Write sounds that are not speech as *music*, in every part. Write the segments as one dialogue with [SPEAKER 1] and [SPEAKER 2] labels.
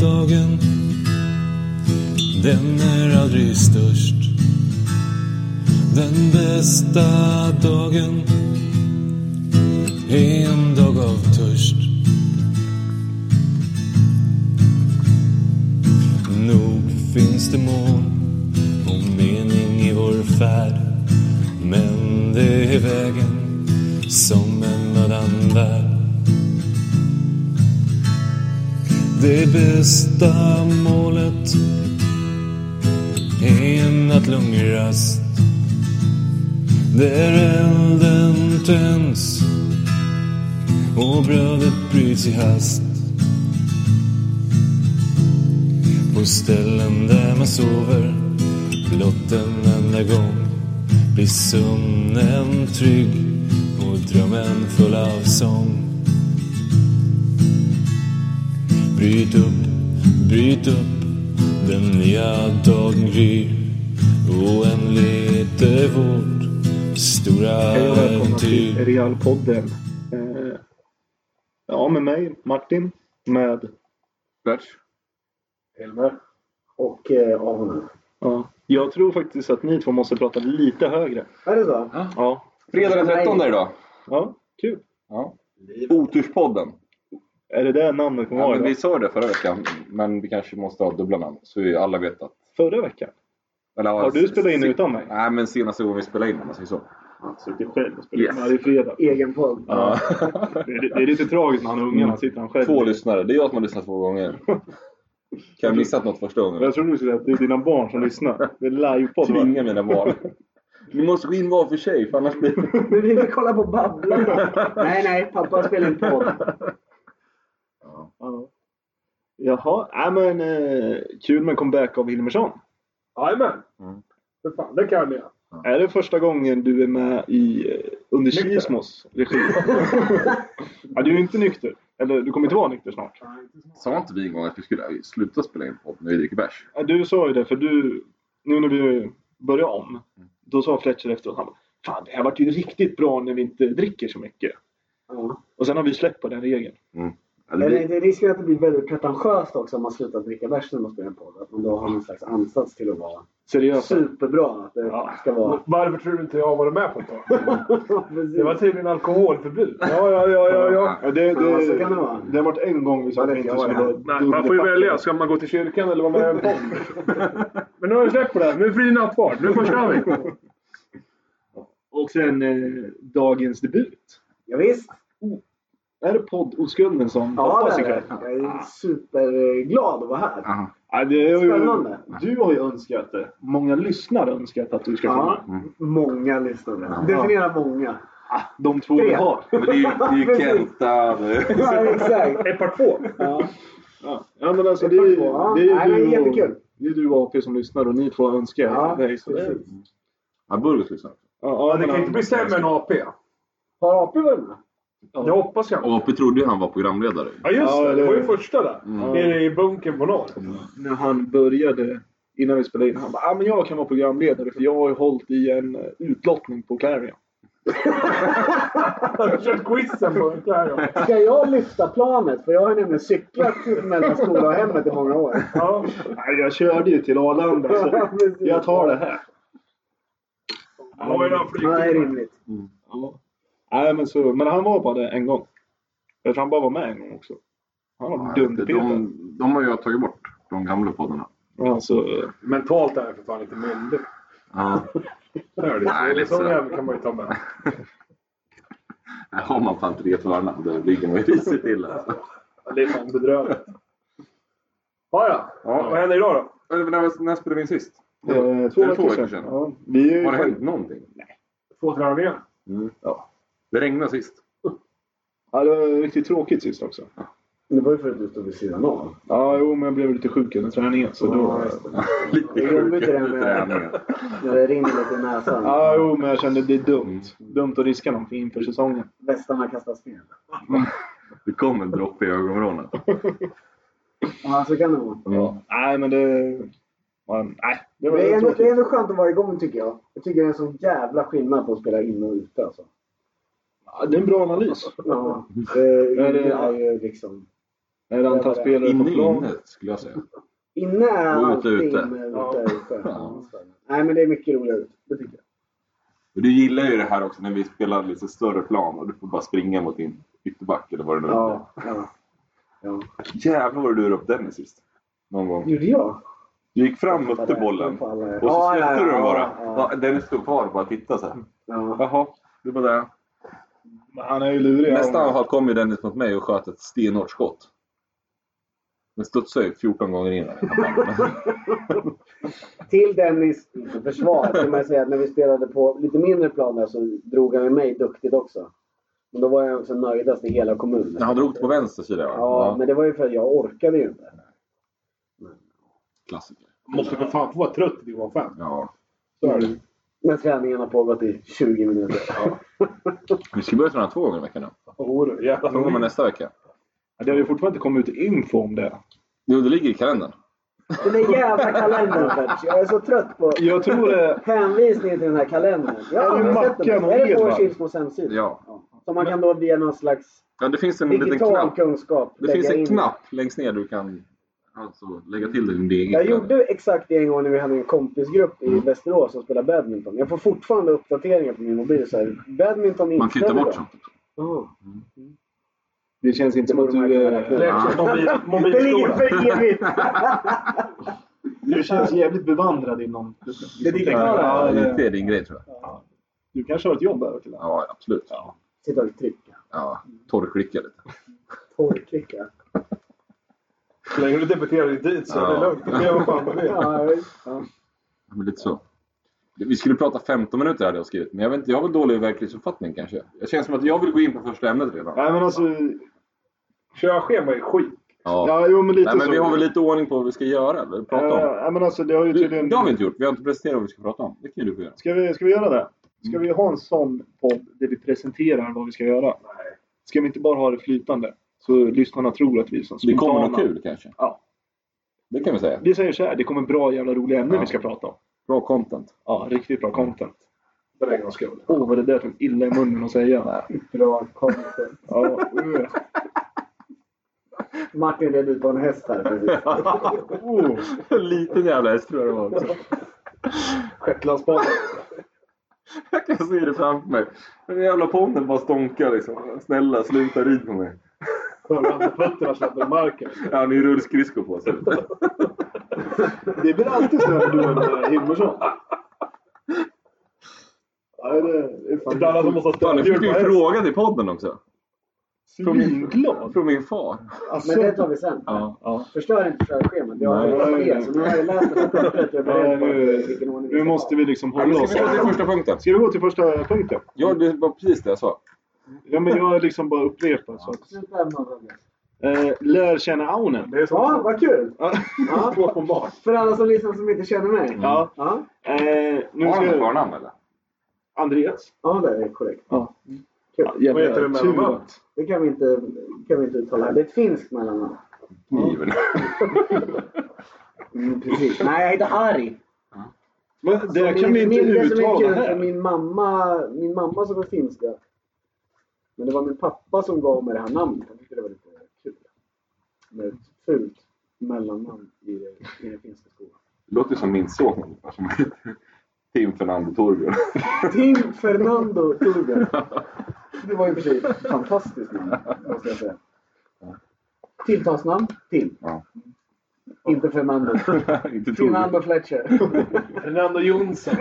[SPEAKER 1] dagen den är aldrig störst. Den bästa dagen är en dag av törst. Nog finns det mål och mening i vår färd. Men det är vägen som en annan värld. Det bästa målet är en nattlugn rast. Där elden tänds och brödet bryts i hast. På ställen där man sover blott en enda gång blir sömnen trygg och drömmen full av sång. Bryt upp, bryt upp, den nya dagen gryr. Oändligt är vårt stora
[SPEAKER 2] Hej och välkomna till
[SPEAKER 1] äventyr.
[SPEAKER 2] Realpodden. Eh, Ja, med mig Martin, med
[SPEAKER 3] Bärs.
[SPEAKER 4] Helmer. Och eh, Aron.
[SPEAKER 2] ja, jag tror faktiskt att ni två måste prata lite högre.
[SPEAKER 4] Är det så?
[SPEAKER 2] Ja,
[SPEAKER 3] Fredag den 13 idag.
[SPEAKER 2] ja kul.
[SPEAKER 3] Ja. Oturspodden.
[SPEAKER 2] Är det det namnet kommer
[SPEAKER 3] Ja,
[SPEAKER 2] vara
[SPEAKER 3] men vi
[SPEAKER 2] idag?
[SPEAKER 3] sa det förra veckan, men vi kanske måste ha dubbla namn så vi alla vet att...
[SPEAKER 2] Förra veckan?
[SPEAKER 3] Eller,
[SPEAKER 2] Har du spelat in
[SPEAKER 3] se-
[SPEAKER 2] utan mig?
[SPEAKER 3] Nej, men senaste gången vi spelade in om man säger så.
[SPEAKER 2] Sitter själv och spelar
[SPEAKER 3] Yes.
[SPEAKER 2] in. Ja, det är fredag.
[SPEAKER 4] Egen podd.
[SPEAKER 3] Ja.
[SPEAKER 2] Det är, det är lite tragiskt när han är ungarna
[SPEAKER 3] Mm.
[SPEAKER 2] sitter han själv.
[SPEAKER 3] två lyssnare. Det är jag som har lyssnat två
[SPEAKER 2] *laughs*
[SPEAKER 3] gånger. Kan jag ha missat något första gången?
[SPEAKER 2] Jag trodde du skulle säga att det är dina barn som lyssnar. Det är livepodd. va?
[SPEAKER 3] Tvinga mina barn. Ni måste gå in var för sig, för annars blir det... *laughs*
[SPEAKER 4] Men *laughs* vi vill kolla på
[SPEAKER 5] *laughs*
[SPEAKER 4] Babblan. nej, nej. Pappa spelar en podd.
[SPEAKER 2] Ja. Jaha, nej men eh, kul med comeback av Hilmersson.
[SPEAKER 5] Jajamän!
[SPEAKER 3] Mm.
[SPEAKER 5] För fan, det kan jag.
[SPEAKER 2] Är det första gången du är med i eh, under
[SPEAKER 5] Nykter.
[SPEAKER 2] Kismos regi? ja, du är ju inte nykter. Eller du kommer inte vara nykter snart.
[SPEAKER 3] Sa inte vi en gång att vi skulle sluta spela in podd när vi dricker bärs?
[SPEAKER 2] Ja, Du sa ju det, för du... Nu när vi börjar om. Då sa Fletcher efteråt, han bara, Fan, det här vart ju riktigt bra när vi inte dricker så mycket.
[SPEAKER 4] Ja.
[SPEAKER 2] Och sen har vi släppt på den regeln.
[SPEAKER 3] Eller,
[SPEAKER 4] Men
[SPEAKER 3] vi...
[SPEAKER 4] det riskerar att det blir väldigt pretentiöst också om man slutar dricka bärs när man spelar en podd. Att man då har någon slags ansats till att vara
[SPEAKER 2] Seriöst.
[SPEAKER 4] superbra. Att det
[SPEAKER 2] Ja.
[SPEAKER 4] ska vara...
[SPEAKER 5] Varför tror du inte jag har varit med på
[SPEAKER 4] *laughs*
[SPEAKER 5] ett tag?
[SPEAKER 4] Precis.
[SPEAKER 5] Det var typ- tydligen alkoholförbud. Ja, ja, ja, ja. ja.
[SPEAKER 2] Ja, det, det,
[SPEAKER 4] Ja, så kan det vara.
[SPEAKER 2] det har varit en gång vi sa att vi inte skulle
[SPEAKER 5] Nej, man får ju
[SPEAKER 2] dubbelpacka.
[SPEAKER 5] välja. Ska man gå till kyrkan eller vara med i en podd? *laughs* Men nu har vi släppt på det här. Nu är det fri nattvard. Nu bara kör vi.
[SPEAKER 2] Och sen eh, dagens debut.
[SPEAKER 4] Ja, visst.
[SPEAKER 2] Är det podd-oskulden som
[SPEAKER 4] Ja,
[SPEAKER 2] tappas
[SPEAKER 4] det är
[SPEAKER 2] ikväll?
[SPEAKER 4] det. Jag är superglad att vara här.
[SPEAKER 3] Aha.
[SPEAKER 2] Ja, det är ju,
[SPEAKER 4] Spännande.
[SPEAKER 2] Du har ju önskat det. Många lyssnare har önskat att du ska komma.
[SPEAKER 4] Ja,
[SPEAKER 5] Mm.
[SPEAKER 4] många lyssnare. Definiera många.
[SPEAKER 2] De två vi
[SPEAKER 4] Tre.
[SPEAKER 2] har.
[SPEAKER 3] Men det är ju, det är ju
[SPEAKER 4] Precis.
[SPEAKER 3] Kenta...
[SPEAKER 4] Ja, exakt.
[SPEAKER 5] Ett par två.
[SPEAKER 4] Ja.
[SPEAKER 2] Ja. ja, men alltså det
[SPEAKER 4] Det är
[SPEAKER 2] är,
[SPEAKER 4] två, ja.
[SPEAKER 2] det är ju
[SPEAKER 4] Nej, men
[SPEAKER 2] du och-
[SPEAKER 4] jättekul.
[SPEAKER 2] Det är du och AP som lyssnar och ni två önskar.
[SPEAKER 4] Ja,
[SPEAKER 2] Nej, så det,
[SPEAKER 4] precis.
[SPEAKER 3] Ja, Burgos lyssnar.
[SPEAKER 2] ja, ja,
[SPEAKER 5] Det
[SPEAKER 2] men alltså,
[SPEAKER 5] kan inte bli sämre än AP.
[SPEAKER 4] Har AP varit med?
[SPEAKER 5] Det hoppas jag.
[SPEAKER 3] AP trodde ju han var programledare.
[SPEAKER 5] Ja, just
[SPEAKER 2] Ja,
[SPEAKER 5] det.
[SPEAKER 2] eller-
[SPEAKER 5] Det var ju första där.
[SPEAKER 3] Mm.
[SPEAKER 5] Nere i bunkern på norr.
[SPEAKER 2] när han började, innan vi spelade in, han bara ah, men jag kan vara programledare för jag har ju hållit i en eh, utlottning på Clarion.
[SPEAKER 5] Jag har kört quizen på det här. ja.
[SPEAKER 4] Ska jag lyfta planet? För jag har nämligen cyklat mellan skola och hemmet i
[SPEAKER 2] *laughs*
[SPEAKER 4] många år.
[SPEAKER 5] Ja.
[SPEAKER 2] Nej, jag körde ju till Arlanda
[SPEAKER 4] *laughs*
[SPEAKER 2] så
[SPEAKER 4] Precis.
[SPEAKER 2] jag tar det här.
[SPEAKER 5] Jag har ju några
[SPEAKER 4] Ja, det är
[SPEAKER 5] flygtimmar.
[SPEAKER 4] rimligt.
[SPEAKER 2] Ja. Nej, men, så, men han var bara det en gång. Jag tror han bara var med en gång också. Han var
[SPEAKER 3] De,
[SPEAKER 2] dum
[SPEAKER 3] de, de har jag tagit bort, de gamla poddarna.
[SPEAKER 2] alltså,
[SPEAKER 5] Mentalt är jag för fan inte myndig.
[SPEAKER 3] Ja.
[SPEAKER 5] Det är
[SPEAKER 3] Nej,
[SPEAKER 5] det.
[SPEAKER 3] lite
[SPEAKER 5] Sån
[SPEAKER 3] så.
[SPEAKER 5] jävel kan man ju ta med.
[SPEAKER 3] Har man fan tre törnar, då ligger man ju risigt till. Alltså.
[SPEAKER 5] Det är fan bedrövligt. Ja, ja.
[SPEAKER 3] Ja.
[SPEAKER 5] Vad händer idag då?
[SPEAKER 3] När, när spelade vi in sist?
[SPEAKER 2] eh, två
[SPEAKER 3] det
[SPEAKER 2] veckor sedan. Ja, vi är ju
[SPEAKER 3] Har det hänt någonting?
[SPEAKER 5] Två träningar.
[SPEAKER 3] Det regnade sist.
[SPEAKER 2] Ja, det var riktigt tråkigt sist också.
[SPEAKER 4] Men Det var ju för att du stod vid sidan av.
[SPEAKER 2] Ja, jo, men jag blev lite sjuk under träningen. Så då...
[SPEAKER 3] *laughs* Lite
[SPEAKER 4] Det är jobbigt
[SPEAKER 3] sjuk
[SPEAKER 4] det där
[SPEAKER 3] efter
[SPEAKER 4] med-
[SPEAKER 3] träningen.
[SPEAKER 4] När det rinner lite i näsan.
[SPEAKER 2] Ja, jo, men jag kände det är dumt.
[SPEAKER 3] Mm.
[SPEAKER 2] Dumt att riska någonting inför säsongen.
[SPEAKER 4] Västarna kastas ner.
[SPEAKER 3] Det kom en droppe i ögonvrån.
[SPEAKER 4] Ja, så kan det vara.
[SPEAKER 3] Ja.
[SPEAKER 2] Nej, men det... Man, nej, det var
[SPEAKER 4] Det är, ändå,
[SPEAKER 2] tråkigt.
[SPEAKER 4] det är ändå skönt att vara igång tycker jag. Jag tycker det är en sån jävla skillnad på att spela in och ute alltså.
[SPEAKER 2] Ja, det är en bra analys.
[SPEAKER 4] Ja, det,
[SPEAKER 2] Ja, det-
[SPEAKER 4] det är ju liksom...
[SPEAKER 2] Är det antal spelare på
[SPEAKER 3] Inne i
[SPEAKER 2] plan?
[SPEAKER 3] innet skulle jag säga.
[SPEAKER 4] Inne är
[SPEAKER 3] Och ute,
[SPEAKER 4] allting
[SPEAKER 3] ute.
[SPEAKER 4] Ute,
[SPEAKER 5] Ja.
[SPEAKER 4] ute.
[SPEAKER 3] Ja.
[SPEAKER 4] Nej, men det är mycket roligare ute. Det tycker jag.
[SPEAKER 3] Och du gillar ju det här också när vi spelar lite större plan och du får bara springa mot din ytterback eller vad det nu är.
[SPEAKER 4] Ja. ja. ja.
[SPEAKER 3] Jävlar vad du rör upp Dennis sist. Någon gång.
[SPEAKER 4] Gjorde jag?
[SPEAKER 3] Du gick fram och mötte bollen.
[SPEAKER 4] På alla-
[SPEAKER 3] Och så
[SPEAKER 4] Ja, ja,
[SPEAKER 3] släppte du den
[SPEAKER 4] ja,
[SPEAKER 3] bara.
[SPEAKER 4] ja,
[SPEAKER 3] Ja, Dennis stod kvar och bara tittade så här.
[SPEAKER 4] ja.
[SPEAKER 3] Jaha, du var där.
[SPEAKER 2] Han är ju lurig.
[SPEAKER 3] Nästa anfall kom ju Dennis mot mig och sköt ett stenhårt skott. Den studsade ju 14 gånger in.
[SPEAKER 4] Till Dennis försvar kan man säga att när vi spelade på lite mindre plan där så drog han ju mig duktigt också. Men då var jag också nöjdast i hela kommunen.
[SPEAKER 3] Han drog på vänster sida. va?
[SPEAKER 4] Ja, men det var ju för att jag orkade ju inte.
[SPEAKER 3] Klassiker.
[SPEAKER 5] Måste för fan få vara trött i division 5.
[SPEAKER 3] Ja.
[SPEAKER 5] Så är det.
[SPEAKER 4] Men träningen har pågått i 20 minuter.
[SPEAKER 3] Vi ska börja träna två gånger i veckan nu.
[SPEAKER 5] Jodå, jävla
[SPEAKER 3] Två gånger
[SPEAKER 5] roligt.
[SPEAKER 3] nästa vecka.
[SPEAKER 2] Det har ju fortfarande inte kommit ut info om det.
[SPEAKER 3] Jo, det ligger i kalendern.
[SPEAKER 4] Den där jävla kalendern Fetch. Jag är så trött på
[SPEAKER 2] Jag tror det...
[SPEAKER 4] hänvisningen till den här kalendern. Jag har
[SPEAKER 2] Ja, det är
[SPEAKER 4] aldrig sett den.
[SPEAKER 2] Mackan och
[SPEAKER 4] Är det på
[SPEAKER 2] Edvard.
[SPEAKER 4] Kilsmos hemsida?
[SPEAKER 3] Ja.
[SPEAKER 4] Som man kan då via någon slags
[SPEAKER 3] ja det finns en liten
[SPEAKER 4] digital
[SPEAKER 3] knapp.
[SPEAKER 4] kunskap
[SPEAKER 3] Det finns
[SPEAKER 4] lägga
[SPEAKER 3] en
[SPEAKER 4] in.
[SPEAKER 3] knapp längst ner du kan alltså, lägga till din egen
[SPEAKER 4] Jag
[SPEAKER 3] kalender.
[SPEAKER 4] gjorde exakt det en gång när vi hade en kompisgrupp i Västerås som spelade badminton. Jag får fortfarande uppdateringar på min mobil. Så här, badminton
[SPEAKER 3] Man kan ju ta bort sånt.
[SPEAKER 4] Ja.
[SPEAKER 2] Det känns inte som att du...
[SPEAKER 5] Det
[SPEAKER 2] eh,
[SPEAKER 5] är också mobil-
[SPEAKER 4] Det ligger
[SPEAKER 5] Mobilskola.
[SPEAKER 4] för evigt!
[SPEAKER 2] Du känns jävligt bevandrad inom...
[SPEAKER 4] Det digitala.
[SPEAKER 2] Ja,
[SPEAKER 3] Ja,
[SPEAKER 2] det-
[SPEAKER 3] det är din grej tror jag.
[SPEAKER 2] Du kanske har ett jobb där? Kille.
[SPEAKER 3] Ja, absolut.
[SPEAKER 4] Sitta och trycka.
[SPEAKER 3] Ja, torrklicka lite.
[SPEAKER 4] Porrklicka.
[SPEAKER 5] Så länge du debuterar i dit så är det
[SPEAKER 3] Ja.
[SPEAKER 5] lugnt. Det är vad fan det är.
[SPEAKER 4] Ja, visst. ja.
[SPEAKER 3] Ja, Men lite så. Vi skulle prata 15 minuter hade jag skrivit, men jag vet inte, jag har väl dålig verklighetsuppfattning kanske. Jag känns som att jag vill gå in på första ämnet redan.
[SPEAKER 2] Nej men alltså...
[SPEAKER 5] Körschema är skit.
[SPEAKER 3] Ja.
[SPEAKER 2] Ja, jo men lite
[SPEAKER 3] Nej, men
[SPEAKER 2] så.
[SPEAKER 3] vi har väl lite ordning på vad vi ska göra eller prata om.
[SPEAKER 2] Ja, men alltså det har ju
[SPEAKER 3] Du,
[SPEAKER 2] tydligen...
[SPEAKER 3] det har vi inte gjort. Vi har inte presenterat vad vi ska prata om. Det kan ju du få göra.
[SPEAKER 2] Ska vi, ska vi göra det? Ska
[SPEAKER 3] Mm.
[SPEAKER 2] vi ha en sån podd där vi presenterar vad vi ska göra? Nej. Ska vi inte bara ha det flytande? Så lyssnarna tror att vi är så
[SPEAKER 3] Det kommer något
[SPEAKER 2] spontana.
[SPEAKER 3] kul kanske.
[SPEAKER 2] Ja.
[SPEAKER 3] Det kan vi säga.
[SPEAKER 2] Vi säger så här, det kommer bra jävla roliga ämnen
[SPEAKER 3] Ja.
[SPEAKER 2] vi ska prata om.
[SPEAKER 3] Bra content.
[SPEAKER 2] Ja, riktigt bra content.
[SPEAKER 5] För en gångs skull.
[SPEAKER 2] Åh, vad det där tog illa i munnen att säga.
[SPEAKER 4] Bra content.
[SPEAKER 2] Ja, uh.
[SPEAKER 4] Martin red ut på en häst här precis.
[SPEAKER 2] oh.
[SPEAKER 3] En *laughs* liten jävla häst tror jag det var också.
[SPEAKER 2] Shetlandsbanan.
[SPEAKER 3] *laughs* Jag kan se det framför mig. Den jävla ponnen bara stonkar liksom. Snälla sluta rid på mig.
[SPEAKER 5] Förband fötterna släpper marken.
[SPEAKER 3] Ja, Han har ju rullskridskor på *laughs* sig.
[SPEAKER 2] Det blir alltid så när du är med eh, Himmersson. Nej, det är
[SPEAKER 5] Det är alla som
[SPEAKER 2] fan
[SPEAKER 5] måste ha
[SPEAKER 3] Fan, jag fick ju en
[SPEAKER 5] stödhjul.
[SPEAKER 3] fråga till podden också.
[SPEAKER 2] svinglad.
[SPEAKER 3] Från min far.
[SPEAKER 2] Alltså,
[SPEAKER 4] Men det tar vi sen.
[SPEAKER 3] Ja.
[SPEAKER 4] Förstör inte körschemat. Jag har
[SPEAKER 3] Nej.
[SPEAKER 4] redan fel. Så nu har jag läst det här pappret. Jag är
[SPEAKER 5] Eh,
[SPEAKER 4] beredd på vilken ordning vi
[SPEAKER 2] nu
[SPEAKER 4] ska ha.
[SPEAKER 2] måste vi liksom
[SPEAKER 3] Ja, men
[SPEAKER 2] hålla oss.
[SPEAKER 3] ska vi gå till första punkten?
[SPEAKER 2] Ska vi gå till första punkten?
[SPEAKER 3] Ja, det var precis det jag sa.
[SPEAKER 2] Ja, men jag har liksom bara upprepat. Så att,
[SPEAKER 4] Sluta ämna om det.
[SPEAKER 2] eh, lär känna Aunen.
[SPEAKER 5] Det är
[SPEAKER 4] Ja,
[SPEAKER 5] så
[SPEAKER 4] vad kul!
[SPEAKER 2] Ja.
[SPEAKER 5] *laughs*
[SPEAKER 4] Ja.
[SPEAKER 5] uppenbart.
[SPEAKER 4] För alla som lyssnar som inte känner mig.
[SPEAKER 2] Ja,
[SPEAKER 4] Ja,
[SPEAKER 2] eh, nu
[SPEAKER 3] Har han ett
[SPEAKER 2] ska
[SPEAKER 3] förnamn eller?
[SPEAKER 2] Andreas.
[SPEAKER 4] ja det är korrekt.
[SPEAKER 2] Ja.
[SPEAKER 4] Ja,
[SPEAKER 5] Vad heter det mellannamn?
[SPEAKER 4] Det kan vi inte, kan vi inte uttala. här. Det är ett finskt mellannamn.
[SPEAKER 3] Given.
[SPEAKER 4] Mm, precis. *laughs* Nej, jag heter Ari.
[SPEAKER 5] Alltså,
[SPEAKER 2] Men det
[SPEAKER 4] Som
[SPEAKER 2] kan
[SPEAKER 4] min-
[SPEAKER 2] vi inte
[SPEAKER 4] min, det som är
[SPEAKER 2] uttala
[SPEAKER 4] kul för
[SPEAKER 2] här.
[SPEAKER 4] Min mamma, min mamma som är finska. Men det var min pappa som gav mig det här namnet. Jag tyckte det var lite kul. Med ett fult mellannamn i, i den finska skolan.
[SPEAKER 3] Det låter som min son ungefär, som *laughs* heter Tim Fernando Torbjörn.
[SPEAKER 4] Tim Fernando Turbin. Det var ju i och för sig ett fantastiskt namn, måste jag säga. Tilltalsnamn? Tim.
[SPEAKER 3] Ja.
[SPEAKER 4] Inte Fernando.
[SPEAKER 3] Inte Torbjörn.
[SPEAKER 2] *laughs*
[SPEAKER 4] Fernando Fletcher.
[SPEAKER 5] Fernando Jonsson.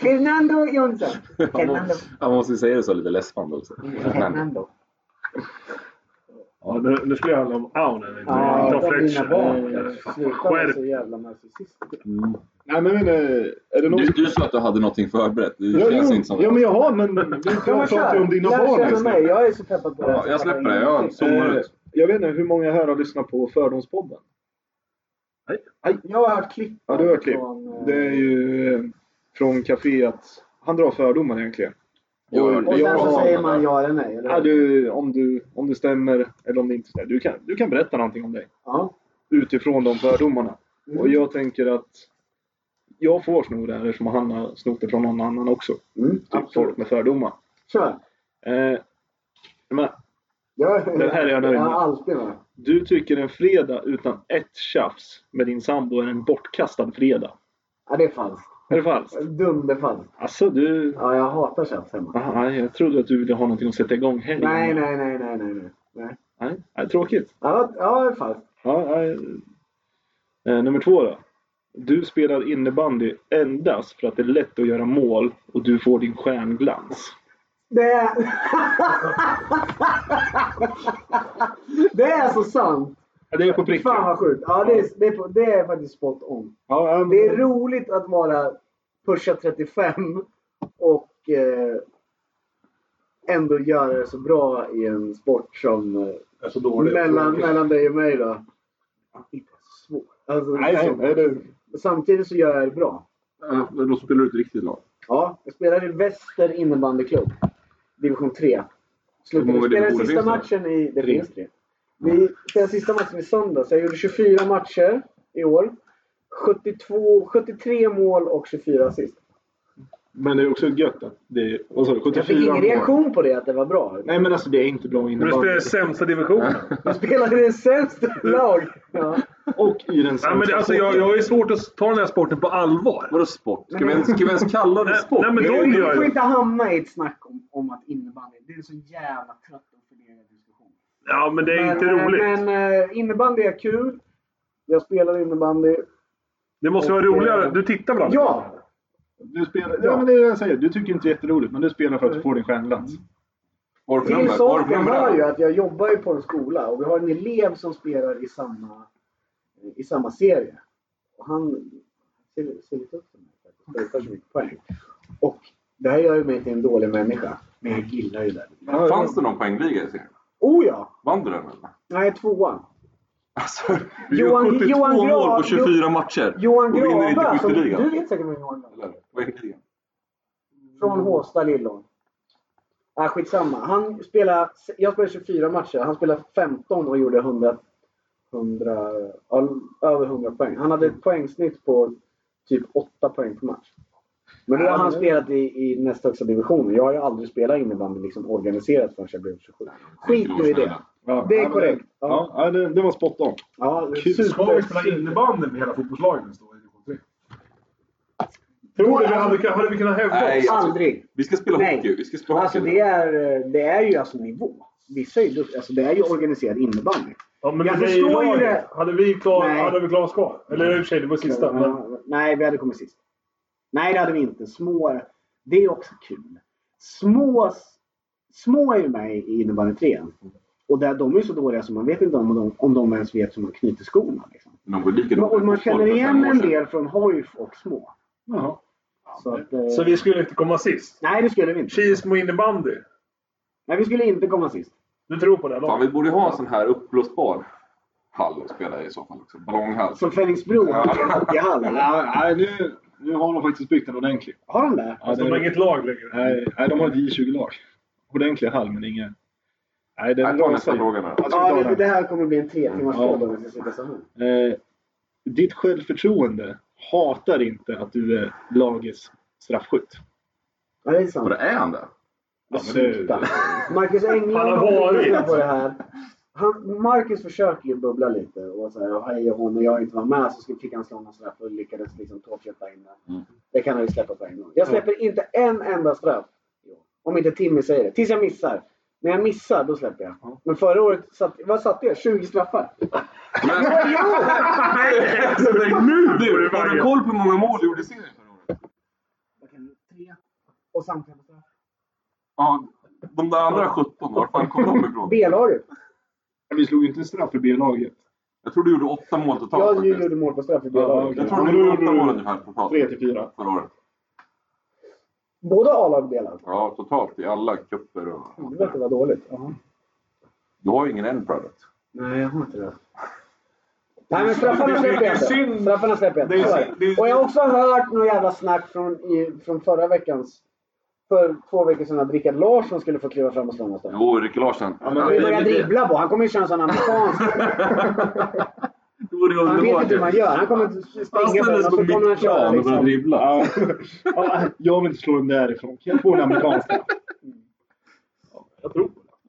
[SPEAKER 4] Fernando Jonsson. Fernando.
[SPEAKER 3] Han måste ju säga det så lite läspande också.
[SPEAKER 4] Fernando.
[SPEAKER 5] Ja, nu, nu skulle det handla om Aunen. inte
[SPEAKER 4] Ja,
[SPEAKER 5] om
[SPEAKER 4] de mina
[SPEAKER 5] Fletcher.
[SPEAKER 4] barn. Sluta vara
[SPEAKER 5] Skärp.
[SPEAKER 4] så jävla narcissistiska.
[SPEAKER 3] Mm.
[SPEAKER 2] Nej, men eh, är det någon...
[SPEAKER 3] Du, du sa att du hade någonting förberett. Det
[SPEAKER 2] Ja,
[SPEAKER 3] känns
[SPEAKER 2] jo,
[SPEAKER 3] inte som
[SPEAKER 2] ja, men jag har, men vi pratar ju om dina
[SPEAKER 4] jag
[SPEAKER 2] barn liksom.
[SPEAKER 4] känner
[SPEAKER 2] just
[SPEAKER 4] mig.
[SPEAKER 2] nu.
[SPEAKER 4] Jag är så peppad på det här.
[SPEAKER 3] Ja, jag släpper det. Jag zoomar
[SPEAKER 2] Eh,
[SPEAKER 3] ut.
[SPEAKER 2] jag vet inte hur många här har lyssnat på Fördomspodden.
[SPEAKER 4] Jag har hört klipp.
[SPEAKER 2] Ja, du har hört klipp.
[SPEAKER 4] från, eh,
[SPEAKER 2] Det är ju eh, från kaféet. att han drar fördomar egentligen.
[SPEAKER 3] Jag har hört det.
[SPEAKER 4] Och sen
[SPEAKER 3] jag
[SPEAKER 4] så
[SPEAKER 3] har-
[SPEAKER 4] säger man ja eller nej. Eller?
[SPEAKER 2] Ja, du, om, du, om det stämmer eller om det inte stämmer. Du kan, du kan berätta någonting om dig
[SPEAKER 4] Ja.
[SPEAKER 2] utifrån de fördomarna.
[SPEAKER 4] Mm.
[SPEAKER 2] Och jag tänker att jag får sno det här eftersom han har snott det från någon annan också.
[SPEAKER 4] Mm,
[SPEAKER 2] Typ
[SPEAKER 4] absolut.
[SPEAKER 2] folk med fördomar.
[SPEAKER 4] Kör.
[SPEAKER 2] Eh, men,
[SPEAKER 4] Jag,
[SPEAKER 2] Den här är jag nöjd
[SPEAKER 4] jag
[SPEAKER 2] med.
[SPEAKER 4] har alltid med.
[SPEAKER 2] Du tycker en fredag utan ett tjafs med din sambo är en bortkastad fredag.
[SPEAKER 4] Ja, det är falskt.
[SPEAKER 2] Är det falskt?
[SPEAKER 4] Dunderfalskt.
[SPEAKER 2] Alltså du...
[SPEAKER 4] Ja, jag hatar tjafs hemma.
[SPEAKER 2] Aha, nej, jag trodde att du ville ha någonting att sätta igång helgen.
[SPEAKER 4] Nej, nej, nej, nej, nej. nej. nej.
[SPEAKER 2] nej. nej tråkigt.
[SPEAKER 4] Ja, ja, det är falskt.
[SPEAKER 2] Ja, nej. Eh, nummer två då. Du spelar innebandy endast för att det är lätt att göra mål och du får din stjärnglans. *laughs*
[SPEAKER 4] Det är... det är så sant!
[SPEAKER 2] Ja, det är på pricken.
[SPEAKER 4] Fan vad sjukt. Ja, det är, det, är, på- det är faktiskt spot on.
[SPEAKER 2] Ja, ja,
[SPEAKER 4] Det är roligt att vara pusha 35 och eh, ändå göra det så bra i en sport som eh,
[SPEAKER 5] Det är så dåligt.
[SPEAKER 4] mellan, mellan dig och mig då. Inte så svårt. Alltså,
[SPEAKER 2] Nej, nej, nej, det...
[SPEAKER 4] Samtidigt så gör jag det
[SPEAKER 3] Ja,
[SPEAKER 4] bra.
[SPEAKER 3] Äh, men då spelar du ett riktigt lag.
[SPEAKER 4] Ja, jag spelar i Väster innebandyklubb. Division 3.
[SPEAKER 3] Hur
[SPEAKER 4] Slutade, vi
[SPEAKER 3] många
[SPEAKER 4] spelade
[SPEAKER 3] divisioner
[SPEAKER 4] sista
[SPEAKER 3] finns
[SPEAKER 4] matchen i... Det
[SPEAKER 2] Tre.
[SPEAKER 4] finns tre. Vi spelade sista matchen i söndags. Jag gjorde 24 matcher i år. 72, 73 mål och 24 assist.
[SPEAKER 2] Men det är också gött att det... Vad sa du? 74
[SPEAKER 4] Jag fick ingen
[SPEAKER 2] mål.
[SPEAKER 4] reaktion på det, att det var bra.
[SPEAKER 2] Nej men alltså det är inte bra
[SPEAKER 5] Men du spelar
[SPEAKER 2] innebandy.
[SPEAKER 5] i sämsta divisionen.
[SPEAKER 4] Jag spelade i det sämsta lag. Ja.
[SPEAKER 2] Och i den
[SPEAKER 5] Nej, men det, alltså, jag, jag har ju svårt att ta den här sporten på allvar.
[SPEAKER 3] Vadå sport? Ska vi ens, ska vi ens kalla det
[SPEAKER 5] Nej,
[SPEAKER 3] sport?
[SPEAKER 5] nej, men
[SPEAKER 4] Vi
[SPEAKER 5] de
[SPEAKER 4] vi
[SPEAKER 5] gör
[SPEAKER 4] får
[SPEAKER 5] ju...
[SPEAKER 4] inte hamna i ett snack om, om att innebandy... Det är så jävla trött och förlegad diskussion.
[SPEAKER 5] Ja, men det är inte
[SPEAKER 4] men,
[SPEAKER 5] roligt.
[SPEAKER 4] Men eh, innebandy är kul. Jag spelar innebandy.
[SPEAKER 5] Det måste vara roligare. Du tittar väl aldrig?
[SPEAKER 4] Ja!
[SPEAKER 2] Du spelar... Ja
[SPEAKER 4] Ja.
[SPEAKER 2] men det är det jag säger. Du tycker inte det är jätteroligt men du spelar för att du får din stjärnglans.
[SPEAKER 3] Varför
[SPEAKER 4] Till
[SPEAKER 3] de här? Varför
[SPEAKER 4] saken
[SPEAKER 3] de
[SPEAKER 4] var ju
[SPEAKER 3] här?
[SPEAKER 4] att jag jobbar ju på en skola och vi har en elev som spelar i samma, i samma serie. Och han ser, ser lite upp till mig faktiskt. Det tar så mycket poäng. Och det här gör ju mig till en dålig människa. Men jag gillar ju det.
[SPEAKER 3] Fanns det någon poängliga i serien?
[SPEAKER 4] Oh ja!
[SPEAKER 3] Vann du den eller?
[SPEAKER 4] Nej, tvåan.
[SPEAKER 3] Alltså, du
[SPEAKER 4] Johan-
[SPEAKER 3] gör 72
[SPEAKER 4] Johan Gra-
[SPEAKER 3] mål på 24
[SPEAKER 4] Jo-
[SPEAKER 3] matcher.
[SPEAKER 4] Johan
[SPEAKER 3] Och vinner inte
[SPEAKER 4] Grava, som
[SPEAKER 3] skytteligan.
[SPEAKER 4] du vet säkert vem Johan Grava är.
[SPEAKER 3] Eller poängligan.
[SPEAKER 4] Alltså, Från
[SPEAKER 5] Mm.
[SPEAKER 4] Håsta Lillån. Ah, skitsamma. Han spelade, jag spelade 24 matcher. Han spelade 15 och gjorde 100, 100, ja, över 100 poäng. Han
[SPEAKER 5] Mm.
[SPEAKER 4] hade ett poängsnitt på typ 8 poäng per match. Men nu har han spelat i, i näst högsta division. Jag har ju aldrig spelat innebandy liksom organiserat förrän jag blev 27. Skit nu i det.
[SPEAKER 2] Ja,
[SPEAKER 4] Det
[SPEAKER 2] ja,
[SPEAKER 4] är
[SPEAKER 2] men-
[SPEAKER 4] korrekt. Ja,
[SPEAKER 2] Ja, ja det, det var spot on.
[SPEAKER 4] ja
[SPEAKER 5] Ska vi
[SPEAKER 4] super,
[SPEAKER 5] spela
[SPEAKER 4] super.
[SPEAKER 5] innebandy med hela fotbollslagen nästa år i division tre? Tror du vi hade, hade vi kunnat hävda
[SPEAKER 3] Nej. alltså,
[SPEAKER 5] oss?
[SPEAKER 4] Aldrig.
[SPEAKER 3] Vi ska spela
[SPEAKER 4] Nej.
[SPEAKER 3] hockey. Vi ska spela
[SPEAKER 4] Alltså
[SPEAKER 3] hockey.
[SPEAKER 4] det är, det är ju alltså nivå. Vissa är ju duktiga. Alltså det är ju organiserad innebandy.
[SPEAKER 5] Ja, men
[SPEAKER 4] Jag
[SPEAKER 5] vi är i
[SPEAKER 4] förstår ju
[SPEAKER 5] laget.
[SPEAKER 4] det.
[SPEAKER 5] Hade vi klar,
[SPEAKER 4] Nej.
[SPEAKER 5] hade vi klarat oss kvar? Eller i och för sig, det var sista. Men
[SPEAKER 4] Ja, Nej, vi hade kommit sist. Nej, det hade vi inte. Små, det är också kul. Små, små är ju med i innebandy trean. Och där, de är så dåliga så man vet inte om de, om de ens vet hur man knyter skorna. Liksom.
[SPEAKER 3] Men de går lika
[SPEAKER 4] Och man känner igen en
[SPEAKER 3] del.
[SPEAKER 4] del från hojf och små.
[SPEAKER 2] Jaha.
[SPEAKER 4] Så att, eh,
[SPEAKER 5] Så vi skulle inte komma sist?
[SPEAKER 4] Nej, det skulle vi inte.
[SPEAKER 5] Kis med innebandy.
[SPEAKER 4] Nej, vi skulle inte komma sist.
[SPEAKER 5] Du tror på det?
[SPEAKER 3] Fan,
[SPEAKER 5] Då?
[SPEAKER 3] vi borde ha en sån här uppblåsbar hall att spela i så fall också. Ballonghall.
[SPEAKER 4] Som Fenriksbro har en *laughs* hockeyhall.
[SPEAKER 2] Ja, nej, nu, nu har de faktiskt byggt den ordentligt.
[SPEAKER 4] Har de där?
[SPEAKER 2] Ja,
[SPEAKER 5] Alltså, De har inget lag längre.
[SPEAKER 2] nej, nej, de har ett J20-lag. Ordentliga hall men ingen... Nej, den
[SPEAKER 3] Jag tar nästa
[SPEAKER 2] rasar ju.
[SPEAKER 3] fråga nu.
[SPEAKER 2] Alltså,
[SPEAKER 4] Ja,
[SPEAKER 2] vi
[SPEAKER 4] det,
[SPEAKER 2] tar
[SPEAKER 4] det
[SPEAKER 2] den.
[SPEAKER 4] här kommer bli en tre timmars
[SPEAKER 2] Ja.
[SPEAKER 4] podd om vi ska sitta så här.
[SPEAKER 2] Eh, ditt självförtroende hatar inte att du är lagets straffskytt.
[SPEAKER 4] Ja, det är
[SPEAKER 3] Och
[SPEAKER 4] sant.
[SPEAKER 3] det är han där.
[SPEAKER 2] Ja, men det-
[SPEAKER 4] Sluta. Marcus England
[SPEAKER 5] Han har varit.
[SPEAKER 4] lyssnat på det här. Han, Marcus försöker ju bubbla lite och så här, "Ja, hej och hon och jag inte var med så skulle- fick han slå någon straff och lyckades liksom tårtkötta in den.
[SPEAKER 3] Mm.
[SPEAKER 4] Det kan han ju släppa på en gång. Jag släpper inte en enda straff. Om inte Timmy säger det. Tills jag missar. När jag missar, då släpper jag. Men förra året, satt, vad satte jag? 20 straffar?
[SPEAKER 3] Men, Alltså,
[SPEAKER 5] Nu
[SPEAKER 3] du, har du koll på hur många mål du gjorde i serien förra året?
[SPEAKER 4] Jag kan- Tre. Och samtliga på straff.
[SPEAKER 3] Ja, de där andra 17, var fan kom de ifrån?
[SPEAKER 4] B-laget.
[SPEAKER 2] Vi slog ju inte en straff för B-laget.
[SPEAKER 3] Jag tror du gjorde åtta mål totalt
[SPEAKER 4] Jag
[SPEAKER 3] faktiskt.
[SPEAKER 4] gjorde typ. mål på straff i
[SPEAKER 2] Ja,
[SPEAKER 4] B-laget.
[SPEAKER 2] okej.
[SPEAKER 3] Jag tror du gjorde åtta mål ungefär totalt
[SPEAKER 2] 3 till 4.
[SPEAKER 3] förra året.
[SPEAKER 4] Både A-lag och B-lag.
[SPEAKER 3] Ja, totalt i alla cuper och...
[SPEAKER 4] Helvete vad dåligt. Jaha.
[SPEAKER 3] Du har ju ingen end product.
[SPEAKER 4] Nej, jag har inte det. Nej, men straffarna släpper jag
[SPEAKER 5] Det är
[SPEAKER 4] inte.
[SPEAKER 5] synd.
[SPEAKER 4] Straffarna släpper jag
[SPEAKER 5] Det
[SPEAKER 4] inte.
[SPEAKER 5] är
[SPEAKER 4] Så är
[SPEAKER 5] synd. Det
[SPEAKER 4] det.
[SPEAKER 5] är-
[SPEAKER 4] Och jag har också hört något jävla snack från, i, från förra veckans... För två veckor sedan att Rickard Larsson skulle få kliva fram och slå någonstans.
[SPEAKER 3] Jo, Ricky Larsson.
[SPEAKER 4] Han kommer ju börja dribbla på. Han kommer ju köra en sån amerikansk...
[SPEAKER 3] Det vore ju
[SPEAKER 4] Han vet
[SPEAKER 3] underbart.
[SPEAKER 4] inte hur man gör. Han kommer springa på den och så kommer han köra
[SPEAKER 3] och började
[SPEAKER 4] liksom.
[SPEAKER 3] dribbla.
[SPEAKER 2] Ja. Ja, jag vill inte slå den därifrån. Kan jag få en amerikansk straff?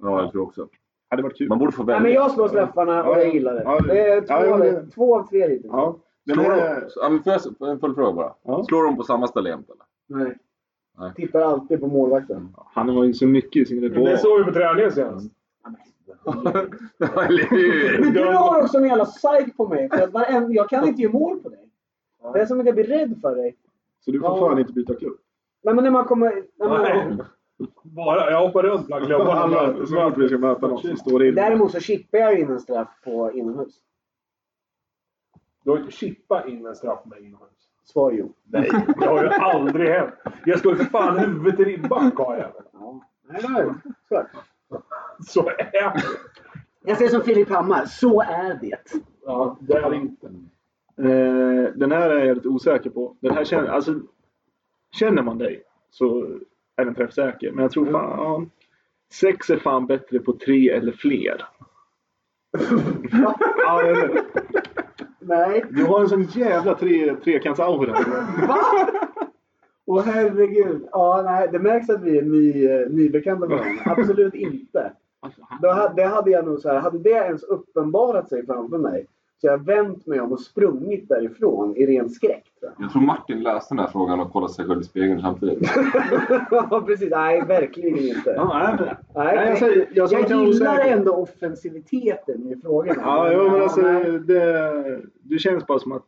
[SPEAKER 3] Ja, jag tror också.
[SPEAKER 2] hade varit kul.
[SPEAKER 3] Man borde få välja.
[SPEAKER 4] Nej, men jag slår släpparna och
[SPEAKER 2] Ja,
[SPEAKER 4] jag
[SPEAKER 2] ja.
[SPEAKER 4] gillar det.
[SPEAKER 2] Ja, det-
[SPEAKER 4] det är två,
[SPEAKER 2] ja, jag håller-
[SPEAKER 4] två av tre hittills.
[SPEAKER 2] Ja.
[SPEAKER 3] Slår
[SPEAKER 2] Men,
[SPEAKER 3] de-
[SPEAKER 2] eh,
[SPEAKER 3] ja, men får jag s- en följdfråga bara?
[SPEAKER 2] Ja.
[SPEAKER 3] Slår de på samma ställe jämt eller? *laughs*
[SPEAKER 4] Nej.
[SPEAKER 3] Nej.
[SPEAKER 4] Tittar alltid på målvakten.
[SPEAKER 2] han har ju så mycket i sin
[SPEAKER 5] Det
[SPEAKER 2] repertoar.
[SPEAKER 5] såg vi på träningen senast.
[SPEAKER 3] Eller hur?
[SPEAKER 4] Du har också en jävla psyk på mig. För att varenda, jag kan inte ge mål på dig. Det är som att jag blir rädd för dig.
[SPEAKER 2] Så du får
[SPEAKER 4] Ja.
[SPEAKER 2] fan inte byta klubb.
[SPEAKER 4] Nej, men när man kommer... När man,
[SPEAKER 5] Bara, jag hoppar runt bland
[SPEAKER 2] Alla, så
[SPEAKER 5] klubbarna.
[SPEAKER 2] fort vi ska möta någon som står in.
[SPEAKER 4] däremot så chippar jag in en straff på inomhus.
[SPEAKER 5] Du har ju inte chippat in en straff med inomhus.
[SPEAKER 4] Svar jo.
[SPEAKER 5] Nej, det har ju aldrig hänt. Jag står ju för fan huvudet i ribban, karljäveln.
[SPEAKER 4] Ja. Nej, det har jag. Så är det.
[SPEAKER 5] Så är det.
[SPEAKER 4] Jag säger som Filip Hammar, så är det.
[SPEAKER 5] Ja, det är inte.
[SPEAKER 2] Eh, den här är jag lite osäker på. Den här känner, alltså, känner man dig så är den träffsäker. Men jag tror fan... Sex är fan bättre på tre eller fler. ja, jag vet.
[SPEAKER 4] Nej.
[SPEAKER 2] Du har en sån jävla tre, trekants-aura.
[SPEAKER 4] Åh herregud. Ja, nej, det märks att vi är ny, eh, nybekanta med varandra. Absolut inte. Då hade, det hade jag nog så här, hade det ens uppenbarat sig framför mig så jag vänt mig om och sprungit därifrån i ren skräck. tror
[SPEAKER 3] Jag tror Martin läste den här frågan och kollade sig själv i spegeln *laughs* samtidigt.
[SPEAKER 4] jag. *laughs* Ja, precis. Nej, verkligen inte.
[SPEAKER 2] Ja, nej,
[SPEAKER 4] Nej,
[SPEAKER 2] nej, jag säger- jag säger att jag är
[SPEAKER 4] jag gillar
[SPEAKER 2] osäker.
[SPEAKER 4] ändå offensiviteten i frågorna.
[SPEAKER 2] ja, jo, men alltså,
[SPEAKER 4] nej,
[SPEAKER 2] det, du känns bara som att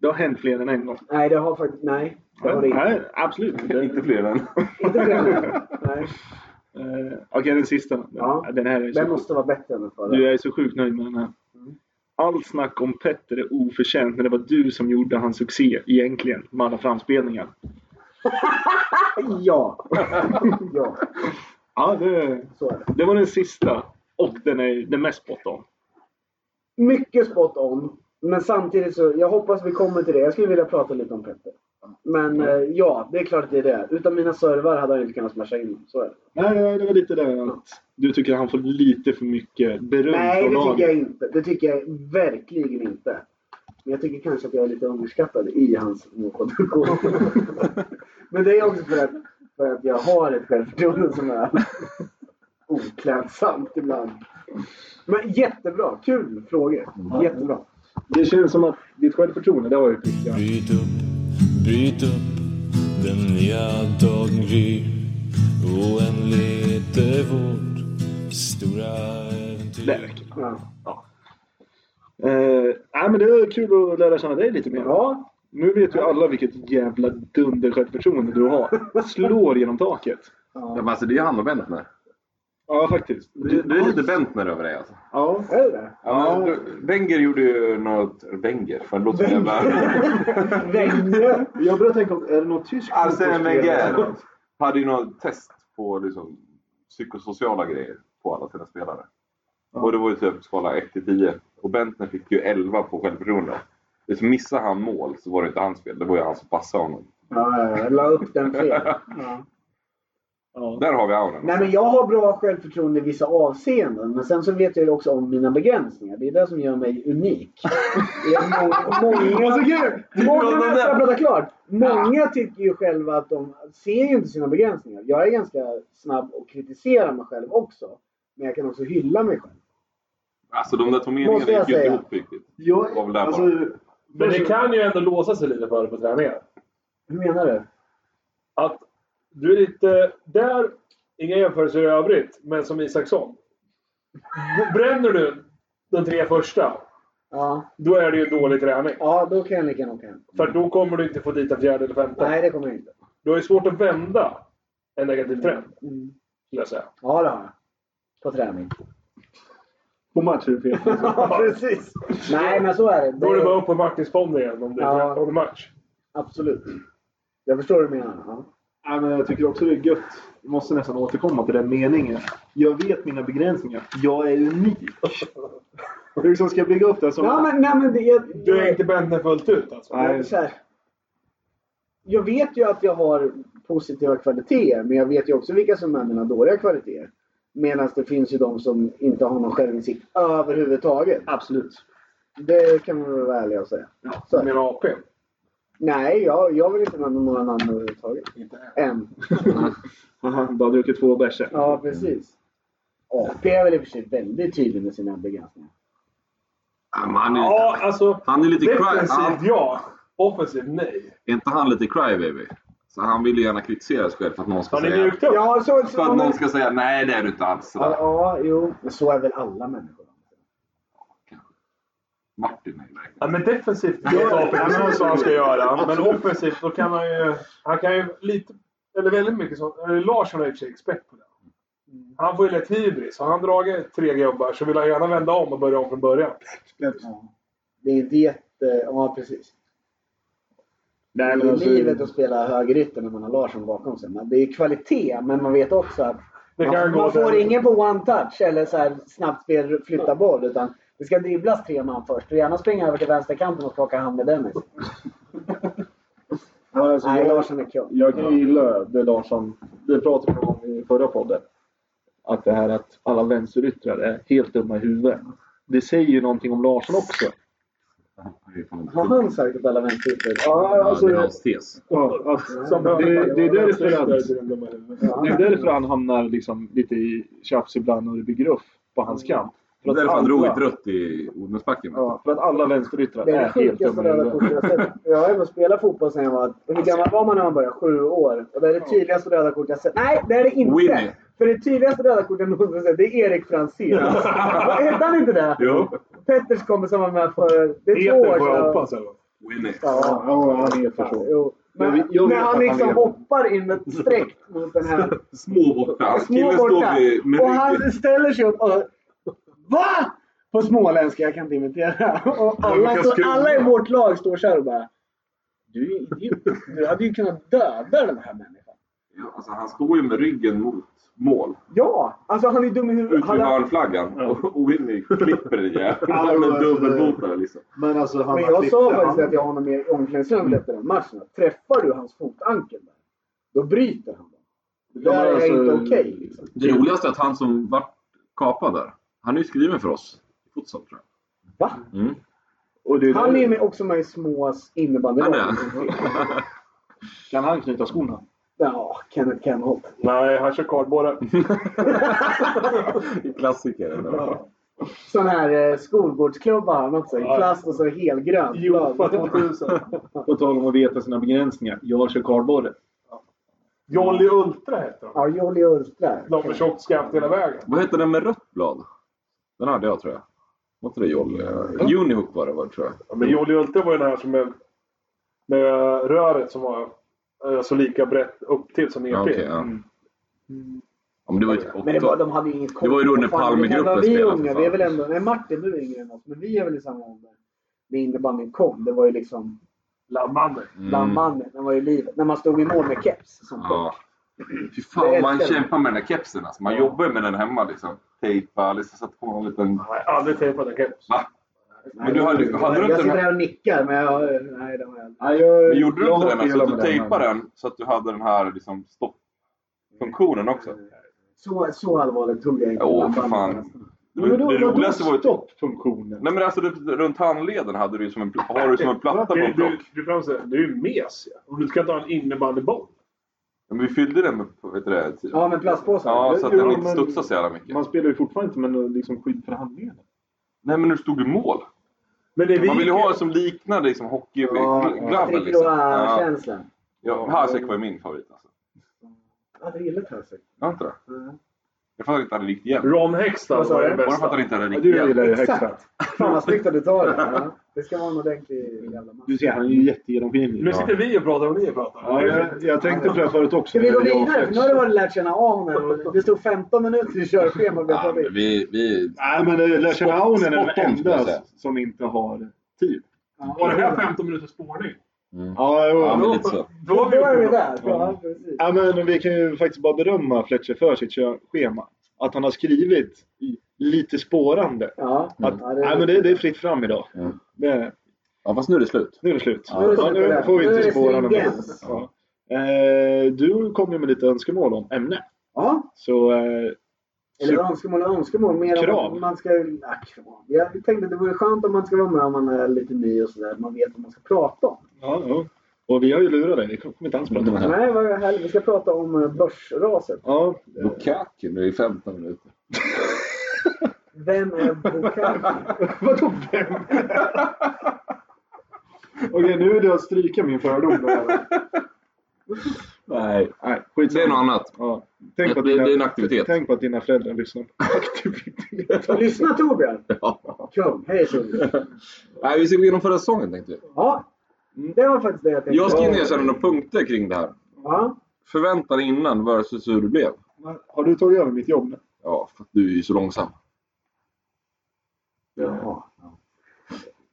[SPEAKER 2] det har hänt fler än en gång.
[SPEAKER 4] nej, det har faktiskt... Nej, det har det inte.
[SPEAKER 2] Nej, absolut inte.
[SPEAKER 3] Inte fler än.
[SPEAKER 4] Inte fler
[SPEAKER 2] *laughs*
[SPEAKER 4] än- Nej.
[SPEAKER 2] Eh, Okej, den sista. Den,
[SPEAKER 4] Ja.
[SPEAKER 2] den här är så
[SPEAKER 4] Den måste vara bättre än den förra.
[SPEAKER 2] Du jag är så sjukt nöjd med den här. Allt snack om Petter är oförtjänt när det var du som gjorde hans succé egentligen med alla framspelningar.
[SPEAKER 4] Ja. *laughs* ja,
[SPEAKER 2] Ja, det,
[SPEAKER 4] så är det.
[SPEAKER 2] det var den sista. Och den är den mest spot on.
[SPEAKER 4] mycket spot on. Men samtidigt så, jag hoppas vi kommer till det. Jag skulle vilja prata lite om Petter. Men eh, ja, det är klart att det är det. Utan mina servar hade han inte kunnat smasha in. Så är det.
[SPEAKER 2] Nej, nej, det var lite det att du tycker han får lite för mycket beröm
[SPEAKER 4] Nej,
[SPEAKER 2] från
[SPEAKER 4] det tycker jag
[SPEAKER 2] laget.
[SPEAKER 4] inte. Det tycker jag verkligen inte. Men jag tycker kanske att jag är lite underskattad i hans motproduktion. *laughs* Men det är också för att, för att jag har ett självförtroende som är oklädsamt ibland. Men jättebra! Kul frågor. Jättebra.
[SPEAKER 2] Det känns som att ditt självförtroende, det har ju prickat.
[SPEAKER 1] Bryt upp, bryt upp Den nya dagen gryr Oändligt är vårt stora äventyr
[SPEAKER 2] Det räcker.
[SPEAKER 4] Ja.
[SPEAKER 2] Eh, nej, men det är kul att lära känna dig lite mer.
[SPEAKER 4] ja,
[SPEAKER 2] Nu vet ju alla vilket jävla dunder självförtroende du har. Slår genom taket.
[SPEAKER 3] Ja, men alltså, det är han och Bentner.
[SPEAKER 2] Ja, faktiskt.
[SPEAKER 3] Du, du är lite Bentner över dig alltså.
[SPEAKER 2] Ja.
[SPEAKER 4] är det det?
[SPEAKER 3] Ja, men du- Wenger gjorde ju något... Wenger? Fan, det låter som jävla...
[SPEAKER 4] Vänge.
[SPEAKER 2] Jag börjar tänka, om- är det något tyskt?
[SPEAKER 3] Arsene
[SPEAKER 2] fotbollsspelare?
[SPEAKER 4] *laughs*
[SPEAKER 3] Wenger Alltså, hade ju något test på liksom, psykosociala grejer på alla sina spelare. Och det var ju typ skala 1 till 10. Och Bentner fick ju 11 på självförtroende. Det som missade han mål så var det inte hans fel. Det var ju han som passade honom.
[SPEAKER 4] Ja, ja, ja. jag la upp den fel.
[SPEAKER 2] Ja.
[SPEAKER 3] Där har vi auran.
[SPEAKER 4] Nej, men jag har bra självförtroende i vissa avseenden. Men sen så vet jag ju också om mina begränsningar. Det är det som gör mig unik. Det är må-
[SPEAKER 2] Vad så
[SPEAKER 4] Många,
[SPEAKER 2] kul!
[SPEAKER 4] många, många, jag prata klart. många tycker ju själva att de ser ju inte sina begränsningar. Jag är ganska snabb och kritiserar mig själv också. Men jag kan också hylla mig själv.
[SPEAKER 3] Alltså de där två
[SPEAKER 4] Måste
[SPEAKER 3] meningarna
[SPEAKER 4] jag
[SPEAKER 3] gick ju inte
[SPEAKER 4] säga.
[SPEAKER 3] ihop riktigt. Det var väl
[SPEAKER 2] Jag,
[SPEAKER 3] där
[SPEAKER 2] alltså,
[SPEAKER 3] bara.
[SPEAKER 5] Men det kan ju ändå låsa sig lite för dig på träningen.
[SPEAKER 4] Hur menar du?
[SPEAKER 5] Att du är lite där, inga jämförelser i övrigt, men som Isaksson. Bränner du de tre första,
[SPEAKER 4] Ja,
[SPEAKER 5] då är det ju dålig träning.
[SPEAKER 4] ja då kan jag lika gärna åka hem.
[SPEAKER 5] För då kommer du inte få dit en fjärde eller femte.
[SPEAKER 4] Nej, det kommer jag inte.
[SPEAKER 5] Du har ju svårt att vända en negativ trend, skulle
[SPEAKER 4] Mm.
[SPEAKER 5] jag säga.
[SPEAKER 4] Ja, det har jag. På träning.
[SPEAKER 2] på match är det fel.
[SPEAKER 4] Ja, precis. Nej, men så är det.
[SPEAKER 5] Då är det
[SPEAKER 4] det
[SPEAKER 5] bara upp på Martinsfonden igen om det
[SPEAKER 4] Ja.
[SPEAKER 5] är 13 match.
[SPEAKER 4] Absolut. Jag förstår vad du menar. Ja.
[SPEAKER 2] Nej, men jag tycker också det är gött. Vi måste nästan återkomma till den meningen. Jag vet mina begränsningar. Jag är unik. Du liksom ska bygga upp det som...
[SPEAKER 4] Ja, men, nej, men det, jag,
[SPEAKER 5] Du är inte Bentner fullt ut alltså?
[SPEAKER 4] jag,
[SPEAKER 2] Nej.
[SPEAKER 4] så här, jag vet ju att jag har positiva kvaliteter, men jag vet ju också vilka som är mina dåliga kvaliteter. Medan det finns ju de som inte har någon självinsikt överhuvudtaget.
[SPEAKER 2] Absolut.
[SPEAKER 4] Det kan man väl vara ärlig och säga. Så är
[SPEAKER 5] Som
[SPEAKER 4] det.
[SPEAKER 5] en AP?
[SPEAKER 4] nej, jag, jag vill inte nämna några namn överhuvudtaget.
[SPEAKER 5] Inte än.
[SPEAKER 4] Än.
[SPEAKER 2] Aha, bara druckit två bärs.
[SPEAKER 4] Ja, precis. AP är väl i och för sig väldigt tydlig med sina begränsningar.
[SPEAKER 3] Ja, men han, är,
[SPEAKER 5] Ja, alltså.
[SPEAKER 3] han är lite cry... Han,
[SPEAKER 5] Defensivt ja. Offensivt nej.
[SPEAKER 3] är inte han lite crybaby? Så han vill ju gärna kritisera sig själv för att någon ska
[SPEAKER 5] Han är
[SPEAKER 3] säga...
[SPEAKER 5] mjukt upp.
[SPEAKER 4] Ja, så...
[SPEAKER 3] För att någon ska säga nej det är du inte alls.
[SPEAKER 4] ja,
[SPEAKER 3] sådär.
[SPEAKER 4] ja, jo. Men så är väl alla människor.
[SPEAKER 3] Martin är ju verkligen...
[SPEAKER 5] Ja, men defensivt vet AP precis vad han ska göra. Men offensivt då kan han ju... Han kan ju lite... Eller väldigt mycket så. eller Larsson är i och för sig expert på det.
[SPEAKER 2] Mm.
[SPEAKER 5] Han får ju lätt hybris. Har han dragit tre gubbar så vill han gärna vända om och börja om från början.
[SPEAKER 4] Ja. Det är inte jätte... Ja, precis.
[SPEAKER 2] Nej,
[SPEAKER 4] det
[SPEAKER 2] men
[SPEAKER 4] är
[SPEAKER 2] alltså,
[SPEAKER 4] livet att spela högerytter när man har Larsson bakom sig. Men det är kvalitet, men man vet också att
[SPEAKER 5] Det kan
[SPEAKER 4] man,
[SPEAKER 5] gå
[SPEAKER 4] man
[SPEAKER 5] där.
[SPEAKER 4] får ingen på one-touch eller så här snabbt spel, flytta boll. Utan det ska dribblas tre man först och gärna springa över till vänsterkanten och plocka hand med Dennis.
[SPEAKER 2] ja, alltså,
[SPEAKER 4] Nej,
[SPEAKER 2] jag,
[SPEAKER 4] Larsson är kul.
[SPEAKER 2] jag kan ju gilla det Larsson, det pratade vi om i förra podden. Att det här att alla vänsteryttrar är helt dumma i huvudet. Det säger ju någonting om Larsson också.
[SPEAKER 3] Han är ju fan en
[SPEAKER 4] Har
[SPEAKER 3] tupp.
[SPEAKER 4] han sagt att alla vänsterytter
[SPEAKER 2] Ja,
[SPEAKER 3] Ja,
[SPEAKER 2] alltså,
[SPEAKER 3] Det är hans tes.
[SPEAKER 2] ja, alltså,
[SPEAKER 5] Som
[SPEAKER 2] det, det är därför att
[SPEAKER 4] Ja.
[SPEAKER 2] Det är därför han hamnar liksom lite i tjafs ibland och det blir gruff på hans kant.
[SPEAKER 3] Det är därför han
[SPEAKER 2] alla-
[SPEAKER 3] drog ett rött i Odensbacken.
[SPEAKER 2] Ja, för att alla vänsteryttrar
[SPEAKER 4] Det är
[SPEAKER 2] är
[SPEAKER 4] det
[SPEAKER 2] helt
[SPEAKER 4] sjukaste
[SPEAKER 2] dumma i
[SPEAKER 4] röda
[SPEAKER 2] huvudet.
[SPEAKER 4] kortet jag sett. Jag har ändå spelat fotboll sen jag var... Hur
[SPEAKER 2] Alltså.
[SPEAKER 4] gammal var man när man började? Sju år. Och det är det tydligaste röda kortet jag sett. Nej, det är det inte!
[SPEAKER 3] Winnie.
[SPEAKER 4] För det tydligaste röda kortet jag någonsin sett, det är Erik Franzén.
[SPEAKER 2] *laughs*
[SPEAKER 4] Vad Hette han inte det?
[SPEAKER 3] Jo.
[SPEAKER 4] Petters kompis som var med för... Det är två år
[SPEAKER 5] får jag hoppas.
[SPEAKER 3] Winnie.
[SPEAKER 4] Ja,
[SPEAKER 2] Ja, han är för så.
[SPEAKER 4] jo.
[SPEAKER 2] Jag vet-
[SPEAKER 4] Men
[SPEAKER 2] jag
[SPEAKER 4] när
[SPEAKER 2] vet att
[SPEAKER 4] han
[SPEAKER 2] han
[SPEAKER 4] liksom
[SPEAKER 2] lever.
[SPEAKER 4] hoppar in med sträck mot den
[SPEAKER 2] *laughs*
[SPEAKER 4] här
[SPEAKER 3] *laughs* Små borta. Hans
[SPEAKER 4] små
[SPEAKER 3] kille
[SPEAKER 4] borta.
[SPEAKER 3] står vid, med
[SPEAKER 4] Och
[SPEAKER 3] ryggen.
[SPEAKER 4] han ställer sig upp och... VA? På småländska, jag kan inte imitera. Och alla,
[SPEAKER 3] brukar
[SPEAKER 4] så,
[SPEAKER 3] skruva.
[SPEAKER 4] alla i vårt lag står så här och bara... Du är idiot. Du hade ju kunnat döda den här människan.
[SPEAKER 3] Ja, alltså, han står ju med ryggen mot mål.
[SPEAKER 4] Ja, alltså han är ju dum i huvudet.
[SPEAKER 3] Ut
[SPEAKER 4] Han
[SPEAKER 3] vid
[SPEAKER 4] har-
[SPEAKER 3] hörnflaggan. Och, och Winnie klipper den jäveln.
[SPEAKER 2] Ja,
[SPEAKER 3] Han är
[SPEAKER 2] alltså,
[SPEAKER 3] dubbelbotare liksom.
[SPEAKER 2] Men alltså han
[SPEAKER 4] Men jag sa faktiskt att jag har honom i omklädningsrummet efter den matchen. Att träffar du hans fotankel där, då bryter han den. Det där är
[SPEAKER 2] alltså,
[SPEAKER 4] inte okej. liksom.
[SPEAKER 3] Det roligaste är att han som vart kapad där, han är ju skriven för oss. Futsal tror
[SPEAKER 4] Va?
[SPEAKER 3] jag. Mm.
[SPEAKER 2] Och det är
[SPEAKER 4] Han är
[SPEAKER 2] där,
[SPEAKER 4] ju med- också med i Smås
[SPEAKER 3] Han
[SPEAKER 4] innebandylag.
[SPEAKER 3] är.
[SPEAKER 2] Kan han knyta skorna?
[SPEAKER 4] Ja, Kenneth Kenholt.
[SPEAKER 5] Nej, han kör kardborre.
[SPEAKER 3] Klassiker. ändå.
[SPEAKER 4] Sån här eh, skolgårdsklubb har han också. I
[SPEAKER 5] Ja.
[SPEAKER 4] plast och så helgrönt.
[SPEAKER 5] Jofa 2000.
[SPEAKER 2] På tal om att veta sina begränsningar. Jag kör kardborre.
[SPEAKER 5] Jolly Ultra heter han.
[SPEAKER 4] Ja, Jolly Ultra.
[SPEAKER 5] De med tjockt skaft hela vägen.
[SPEAKER 3] Vad heter den med rött blad? Den hade jag tror jag. Var inte det Jolly? Unihook var det var, tror jag.
[SPEAKER 5] Ja, men Jolly Ultra var ju den här som med, med röret som var eh, så lika brett upp till som E
[SPEAKER 3] Ja,
[SPEAKER 5] ner
[SPEAKER 3] okej,
[SPEAKER 5] till.
[SPEAKER 3] ja. ja, men det var ju typ
[SPEAKER 4] Men det var,
[SPEAKER 3] 80
[SPEAKER 4] de hade ju inget koll.
[SPEAKER 3] Det var ju då när
[SPEAKER 4] Fan,
[SPEAKER 3] Palmegruppen
[SPEAKER 4] när vi
[SPEAKER 3] spelade, för
[SPEAKER 4] unga,
[SPEAKER 3] fan.
[SPEAKER 4] vi är väl ändå... Nej, Martin, du är yngre än oss. Men vi är väl i samma ålder. När innebandyn kom. Det var ju liksom
[SPEAKER 3] Mm.
[SPEAKER 5] Lammander.
[SPEAKER 4] bland mannen. Den var ju livet. När man stod i mål med keps. Som
[SPEAKER 3] Ja. Fy
[SPEAKER 4] Jag
[SPEAKER 3] fan,
[SPEAKER 4] älskar
[SPEAKER 3] man
[SPEAKER 4] den.
[SPEAKER 3] kämpar med den där kepsen. Alltså. Man jobbar ju med den hemma. Liksom. Tejpa, liksom, sätta på en liten...
[SPEAKER 5] Nej, aldrig tejpat en keps.
[SPEAKER 3] Va?
[SPEAKER 4] Nej,
[SPEAKER 3] Men du hade-
[SPEAKER 4] jag-
[SPEAKER 3] hade du inte
[SPEAKER 4] Jag sitter
[SPEAKER 3] den här-
[SPEAKER 4] här och nickar, men jag... Nej, det har jag inte.
[SPEAKER 2] Nej, jag,
[SPEAKER 3] Men gjorde du
[SPEAKER 2] jag
[SPEAKER 3] inte
[SPEAKER 2] har
[SPEAKER 3] den? Alltså,
[SPEAKER 2] spelat
[SPEAKER 3] att du
[SPEAKER 2] med den,
[SPEAKER 3] tejpade
[SPEAKER 2] men-
[SPEAKER 3] den så att du hade den här liksom, stoppfunktionen
[SPEAKER 4] Mm.
[SPEAKER 3] också.
[SPEAKER 4] Så, så allvarligt tog jag inte
[SPEAKER 3] Åh,
[SPEAKER 4] den
[SPEAKER 3] för
[SPEAKER 4] banden.
[SPEAKER 3] fan. Det, det, roligaste var ju...
[SPEAKER 2] Stoppfunktionen.
[SPEAKER 3] Nej men alltså du, runt handleden hade du ju som en, pl- har du som en platta
[SPEAKER 5] *laughs*
[SPEAKER 3] på
[SPEAKER 5] Du,
[SPEAKER 3] en
[SPEAKER 5] du,
[SPEAKER 3] plock.
[SPEAKER 5] du, kan säga, du är ju mes ja. Om du ska ta en innebandyboll.
[SPEAKER 3] Men vi fyllde den med vet du, det, typ.
[SPEAKER 4] Ja, med plastpåsar.
[SPEAKER 3] Ja, så att
[SPEAKER 2] Jo,
[SPEAKER 3] den inte
[SPEAKER 2] men-
[SPEAKER 3] studsade så jävla mycket.
[SPEAKER 2] Man spelar ju fortfarande inte med någon, liksom, skydd för handleden.
[SPEAKER 3] Nej men du stod i mål.
[SPEAKER 5] Men det vi
[SPEAKER 3] Man ville ju ha en som liknade liksom, hockeygrabben. liksom.
[SPEAKER 4] äh,
[SPEAKER 3] Ja.
[SPEAKER 4] Tricolora-känslan.
[SPEAKER 3] Ja, Hasek var ju min favorit. Alltså.
[SPEAKER 4] Jag hade gillat Hasek.
[SPEAKER 3] Var inte det? Jag fattar inte att han gick igen.
[SPEAKER 5] Ron Hextall
[SPEAKER 4] Vad sa
[SPEAKER 5] var
[SPEAKER 4] du?
[SPEAKER 5] den
[SPEAKER 3] Bara för att
[SPEAKER 5] bästa.
[SPEAKER 3] han inte hade
[SPEAKER 2] Ja,
[SPEAKER 3] riktigt
[SPEAKER 2] du
[SPEAKER 3] igen.
[SPEAKER 2] gillar ju
[SPEAKER 4] Exakt.
[SPEAKER 2] Hextall.
[SPEAKER 4] *laughs* Fan vad snyggt att du tar det. Ja. Det ska vara en ordentlig jävla match.
[SPEAKER 2] Du ser, han är ju jättegenomskinlig.
[SPEAKER 5] Nu sitter vi och pratar och ni pratar.
[SPEAKER 2] Ja, jag, jag tänkte på det här förut också.
[SPEAKER 4] Ska vi gå
[SPEAKER 2] Jag och
[SPEAKER 4] vidare? För
[SPEAKER 2] Flex.
[SPEAKER 4] nu har du varit lärt känna Ahonen. Det stod 15 minuter i körschema. Vi
[SPEAKER 3] Ja,
[SPEAKER 4] har
[SPEAKER 3] men
[SPEAKER 4] tagit.
[SPEAKER 3] vi, vi...
[SPEAKER 2] Nej, men eh, Lars
[SPEAKER 3] Spot-
[SPEAKER 2] Aon är
[SPEAKER 3] spot on,
[SPEAKER 2] den
[SPEAKER 3] skulle jag säga.
[SPEAKER 2] enda som inte har tid.
[SPEAKER 5] Var det här
[SPEAKER 4] Ja,
[SPEAKER 5] 15 minuters spårning?
[SPEAKER 2] Ja, jo.
[SPEAKER 3] Ja, men lite så.
[SPEAKER 5] Då var vi
[SPEAKER 4] Då är vi
[SPEAKER 5] uppe.
[SPEAKER 4] där. Ja, precis.
[SPEAKER 2] Ja, men vi kan ju faktiskt bara berömma Fletcher för sitt kö- schema. Att han har skrivit i lite spårande.
[SPEAKER 4] Ja.
[SPEAKER 2] Att,
[SPEAKER 4] Ja,
[SPEAKER 2] nej, men det, det är fritt fram idag.
[SPEAKER 3] Mm.
[SPEAKER 2] Det,
[SPEAKER 3] Ja, fast nu är det slut.
[SPEAKER 2] nu är det slut.
[SPEAKER 4] Nu är det slut
[SPEAKER 2] Ja,
[SPEAKER 4] på
[SPEAKER 2] nu
[SPEAKER 4] det.
[SPEAKER 2] får vi
[SPEAKER 4] Nu är
[SPEAKER 2] inte
[SPEAKER 4] det
[SPEAKER 2] spåra något mer.
[SPEAKER 4] stringens.
[SPEAKER 2] Ja. Eh, du kom ju med lite önskemål om ämne.
[SPEAKER 4] Ja,
[SPEAKER 2] Så eh,
[SPEAKER 4] eller önskemål och önskemål. Mer om
[SPEAKER 2] Krav.
[SPEAKER 4] att man ska... Ja, krav. Jag tänkte att det vore skönt om man ska vara med om man är lite ny och sådär. Man vet vad man ska prata om.
[SPEAKER 2] ja, ja. Och vi har ju lurat dig. Vi kommer inte alls prata om det.
[SPEAKER 4] Nej, vad härligt. Vi ska prata om eh, börsraset.
[SPEAKER 2] Ja, *laughs* eh,
[SPEAKER 3] Bukaki, nu är det 15 minuter.
[SPEAKER 4] Vem är Bukayo?
[SPEAKER 2] *laughs* Vadå vem? Okej, nu är det att stryka min fördom. Där. Nej, nej,
[SPEAKER 3] Det är något
[SPEAKER 2] skitsamma.
[SPEAKER 3] annat.
[SPEAKER 2] Ja.
[SPEAKER 3] Det-
[SPEAKER 2] Tänk, på att
[SPEAKER 3] det-
[SPEAKER 2] dina,
[SPEAKER 3] det är en aktivitet.
[SPEAKER 2] tänk på att dina föräldrar lyssnar på aktivitet.
[SPEAKER 4] Lyssna Torbjörn!
[SPEAKER 3] Ja.
[SPEAKER 4] Kung, hej Torbjörn!
[SPEAKER 3] Nej, vi ska gå igenom förra säsongen tänkte vi.
[SPEAKER 4] Ja, det var faktiskt det jag tänkte.
[SPEAKER 3] Jag skrev ner sedan några punkter kring det här.
[SPEAKER 4] Ja,
[SPEAKER 3] Förväntan innan versus hur det blev.
[SPEAKER 2] Har du tagit över mitt jobb nu?
[SPEAKER 3] Ja, för att du är ju så långsam.
[SPEAKER 4] Jaha.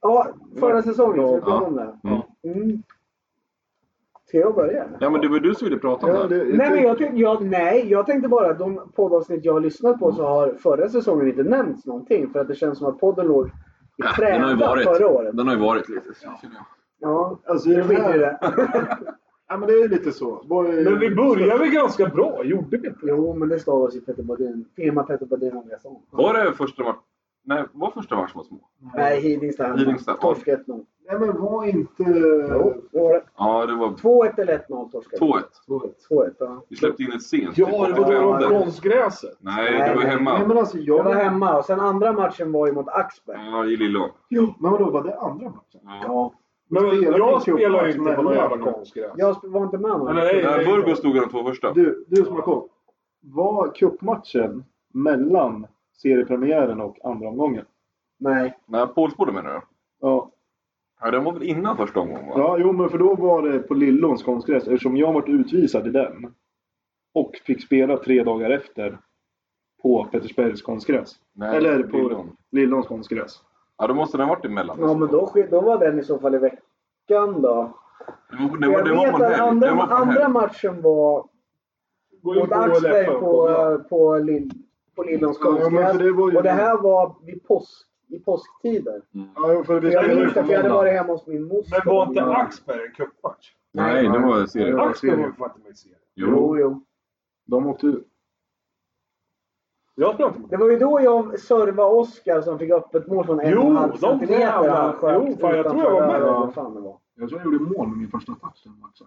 [SPEAKER 4] ja förra säsongen så vi pratade om det.
[SPEAKER 3] Mm.
[SPEAKER 4] Mm. Ska jag börja?
[SPEAKER 3] Ja, men det var du som ville prata om det.
[SPEAKER 2] Ja,
[SPEAKER 3] här.
[SPEAKER 2] det, jag
[SPEAKER 4] Nej, men
[SPEAKER 2] tänkte-
[SPEAKER 4] jag, tänkte, jag, nej, jag tänkte bara att de poddavsnitt jag har lyssnat på så har förra säsongen inte nämnts någonting. För att det känns som att podden låg i
[SPEAKER 3] Ja, den har ju
[SPEAKER 4] träda
[SPEAKER 3] varit.
[SPEAKER 4] förra året.
[SPEAKER 3] Den har ju varit lite... känner jag.
[SPEAKER 4] Ja,
[SPEAKER 2] Alltså, i
[SPEAKER 4] vi
[SPEAKER 2] den
[SPEAKER 4] skiter i
[SPEAKER 2] här,
[SPEAKER 4] det.
[SPEAKER 2] ja, men det är lite så. Vad är-
[SPEAKER 5] Men vi började väl ganska bra? Gjorde vi inte?
[SPEAKER 4] Jo, men det stavas ju Petter Bodin. Tema Petter Bodin Andreasson.
[SPEAKER 3] Var det första match? Nej, var första match mot små?
[SPEAKER 4] Nej, Hidingstad.
[SPEAKER 3] Hidingstad, ja.
[SPEAKER 4] Torsk 1-0.
[SPEAKER 2] Nej, men var inte...
[SPEAKER 4] Jo, det var det.
[SPEAKER 3] Ja, det var
[SPEAKER 4] 2-1 eller 1-0 torskade
[SPEAKER 3] 2-1.
[SPEAKER 4] 2-1, ja.
[SPEAKER 3] Vi släppte in ett sent. Typ
[SPEAKER 5] Ja, det var då de
[SPEAKER 3] Nej,
[SPEAKER 5] bronsgräset.
[SPEAKER 3] Nej, det var ju
[SPEAKER 2] Nej,
[SPEAKER 3] hemma.
[SPEAKER 2] men alltså
[SPEAKER 4] Jag
[SPEAKER 2] jag...
[SPEAKER 4] var hemma och sen andra matchen var ju mot Axberg.
[SPEAKER 3] Ja, i Lillån.
[SPEAKER 2] Jo, men vadå, var det andra matchen?
[SPEAKER 3] Ja.
[SPEAKER 4] Ja.
[SPEAKER 5] Men
[SPEAKER 2] Spelar
[SPEAKER 5] jag
[SPEAKER 2] vi
[SPEAKER 5] spelar ju
[SPEAKER 2] cup-match
[SPEAKER 5] inte på någon
[SPEAKER 2] mellan
[SPEAKER 5] jävla
[SPEAKER 2] matcherna?
[SPEAKER 5] konstgräs.
[SPEAKER 4] Jag sp- var inte med någon.
[SPEAKER 5] Eller nej,
[SPEAKER 3] Nej,
[SPEAKER 5] nej,
[SPEAKER 3] Burgos tog de två första.
[SPEAKER 2] Du, du som har koll. Var cupmatchen mellan seriepremiären och andra omgången?
[SPEAKER 4] Nej.
[SPEAKER 3] Nej, Pålsboda menar du?
[SPEAKER 2] Ja.
[SPEAKER 3] Ja, den var väl innan första omgången va?
[SPEAKER 2] ja, jo men för då var det på Lillåns konstgräs eftersom jag varit utvisad i den. Och fick spela tre dagar efter på Pettersbergs konstgräs.
[SPEAKER 3] Nej,
[SPEAKER 2] Eller på
[SPEAKER 3] Lillån.
[SPEAKER 2] Lillåns konstgräs.
[SPEAKER 3] Ja, då måste den ha varit emellan.
[SPEAKER 4] Ja, men då, sk- då var den i så fall i veckan då.
[SPEAKER 3] Det var, det
[SPEAKER 4] Jag
[SPEAKER 3] var, det var
[SPEAKER 4] vet
[SPEAKER 3] på en
[SPEAKER 4] att
[SPEAKER 3] helg.
[SPEAKER 4] andra,
[SPEAKER 3] Det var på en
[SPEAKER 4] andra
[SPEAKER 3] helg.
[SPEAKER 4] matchen var
[SPEAKER 5] Gå in
[SPEAKER 4] mot
[SPEAKER 5] på
[SPEAKER 4] Axberg
[SPEAKER 5] LFF.
[SPEAKER 4] på, eh, på, Lill, på Lillåns
[SPEAKER 2] Ja, men
[SPEAKER 4] konstgräs.
[SPEAKER 2] för det var ju-
[SPEAKER 4] Och det här var vid påsk, i påsktider.
[SPEAKER 2] Ja, jo, för vi
[SPEAKER 4] Jag
[SPEAKER 2] spelade
[SPEAKER 4] minns det
[SPEAKER 2] ju
[SPEAKER 4] för jag hade
[SPEAKER 2] måndag.
[SPEAKER 4] varit hemma hos min moster.
[SPEAKER 5] Men var inte
[SPEAKER 4] Ja.
[SPEAKER 5] Axberg en cupmatch?
[SPEAKER 3] Nej, det var serien.
[SPEAKER 2] Ja.
[SPEAKER 5] Axberg var ju för fan inte med i serien.
[SPEAKER 3] Jo.
[SPEAKER 4] Jo, jo.
[SPEAKER 2] De åkte ut.
[SPEAKER 5] Jag spelar inte med.
[SPEAKER 4] Det var ju då jag servade Oskar som fick öppet mål från en
[SPEAKER 5] Jo,
[SPEAKER 4] och en halv
[SPEAKER 5] de
[SPEAKER 4] centimeter.
[SPEAKER 5] jävlarna.
[SPEAKER 4] Han sköt
[SPEAKER 5] Jo, fan, jag tror jag var
[SPEAKER 4] utanför
[SPEAKER 5] med.
[SPEAKER 4] eller vad fan det var.
[SPEAKER 2] Jag tror jag gjorde mål med min första touch den matchen.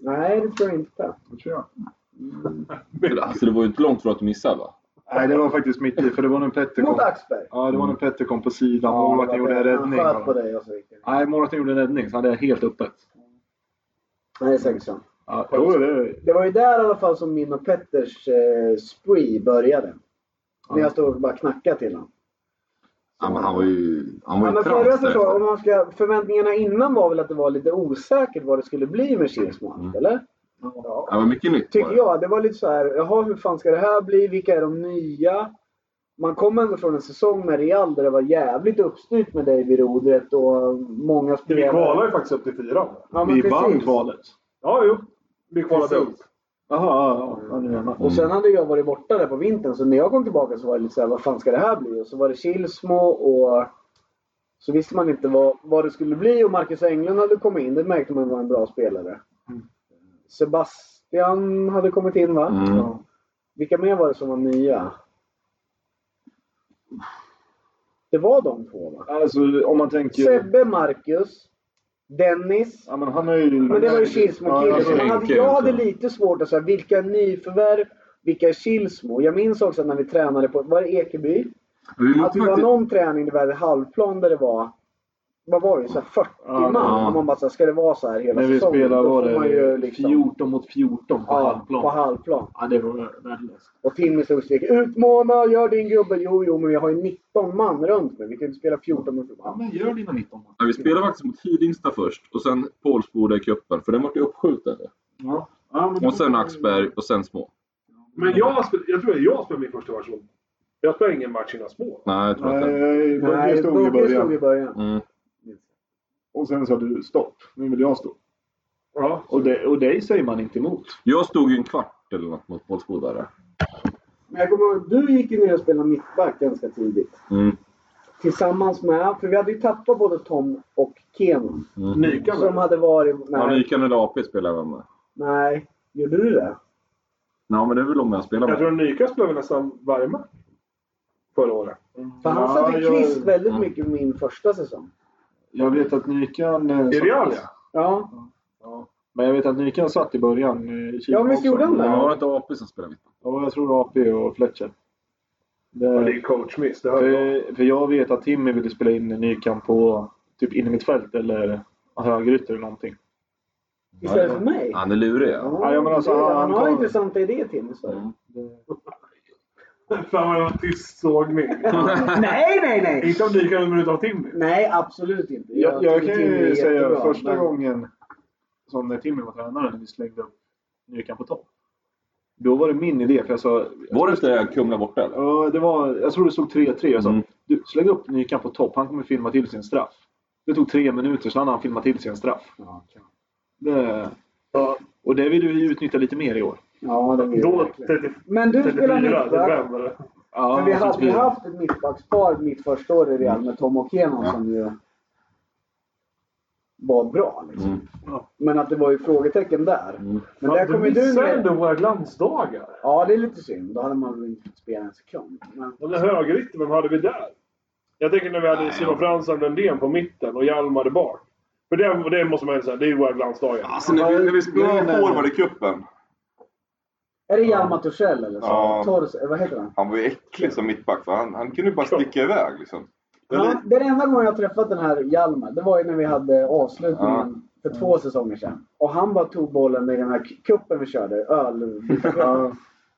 [SPEAKER 4] Nej, det tror jag inte.
[SPEAKER 2] Det tror jag.
[SPEAKER 3] Alltså det var ju inte långt från att du missade va?
[SPEAKER 2] Nej, det var faktiskt mitt i. För det var när Petter kom.
[SPEAKER 4] Mot Axberg.
[SPEAKER 2] Ja, det var när Petter kom på sidan.
[SPEAKER 4] Mm. Ja,
[SPEAKER 2] Målvakten
[SPEAKER 4] det var
[SPEAKER 2] gjorde en
[SPEAKER 4] det.
[SPEAKER 2] räddning.
[SPEAKER 4] Han sköt på dig och så gick det.
[SPEAKER 2] Nej, målvakten gjorde en räddning så hade jag helt öppet.
[SPEAKER 4] Nej, det är säkert sant.
[SPEAKER 2] Ja, jo, det...
[SPEAKER 4] Det var ju där i alla fall som min och Petters eh, spree började. När jag stod och bara knackade till honom.
[SPEAKER 3] Ja, men han var ju... Han var
[SPEAKER 4] Ja,
[SPEAKER 3] ju
[SPEAKER 4] men förra
[SPEAKER 3] trams
[SPEAKER 4] säsongen, om
[SPEAKER 3] därefter.
[SPEAKER 4] man ska, förväntningarna innan var väl att det var lite osäkert vad det skulle bli med Kilsman,
[SPEAKER 3] Mm.
[SPEAKER 4] eller?
[SPEAKER 3] Det var mycket nytt. var
[SPEAKER 4] Tycker
[SPEAKER 3] det.
[SPEAKER 4] jag. Det var lite så här, jaha hur fan ska det här bli? Vilka är de nya? Man kom ändå från en säsong med Real där det var jävligt uppstyrt med dig vid rodret och många
[SPEAKER 5] Vi kvalade
[SPEAKER 4] spelare.
[SPEAKER 5] ju faktiskt upp till fyran.
[SPEAKER 4] Ja, men
[SPEAKER 2] vi
[SPEAKER 4] precis.
[SPEAKER 2] vann kvalet.
[SPEAKER 5] Ja, jo. Vi kvalade
[SPEAKER 4] Precis.
[SPEAKER 5] upp.
[SPEAKER 2] Jaha, ja, ja, nu menar.
[SPEAKER 4] Och sen hade jag varit borta där på vintern så när jag kom tillbaka så var det lite så här, vad fan ska det här bli? Och så var det Kilsmo och så visste man inte vad, vad det skulle bli och Marcus Englund hade kommit in. Det märkte man var en bra spelare. Sebastian hade kommit in va?
[SPEAKER 3] Mm.
[SPEAKER 4] Ja. Vilka mer var det som var nya? Det var de två va?
[SPEAKER 2] Alltså, om man tänker...
[SPEAKER 4] Sebbe, Marcus, Dennis
[SPEAKER 2] Ja, men han har ju...
[SPEAKER 4] men det var ju Kilsmo
[SPEAKER 2] Ja,
[SPEAKER 4] killen.
[SPEAKER 2] alltså,
[SPEAKER 4] Jag hade-
[SPEAKER 3] Henke
[SPEAKER 4] Jag hade
[SPEAKER 3] också.
[SPEAKER 4] lite svårt att säga vilka nyförvärv, vilka är Kilsmo? Jag minns också när vi tränade på, var det Ekeby?
[SPEAKER 3] Vi
[SPEAKER 4] Att
[SPEAKER 3] mötte
[SPEAKER 4] det var
[SPEAKER 3] faktiskt...
[SPEAKER 4] någon träning där vi hade halvplan där det var, vad var det, så här 40
[SPEAKER 2] Ja,
[SPEAKER 4] man?
[SPEAKER 3] ja.
[SPEAKER 4] Och man bara så här, ska det vara så här hela
[SPEAKER 2] När vi
[SPEAKER 4] säsongen?
[SPEAKER 2] spelade
[SPEAKER 4] alltså, Då
[SPEAKER 2] var
[SPEAKER 4] får man ju
[SPEAKER 2] det
[SPEAKER 4] liksom-
[SPEAKER 2] 14 mot 14 på
[SPEAKER 4] ja,
[SPEAKER 2] halvplan.
[SPEAKER 4] På halvplan.
[SPEAKER 2] Ja, det var värdelöst.
[SPEAKER 4] Och Timmy stod och skrek utmana, gör din gubbe. Jo, jo, men jag har ju 19 man runt mig. Vi kan ju inte spela 14 mot
[SPEAKER 2] Ja,
[SPEAKER 4] 14.
[SPEAKER 2] men gör dina 19 mål.
[SPEAKER 3] Ja, vi spelade faktiskt mot Hidingstad först och sen Pålsboda i cupen, för den vart ju uppskjuten.
[SPEAKER 2] Ja. Ja, men-
[SPEAKER 3] Och sen Axberg och sen små.
[SPEAKER 5] Men jag, spel, jag tror att jag spelade min första match. Jag spelade ingen match innan små.
[SPEAKER 3] Nej, jag tror inte.
[SPEAKER 2] Nej, Bugge
[SPEAKER 4] Nej,
[SPEAKER 2] stod i
[SPEAKER 4] Bugge stod i
[SPEAKER 2] början.
[SPEAKER 4] början.
[SPEAKER 3] Mm.
[SPEAKER 2] Och sen sa du stopp. Nu vill jag stå.
[SPEAKER 5] Ja.
[SPEAKER 2] Och, det, och dig säger man inte emot.
[SPEAKER 3] Jag stod ju en kvart eller något mot Pålsboda där.
[SPEAKER 4] Men jag kommer ihåg, du gick ju ner och spelade mittback ganska tidigt.
[SPEAKER 3] Mm.
[SPEAKER 4] Tillsammans med, för vi hade ju tappat både Tom och Kenan.
[SPEAKER 5] Nykan
[SPEAKER 4] Som
[SPEAKER 5] där.
[SPEAKER 4] hade varit...
[SPEAKER 3] Ja,
[SPEAKER 4] Nej,
[SPEAKER 3] Nykan eller AP spelade jag med.
[SPEAKER 4] nej. Gjorde du det?
[SPEAKER 3] Ja, men det är väl om jag spelar
[SPEAKER 5] Jag
[SPEAKER 3] med.
[SPEAKER 5] tror att Nykan spelade nästan varje match. Förra året.
[SPEAKER 4] För han
[SPEAKER 2] Ja,
[SPEAKER 4] satte
[SPEAKER 2] jag-
[SPEAKER 4] kvist väldigt
[SPEAKER 3] Mm.
[SPEAKER 4] mycket min första säsong.
[SPEAKER 2] Jag vet att Nykan... eh,
[SPEAKER 5] I
[SPEAKER 2] satt-
[SPEAKER 5] Real ja.
[SPEAKER 4] Ja.
[SPEAKER 2] Men jag vet att Nykan satt i början. eh, i Kina
[SPEAKER 4] Ja, visst
[SPEAKER 2] också.
[SPEAKER 4] gjorde han
[SPEAKER 3] Men
[SPEAKER 4] det?
[SPEAKER 3] var det inte AP som spelade mitt?
[SPEAKER 2] Ja, jag tror AP och Fletcher.
[SPEAKER 5] Ja, det
[SPEAKER 2] Det,
[SPEAKER 5] är coachmiss. Det hör jag.
[SPEAKER 2] för, för jag vet att Timmy ville spela in en ny kamp på typ in i mitt fält eller högerytter eller någonting.
[SPEAKER 4] Istället för mig?
[SPEAKER 3] Han är lurig. ja.
[SPEAKER 2] Ja, ja, men alltså,
[SPEAKER 4] han,
[SPEAKER 2] han
[SPEAKER 4] har
[SPEAKER 2] kom-
[SPEAKER 4] intressanta idéer till mig. så.
[SPEAKER 3] Mm.
[SPEAKER 5] Fan vad det var tyst *laughs* sågning.
[SPEAKER 4] *laughs* nej, nej, nej!
[SPEAKER 5] Inte om lika en minut av Timmy.
[SPEAKER 4] Nej, absolut inte.
[SPEAKER 2] Jag, jag
[SPEAKER 4] tycker
[SPEAKER 2] kan
[SPEAKER 4] Timmy är
[SPEAKER 2] ju säga
[SPEAKER 4] jättebra,
[SPEAKER 2] första
[SPEAKER 4] men-
[SPEAKER 2] gången som när Timmy var tränare, när vi slängde upp Nykan på topp. Då var det min idé, för jag sa...
[SPEAKER 3] Var det inte Kumla borta eller?
[SPEAKER 2] Ja, det var, jag tror det stod 3-3. Jag sa,
[SPEAKER 3] Mm.
[SPEAKER 2] du, släng upp Nykan på topp, han kommer filma till sin straff. Det tog tre minuter, sen hade han filmat till sin straff.
[SPEAKER 4] Ja, okej.
[SPEAKER 2] Det,
[SPEAKER 5] Ja,
[SPEAKER 2] och det vill vi utnyttja lite mer i år.
[SPEAKER 4] Ja, det blir
[SPEAKER 5] då
[SPEAKER 4] verkligen.
[SPEAKER 5] 30,
[SPEAKER 4] Men du spelar
[SPEAKER 5] 34,
[SPEAKER 4] mittback.
[SPEAKER 5] 35 eller?
[SPEAKER 2] Ja,
[SPEAKER 4] För vi
[SPEAKER 2] så
[SPEAKER 4] hade
[SPEAKER 2] att vi-
[SPEAKER 4] ju haft ett mittbackspar mitt första år i Real med Tom och Kenon
[SPEAKER 3] Ja.
[SPEAKER 4] som ju var bra. Liksom.
[SPEAKER 3] Mm.
[SPEAKER 4] Men att det var ju frågetecken där.
[SPEAKER 3] Mm.
[SPEAKER 4] Men där kommer du
[SPEAKER 5] missar
[SPEAKER 4] ner.
[SPEAKER 5] ändå våra glansdagar.
[SPEAKER 4] Ja, det är lite synd. Då hade man väl inte spelat en sekund. Men...
[SPEAKER 5] Den där högerytten, vem hade vi där? Jag tänker när vi hade
[SPEAKER 3] Nej,
[SPEAKER 5] Simon
[SPEAKER 3] ja.
[SPEAKER 5] Fransson och Lundén på mitten och Hjalmar bak. För det, det måste man ju säga, det är ju våra glansdagar.
[SPEAKER 3] Alltså när vi, när vi
[SPEAKER 2] Nej,
[SPEAKER 3] spelade
[SPEAKER 2] nej.
[SPEAKER 3] forward i cupen.
[SPEAKER 4] Är det Hjalmar Torssell eller så?
[SPEAKER 3] Ja.
[SPEAKER 4] Torres, eh, vad heter han?
[SPEAKER 3] Han var ju äcklig som mittback. För han, han kunde ju bara sticka iväg liksom.
[SPEAKER 4] Ja,
[SPEAKER 3] Eller,
[SPEAKER 4] det är den enda gången jag har träffat den här Hjalmar, det var ju när vi hade avslutningen för två säsonger sedan. Och han bara tog bollen i den här kuppen vi körde, öl,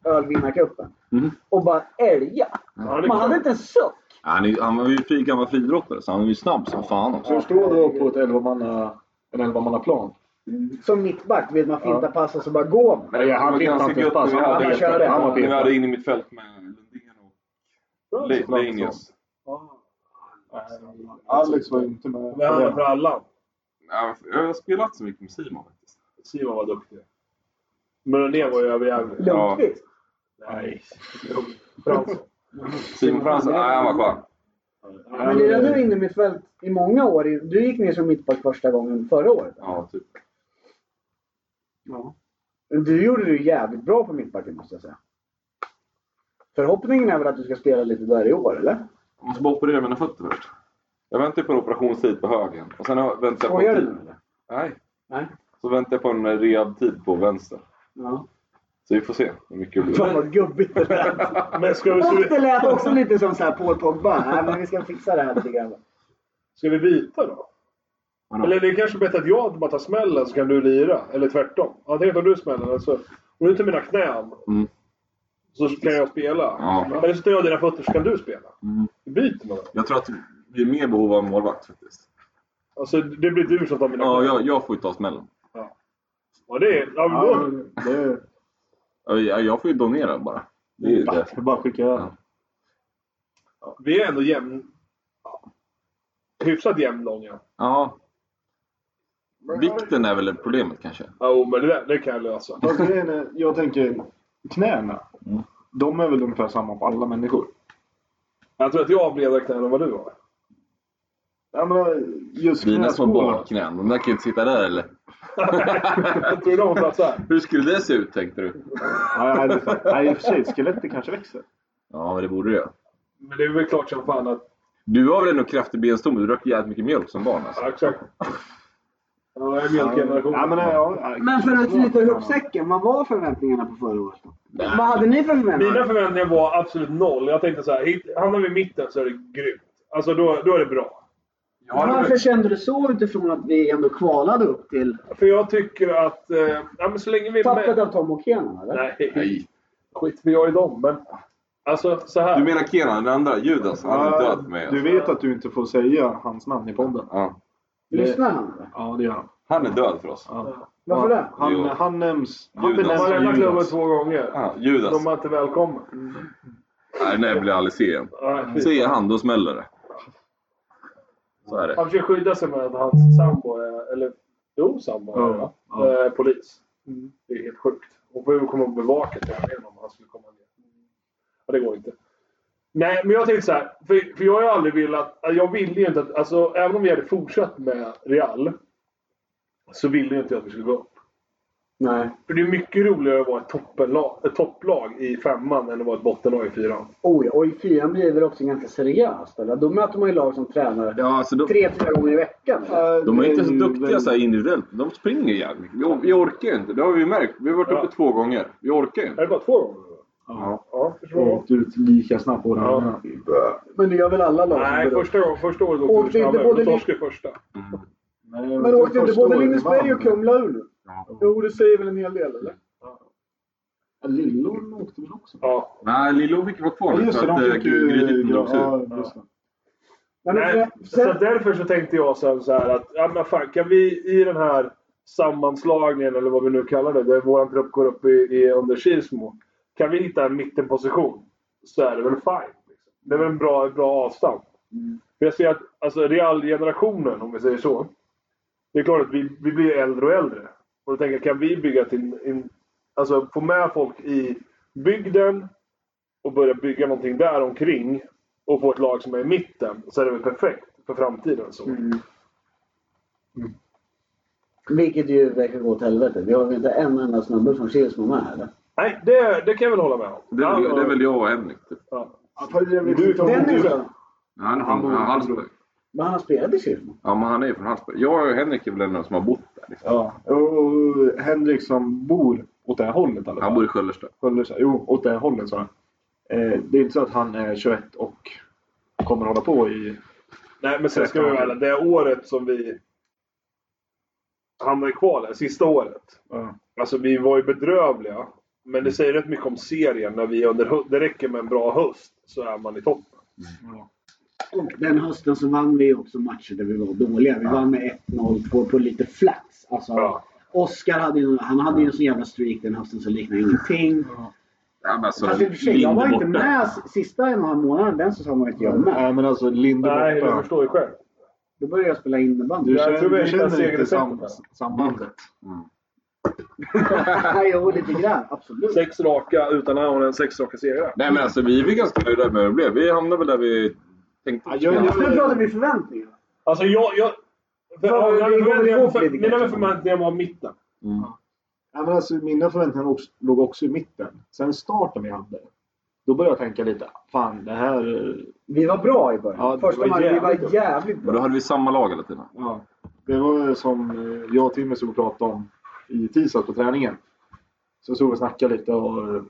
[SPEAKER 4] ölvinnarcupen.
[SPEAKER 3] Mm.
[SPEAKER 4] Och bara älga.
[SPEAKER 5] Ja, det är
[SPEAKER 4] Man hade
[SPEAKER 5] klart.
[SPEAKER 4] inte en suck.
[SPEAKER 3] han, är- han var ju fri, gammal friidrottare så han var ju snabb som fan också.
[SPEAKER 2] Förstå då på ett 11-manna, en 11-mannaplan.
[SPEAKER 4] Som mittback vet man finta
[SPEAKER 2] Ja.
[SPEAKER 4] passa så bara går man.
[SPEAKER 2] Ja, han
[SPEAKER 3] Det var
[SPEAKER 2] fick
[SPEAKER 3] ganska
[SPEAKER 2] inte
[SPEAKER 3] gött
[SPEAKER 2] ett pass.
[SPEAKER 3] när vi
[SPEAKER 2] Han
[SPEAKER 3] hade-
[SPEAKER 4] bara körde.
[SPEAKER 2] Han var
[SPEAKER 3] När vi
[SPEAKER 2] petad.
[SPEAKER 3] hade in i mitt fält med Lundén och Le- Leinius.
[SPEAKER 2] Alex var inte med.
[SPEAKER 5] Men han är för alla.
[SPEAKER 3] Ja, Jag har spelat så mycket med Simon faktiskt.
[SPEAKER 5] Simon var duktig. Men Lundén var ju överjävlig.
[SPEAKER 3] Ja.
[SPEAKER 4] Lundqvist.
[SPEAKER 5] Nej. Fransson.
[SPEAKER 3] Simon Fransson, nej han var skön.
[SPEAKER 4] Men lirade du in i mitt fält i många år? i- Du gick ner som mittback första gången förra året.
[SPEAKER 3] Ja, typ.
[SPEAKER 4] Du gjorde det ju jävligt bra på mittbacken måste jag säga. Förhoppningen är väl att du ska spela lite där i år, eller?
[SPEAKER 3] Jag måste bara operera mina fötter först. Jag väntar på en operationstid på högen. Och sen har- väntar jag på
[SPEAKER 4] Skojar
[SPEAKER 3] en
[SPEAKER 4] du
[SPEAKER 3] tid.
[SPEAKER 4] nu eller?
[SPEAKER 3] Nej.
[SPEAKER 4] Nej.
[SPEAKER 3] Så väntar jag på en rehabtid på vänster.
[SPEAKER 4] Ja.
[SPEAKER 3] Så vi får se hur mycket det
[SPEAKER 4] Fan
[SPEAKER 3] blir.
[SPEAKER 4] vad gubbigt det *laughs* lät.
[SPEAKER 5] Men ska vi, ska,
[SPEAKER 4] Och det
[SPEAKER 5] vi,
[SPEAKER 4] lät också lite som så här Paul Pogba. Nej, men vi ska fixa det här lite grann.
[SPEAKER 5] ska vi byta då? Eller det är kanske bättre att jag bara tar smällen så kan du lira. Eller tvärtom. Antingen tar du smällen eller så... Om du tar mina knän
[SPEAKER 3] Mm.
[SPEAKER 5] så kan jag spela.
[SPEAKER 3] Ja.
[SPEAKER 5] Eller så tar jag dina fötter så kan du spela.
[SPEAKER 3] Mm.
[SPEAKER 5] Vi byter man då.
[SPEAKER 3] Jag tror att vi är mer behov av en målvakt faktiskt.
[SPEAKER 5] Alltså det blir du som tar mina
[SPEAKER 3] Ja,
[SPEAKER 5] knän.
[SPEAKER 3] jag, jag får ju ta smällen.
[SPEAKER 5] Ja, det är... Ja, men
[SPEAKER 2] Ja,
[SPEAKER 5] då,
[SPEAKER 2] det-
[SPEAKER 3] Jag, jag får ju donera bara. Det är ju det.
[SPEAKER 2] Jag bara skicka över.
[SPEAKER 5] vi är ändå jämn... Hyfsat jämnlånga.
[SPEAKER 3] Ja. Vikten är väl problemet kanske.
[SPEAKER 5] Ja, Jo, men det, där- det kan jag lösa.
[SPEAKER 2] Fast grejen är, jag tänker knäna.
[SPEAKER 3] Mm.
[SPEAKER 2] De är väl ungefär samma på alla människor.
[SPEAKER 5] Jag tror att jag har bredare knän än vad du har.
[SPEAKER 2] Jag menar, just
[SPEAKER 3] Dina små
[SPEAKER 2] knäskålar.
[SPEAKER 3] barnknän, de där kan ju inte sitta där eller?
[SPEAKER 5] Jag tror de har plats här.
[SPEAKER 3] Hur skulle det se ut tänkte du?
[SPEAKER 2] Nej, nej, det är sant. Nej, i och för sig. Skelettet kanske växer.
[SPEAKER 3] Ja, men det borde det göra.
[SPEAKER 5] Men det är väl klart som fan att...
[SPEAKER 3] Du har väl ändå kraftig benstomme? Du drack jävligt mycket mjölk som barn alltså.
[SPEAKER 5] Ja, exakt. Ja, jag är
[SPEAKER 2] Ja,
[SPEAKER 5] mjölkgenerationen.
[SPEAKER 2] men, ja, ja,
[SPEAKER 4] Men för att knyta ihop säcken, vad var förväntningarna på förra året? Vad hade ni för
[SPEAKER 5] Mina
[SPEAKER 4] förväntningar?
[SPEAKER 5] förväntningar var absolut noll. Jag tänkte så här, hit- hamnar vi i mitten så är det grymt. Alltså då, då är det bra.
[SPEAKER 4] Varför kände du så utifrån att vi ändå kvalade upp till
[SPEAKER 5] För jag tycker att... Eh, ja, men så länge vi är
[SPEAKER 4] tappet
[SPEAKER 5] med...
[SPEAKER 4] av Tom och Kenan, eller?
[SPEAKER 5] Nej,
[SPEAKER 3] Nej.
[SPEAKER 5] skit vi har i dem. Men alltså så
[SPEAKER 3] Du
[SPEAKER 5] här.
[SPEAKER 3] menar Kenan, den andra? Judas? Han är död för mig.
[SPEAKER 2] Du
[SPEAKER 3] Alltså.
[SPEAKER 2] vet att du inte får säga hans namn i podden?
[SPEAKER 3] Ja.
[SPEAKER 4] Lyssnar han? eller?
[SPEAKER 2] Ja, det gör han.
[SPEAKER 3] Han är död för oss.
[SPEAKER 2] Ja.
[SPEAKER 4] Varför det?
[SPEAKER 2] Han,
[SPEAKER 3] Jo.
[SPEAKER 2] han nämns... Han
[SPEAKER 3] Judas.
[SPEAKER 2] benämns
[SPEAKER 5] Varenda
[SPEAKER 2] som
[SPEAKER 5] klubba
[SPEAKER 2] Judas.
[SPEAKER 5] två gånger.
[SPEAKER 3] Ja, Ah, Judas.
[SPEAKER 5] De är inte välkomna.
[SPEAKER 3] Nej, nej, jag vill aldrig se igen.
[SPEAKER 5] Nej, fy.
[SPEAKER 3] Ser jag han, då smäller det. Så är det.
[SPEAKER 5] Han försöker skydda sig med att hans sambo är, eller jo, sambo är det, va?
[SPEAKER 2] Ja, ja.
[SPEAKER 5] Eh, polis. Det är helt sjukt. Och hur kommer att bevaka tävlingen om han skulle komma ner? Ja, det går inte. Nej, men jag tänkte så här. För, för jag har ju aldrig velat... Jag ville ju inte att... Alltså, även om vi hade fortsatt med Real. Så ville jag inte att vi skulle gå upp.
[SPEAKER 4] Nej.
[SPEAKER 5] För det är mycket roligare att vara ett, toppenlag, ett topplag i femman än att vara ett bottenlag i fyran.
[SPEAKER 4] Oj, och i fyran blir det väl också ganska seriöst? Eller? Då möter man ju lag som tränar
[SPEAKER 3] Ja, alltså, de,
[SPEAKER 4] tre, fyra gånger i veckan. Eh, eller?
[SPEAKER 3] de är inte så
[SPEAKER 2] Det ju
[SPEAKER 3] duktiga
[SPEAKER 2] väl-
[SPEAKER 3] så här individuellt. De springer jävligt mycket. Vi, or- vi orkar ju inte. Det har vi ju märkt. Vi har varit uppe
[SPEAKER 5] Ja.
[SPEAKER 3] två gånger. Vi orkar ju
[SPEAKER 5] Är
[SPEAKER 3] inte.
[SPEAKER 5] det bara två gånger?
[SPEAKER 3] Ja.
[SPEAKER 5] Ja, förstår.
[SPEAKER 2] Och åkte ut lika snabbt båda
[SPEAKER 5] Ja.
[SPEAKER 2] gångerna.
[SPEAKER 4] Men det gör väl alla lag? som
[SPEAKER 5] Nej,
[SPEAKER 4] går upp?
[SPEAKER 5] första, gången- första året
[SPEAKER 4] Åkte
[SPEAKER 5] åkte vi
[SPEAKER 4] inte
[SPEAKER 5] snabbare.
[SPEAKER 4] både
[SPEAKER 5] Då
[SPEAKER 4] Lin-
[SPEAKER 5] torskade första.
[SPEAKER 2] Nej,
[SPEAKER 4] Men åkte inte
[SPEAKER 2] första
[SPEAKER 4] både
[SPEAKER 2] året vi
[SPEAKER 4] Lindesberg och
[SPEAKER 2] vann.
[SPEAKER 4] Kumla ur nu?
[SPEAKER 3] Ja.
[SPEAKER 4] Jo, det säger väl en hel del, eller?
[SPEAKER 2] Ja, Lillorn åkte väl också?
[SPEAKER 5] Ja.
[SPEAKER 3] Nej, Lillo fick vara kvar
[SPEAKER 2] Ja,
[SPEAKER 3] nu
[SPEAKER 2] just
[SPEAKER 3] för
[SPEAKER 2] det.
[SPEAKER 3] att
[SPEAKER 2] De
[SPEAKER 3] eh,
[SPEAKER 2] fick ju...
[SPEAKER 3] Grythyttan drogs ut.
[SPEAKER 2] Ja, just det.
[SPEAKER 4] Men
[SPEAKER 5] Nej,
[SPEAKER 4] sen-
[SPEAKER 5] så därför så tänkte jag sen så här att, ja men fan, kan vi i den här sammanslagningen eller vad vi nu kallar det, där vår trupp går upp i, i under Kilsmo. Kan vi hitta en mittenposition så är det väl fine. Liksom. Det är väl en bra, bra avstamp. För jag ser att alltså, Real-generationen, om vi säger så. Det är klart att vi, vi blir äldre och äldre. Och då tänker jag, kan vi bygga till, in, alltså få med folk i bygden och börja bygga någonting där omkring och få ett lag som är i mitten så är det väl perfekt för framtiden. Så.
[SPEAKER 4] Vilket ju verkar gå åt helvete. Vi har väl inte en enda snubbe från Kilsmo med eller?
[SPEAKER 5] Nej, det, det kan jag väl hålla med om.
[SPEAKER 3] Det är, väl-
[SPEAKER 5] Ja,
[SPEAKER 3] det är väl jag och Henrik. Typ.
[SPEAKER 5] ja.
[SPEAKER 2] Du,
[SPEAKER 4] Dennis då?
[SPEAKER 3] Nej, Han är
[SPEAKER 2] Han
[SPEAKER 3] från
[SPEAKER 2] bor-
[SPEAKER 3] ja, Hallsberg.
[SPEAKER 4] Men han har spelat i Kilsmo.
[SPEAKER 3] Ja, men han är ju från Hallsberg. Jag och Henrik är väl den enda som har bott där. Liksom.
[SPEAKER 2] Ja, och Henrik som bor åt det här hållet i alla
[SPEAKER 3] Han
[SPEAKER 2] fall.
[SPEAKER 3] bor i Sköllersta.
[SPEAKER 2] Skölders- Jo, åt det här hållet sa jag. Eh, Det är inte så att han är 21 och kommer hålla på i...
[SPEAKER 5] Nej, men sen ska vi vara ärliga. Det året som vi hamnade kvar där, sista året.
[SPEAKER 2] Ja.
[SPEAKER 5] Alltså vi var ju bedrövliga. Men det säger rätt mycket om serien. När vi under, hö- det räcker med en bra höst så är man i toppen.
[SPEAKER 6] Och den hösten så vann vi också matcher där vi var dåliga. Vi vann med 1-0 på, på lite flats. Alltså,
[SPEAKER 5] Ja.
[SPEAKER 6] Oskar hade ju, han hade ju en sån jävla streak den hösten som liknade ingenting.
[SPEAKER 4] Alltså,
[SPEAKER 3] Ja, men alltså,
[SPEAKER 6] Fast i och för sig, jag var
[SPEAKER 3] Linde
[SPEAKER 6] inte
[SPEAKER 3] borta.
[SPEAKER 6] med s- sista en och en halv månaden. Den säsongen var inte jag med.
[SPEAKER 2] Nej, men alltså Linde
[SPEAKER 5] Nej,
[SPEAKER 2] borta.
[SPEAKER 5] jag förstår ju själv.
[SPEAKER 6] Då började jag spela
[SPEAKER 2] Du
[SPEAKER 6] innebandy.
[SPEAKER 5] Jag
[SPEAKER 2] känner,
[SPEAKER 5] tror vi
[SPEAKER 2] du
[SPEAKER 5] hittar
[SPEAKER 2] känner inte
[SPEAKER 5] segerreceptet
[SPEAKER 2] sam,
[SPEAKER 5] där.
[SPEAKER 2] sambandet.
[SPEAKER 6] *laughs* jo, lite grann. Absolut.
[SPEAKER 5] Sex raka utan att ha en sex raka segrar.
[SPEAKER 3] Nej, men alltså vi är väl ganska nöjda med hur det blev. Vi hamnade väl där vi tänkte.
[SPEAKER 2] Ja, jag- jag-
[SPEAKER 6] Nu pratar vi förväntningar.
[SPEAKER 5] Alltså jag... jag för,
[SPEAKER 6] Ja,
[SPEAKER 5] ja,
[SPEAKER 6] vi
[SPEAKER 5] men-
[SPEAKER 6] kommer
[SPEAKER 5] men-
[SPEAKER 6] ihåg
[SPEAKER 5] för,
[SPEAKER 6] lite
[SPEAKER 5] mina
[SPEAKER 6] grann.
[SPEAKER 5] förväntningar var mitten.
[SPEAKER 2] Ja, men alltså, mina förväntningar också, låg också i mitten. Sen starten vi hade, då började jag tänka lite, fan det här...
[SPEAKER 4] Vi var bra i början.
[SPEAKER 2] Ja, det
[SPEAKER 4] Första
[SPEAKER 2] var
[SPEAKER 4] matchen, vi
[SPEAKER 2] jävligt
[SPEAKER 4] var
[SPEAKER 2] bra.
[SPEAKER 4] jävligt
[SPEAKER 3] Men då
[SPEAKER 4] bra.
[SPEAKER 3] hade vi samma lag hela tiden.
[SPEAKER 2] Ja, det var som eh, jag och Timmy stod och pratade om i tisdags på träningen. Så stod vi och snackade lite om eh,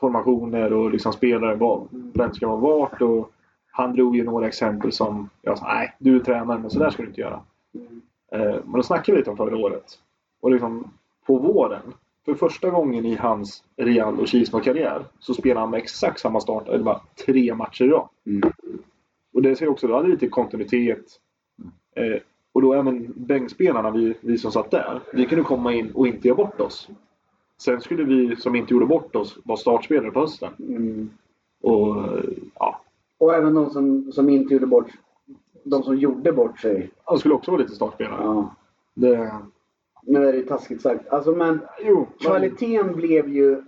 [SPEAKER 2] formationer och liksom spelare, vad, vem ska vara vart. Och han drog ju några exempel som jag sa, nej du är tränare men sådär ska du inte göra. Eh, Men då snackade vi lite om förra året. Och liksom på våren, för första gången i hans Real och Kismo-karriär så spelade han med exakt samma start, eller bara tre matcher i rad.
[SPEAKER 3] Mm.
[SPEAKER 2] Och det ser jag också, då hade vi lite kontinuitet. Eh, och då även bänkspelarna, vi, vi som satt där, vi kunde komma in och inte göra bort oss. Sen skulle vi som inte gjorde bort oss vara startspelare på hösten.
[SPEAKER 4] Mm.
[SPEAKER 2] Och eh, ja,
[SPEAKER 4] Och även de som, som inte gjorde bort De som gjorde bort sig.
[SPEAKER 2] han skulle också vara lite startspelare.
[SPEAKER 4] Ja.
[SPEAKER 2] Det,
[SPEAKER 4] Nu är det taskigt sagt. Alltså, men
[SPEAKER 2] jo, men,
[SPEAKER 4] kvaliteten blev ju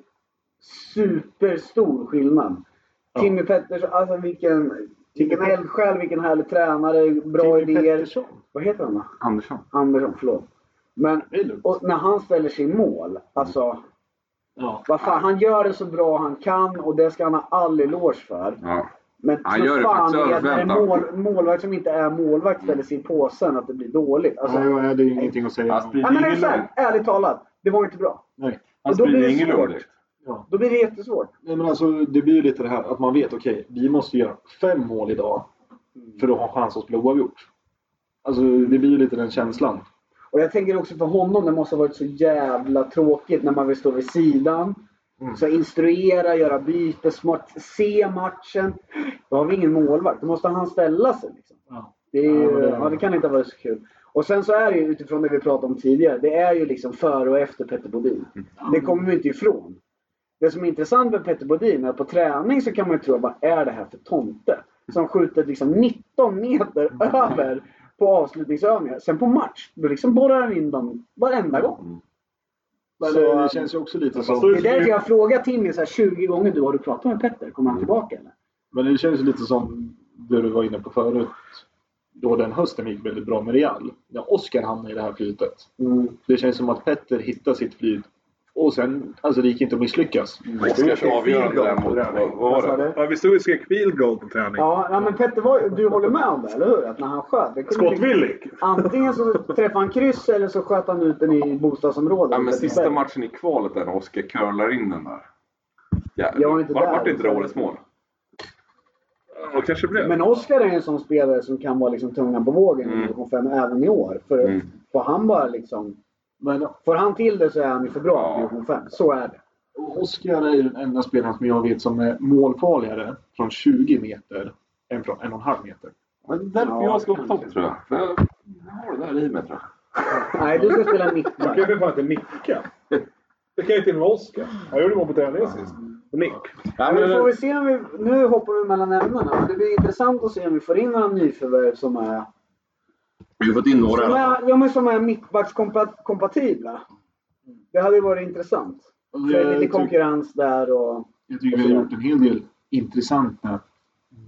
[SPEAKER 4] superstor skillnad.
[SPEAKER 2] Ja.
[SPEAKER 4] Timmy Pettersson, alltså vilken, vilken
[SPEAKER 2] Pet-
[SPEAKER 4] eldsjäl, vilken härlig tränare, bra
[SPEAKER 2] Timmy
[SPEAKER 4] idéer.
[SPEAKER 2] Pettersson.
[SPEAKER 4] Vad heter han då?
[SPEAKER 3] Andersson.
[SPEAKER 4] Andersson, förlåt. Men,
[SPEAKER 2] Det är lugnt.
[SPEAKER 4] och när han ställer sig i mål, alltså
[SPEAKER 2] Ja.
[SPEAKER 4] vad fan, han gör det så bra han kan och det ska han ha all eloge för.
[SPEAKER 3] Ja.
[SPEAKER 4] Men
[SPEAKER 3] Han
[SPEAKER 4] för
[SPEAKER 3] gör det
[SPEAKER 4] fan
[SPEAKER 3] faktiskt
[SPEAKER 4] är
[SPEAKER 3] över
[SPEAKER 4] att när en
[SPEAKER 3] förväntan.
[SPEAKER 4] mål, målvakt som inte är målvakt ställer sig i påsen att det blir dåligt. Alltså,
[SPEAKER 2] Nej,
[SPEAKER 4] nej,
[SPEAKER 2] ja, det är ingenting att säga
[SPEAKER 3] Astrid
[SPEAKER 4] men
[SPEAKER 3] Lindgren.
[SPEAKER 4] exakt, ärligt talat. Det var inte bra.
[SPEAKER 2] Nej.
[SPEAKER 3] Han
[SPEAKER 4] Och då blir
[SPEAKER 3] sprider
[SPEAKER 4] det
[SPEAKER 3] ingen
[SPEAKER 4] svårt.
[SPEAKER 3] roligt.
[SPEAKER 4] Då blir det jättesvårt.
[SPEAKER 2] Nej, men alltså, det blir ju lite det här att man vet, okej, vi måste göra fem mål idag
[SPEAKER 4] Mm.
[SPEAKER 2] för att ha chans att spela oavgjort. Alltså, det blir ju lite den känslan.
[SPEAKER 4] Och jag tänker också för honom, det måste ha varit så jävla tråkigt när man vill stå vid sidan. Så instruera, göra byte, smart, se matchen. Då har vi ingen målvakt. Då måste han ställa sig. Liksom.
[SPEAKER 2] Ja.
[SPEAKER 4] Det, är ju,
[SPEAKER 2] Ja, men det-
[SPEAKER 4] det, ja, det kan inte vara så kul. Och sen så är det ju utifrån det vi pratade om tidigare. Det är ju liksom före och efter Petter Bodin.
[SPEAKER 2] Mm.
[SPEAKER 4] Det kommer vi inte ifrån. Det som är intressant med Petter Bodin är att på träning så kan man ju tro vad är det här för tomte? Som skjuter liksom 19 meter
[SPEAKER 2] Mm.
[SPEAKER 4] över på avslutningsövningar. Sen på match, då liksom borrar han in dem varenda gång.
[SPEAKER 2] Mm. Men
[SPEAKER 4] Så-
[SPEAKER 2] det, det känns ju också lite som...
[SPEAKER 5] så-
[SPEAKER 4] Det är därför jag har frågat Timmy så här 20 gånger du har du pratat med Petter? Kommer han tillbaka
[SPEAKER 2] Mm.
[SPEAKER 4] eller?
[SPEAKER 2] Men det känns ju lite som det du var inne på förut. Då den hösten gick väldigt bra med Real. När Oskar hamnade i det här flytet. Det känns som att Petter hittar sitt flyt. Och sen, alltså det gick inte att misslyckas.
[SPEAKER 3] Oskars avgörande där mot... Vad vad var det?
[SPEAKER 5] Ja, vi stod och skrek field goal på träning.
[SPEAKER 4] Ja, ja, men Petter, var, ju- du håller med om det, eller hur? Att när han sköt. det kunde bli-
[SPEAKER 5] Skottvillig!
[SPEAKER 4] Antingen så träffade han kryss eller så sköt han ut den i bostadsområdet.
[SPEAKER 3] Ja, men
[SPEAKER 4] Utanför
[SPEAKER 3] sista
[SPEAKER 4] Berg.
[SPEAKER 3] matchen i kvalet där när Oskar curlar in den där. Ja,
[SPEAKER 4] Jag var inte där.
[SPEAKER 3] Vart inte det årets mål? Och kanske blev.
[SPEAKER 4] Men Oskar är en sån spelare som kan vara liksom tungan på vågen
[SPEAKER 3] Mm.
[SPEAKER 4] i division 5 även i år. För
[SPEAKER 3] Mm.
[SPEAKER 4] får han bara liksom... Men får han till det så är han ju för bra i
[SPEAKER 3] Ja.
[SPEAKER 4] division 5. Så är det.
[SPEAKER 2] Oskar är ju den enda spelaren som jag vet som är målfarligare från 20 meter än från en och en halv meter.
[SPEAKER 3] Men det är därför
[SPEAKER 4] Ja,
[SPEAKER 3] jag ska upp topp tror jag. För jag har det där i mig tror jag.
[SPEAKER 4] Nej, du ska spela
[SPEAKER 3] *laughs*
[SPEAKER 5] Du kan
[SPEAKER 4] mittback.
[SPEAKER 5] ju fan inte nicka. Det kan ju till och med Oskar. Han gjorde mål på tävlingen sist. Nick.
[SPEAKER 4] Ja, men vi får väl se om vi, nu hoppar vi mellan ämnena. men Det blir intressant att se om vi får in några nyförvärv som är,
[SPEAKER 7] Vi har fått in några.
[SPEAKER 4] som
[SPEAKER 7] i alla fall.
[SPEAKER 4] är, ja, men som är mittbackskompatibla. Det hade ju varit intressant. Så det är lite konkurrens där och...
[SPEAKER 2] Jag tycker vi har gjort en hel del intressanta
[SPEAKER 3] Ja,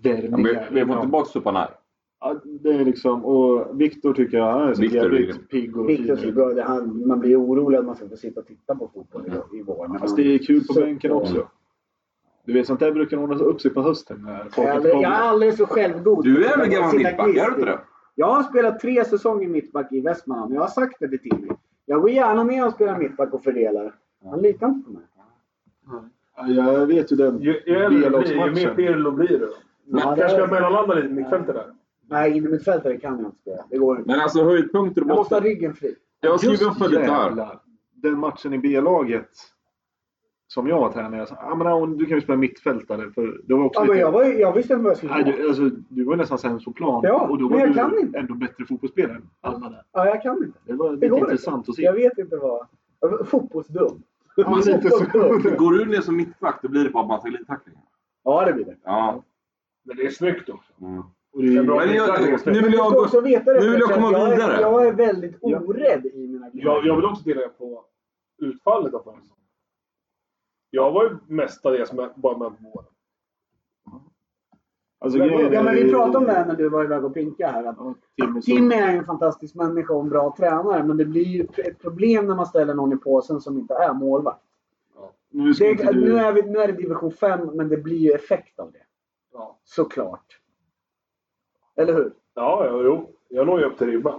[SPEAKER 2] värvningar.
[SPEAKER 3] men vi har fått tillbaka Supanaj.
[SPEAKER 2] Ja, det är liksom, och Viktor tycker jag han är så
[SPEAKER 7] Viktor är grym.
[SPEAKER 2] jävligt pigg och fin.
[SPEAKER 4] Viktor så bra. Det han, man blir orolig att man ska få sitta och titta på fotboll i, i vår.
[SPEAKER 2] Fast det är kul på
[SPEAKER 4] Så-
[SPEAKER 2] bänken också. Du vet, sånt där brukar ordna upp sig på hösten när folk
[SPEAKER 4] Jag är
[SPEAKER 2] är
[SPEAKER 4] aldrig- jag är
[SPEAKER 2] tillbaka.
[SPEAKER 4] alldeles för självgod.
[SPEAKER 3] Du är väl
[SPEAKER 4] Jag
[SPEAKER 3] gammal
[SPEAKER 4] sitter
[SPEAKER 3] mittback? Är du inte det?
[SPEAKER 4] Jag har spelat tre säsonger mittback i Västmanland. men Jag har sagt det till Timmy. Jag går gärna ner och spelar mittback och fördelar. Han litar inte på mig.
[SPEAKER 2] Ja, Jag vet ju den
[SPEAKER 5] Ju ju äldre du blir, ju mer
[SPEAKER 2] B-lagsmatchen.
[SPEAKER 5] Pirlo blir du.
[SPEAKER 4] Men-
[SPEAKER 5] Kanske ska jag mellanlanda lite i mittfältet där.
[SPEAKER 4] Nej, innermittfältare kan jag inte spela. Det går inte.
[SPEAKER 7] Men alltså höjdpunkter och
[SPEAKER 4] Jag måste ha
[SPEAKER 7] botten.
[SPEAKER 4] ryggen fri.
[SPEAKER 7] Jag har skrivit
[SPEAKER 2] Just
[SPEAKER 7] upp lite här.
[SPEAKER 2] jävlar. Den matchen i B-laget som jag var tränare. Jag sa, ah, men, Aron, du kan ju spela mittfältare. För det var också
[SPEAKER 4] Ja, men
[SPEAKER 2] lite...
[SPEAKER 4] jag, var, ju- jag visste inte vad jag skulle
[SPEAKER 2] Nej,
[SPEAKER 4] göra.
[SPEAKER 2] du, alltså, du var nästan sämst på plan.
[SPEAKER 4] Ja,
[SPEAKER 2] och då
[SPEAKER 4] men
[SPEAKER 2] var
[SPEAKER 4] jag
[SPEAKER 2] du
[SPEAKER 4] kan inte.
[SPEAKER 2] ändå bättre fotbollsspelare än alla där.
[SPEAKER 4] Ja, jag kan inte.
[SPEAKER 2] Det var
[SPEAKER 4] Det
[SPEAKER 2] lite
[SPEAKER 4] går
[SPEAKER 2] intressant
[SPEAKER 4] inte.
[SPEAKER 2] att se.
[SPEAKER 4] Jag vet inte vad... Jag var Fotbollsdum. Jag var
[SPEAKER 2] lite så.
[SPEAKER 4] *laughs* fotbollsdum.
[SPEAKER 3] Går du ner som mittback då blir det bara massa glidtacklingar.
[SPEAKER 4] Ja, det blir det.
[SPEAKER 3] Ja.
[SPEAKER 5] Men det är snyggt också.
[SPEAKER 3] Mm.
[SPEAKER 2] Och det,
[SPEAKER 5] En bra
[SPEAKER 3] Men jag,
[SPEAKER 5] mittback.
[SPEAKER 3] nu vill
[SPEAKER 4] Du
[SPEAKER 3] jag
[SPEAKER 4] ska
[SPEAKER 3] gå...
[SPEAKER 4] också veta det,
[SPEAKER 3] nu vill jag
[SPEAKER 4] för att
[SPEAKER 3] komma vidare.
[SPEAKER 4] Är, jag är väldigt
[SPEAKER 2] Ja.
[SPEAKER 4] orädd i mina
[SPEAKER 5] Jag, jag vill också tillägga på utfallet av förra säsongen. Jag var ju mestadels med, bara med på målen.
[SPEAKER 2] alltså, grejen är-
[SPEAKER 4] Ja, men vi pratade om det här när du var iväg och pinka här. Att
[SPEAKER 2] Ja, Timmy, så-
[SPEAKER 4] Timmy är ju en fantastisk människa och en bra tränare, men det blir ju ett problem när man ställer någon i påsen som inte är målvakt.
[SPEAKER 2] Nu ska
[SPEAKER 4] Det,
[SPEAKER 2] inte
[SPEAKER 4] nu,
[SPEAKER 2] du...
[SPEAKER 4] är vi, nu är det division 5, men det blir ju effekt av det.
[SPEAKER 5] Ja.
[SPEAKER 4] Såklart. Eller hur?
[SPEAKER 5] Ja, ja, jo. Jag når ju upp till ribban.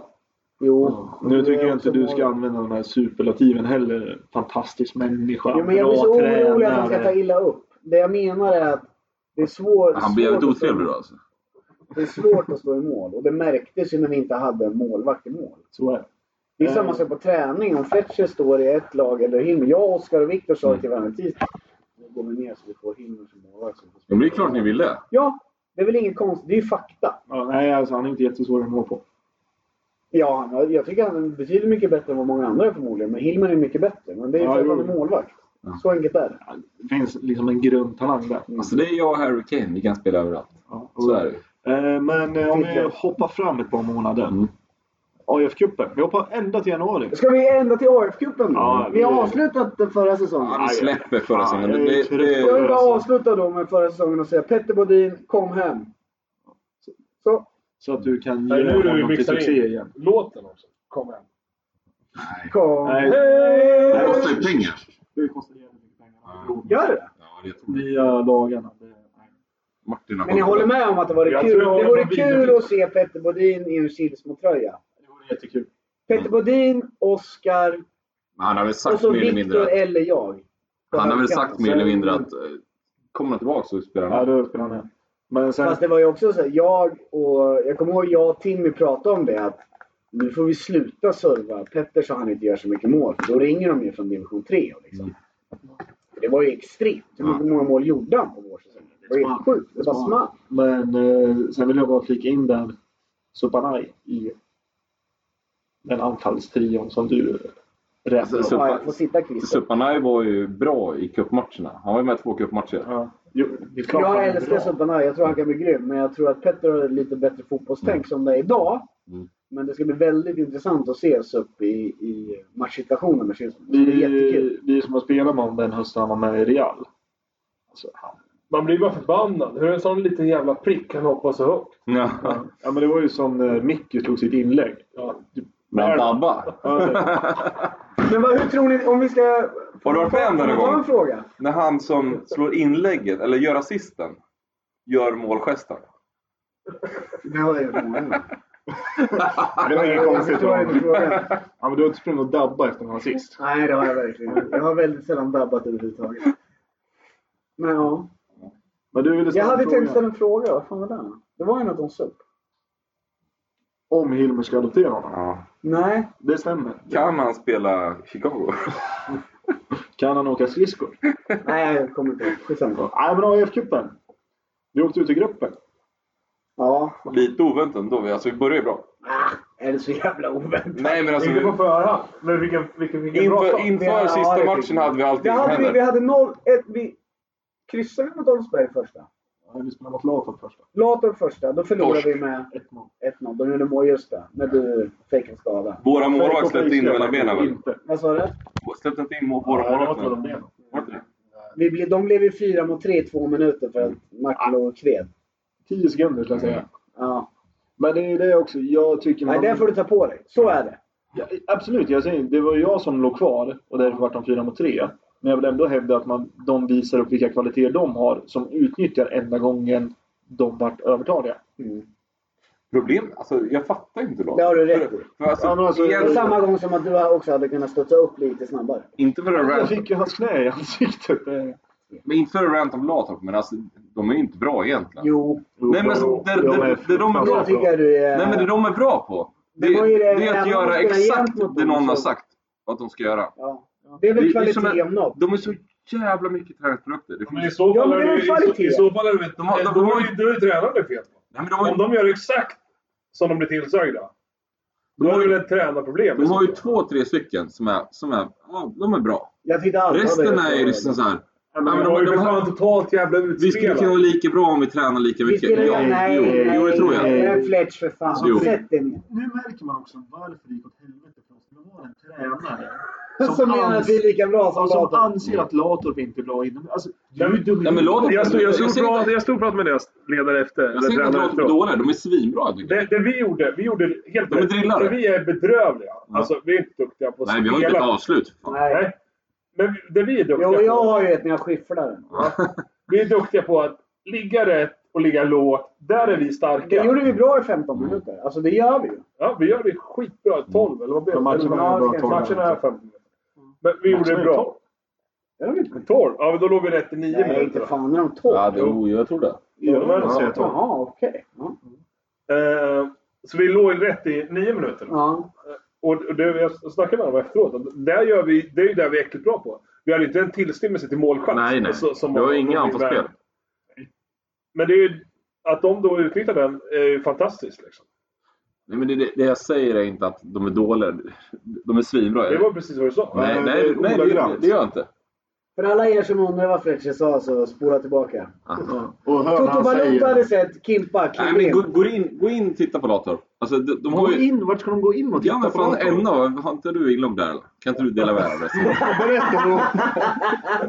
[SPEAKER 4] Jo.
[SPEAKER 2] Nu tycker
[SPEAKER 4] Det är
[SPEAKER 2] jag inte
[SPEAKER 4] också
[SPEAKER 2] du ska
[SPEAKER 4] målet.
[SPEAKER 2] använda de här superlativen heller. Fantastisk människa,
[SPEAKER 4] Jo, men jag blir så
[SPEAKER 2] bra
[SPEAKER 4] orolig att han ska ta
[SPEAKER 2] tränare.
[SPEAKER 4] illa upp. Det jag menar är att det är svårt...
[SPEAKER 7] Han blir jävligt
[SPEAKER 4] svårt att stå-
[SPEAKER 7] otrevlig då alltså.
[SPEAKER 4] Det är svårt att stå i mål och det märktes ju när vi inte hade en målvakt i mål.
[SPEAKER 2] Så är det.
[SPEAKER 4] Det är samma sak på träning. Om Fletcher står i ett lag eller Himmel. Jag, Oskar och Viktor
[SPEAKER 7] Mm.
[SPEAKER 4] sa till varandra tisdag. Nu går vi ner så vi får Himmel som målvakt. som får spela."
[SPEAKER 7] Men det är klart ni vill det.
[SPEAKER 4] Ja, det är väl inget konstigt. Det är ju fakta.
[SPEAKER 2] Ja, nej, alltså, han är inte jättesvår att må på.
[SPEAKER 4] Ja, han- jag tycker han är betydligt mycket bättre än vad många andra är förmodligen. Men Hillman är mycket bättre. Men det är ju
[SPEAKER 2] Ja,
[SPEAKER 4] för att
[SPEAKER 2] jo.
[SPEAKER 4] han är målvakt. Så enkelt är det.
[SPEAKER 2] Det finns liksom en grundtalang där.
[SPEAKER 7] Alltså det är jag och Harry Kane. Vi kan spela överallt.
[SPEAKER 2] Ja, och-
[SPEAKER 7] Så är det.
[SPEAKER 2] Eh, Men eh, om vi hoppar fram ett par månader.
[SPEAKER 7] Mm.
[SPEAKER 2] AIF-cupen. Vi hoppar ända till januari.
[SPEAKER 4] Ska vi ända till AF-cupen?
[SPEAKER 2] Ja,
[SPEAKER 4] vi
[SPEAKER 2] det-
[SPEAKER 4] har avslutat den förra säsongen.
[SPEAKER 7] Han släpper förra säsongen. Det, det,
[SPEAKER 4] Jag
[SPEAKER 7] det,
[SPEAKER 4] vill bara avsluta då med förra säsongen och säga Petter Bodin, kom hem. Så.
[SPEAKER 2] Så att du kan
[SPEAKER 5] Nej, nu
[SPEAKER 2] ge
[SPEAKER 5] är det
[SPEAKER 2] honom
[SPEAKER 5] vi
[SPEAKER 2] till
[SPEAKER 5] mixar
[SPEAKER 2] succé
[SPEAKER 5] in
[SPEAKER 2] igen.
[SPEAKER 5] låten också. Kom hem.
[SPEAKER 4] Kom
[SPEAKER 2] Nej.
[SPEAKER 7] det
[SPEAKER 4] hem!
[SPEAKER 7] kostar ju pengar.
[SPEAKER 2] Det kostar jävligt mycket pengar.
[SPEAKER 4] Gör det?
[SPEAKER 7] Ja, det tror jag.
[SPEAKER 2] Nya lagarna. det- nej.
[SPEAKER 7] Martin har
[SPEAKER 4] Men jag håller med om att det vore
[SPEAKER 5] Jag
[SPEAKER 4] kul.
[SPEAKER 5] tror jag
[SPEAKER 4] Det
[SPEAKER 5] håller
[SPEAKER 4] vore
[SPEAKER 5] på vidare.
[SPEAKER 4] kul att se Petter Bodin i en Kilsmo-tröja.
[SPEAKER 2] Det vore jättekul.
[SPEAKER 4] Petter Bodin, Oskar
[SPEAKER 7] Men han har väl
[SPEAKER 4] och
[SPEAKER 7] sagt
[SPEAKER 4] så
[SPEAKER 7] mer eller mindre
[SPEAKER 4] Viktor
[SPEAKER 7] att,
[SPEAKER 4] eller jag.
[SPEAKER 7] han har väl
[SPEAKER 4] På
[SPEAKER 7] sagt
[SPEAKER 4] högkanten.
[SPEAKER 7] mer eller mindre att eh, kommer han tillbaka så spelar
[SPEAKER 2] Ja,
[SPEAKER 7] han.
[SPEAKER 2] då spelar han med. Men sen...
[SPEAKER 4] Fast det var ju också så här, jag och jag kommer ihåg jag och Timmy pratade om det att nu får vi sluta serva Petter så han inte gör så mycket mål. För då ringer de ju från division 3. och Liksom. Det var ju extremt. Hur
[SPEAKER 7] Ja.
[SPEAKER 4] många mål gjorde han på vår säsong? Det var helt sjukt. Det var smart.
[SPEAKER 2] Men eh, sen vill jag bara flika in där Supanaj i den anfallstrion som du räknar
[SPEAKER 7] Alltså,
[SPEAKER 2] upp.
[SPEAKER 4] Ja, jag får sitta Christer.
[SPEAKER 7] Supanaj var ju bra i cupmatcherna. Han var ju med i två cupmatcher.
[SPEAKER 2] Ja. Jo, det är klart han
[SPEAKER 4] Jag
[SPEAKER 2] är
[SPEAKER 4] älskar
[SPEAKER 2] bra.
[SPEAKER 4] Subanaj. Jag tror han kan bli grym. Men jag tror att Petter har ett lite bättre fotbollstänk som det är idag.
[SPEAKER 7] Mm.
[SPEAKER 4] Men det ska bli väldigt intressant att se Sup i, i matchsituationer med Kilsmo. Det blir jättekul.
[SPEAKER 2] vi, vi som har spelat med honom den hösten han var med i Real. Alltså, han,
[SPEAKER 5] Man blir bara förbannad. Hur en sån liten jävla prick kan hoppa så högt?
[SPEAKER 7] Ja.
[SPEAKER 2] ja, men det var ju som när Micke slog sitt inlägg.
[SPEAKER 5] Ja.
[SPEAKER 7] Men han dabbar.
[SPEAKER 4] Men vad, hur tror ni? Om vi ska...
[SPEAKER 3] Har du varit med om det någon
[SPEAKER 4] Ta en
[SPEAKER 3] gång?
[SPEAKER 4] fråga.
[SPEAKER 3] När han som slår inlägget, eller gör assisten, gör målgesten.
[SPEAKER 4] Det har jag gjort.
[SPEAKER 2] Det var inget
[SPEAKER 4] Jag
[SPEAKER 2] konstigt.
[SPEAKER 4] förstår inte frågan.
[SPEAKER 2] Ja, men du har inte sprungit och dabbat efter en assist.
[SPEAKER 4] Nej, det har jag verkligen inte. Jag har väldigt sällan dabbat överhuvudtaget. Men ja.
[SPEAKER 2] Men du ville
[SPEAKER 4] Jag
[SPEAKER 2] ställa
[SPEAKER 4] hade
[SPEAKER 2] frågan
[SPEAKER 4] tänkt ställa en fråga. Vad fan var det? Det var ju något om SUP.
[SPEAKER 2] om Hilmer ska adoptera honom.
[SPEAKER 3] Ja.
[SPEAKER 4] Nej.
[SPEAKER 2] Det stämmer.
[SPEAKER 3] Kan han spela *laughs* Chicago?
[SPEAKER 2] Kan han åka skridskor?
[SPEAKER 4] Nej, jag kommer inte ihåg. Skitsamma.
[SPEAKER 2] Nej, men AIF-cupen. Du åkte ut i gruppen.
[SPEAKER 4] Ja. Ah,
[SPEAKER 3] Lite oväntat ändå. Alltså, vi börjar ju bra.
[SPEAKER 4] Är det så jävla oväntat?
[SPEAKER 3] Nej, men alltså...
[SPEAKER 5] Inte på
[SPEAKER 3] vi-
[SPEAKER 5] förhand. Men vilken, vilken, vilken bra
[SPEAKER 3] Inför,
[SPEAKER 5] start.
[SPEAKER 4] Ja,
[SPEAKER 3] inför
[SPEAKER 4] det
[SPEAKER 3] sista
[SPEAKER 4] fick
[SPEAKER 3] matchen
[SPEAKER 4] vi.
[SPEAKER 3] hade vi allting
[SPEAKER 4] Vi
[SPEAKER 3] i
[SPEAKER 4] hade, vi
[SPEAKER 3] händer.
[SPEAKER 4] hade 0-1. Vi kryssade mot Oldsberg första.
[SPEAKER 2] Ja, Vi spelade mot Latorp först.
[SPEAKER 4] Latorp första. Då förlorade
[SPEAKER 3] Torsk.
[SPEAKER 4] vi med
[SPEAKER 2] 1-0.
[SPEAKER 4] 1-0. Då gjorde mål just det. När du fick en skada.
[SPEAKER 3] Våra målvakt släppte in mellan benen väl?
[SPEAKER 2] Inte.
[SPEAKER 4] Vad sa du?
[SPEAKER 3] Släppte inte in mot
[SPEAKER 2] Ja, det
[SPEAKER 3] våra
[SPEAKER 2] var inte
[SPEAKER 3] målvakter?
[SPEAKER 2] mellan benen.
[SPEAKER 3] Var det inte det?
[SPEAKER 4] Vi blev, de blev ju fyra mot tre i två minuter för att Martin
[SPEAKER 3] Ah.
[SPEAKER 4] låg och kved.
[SPEAKER 2] 10 sekunder skulle jag
[SPEAKER 3] Mm.
[SPEAKER 2] säga.
[SPEAKER 4] Ja.
[SPEAKER 2] Men det är ju det också. Jag tycker...
[SPEAKER 4] Nej, det får du ta på dig. Så är det.
[SPEAKER 2] Ja, absolut, jag säger, det var ju jag som låg kvar och därför vart de fyra mot tre. Men jag vill ändå hävda att man, de visar upp vilka kvaliteter de har som utnyttjar enda gången de vart övertaliga.
[SPEAKER 3] Mm. Problem? Alltså, jag fattar inte då.
[SPEAKER 4] Det har du rätt i.
[SPEAKER 3] För, för alltså,
[SPEAKER 2] Ja, men alltså,
[SPEAKER 4] Det är
[SPEAKER 3] igen,
[SPEAKER 4] samma gång som att du också hade kunnat studsa upp lite snabbare.
[SPEAKER 3] inte för en
[SPEAKER 2] Jag
[SPEAKER 3] rant,
[SPEAKER 2] fick ju hans knä i ansiktet. Det-
[SPEAKER 3] men inte för en rant om Latorp, men alltså, de är ju inte bra egentligen.
[SPEAKER 4] Jo,
[SPEAKER 3] Nej, men så- det- det- det de är bra
[SPEAKER 4] jag
[SPEAKER 3] på.
[SPEAKER 4] tycker du är...
[SPEAKER 3] Nej, men det de är bra på, det,
[SPEAKER 4] Det var ju
[SPEAKER 3] det,
[SPEAKER 4] det
[SPEAKER 3] är att
[SPEAKER 4] enda de
[SPEAKER 3] göra
[SPEAKER 4] spelar
[SPEAKER 3] exakt
[SPEAKER 4] jämt mot
[SPEAKER 3] det
[SPEAKER 4] dem,
[SPEAKER 3] någon har
[SPEAKER 4] så-
[SPEAKER 3] sagt att de ska göra.
[SPEAKER 4] Ja. Det är väl
[SPEAKER 3] Det- det är
[SPEAKER 4] kvalitet
[SPEAKER 3] som en-
[SPEAKER 4] om något.
[SPEAKER 3] De är så jävla mycket träningsprodukter. Det
[SPEAKER 5] Men i
[SPEAKER 3] finns...
[SPEAKER 5] så
[SPEAKER 4] Ja,
[SPEAKER 5] fall
[SPEAKER 4] men det är
[SPEAKER 5] är
[SPEAKER 4] väl
[SPEAKER 5] det ju- i så-
[SPEAKER 4] kvalitet.
[SPEAKER 5] i så fall är det
[SPEAKER 3] De har- de
[SPEAKER 5] väl- då
[SPEAKER 3] har-
[SPEAKER 5] är det ju- då är det tränaren det är fel på.
[SPEAKER 3] Nej, men de, har ju,
[SPEAKER 5] Om de gör exakt som de blir tillsagda. Då har vi väl ett tränarproblem.
[SPEAKER 3] de har ju två, tre stycken som är, som är, ja, de är bra.
[SPEAKER 4] Jag tyckte alla
[SPEAKER 3] Resten
[SPEAKER 4] hade-
[SPEAKER 3] är ju liksom såhär.
[SPEAKER 5] Ja, men de har ju för fan totalt jävla
[SPEAKER 3] Vi skulle kunna
[SPEAKER 5] utspelat.
[SPEAKER 3] vara lika bra om vi tränar lika
[SPEAKER 4] Vi
[SPEAKER 3] mycket.
[SPEAKER 4] spelar ju...
[SPEAKER 3] Jo,
[SPEAKER 4] Nej,
[SPEAKER 3] jo,
[SPEAKER 4] nej,
[SPEAKER 3] jo, det tror jag.
[SPEAKER 4] nej. Men Fletch för fan.
[SPEAKER 3] Jo.
[SPEAKER 4] Sätt dig ner.
[SPEAKER 2] Nu märker man också varför det gick åt helvete för oss. Vi har en tränare
[SPEAKER 4] Som menar att vi är lika bra som
[SPEAKER 2] som
[SPEAKER 4] Lato.
[SPEAKER 2] anser att Latorp inte är bra inom... Alltså, du är
[SPEAKER 5] Nej,
[SPEAKER 2] ju dum i
[SPEAKER 3] nej, men
[SPEAKER 2] huvudet. Alltså,
[SPEAKER 3] Latorp-
[SPEAKER 5] Jag stod, jag,
[SPEAKER 3] Jag
[SPEAKER 5] stod
[SPEAKER 3] säger
[SPEAKER 5] och
[SPEAKER 3] inte-
[SPEAKER 5] pratade, jag stod och pratade med deras ledare efter.
[SPEAKER 3] Jag säger inte att
[SPEAKER 5] tränare
[SPEAKER 3] Latorp är
[SPEAKER 5] efteråt.
[SPEAKER 3] dåliga, de är svinbra tycker jag.
[SPEAKER 5] det, det vi gjorde, vi gjorde helt
[SPEAKER 3] De är drillare.
[SPEAKER 5] För vi är bedrövliga. Alltså, vi är inte duktiga på att
[SPEAKER 3] Nej, vi har ju inte ett avslut. för fan.
[SPEAKER 4] Nej.
[SPEAKER 5] Nej. Men det vi är duktiga
[SPEAKER 4] Jo, jag
[SPEAKER 5] på.
[SPEAKER 4] har ju ett när jag skifflar den.
[SPEAKER 5] Vi är duktiga på att ligga rätt och ligga lågt. Där är vi
[SPEAKER 4] Det
[SPEAKER 5] starka.
[SPEAKER 4] gjorde vi bra i 15 minuter. Alltså det gör vi ju.
[SPEAKER 5] Ja, vi gör det skitbra.
[SPEAKER 7] Mm.
[SPEAKER 5] 12 eller vad blev det?
[SPEAKER 2] Men matcherna
[SPEAKER 5] Eller-
[SPEAKER 2] är
[SPEAKER 5] Ja,
[SPEAKER 2] bra
[SPEAKER 5] det kanske-
[SPEAKER 2] 12.
[SPEAKER 5] Matcherna är 15 minuter. Men vi gjorde det
[SPEAKER 2] är
[SPEAKER 5] bra.
[SPEAKER 4] Det gör vi inte.
[SPEAKER 5] 12? Ja, men då låg vi rätt i 9
[SPEAKER 4] Nej,
[SPEAKER 5] minuter.
[SPEAKER 4] inte
[SPEAKER 5] då.
[SPEAKER 4] fan är de
[SPEAKER 7] Ja,
[SPEAKER 4] tolv.
[SPEAKER 7] det, jo, jag tror det.
[SPEAKER 5] Ja, det var det.
[SPEAKER 2] Ja.
[SPEAKER 4] Jaha, okej. Ja.
[SPEAKER 5] Eh, Så vi låg rätt i 9 minuter.
[SPEAKER 4] Ja.
[SPEAKER 5] Och och det, jag snackade med honom efteråt. att Där gör vi, det är ju där vi är äckligt bra på. Vi hade inte en tillstymmelse till målchans.
[SPEAKER 7] Nej, nej.
[SPEAKER 5] Så- som
[SPEAKER 7] Det var
[SPEAKER 5] om-
[SPEAKER 7] inga
[SPEAKER 5] om vi
[SPEAKER 7] anfallsspel.
[SPEAKER 5] väl- Men det är ju, att de då utnyttjar den är ju fantastiskt. Liksom.
[SPEAKER 7] Nej, men det, det det jag säger är inte att de är dåliga. De är svinbra.
[SPEAKER 5] Det var precis vad du sa.
[SPEAKER 7] Nej,
[SPEAKER 2] men det
[SPEAKER 7] nej,
[SPEAKER 2] är
[SPEAKER 7] nej det,
[SPEAKER 2] ordagrant.
[SPEAKER 7] det gör jag inte.
[SPEAKER 4] För alla er som undrar vad Fletcher sa så spola tillbaka.
[SPEAKER 2] Ja. Och hör vad
[SPEAKER 4] Toto
[SPEAKER 2] han
[SPEAKER 4] Balotto
[SPEAKER 2] säger.
[SPEAKER 4] hade sett Kimpa
[SPEAKER 7] Nej,
[SPEAKER 4] kliva
[SPEAKER 7] men
[SPEAKER 4] in.
[SPEAKER 7] gå, gå, in, gå in och titta på Latorp. Alltså, de, de har
[SPEAKER 2] Gå
[SPEAKER 7] ju...
[SPEAKER 2] in, vart ska de gå in och
[SPEAKER 7] Ja, men fan,
[SPEAKER 2] Latorp?
[SPEAKER 7] Enna, har inte du inlogg där? eller? Kan inte du dela med dig? av det?
[SPEAKER 2] Berätta då.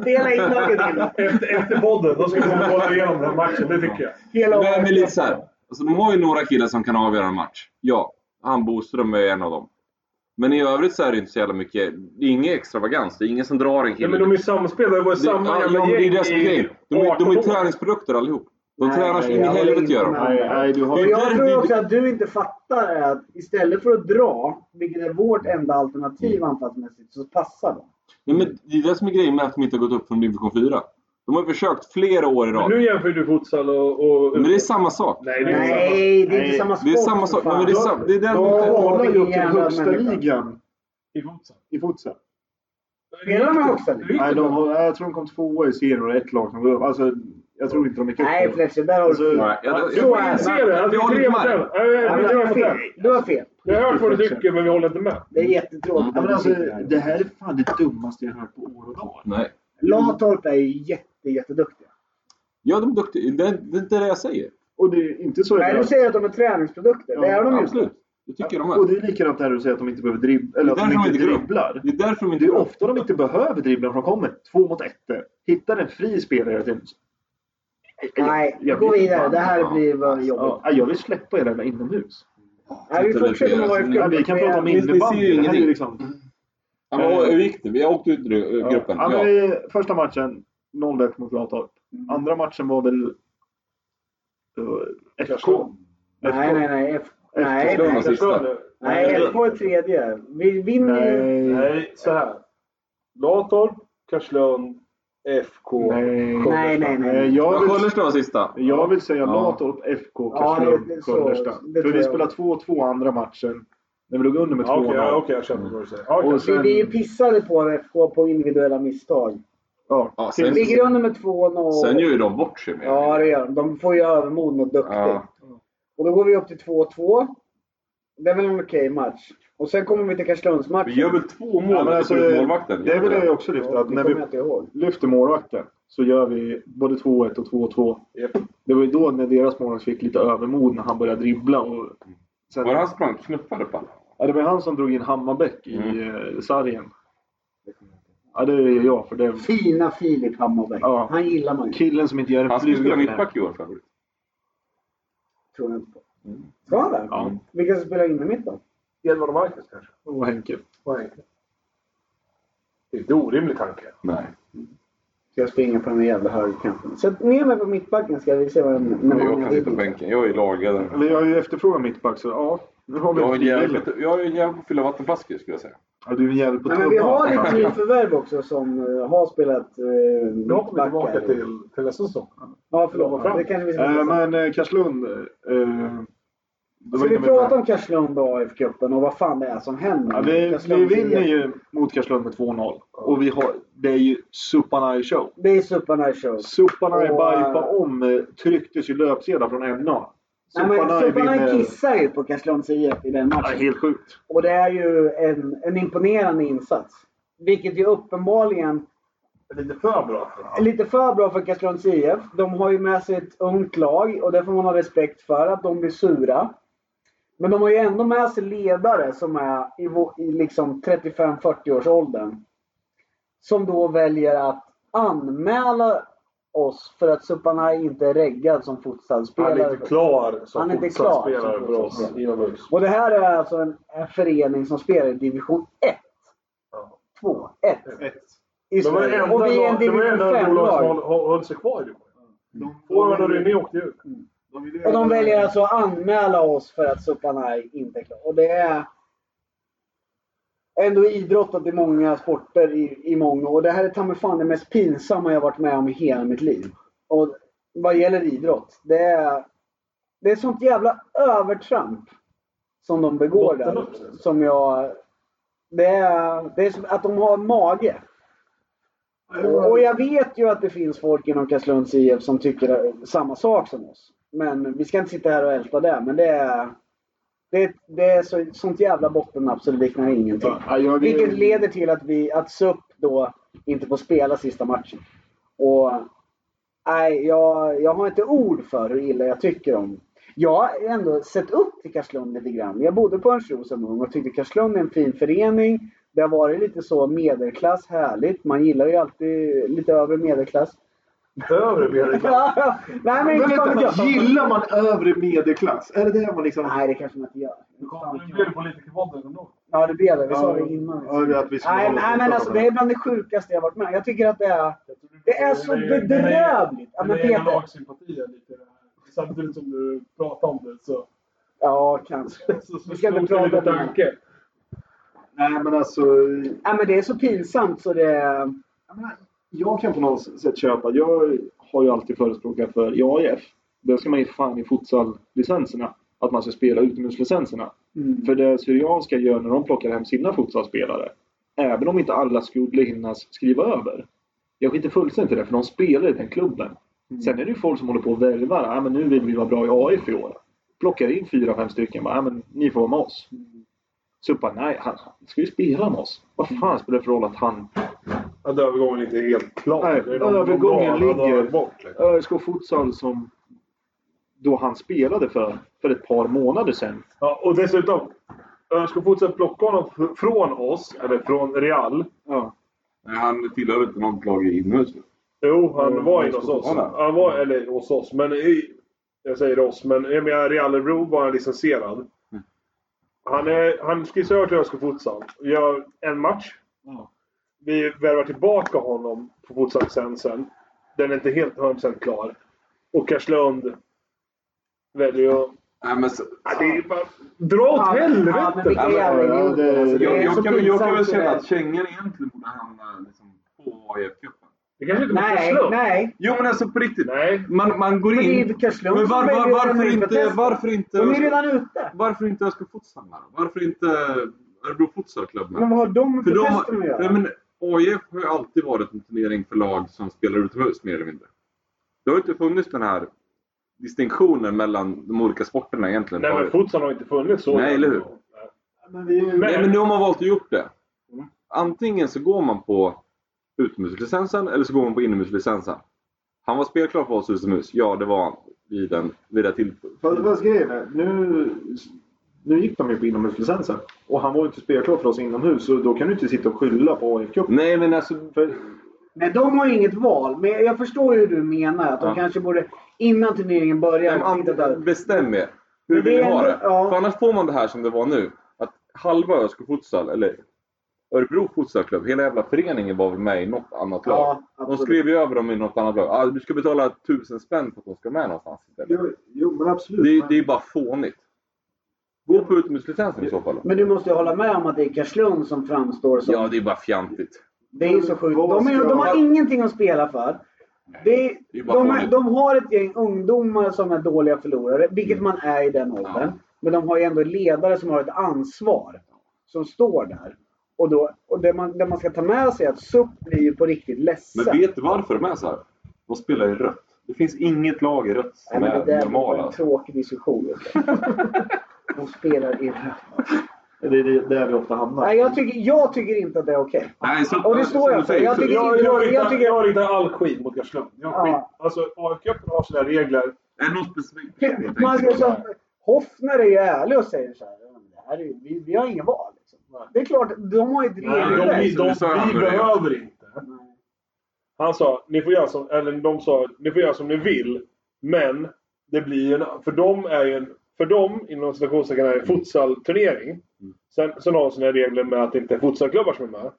[SPEAKER 4] Dela in laget in.
[SPEAKER 5] Efter, efter podden, då ska vi komma och kolla igenom den matchen. Det tycker jag.
[SPEAKER 4] Hela
[SPEAKER 7] Nej, men lite så här. Alltså, de har ju några killar som kan avgöra en match. Ja, han Boström är en av dem. Men i övrigt så är det inte så jävla mycket. Det är ingen extravagans. Det är ingen som drar en
[SPEAKER 5] Ja,
[SPEAKER 7] kille.
[SPEAKER 5] men de är samspelare. Det var ju
[SPEAKER 7] Det-
[SPEAKER 5] samma
[SPEAKER 7] ja,
[SPEAKER 5] jävla
[SPEAKER 7] men
[SPEAKER 5] gäng
[SPEAKER 7] Det är det som är
[SPEAKER 5] i
[SPEAKER 7] grejen. De är, de
[SPEAKER 5] 18
[SPEAKER 7] är
[SPEAKER 5] år.
[SPEAKER 7] träningsprodukter allihop. De
[SPEAKER 4] Nej,
[SPEAKER 7] tränar så in i
[SPEAKER 4] jag håller
[SPEAKER 7] helvete
[SPEAKER 4] inte
[SPEAKER 7] gör de.
[SPEAKER 4] med.
[SPEAKER 2] Nej, nej, du har...
[SPEAKER 4] Och jag
[SPEAKER 7] Där
[SPEAKER 4] tror
[SPEAKER 7] blir
[SPEAKER 4] också
[SPEAKER 7] det-
[SPEAKER 4] att du inte fattar är att istället för att dra, vilket är vårt enda alternativ anfallsmässigt, så passar de.
[SPEAKER 7] Nej, men det är det som är grejen med att de inte har gått upp från division 4. De har försökt flera år i
[SPEAKER 5] Men
[SPEAKER 7] rad.
[SPEAKER 5] nu jämför du futsal och... och
[SPEAKER 7] Men det är samma sak.
[SPEAKER 5] Nej, det är samma.
[SPEAKER 4] Nej, det är inte
[SPEAKER 2] Nej,
[SPEAKER 4] samma sport.
[SPEAKER 7] Det är samma sak.
[SPEAKER 4] för
[SPEAKER 7] Nej, men det är
[SPEAKER 4] fan.
[SPEAKER 7] sam- det är
[SPEAKER 2] Då
[SPEAKER 7] den...
[SPEAKER 2] har vi upp till
[SPEAKER 4] Jävla
[SPEAKER 2] högsta
[SPEAKER 4] människa.
[SPEAKER 2] ligan
[SPEAKER 5] I futsal.
[SPEAKER 2] i futsal.
[SPEAKER 4] Spelar de i högsta ligan?
[SPEAKER 2] Nej, de har, jag tror de kom tvåa i serien och ett lag som går upp. Alltså, jag tror inte de är
[SPEAKER 4] Nej, Fletcher, där har du
[SPEAKER 2] Alltså,
[SPEAKER 4] fel.
[SPEAKER 7] Nej, jag- jag-
[SPEAKER 5] Du får inse det. att Vi
[SPEAKER 7] Jag håller
[SPEAKER 5] är tre
[SPEAKER 7] inte
[SPEAKER 5] mot
[SPEAKER 7] med.
[SPEAKER 5] en. Nej, vi
[SPEAKER 4] Ja, men
[SPEAKER 5] är
[SPEAKER 4] Du
[SPEAKER 5] tre
[SPEAKER 4] har
[SPEAKER 5] mot en.
[SPEAKER 4] fel. Du har fel.
[SPEAKER 5] Jag har hört vad du tycker, men vi håller inte med.
[SPEAKER 4] Det är jättetråkigt.
[SPEAKER 2] Ja, men alltså,
[SPEAKER 4] Mm.
[SPEAKER 2] det här är fan det dummaste jag hört på år och dag.
[SPEAKER 7] Nej.
[SPEAKER 4] Latorp är ju jätte, jätteduktiga.
[SPEAKER 7] Ja, de är duktiga. Det, det är inte det jag säger.
[SPEAKER 2] Och det är inte så...
[SPEAKER 4] Nej, du säger att de är träningsprodukter. Det är de ju inte.
[SPEAKER 7] Absolut. Det tycker jag de
[SPEAKER 2] och
[SPEAKER 7] är.
[SPEAKER 2] det är likadant där du säger att de inte behöver dribbla. Eller att
[SPEAKER 7] Det är
[SPEAKER 2] de
[SPEAKER 7] därför
[SPEAKER 2] inte
[SPEAKER 7] de inte går upp.
[SPEAKER 2] dribblar.
[SPEAKER 7] Det är därför de
[SPEAKER 2] Det
[SPEAKER 7] inte
[SPEAKER 2] är ofta de inte behöver dribbla för de kommer två mot ett. Hittar en fri spelare till...
[SPEAKER 4] Nej,
[SPEAKER 2] Jag
[SPEAKER 4] gå
[SPEAKER 2] vet inte
[SPEAKER 4] vidare.
[SPEAKER 2] fan.
[SPEAKER 4] Det här
[SPEAKER 7] Ja.
[SPEAKER 4] blir vad jobbigt.
[SPEAKER 2] Ja, jag vill släppa er där inomhus.
[SPEAKER 4] Nej, vi fortsätter med AFK.
[SPEAKER 2] Ja, vi kan prata om
[SPEAKER 7] Ni- ni ser ju
[SPEAKER 2] innebandy. Det här är ju
[SPEAKER 7] ingenting. Mm.
[SPEAKER 2] liksom...
[SPEAKER 7] Ja, men hur gick det? Vi åkte ut ur
[SPEAKER 2] Ja.
[SPEAKER 7] gruppen.
[SPEAKER 2] Ja, men
[SPEAKER 7] Ja.
[SPEAKER 2] vi, första matchen 0-1 mot Latorp.
[SPEAKER 4] Mm.
[SPEAKER 2] Andra matchen var väl eh, FK?
[SPEAKER 4] Nej, nej, nej. F- Nej,
[SPEAKER 7] Efterslunga
[SPEAKER 4] nej.
[SPEAKER 7] sista.
[SPEAKER 4] Nej, FK är tredje. Vi vinner ju.
[SPEAKER 2] Nej.
[SPEAKER 5] Nej, så här. Latorp, Karlslund,
[SPEAKER 2] FK.
[SPEAKER 4] Nej, nej, nej. nej.
[SPEAKER 2] Jag
[SPEAKER 7] Vad
[SPEAKER 2] vill,
[SPEAKER 7] Sköllersta var sista?
[SPEAKER 2] jag vill säga
[SPEAKER 7] Ja.
[SPEAKER 2] Latorp, FK, Karlslund,
[SPEAKER 4] det är så.
[SPEAKER 2] Sköllersta.
[SPEAKER 4] Det
[SPEAKER 2] För
[SPEAKER 4] tror
[SPEAKER 2] vi
[SPEAKER 4] jag.
[SPEAKER 2] spelade 2-2 andra matchen. När vi låg under med
[SPEAKER 5] Ja, Okej,
[SPEAKER 2] 2-0.
[SPEAKER 5] ja, okej, jag köper vad du säger. Ja, okej.
[SPEAKER 2] Och
[SPEAKER 4] Vi,
[SPEAKER 2] sen-
[SPEAKER 4] vi pissade på FK på individuella misstag.
[SPEAKER 2] Ja.
[SPEAKER 7] Ja,
[SPEAKER 4] Vi
[SPEAKER 7] sen,
[SPEAKER 4] ligger under med 2-0.
[SPEAKER 7] sen gör ju de bort sig mer.
[SPEAKER 4] Ja, det gör de. De får ju övermod mot duktig.
[SPEAKER 7] Ja.
[SPEAKER 4] Och då går vi upp till 2-2. Det är väl en okej match. Och sen kommer vi
[SPEAKER 7] Vi
[SPEAKER 4] till Karlslundsmatchen.
[SPEAKER 7] gör väl två mål
[SPEAKER 2] Ja, men
[SPEAKER 7] och
[SPEAKER 2] alltså,
[SPEAKER 7] alltså, ut målvakten?
[SPEAKER 2] Det är väl det jag också lyfter.
[SPEAKER 4] Ja,
[SPEAKER 2] Att
[SPEAKER 4] det
[SPEAKER 2] när
[SPEAKER 4] kommer
[SPEAKER 2] vi
[SPEAKER 4] jag inte ihåg.
[SPEAKER 2] lyfter målvakten så gör vi både 2-1 och 2-2.
[SPEAKER 5] Japp.
[SPEAKER 2] Det var ju då när deras målvakt fick lite övermod när han började dribbla. Och sen,
[SPEAKER 7] Var det han som sprang och knuffade på alla?
[SPEAKER 2] ja, det var han som drog in Hammarbäck i
[SPEAKER 7] Mm.
[SPEAKER 2] eh, sargen. Ja, det är jag. För det,
[SPEAKER 6] Fina Filip Hammarbäck.
[SPEAKER 2] Ja.
[SPEAKER 6] Han gillar man ju.
[SPEAKER 2] killen som inte gör en
[SPEAKER 7] Han skulle spela
[SPEAKER 2] fluga. för det.
[SPEAKER 7] mittback i år för övrigt.
[SPEAKER 4] Tror jag inte på. Ska han det?
[SPEAKER 2] Ja,
[SPEAKER 4] Vilka som spelar in i mitt då?
[SPEAKER 5] Edvard och Marcus kanske?
[SPEAKER 2] och Henke.
[SPEAKER 5] Vad är det? Det är inte orimlig tanke.
[SPEAKER 7] Nej.
[SPEAKER 4] Ska jag springa på den här jävla högerkanten? Sätt ner mig på mittbacken ska vi se vad den... när
[SPEAKER 7] Jag
[SPEAKER 4] många
[SPEAKER 7] kan sitta på
[SPEAKER 4] vill.
[SPEAKER 7] bänken. Jag är lagledare.
[SPEAKER 2] Vi har ju efterfrågat mittback så ja. Nu har vi
[SPEAKER 7] Jag är
[SPEAKER 2] en
[SPEAKER 7] en
[SPEAKER 2] frivillig.
[SPEAKER 7] jävel- jag är en jävel på att fylla vattenflaskor skulle jag säga.
[SPEAKER 2] Ja, du är en jävel på
[SPEAKER 4] Nej, men vi har
[SPEAKER 2] tubban.
[SPEAKER 4] ett nyförvärv också som eh, har spelat eh,
[SPEAKER 5] Nu
[SPEAKER 4] mittback.
[SPEAKER 5] hoppar vi tillbaka
[SPEAKER 4] här.
[SPEAKER 5] till, till nästa säsong.
[SPEAKER 4] Ja, förlåt. Det kanske vi ska
[SPEAKER 2] Eh,
[SPEAKER 4] prata om.
[SPEAKER 2] Men eh, Karlslund. Eh, det
[SPEAKER 4] Ska
[SPEAKER 2] var
[SPEAKER 4] vi
[SPEAKER 2] inne med-
[SPEAKER 4] prata om Karlslund och AIF-cupen och vad fan det är som händer?
[SPEAKER 2] Ja, vi,
[SPEAKER 4] Karlslund
[SPEAKER 2] vi vinner
[SPEAKER 4] igen.
[SPEAKER 2] ju mot Karlslund med 2-0. Och vi har, det är ju Supanaj show.
[SPEAKER 4] Det är supernice show.
[SPEAKER 2] Supanaj
[SPEAKER 4] Och,
[SPEAKER 2] Bajpa om eh, trycktes ju löpsedlar från MA.
[SPEAKER 4] Nej, men
[SPEAKER 2] Supanaj
[SPEAKER 4] Superman
[SPEAKER 2] vinner.
[SPEAKER 4] kissar ju på Karlslunds IF i den
[SPEAKER 2] Ja,
[SPEAKER 4] matchen.
[SPEAKER 2] helt sjukt.
[SPEAKER 4] Och det är ju en, en imponerande insats. Vilket ju uppenbarligen
[SPEAKER 5] Det är lite för bra för
[SPEAKER 4] är lite för bra för Karlslunds IF. De har ju med sig ett ungt lag och det får man ha respekt för, att de blir sura. Men de har ju ändå med sig ledare som är i, vå- i liksom 35-40 års åldern. Som då väljer att anmäla oss för att Supanaj inte är reggad som
[SPEAKER 5] Han
[SPEAKER 4] fotbollsspelare.
[SPEAKER 5] är inte klar som
[SPEAKER 4] Han är inte klar
[SPEAKER 5] fotbollsspelare
[SPEAKER 4] som
[SPEAKER 5] för oss
[SPEAKER 4] fotbollsspelare.
[SPEAKER 5] inomhus.
[SPEAKER 4] Och det här är alltså en, en förening som spelar i division 1.
[SPEAKER 5] Ja.
[SPEAKER 4] 2, 1
[SPEAKER 2] Ett.
[SPEAKER 4] i
[SPEAKER 5] Det var det
[SPEAKER 4] Sverige. Och
[SPEAKER 5] enda
[SPEAKER 4] vi är en
[SPEAKER 5] lag- det var det
[SPEAKER 4] division
[SPEAKER 5] enda bolag som
[SPEAKER 4] 5-lag.
[SPEAKER 5] höll- höll höll sig kvar i
[SPEAKER 4] Mm.
[SPEAKER 5] division.
[SPEAKER 2] De,
[SPEAKER 5] Forwarden och Rynne åkte ut.
[SPEAKER 2] de vill ju
[SPEAKER 4] Och de
[SPEAKER 2] ändra-
[SPEAKER 4] väljer alltså att anmäla oss för att Supanaj inte är klar. Och det är ändå idrottat i många sporter i, i många år. Det här är ta mig fan det mest pinsamma jag varit med om i hela mitt liv. Och vad gäller idrott. Det är, det är sånt jävla övertramp som de begår där.
[SPEAKER 5] Bottennapp, alltså.
[SPEAKER 4] Som jag... Det är, det är som att de har mage. Och, och jag vet ju att det finns folk inom Karlslunds IF som tycker samma sak som oss. Men vi ska inte sitta här och älta det. Men det är, det, är- det är så, sånt jävla bottennapp så det liknar ingenting.
[SPEAKER 2] Ja, jag vill-
[SPEAKER 4] Vilket leder till att, vi, att SUP då inte får spela sista matchen. Och nej, jag, jag har inte ord för hur illa jag tycker om. Jag har ändå sett upp till Karlslund lite grann. Jag bodde på Örnsköldsvik som ung och tyckte Karlslund är en fin förening. Det har varit lite så medelklass, härligt. Man gillar ju alltid lite övre medelklass. *laughs*
[SPEAKER 5] Övre medelklass.
[SPEAKER 4] nej men
[SPEAKER 2] Men
[SPEAKER 4] inte fan vet
[SPEAKER 2] vänta,
[SPEAKER 4] jag.
[SPEAKER 2] gillar man övre medelklass? Är det det man liksom...
[SPEAKER 4] Nej det kanske man inte gör.
[SPEAKER 5] Nu blir det politikerpodden ändå.
[SPEAKER 4] Ja det blev det. Vi sa det innan.
[SPEAKER 2] Ja, det är att vi skulle
[SPEAKER 4] Nej,
[SPEAKER 2] hålla oss
[SPEAKER 4] nej
[SPEAKER 2] borta
[SPEAKER 4] men alltså
[SPEAKER 2] från
[SPEAKER 4] det är bland det sjukaste jag varit med om. Jag tycker att det är... Det är så bedrövligt. Ja, men
[SPEAKER 5] Dina egna
[SPEAKER 4] Peter.
[SPEAKER 5] lagsympatier lite. Samtidigt som du pratar om det så...
[SPEAKER 4] Ja, kanske. *laughs*
[SPEAKER 5] så, så
[SPEAKER 4] Vi ska inte
[SPEAKER 5] slogs det
[SPEAKER 4] prata
[SPEAKER 5] lite
[SPEAKER 4] om det.
[SPEAKER 5] tanke.
[SPEAKER 2] Nej, men alltså...
[SPEAKER 4] Nej, men det är så pinsamt så det...
[SPEAKER 2] jag menar, Jag kan på något sätt köpa. Jag har ju alltid förespråkat för i AIF. Där ska man ge fan i futsal-licenserna. Att man ska spela utomhuslicenserna. För det Syrianska gör när de plockar hem sina futsalspelare. Även om inte alla skulle hinnas skriva över. Jag skiter fullständigt i det, för de spelar i den klubben. Sen är det ju folk som håller på och värvar. Ah, men nu vill vi vara bra i AIF i år. Plockar in fyra, fem stycken. Bara, ah, men ni får vara med oss. Suppa, nej, han, han ska ju spela med oss. Vad fan spelar det för roll att han
[SPEAKER 5] Att övergången inte är helt klar.
[SPEAKER 2] Nej,
[SPEAKER 5] Det är någon-
[SPEAKER 2] övergången
[SPEAKER 5] någon dag han har
[SPEAKER 2] ligger-
[SPEAKER 5] Bort, liksom.
[SPEAKER 2] ÖSK Futsal som då han spelade för, för ett par månader sedan.
[SPEAKER 5] ja, och dessutom. Önskar fortsätta plocka honom fr- från oss, eller från Real.
[SPEAKER 2] Ja.
[SPEAKER 7] Nej, han tillhör inte något lag i inomhus nu.
[SPEAKER 5] Jo, han
[SPEAKER 2] Mm,
[SPEAKER 5] var
[SPEAKER 7] han
[SPEAKER 5] ju hos
[SPEAKER 7] ska
[SPEAKER 5] oss.
[SPEAKER 7] fortfarande.
[SPEAKER 5] Han var, eller hos oss, men i, jag säger oss. Men jag menar, Real Örebro var han licensierad.
[SPEAKER 3] Mm.
[SPEAKER 5] Han, är, han skissar över till ÖSK Futsal. Gör en match.
[SPEAKER 2] Ja.
[SPEAKER 5] Vi värvar tillbaka honom på futsallicensen. Den är inte helt 100% klar. Och Karlslund väljer att...
[SPEAKER 7] Nej, men så,
[SPEAKER 5] Ja, det är bara... Dra åt
[SPEAKER 4] Ja, men
[SPEAKER 5] helvete!
[SPEAKER 4] vilka jävla
[SPEAKER 2] Ja,
[SPEAKER 4] idioter.
[SPEAKER 2] det-
[SPEAKER 4] alltså, det
[SPEAKER 7] jag,
[SPEAKER 4] är
[SPEAKER 7] jag,
[SPEAKER 4] så
[SPEAKER 7] kan, jag kan väl
[SPEAKER 4] pinsamt så
[SPEAKER 7] känna
[SPEAKER 4] det är.
[SPEAKER 7] att kängan egentligen borde hamna liksom, på AIF-cupen.
[SPEAKER 5] Det kanske inte var
[SPEAKER 4] Nej,
[SPEAKER 5] slump.
[SPEAKER 4] nej.
[SPEAKER 3] Jo men alltså på riktigt.
[SPEAKER 5] Nej.
[SPEAKER 3] Man, man går
[SPEAKER 4] Men det är
[SPEAKER 3] in...
[SPEAKER 4] vilka slump
[SPEAKER 3] Men var, var,
[SPEAKER 4] som väljer att
[SPEAKER 3] varför,
[SPEAKER 4] lämna in
[SPEAKER 3] inte,
[SPEAKER 4] protester.
[SPEAKER 3] varför inte...
[SPEAKER 4] De är ju redan ute.
[SPEAKER 3] Varför inte Östra Fotsalna då? Varför inte Örebro Futsalklubb med?
[SPEAKER 4] Men vad har de med
[SPEAKER 3] För de,
[SPEAKER 4] protester att
[SPEAKER 3] nej,
[SPEAKER 4] göra?
[SPEAKER 3] men AIF har ju alltid varit en turnering för lag som spelar utomhus mer eller mindre. Det har ju inte funnits den här distinktionen mellan de olika sporterna egentligen.
[SPEAKER 5] Nej, men futsal har inte funnits så.
[SPEAKER 3] Nej, eller hur?
[SPEAKER 4] Men vi är ju-
[SPEAKER 3] Nej, men nu har man valt att gjort det.
[SPEAKER 4] Mm.
[SPEAKER 3] Antingen så går man på utomhuslicensen eller så går man på inomhuslicensen. Han var spelklar för oss utomhus. Ja, det var han vid, den, vid det tillfället.
[SPEAKER 2] Fast vad grejen är, nu, nu gick de ju på inomhuslicensen. Och han var ju inte spelklar för oss inomhus, så då kan du inte sitta och skylla på AIF-cupen.
[SPEAKER 3] Nej, men alltså...
[SPEAKER 2] För-
[SPEAKER 4] Nej, de har ju inget val. Men jag förstår ju hur du menar. Att de
[SPEAKER 3] Ja.
[SPEAKER 4] kanske borde, innan turneringen börjar,
[SPEAKER 3] Men
[SPEAKER 4] titta
[SPEAKER 3] an-
[SPEAKER 4] där.
[SPEAKER 3] bestäm er. Hur
[SPEAKER 4] Men det
[SPEAKER 3] vill ni
[SPEAKER 4] är
[SPEAKER 3] ha
[SPEAKER 4] ändå-
[SPEAKER 3] det?
[SPEAKER 4] ja.
[SPEAKER 3] För annars får man det här som det var nu. Att halva Ösko futsal, eller Örebro futsalklubb, hela jävla föreningen var väl med i något annat lag.
[SPEAKER 4] Ja,
[SPEAKER 3] De
[SPEAKER 4] absolut.
[SPEAKER 3] skrev ju över dem i något annat lag. Ah, du ska betala tusen spänn för att de ska med någonstans. istället.
[SPEAKER 2] Jo, jo men absolut.
[SPEAKER 3] Det, är-
[SPEAKER 2] men-
[SPEAKER 3] det är bara fånigt. Gå på utomhuslicensen i så fall.
[SPEAKER 4] Men du måste ju hålla med om att det är Karlslund som framstår som...
[SPEAKER 3] Ja, det är bara fjantigt.
[SPEAKER 4] Det är ju så sjukt. De, är, de har ingenting att spela för. Det är,
[SPEAKER 3] Det är bara
[SPEAKER 4] de, är,
[SPEAKER 3] fånigt.
[SPEAKER 4] de har ett gäng ungdomar som är dåliga förlorare, vilket man är i den åldern.
[SPEAKER 3] Mm. Ja.
[SPEAKER 4] Men de har ju ändå ledare som har ett ansvar, som står där. Och, då, och det, man, det man ska ta med sig är att SUP blir ju på riktigt ledsen.
[SPEAKER 3] Men vet du varför de är så här? De spelar i rött. Det finns inget lag i rött
[SPEAKER 4] Nej,
[SPEAKER 3] som
[SPEAKER 4] men det
[SPEAKER 3] är
[SPEAKER 4] där var
[SPEAKER 3] normala.
[SPEAKER 4] en
[SPEAKER 3] *laughs*
[SPEAKER 4] tråkig diskussion. De spelar i rött.
[SPEAKER 2] Det är det- där vi ofta hamnar.
[SPEAKER 4] Nej, jag tycker, jag tycker inte att det är okej.
[SPEAKER 3] Nej, så,
[SPEAKER 4] Och det står jag
[SPEAKER 3] som du
[SPEAKER 4] för.
[SPEAKER 3] säger,
[SPEAKER 4] Jag
[SPEAKER 3] så-
[SPEAKER 4] tycker-
[SPEAKER 5] Jag, jag,
[SPEAKER 4] Jag
[SPEAKER 5] riktar,
[SPEAKER 4] tycker-
[SPEAKER 5] jag riktar all skit mot Karlslund. Jag
[SPEAKER 4] Ja.
[SPEAKER 5] skit. Alltså, AIF-cupen har sina regler.
[SPEAKER 3] Är det någon specifik
[SPEAKER 4] Okay. Man ska så, alltså, Hoffner är ju ärlig och säger så här. "Ja, men Det här är, ju- vi, vi har ingen val. Liksom. Det är klart, de har ju ett
[SPEAKER 5] Nej, de,
[SPEAKER 4] regelverk.
[SPEAKER 5] de,
[SPEAKER 3] som vi sa i
[SPEAKER 5] vi
[SPEAKER 3] andra
[SPEAKER 5] behöver inte. Han sa, ni får göra som, eller de sa, ni får göra som ni vill. Men det blir en, för dem är ju en, för dem inom citationstecken är det en futsalturnering.
[SPEAKER 3] Mm.
[SPEAKER 5] Sen, sen har de sina regler med att det inte är futsalklubbar som är med.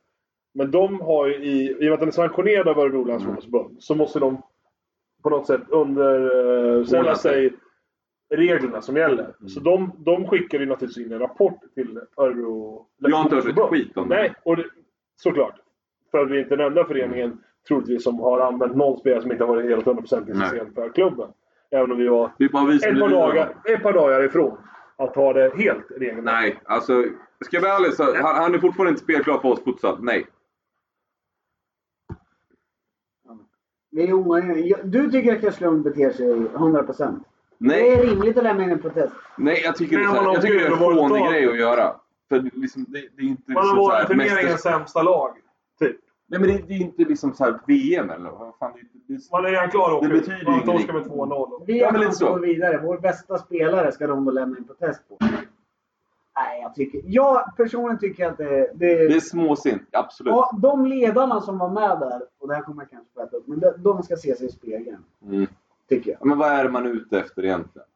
[SPEAKER 5] Men de har ju i, i och med att den är sanktionerad av Örebro läns fotbollsförbund så måste de på något sätt underställa
[SPEAKER 3] Ordna
[SPEAKER 5] sig reglerna som gäller.
[SPEAKER 3] Mm.
[SPEAKER 5] Så de, de skickar ju naturligtvis in en rapport till Örebro
[SPEAKER 3] Jag har inte hört ett skit om det.
[SPEAKER 5] Nej, och det, såklart. För att vi är inte den enda
[SPEAKER 3] Mm.
[SPEAKER 5] föreningen troligtvis som har använt någon spelare som inte har varit helt hundraprocentigt
[SPEAKER 3] Nej.
[SPEAKER 5] system för klubben. Även om vi var
[SPEAKER 3] Det är bara vi som
[SPEAKER 5] ett
[SPEAKER 3] blir
[SPEAKER 5] par,
[SPEAKER 3] lidande.
[SPEAKER 5] dagar, ett par dagar ifrån att ha det helt regelmässigt.
[SPEAKER 3] Nej, alltså. Ska jag vara ärlig så han, han är fortfarande inte spelklar för oss futsal. Nej.
[SPEAKER 4] Vi är omöjliga. Jag- Du tycker att Karlslund beter sig 100%. Det
[SPEAKER 3] Nej,
[SPEAKER 4] är rimligt att lämna in en protest.
[SPEAKER 3] nej jag tycker det är, så
[SPEAKER 5] Men man
[SPEAKER 3] här,
[SPEAKER 5] har
[SPEAKER 3] jag tycker det är en
[SPEAKER 5] ju varit
[SPEAKER 3] fånig
[SPEAKER 5] av-
[SPEAKER 3] grej att göra. För det är liksom, det, det är inte
[SPEAKER 5] Man har
[SPEAKER 3] liksom så
[SPEAKER 5] varit
[SPEAKER 3] här,
[SPEAKER 5] turneringens
[SPEAKER 3] mästers...
[SPEAKER 5] sämsta lag. Typ.
[SPEAKER 3] Nej men det, det är inte liksom så här VM eller vad fan. Det, är- det, är-
[SPEAKER 5] Man är redan klar att åka
[SPEAKER 3] Det
[SPEAKER 5] ut.
[SPEAKER 3] betyder
[SPEAKER 5] Man
[SPEAKER 3] ingenting.
[SPEAKER 5] torskar med 2-0.
[SPEAKER 4] Vi
[SPEAKER 3] Ja,
[SPEAKER 4] har
[SPEAKER 3] men lite
[SPEAKER 4] chans att
[SPEAKER 3] så.
[SPEAKER 4] gå vidare. Vår bästa spelare ska de då lämna in protest på. Nej, jag tycker... Jag personligen tycker att det, det,
[SPEAKER 3] det är småsint, absolut.
[SPEAKER 4] ja, De ledarna som var med där, och det här kommer jag kanske få äta upp, men de, de ska se sig i spegeln.
[SPEAKER 3] Mm.
[SPEAKER 4] Tycker jag.
[SPEAKER 3] Men vad är det man är ute efter egentligen?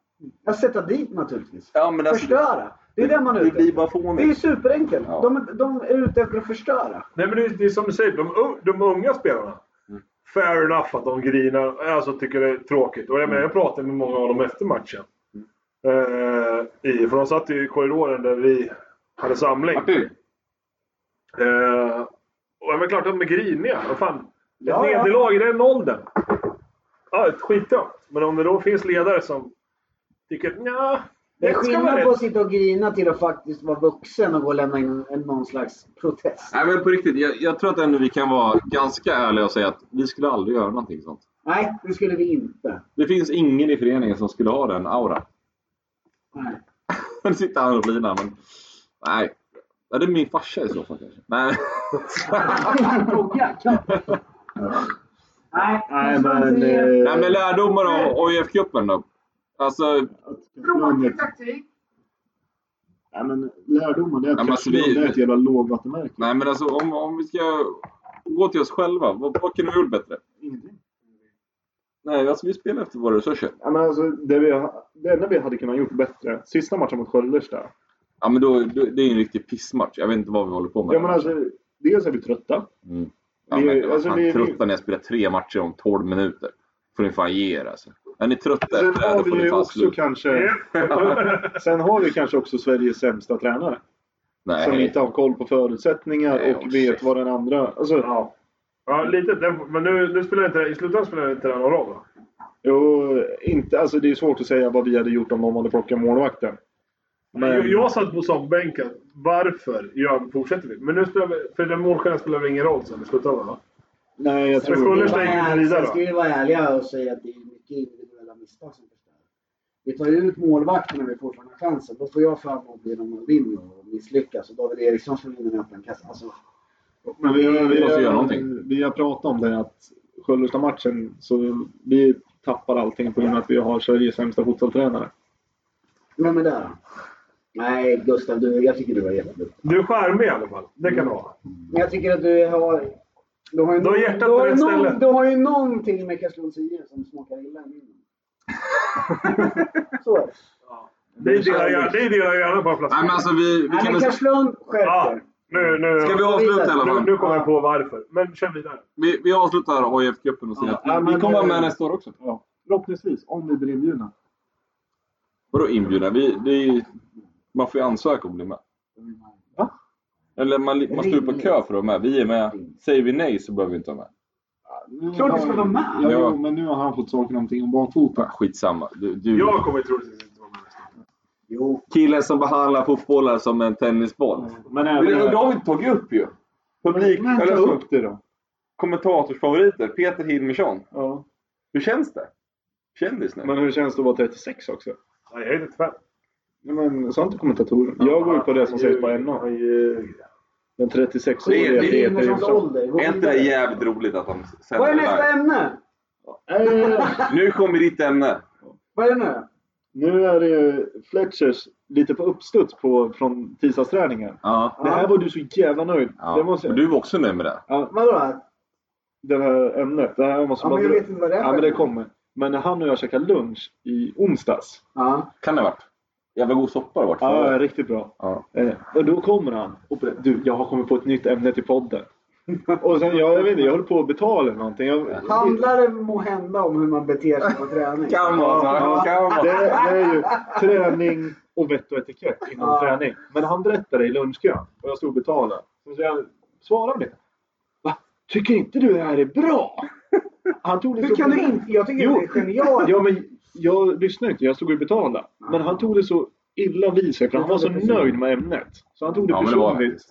[SPEAKER 4] Jag sätta dit naturligtvis.
[SPEAKER 3] Ja, men alltså,
[SPEAKER 4] Förstöra. Det är det man är
[SPEAKER 3] Det
[SPEAKER 4] ute
[SPEAKER 3] blir
[SPEAKER 4] efter.
[SPEAKER 3] bara
[SPEAKER 4] Det är ju
[SPEAKER 3] fånigt.
[SPEAKER 4] superenkelt.
[SPEAKER 3] Ja.
[SPEAKER 4] De, de är ute efter att förstöra.
[SPEAKER 5] Nej men det, är- det är som du säger, de, un- de unga spelarna.
[SPEAKER 4] Mm.
[SPEAKER 5] Fair enough att de grinar, alltså tycker det är tråkigt. Och jag, menar, jag
[SPEAKER 4] Mm.
[SPEAKER 5] pratade med många av dem efter matchen. Eh, i, för de satt ju i korridoren där vi hade samling.
[SPEAKER 3] Martin,
[SPEAKER 5] Eh, och det är väl klart att de är griniga. Vad fan. Ett
[SPEAKER 4] Ja, ja.
[SPEAKER 5] nederlag i den åldern. Ja, ett skitdumt. Men om det då finns ledare som tycker nja,
[SPEAKER 4] Det är
[SPEAKER 5] det ska vara
[SPEAKER 4] skillnad på att
[SPEAKER 5] rätt.
[SPEAKER 4] sitta och grina till att faktiskt vara vuxen och gå och lämna in en, någon slags protest.
[SPEAKER 3] Nej men på riktigt, jag, jag tror att ändå vi kan vara ganska ärliga och säga att vi skulle aldrig göra någonting sånt.
[SPEAKER 4] Nej, det skulle vi inte.
[SPEAKER 3] Det finns ingen i föreningen som skulle ha den auran.
[SPEAKER 4] Nej.
[SPEAKER 3] *laughs* Nu sitter han och linar, men... Nej. Ja, det är min farsa i så fall kanske.
[SPEAKER 2] *laughs*
[SPEAKER 3] Nej.
[SPEAKER 4] Fråga, kan- Nej,
[SPEAKER 2] Nej,
[SPEAKER 4] måste man
[SPEAKER 2] men...
[SPEAKER 4] säga.
[SPEAKER 2] eh,
[SPEAKER 3] Nej, men lärdomar av AIF-cupen då? Alltså,
[SPEAKER 4] Tråkig taktik.
[SPEAKER 2] Nej, men lärdomen är att
[SPEAKER 3] men alltså, vi-
[SPEAKER 2] Karlslund är ett jävla lågvattenmärke.
[SPEAKER 3] nej men alltså om, om vi ska gå till oss själva, vad, vad kunde vi gjort bättre?
[SPEAKER 2] Ingenting.
[SPEAKER 3] Nej, alltså vi spelar efter våra resurser.
[SPEAKER 2] Ja, men alltså, det, vi, ha- det enda vi hade kunnat gjort bättre, sista matchen mot Sköllersta.
[SPEAKER 3] Ja, men då, då, det är ju en riktig pissmatch. Jag vet inte vad vi håller på med.
[SPEAKER 2] Ja, men alltså, dels är vi trötta.
[SPEAKER 3] Mm. Ja,
[SPEAKER 2] Vi-
[SPEAKER 3] men,
[SPEAKER 2] alltså,
[SPEAKER 3] fan,
[SPEAKER 2] vi-
[SPEAKER 3] trötta när jag spelar tre matcher om 12 minuter. får ni fan ge er alltså. Är ni trötta
[SPEAKER 2] Sen
[SPEAKER 3] efter det här,
[SPEAKER 2] har
[SPEAKER 3] då får
[SPEAKER 2] vi
[SPEAKER 3] ni
[SPEAKER 2] ju
[SPEAKER 3] fan
[SPEAKER 2] också
[SPEAKER 3] sluta.
[SPEAKER 2] kanske... *laughs* Sen har vi kanske också Sveriges sämsta tränare. Som
[SPEAKER 3] Nej.
[SPEAKER 2] inte har koll på förutsättningar
[SPEAKER 3] Nej,
[SPEAKER 2] och
[SPEAKER 3] och
[SPEAKER 2] vet
[SPEAKER 3] käft.
[SPEAKER 2] vad den andra... Alltså,
[SPEAKER 5] Ja. Ja, lite. Den- Men nu, nu spelar inte, i slutändan spelar det inte det någon roll va?
[SPEAKER 2] Jo, inte, alltså det är svårt att säga vad vi hade gjort om någon hade plockat målvakten. Men-
[SPEAKER 5] Jag, jag satt på soffbänken. Varför gör, fortsätter vi? Men nu spelar vi, för den målskillnaden spelar väl ingen roll sen i slutändan va?
[SPEAKER 2] Nej, eh, jag
[SPEAKER 5] Sen
[SPEAKER 2] tror
[SPEAKER 5] skulle
[SPEAKER 2] inte...
[SPEAKER 5] Stein inte vidare
[SPEAKER 4] Sen
[SPEAKER 5] va?
[SPEAKER 4] ska vi vara ärliga och säga att det är mycket individuella misstag som förstör. Vi tar ju ut målvakten när vi fortfarande har chansen. Då får jag förmån att bli Ronaldinho och misslyckas. Och David Eriksson slår in en öppen kassa. Alltså,
[SPEAKER 2] Men vi, har- vi,
[SPEAKER 3] Vi måste göra
[SPEAKER 2] har,
[SPEAKER 3] någonting.
[SPEAKER 2] vi har pratat om det att Sköllersta-matchen, så vi tappar allting på grund av att vi har Sveriges sämsta fotbollstränare.
[SPEAKER 4] vem är där? Nej, Gustav, du, jag tycker du var jätteduktig.
[SPEAKER 5] Du är charmig i alla fall. Det
[SPEAKER 2] Mm.
[SPEAKER 5] kan du vara.
[SPEAKER 4] Men jag tycker att du har... Du har ju,
[SPEAKER 5] Du har
[SPEAKER 4] någon-
[SPEAKER 5] hjärtat
[SPEAKER 4] du
[SPEAKER 5] på
[SPEAKER 4] har ju
[SPEAKER 5] rätt
[SPEAKER 4] någon-
[SPEAKER 5] ställe.
[SPEAKER 4] Du har ju någonting med Karlslunds IF som smakar *laughs* illa i munnen. Så är det.
[SPEAKER 5] Det är delar jag- det är delar jag gärna på en
[SPEAKER 3] Nej
[SPEAKER 5] flaska.
[SPEAKER 3] men alltså vi, vi
[SPEAKER 4] Nej,
[SPEAKER 3] kan
[SPEAKER 4] men
[SPEAKER 3] väl...
[SPEAKER 4] Karlslund, skärp
[SPEAKER 5] Ja,
[SPEAKER 4] er.
[SPEAKER 5] nu, nu,
[SPEAKER 3] Ska vi avsluta i alla
[SPEAKER 5] nu,
[SPEAKER 3] fall?
[SPEAKER 5] nu kommer jag på varför. Men kör vidare.
[SPEAKER 3] Vi, vi avslutar AIF-cupen och säger
[SPEAKER 2] Ja,
[SPEAKER 3] att vi
[SPEAKER 2] men-
[SPEAKER 3] kommer vara med nästa år också.
[SPEAKER 2] Förhoppningsvis, om vi blir inbjudna.
[SPEAKER 3] Vadå inbjudna? Vi, det är, ju- man får ju ansöka om att bli med.
[SPEAKER 2] Va?
[SPEAKER 3] Eller man, man står ju på kö för att vara med. Vi är med. Säger vi nej så behöver vi inte vara med.
[SPEAKER 8] Klart du ska vara med!
[SPEAKER 2] Ja,
[SPEAKER 3] Ja.
[SPEAKER 2] Jo, men nu har han fått saker någonting om bakfoten.
[SPEAKER 3] Skitsamma. Du,
[SPEAKER 2] Mm.
[SPEAKER 3] du,
[SPEAKER 5] Jag kommer troligtvis inte vara med nästa gång.
[SPEAKER 4] Jo,
[SPEAKER 3] Killen som behandlar fotbollar som en tennisboll.
[SPEAKER 2] Men
[SPEAKER 3] Det,
[SPEAKER 2] även...
[SPEAKER 3] det har vi inte tagit upp ju. Publik,
[SPEAKER 2] Men ta
[SPEAKER 3] eller så,
[SPEAKER 2] upp det då.
[SPEAKER 3] kommentatorsfavoriter, Peter Hilmersson.
[SPEAKER 2] Ja.
[SPEAKER 3] Hur känns det? Kändis nu?
[SPEAKER 2] Men hur känns det att vara 36 också?
[SPEAKER 5] Nej, jag är 35.
[SPEAKER 2] Nej, men sa inte kommentatorn. Jag går ju på det som sägs på NA.
[SPEAKER 5] Han ljuger.
[SPEAKER 2] Den
[SPEAKER 3] Det är-
[SPEAKER 2] 36-årige
[SPEAKER 3] det
[SPEAKER 2] Peter
[SPEAKER 4] Ingvarssons
[SPEAKER 2] Hilmersson.
[SPEAKER 4] ålder. Gå
[SPEAKER 3] är inte det
[SPEAKER 4] vidare.
[SPEAKER 3] jävligt roligt att han sänder
[SPEAKER 4] Vad är
[SPEAKER 3] det
[SPEAKER 4] nästa
[SPEAKER 3] live?
[SPEAKER 4] ämne?
[SPEAKER 2] Eh,
[SPEAKER 3] Nu kommer ditt ämne.
[SPEAKER 4] Vad är det nu?
[SPEAKER 2] Nu är det Fletchers lite på uppstuds på, från tisdagsträningen.
[SPEAKER 3] Ja.
[SPEAKER 2] Det här var du så jävla nöjd. Det
[SPEAKER 3] ja.
[SPEAKER 2] måste
[SPEAKER 3] Men
[SPEAKER 2] jag,
[SPEAKER 3] Du var också nöjd med det.
[SPEAKER 4] Vadå?
[SPEAKER 2] det här ämnet. Det här måste
[SPEAKER 4] Ja,
[SPEAKER 2] man...
[SPEAKER 4] men jag vet inte vad det är
[SPEAKER 2] ja,
[SPEAKER 4] för
[SPEAKER 2] men det
[SPEAKER 4] ämne.
[SPEAKER 2] kommer. Men när han och jag käkade lunch i onsdags.
[SPEAKER 4] Ja.
[SPEAKER 3] Kan det ha varit. Jävla god soppa det har varit.
[SPEAKER 2] Ja,
[SPEAKER 3] förut.
[SPEAKER 2] riktigt bra.
[SPEAKER 3] Ja.
[SPEAKER 2] Eh, och då kommer han och berättar, du, jag har kommit på ett nytt ämne till podden. Och sen, jag, jag vet inte, jag höll på att betala någonting. Jag,
[SPEAKER 4] Handlar det måhända om hur man beter sig på träning?
[SPEAKER 3] Kan vara så. Kan vara.
[SPEAKER 2] Det, det är ju träning och vett och etikett inom
[SPEAKER 4] Ja.
[SPEAKER 2] träning. Men han berättade i lunchkön och jag stod och betalade. Så sa jag, svara mig. Va? Tycker inte du det här är bra? Han tog det
[SPEAKER 4] Hur
[SPEAKER 2] så
[SPEAKER 4] kan du inte? Jag tycker
[SPEAKER 2] Jo.
[SPEAKER 4] det är genialt.
[SPEAKER 2] Ja, men jag lyssnade inte. Jag stod och betalade. Men han tog det så illa vid sig för han var så nöjd med ämnet. Så han tog det
[SPEAKER 3] Ja, men det var
[SPEAKER 2] personligt.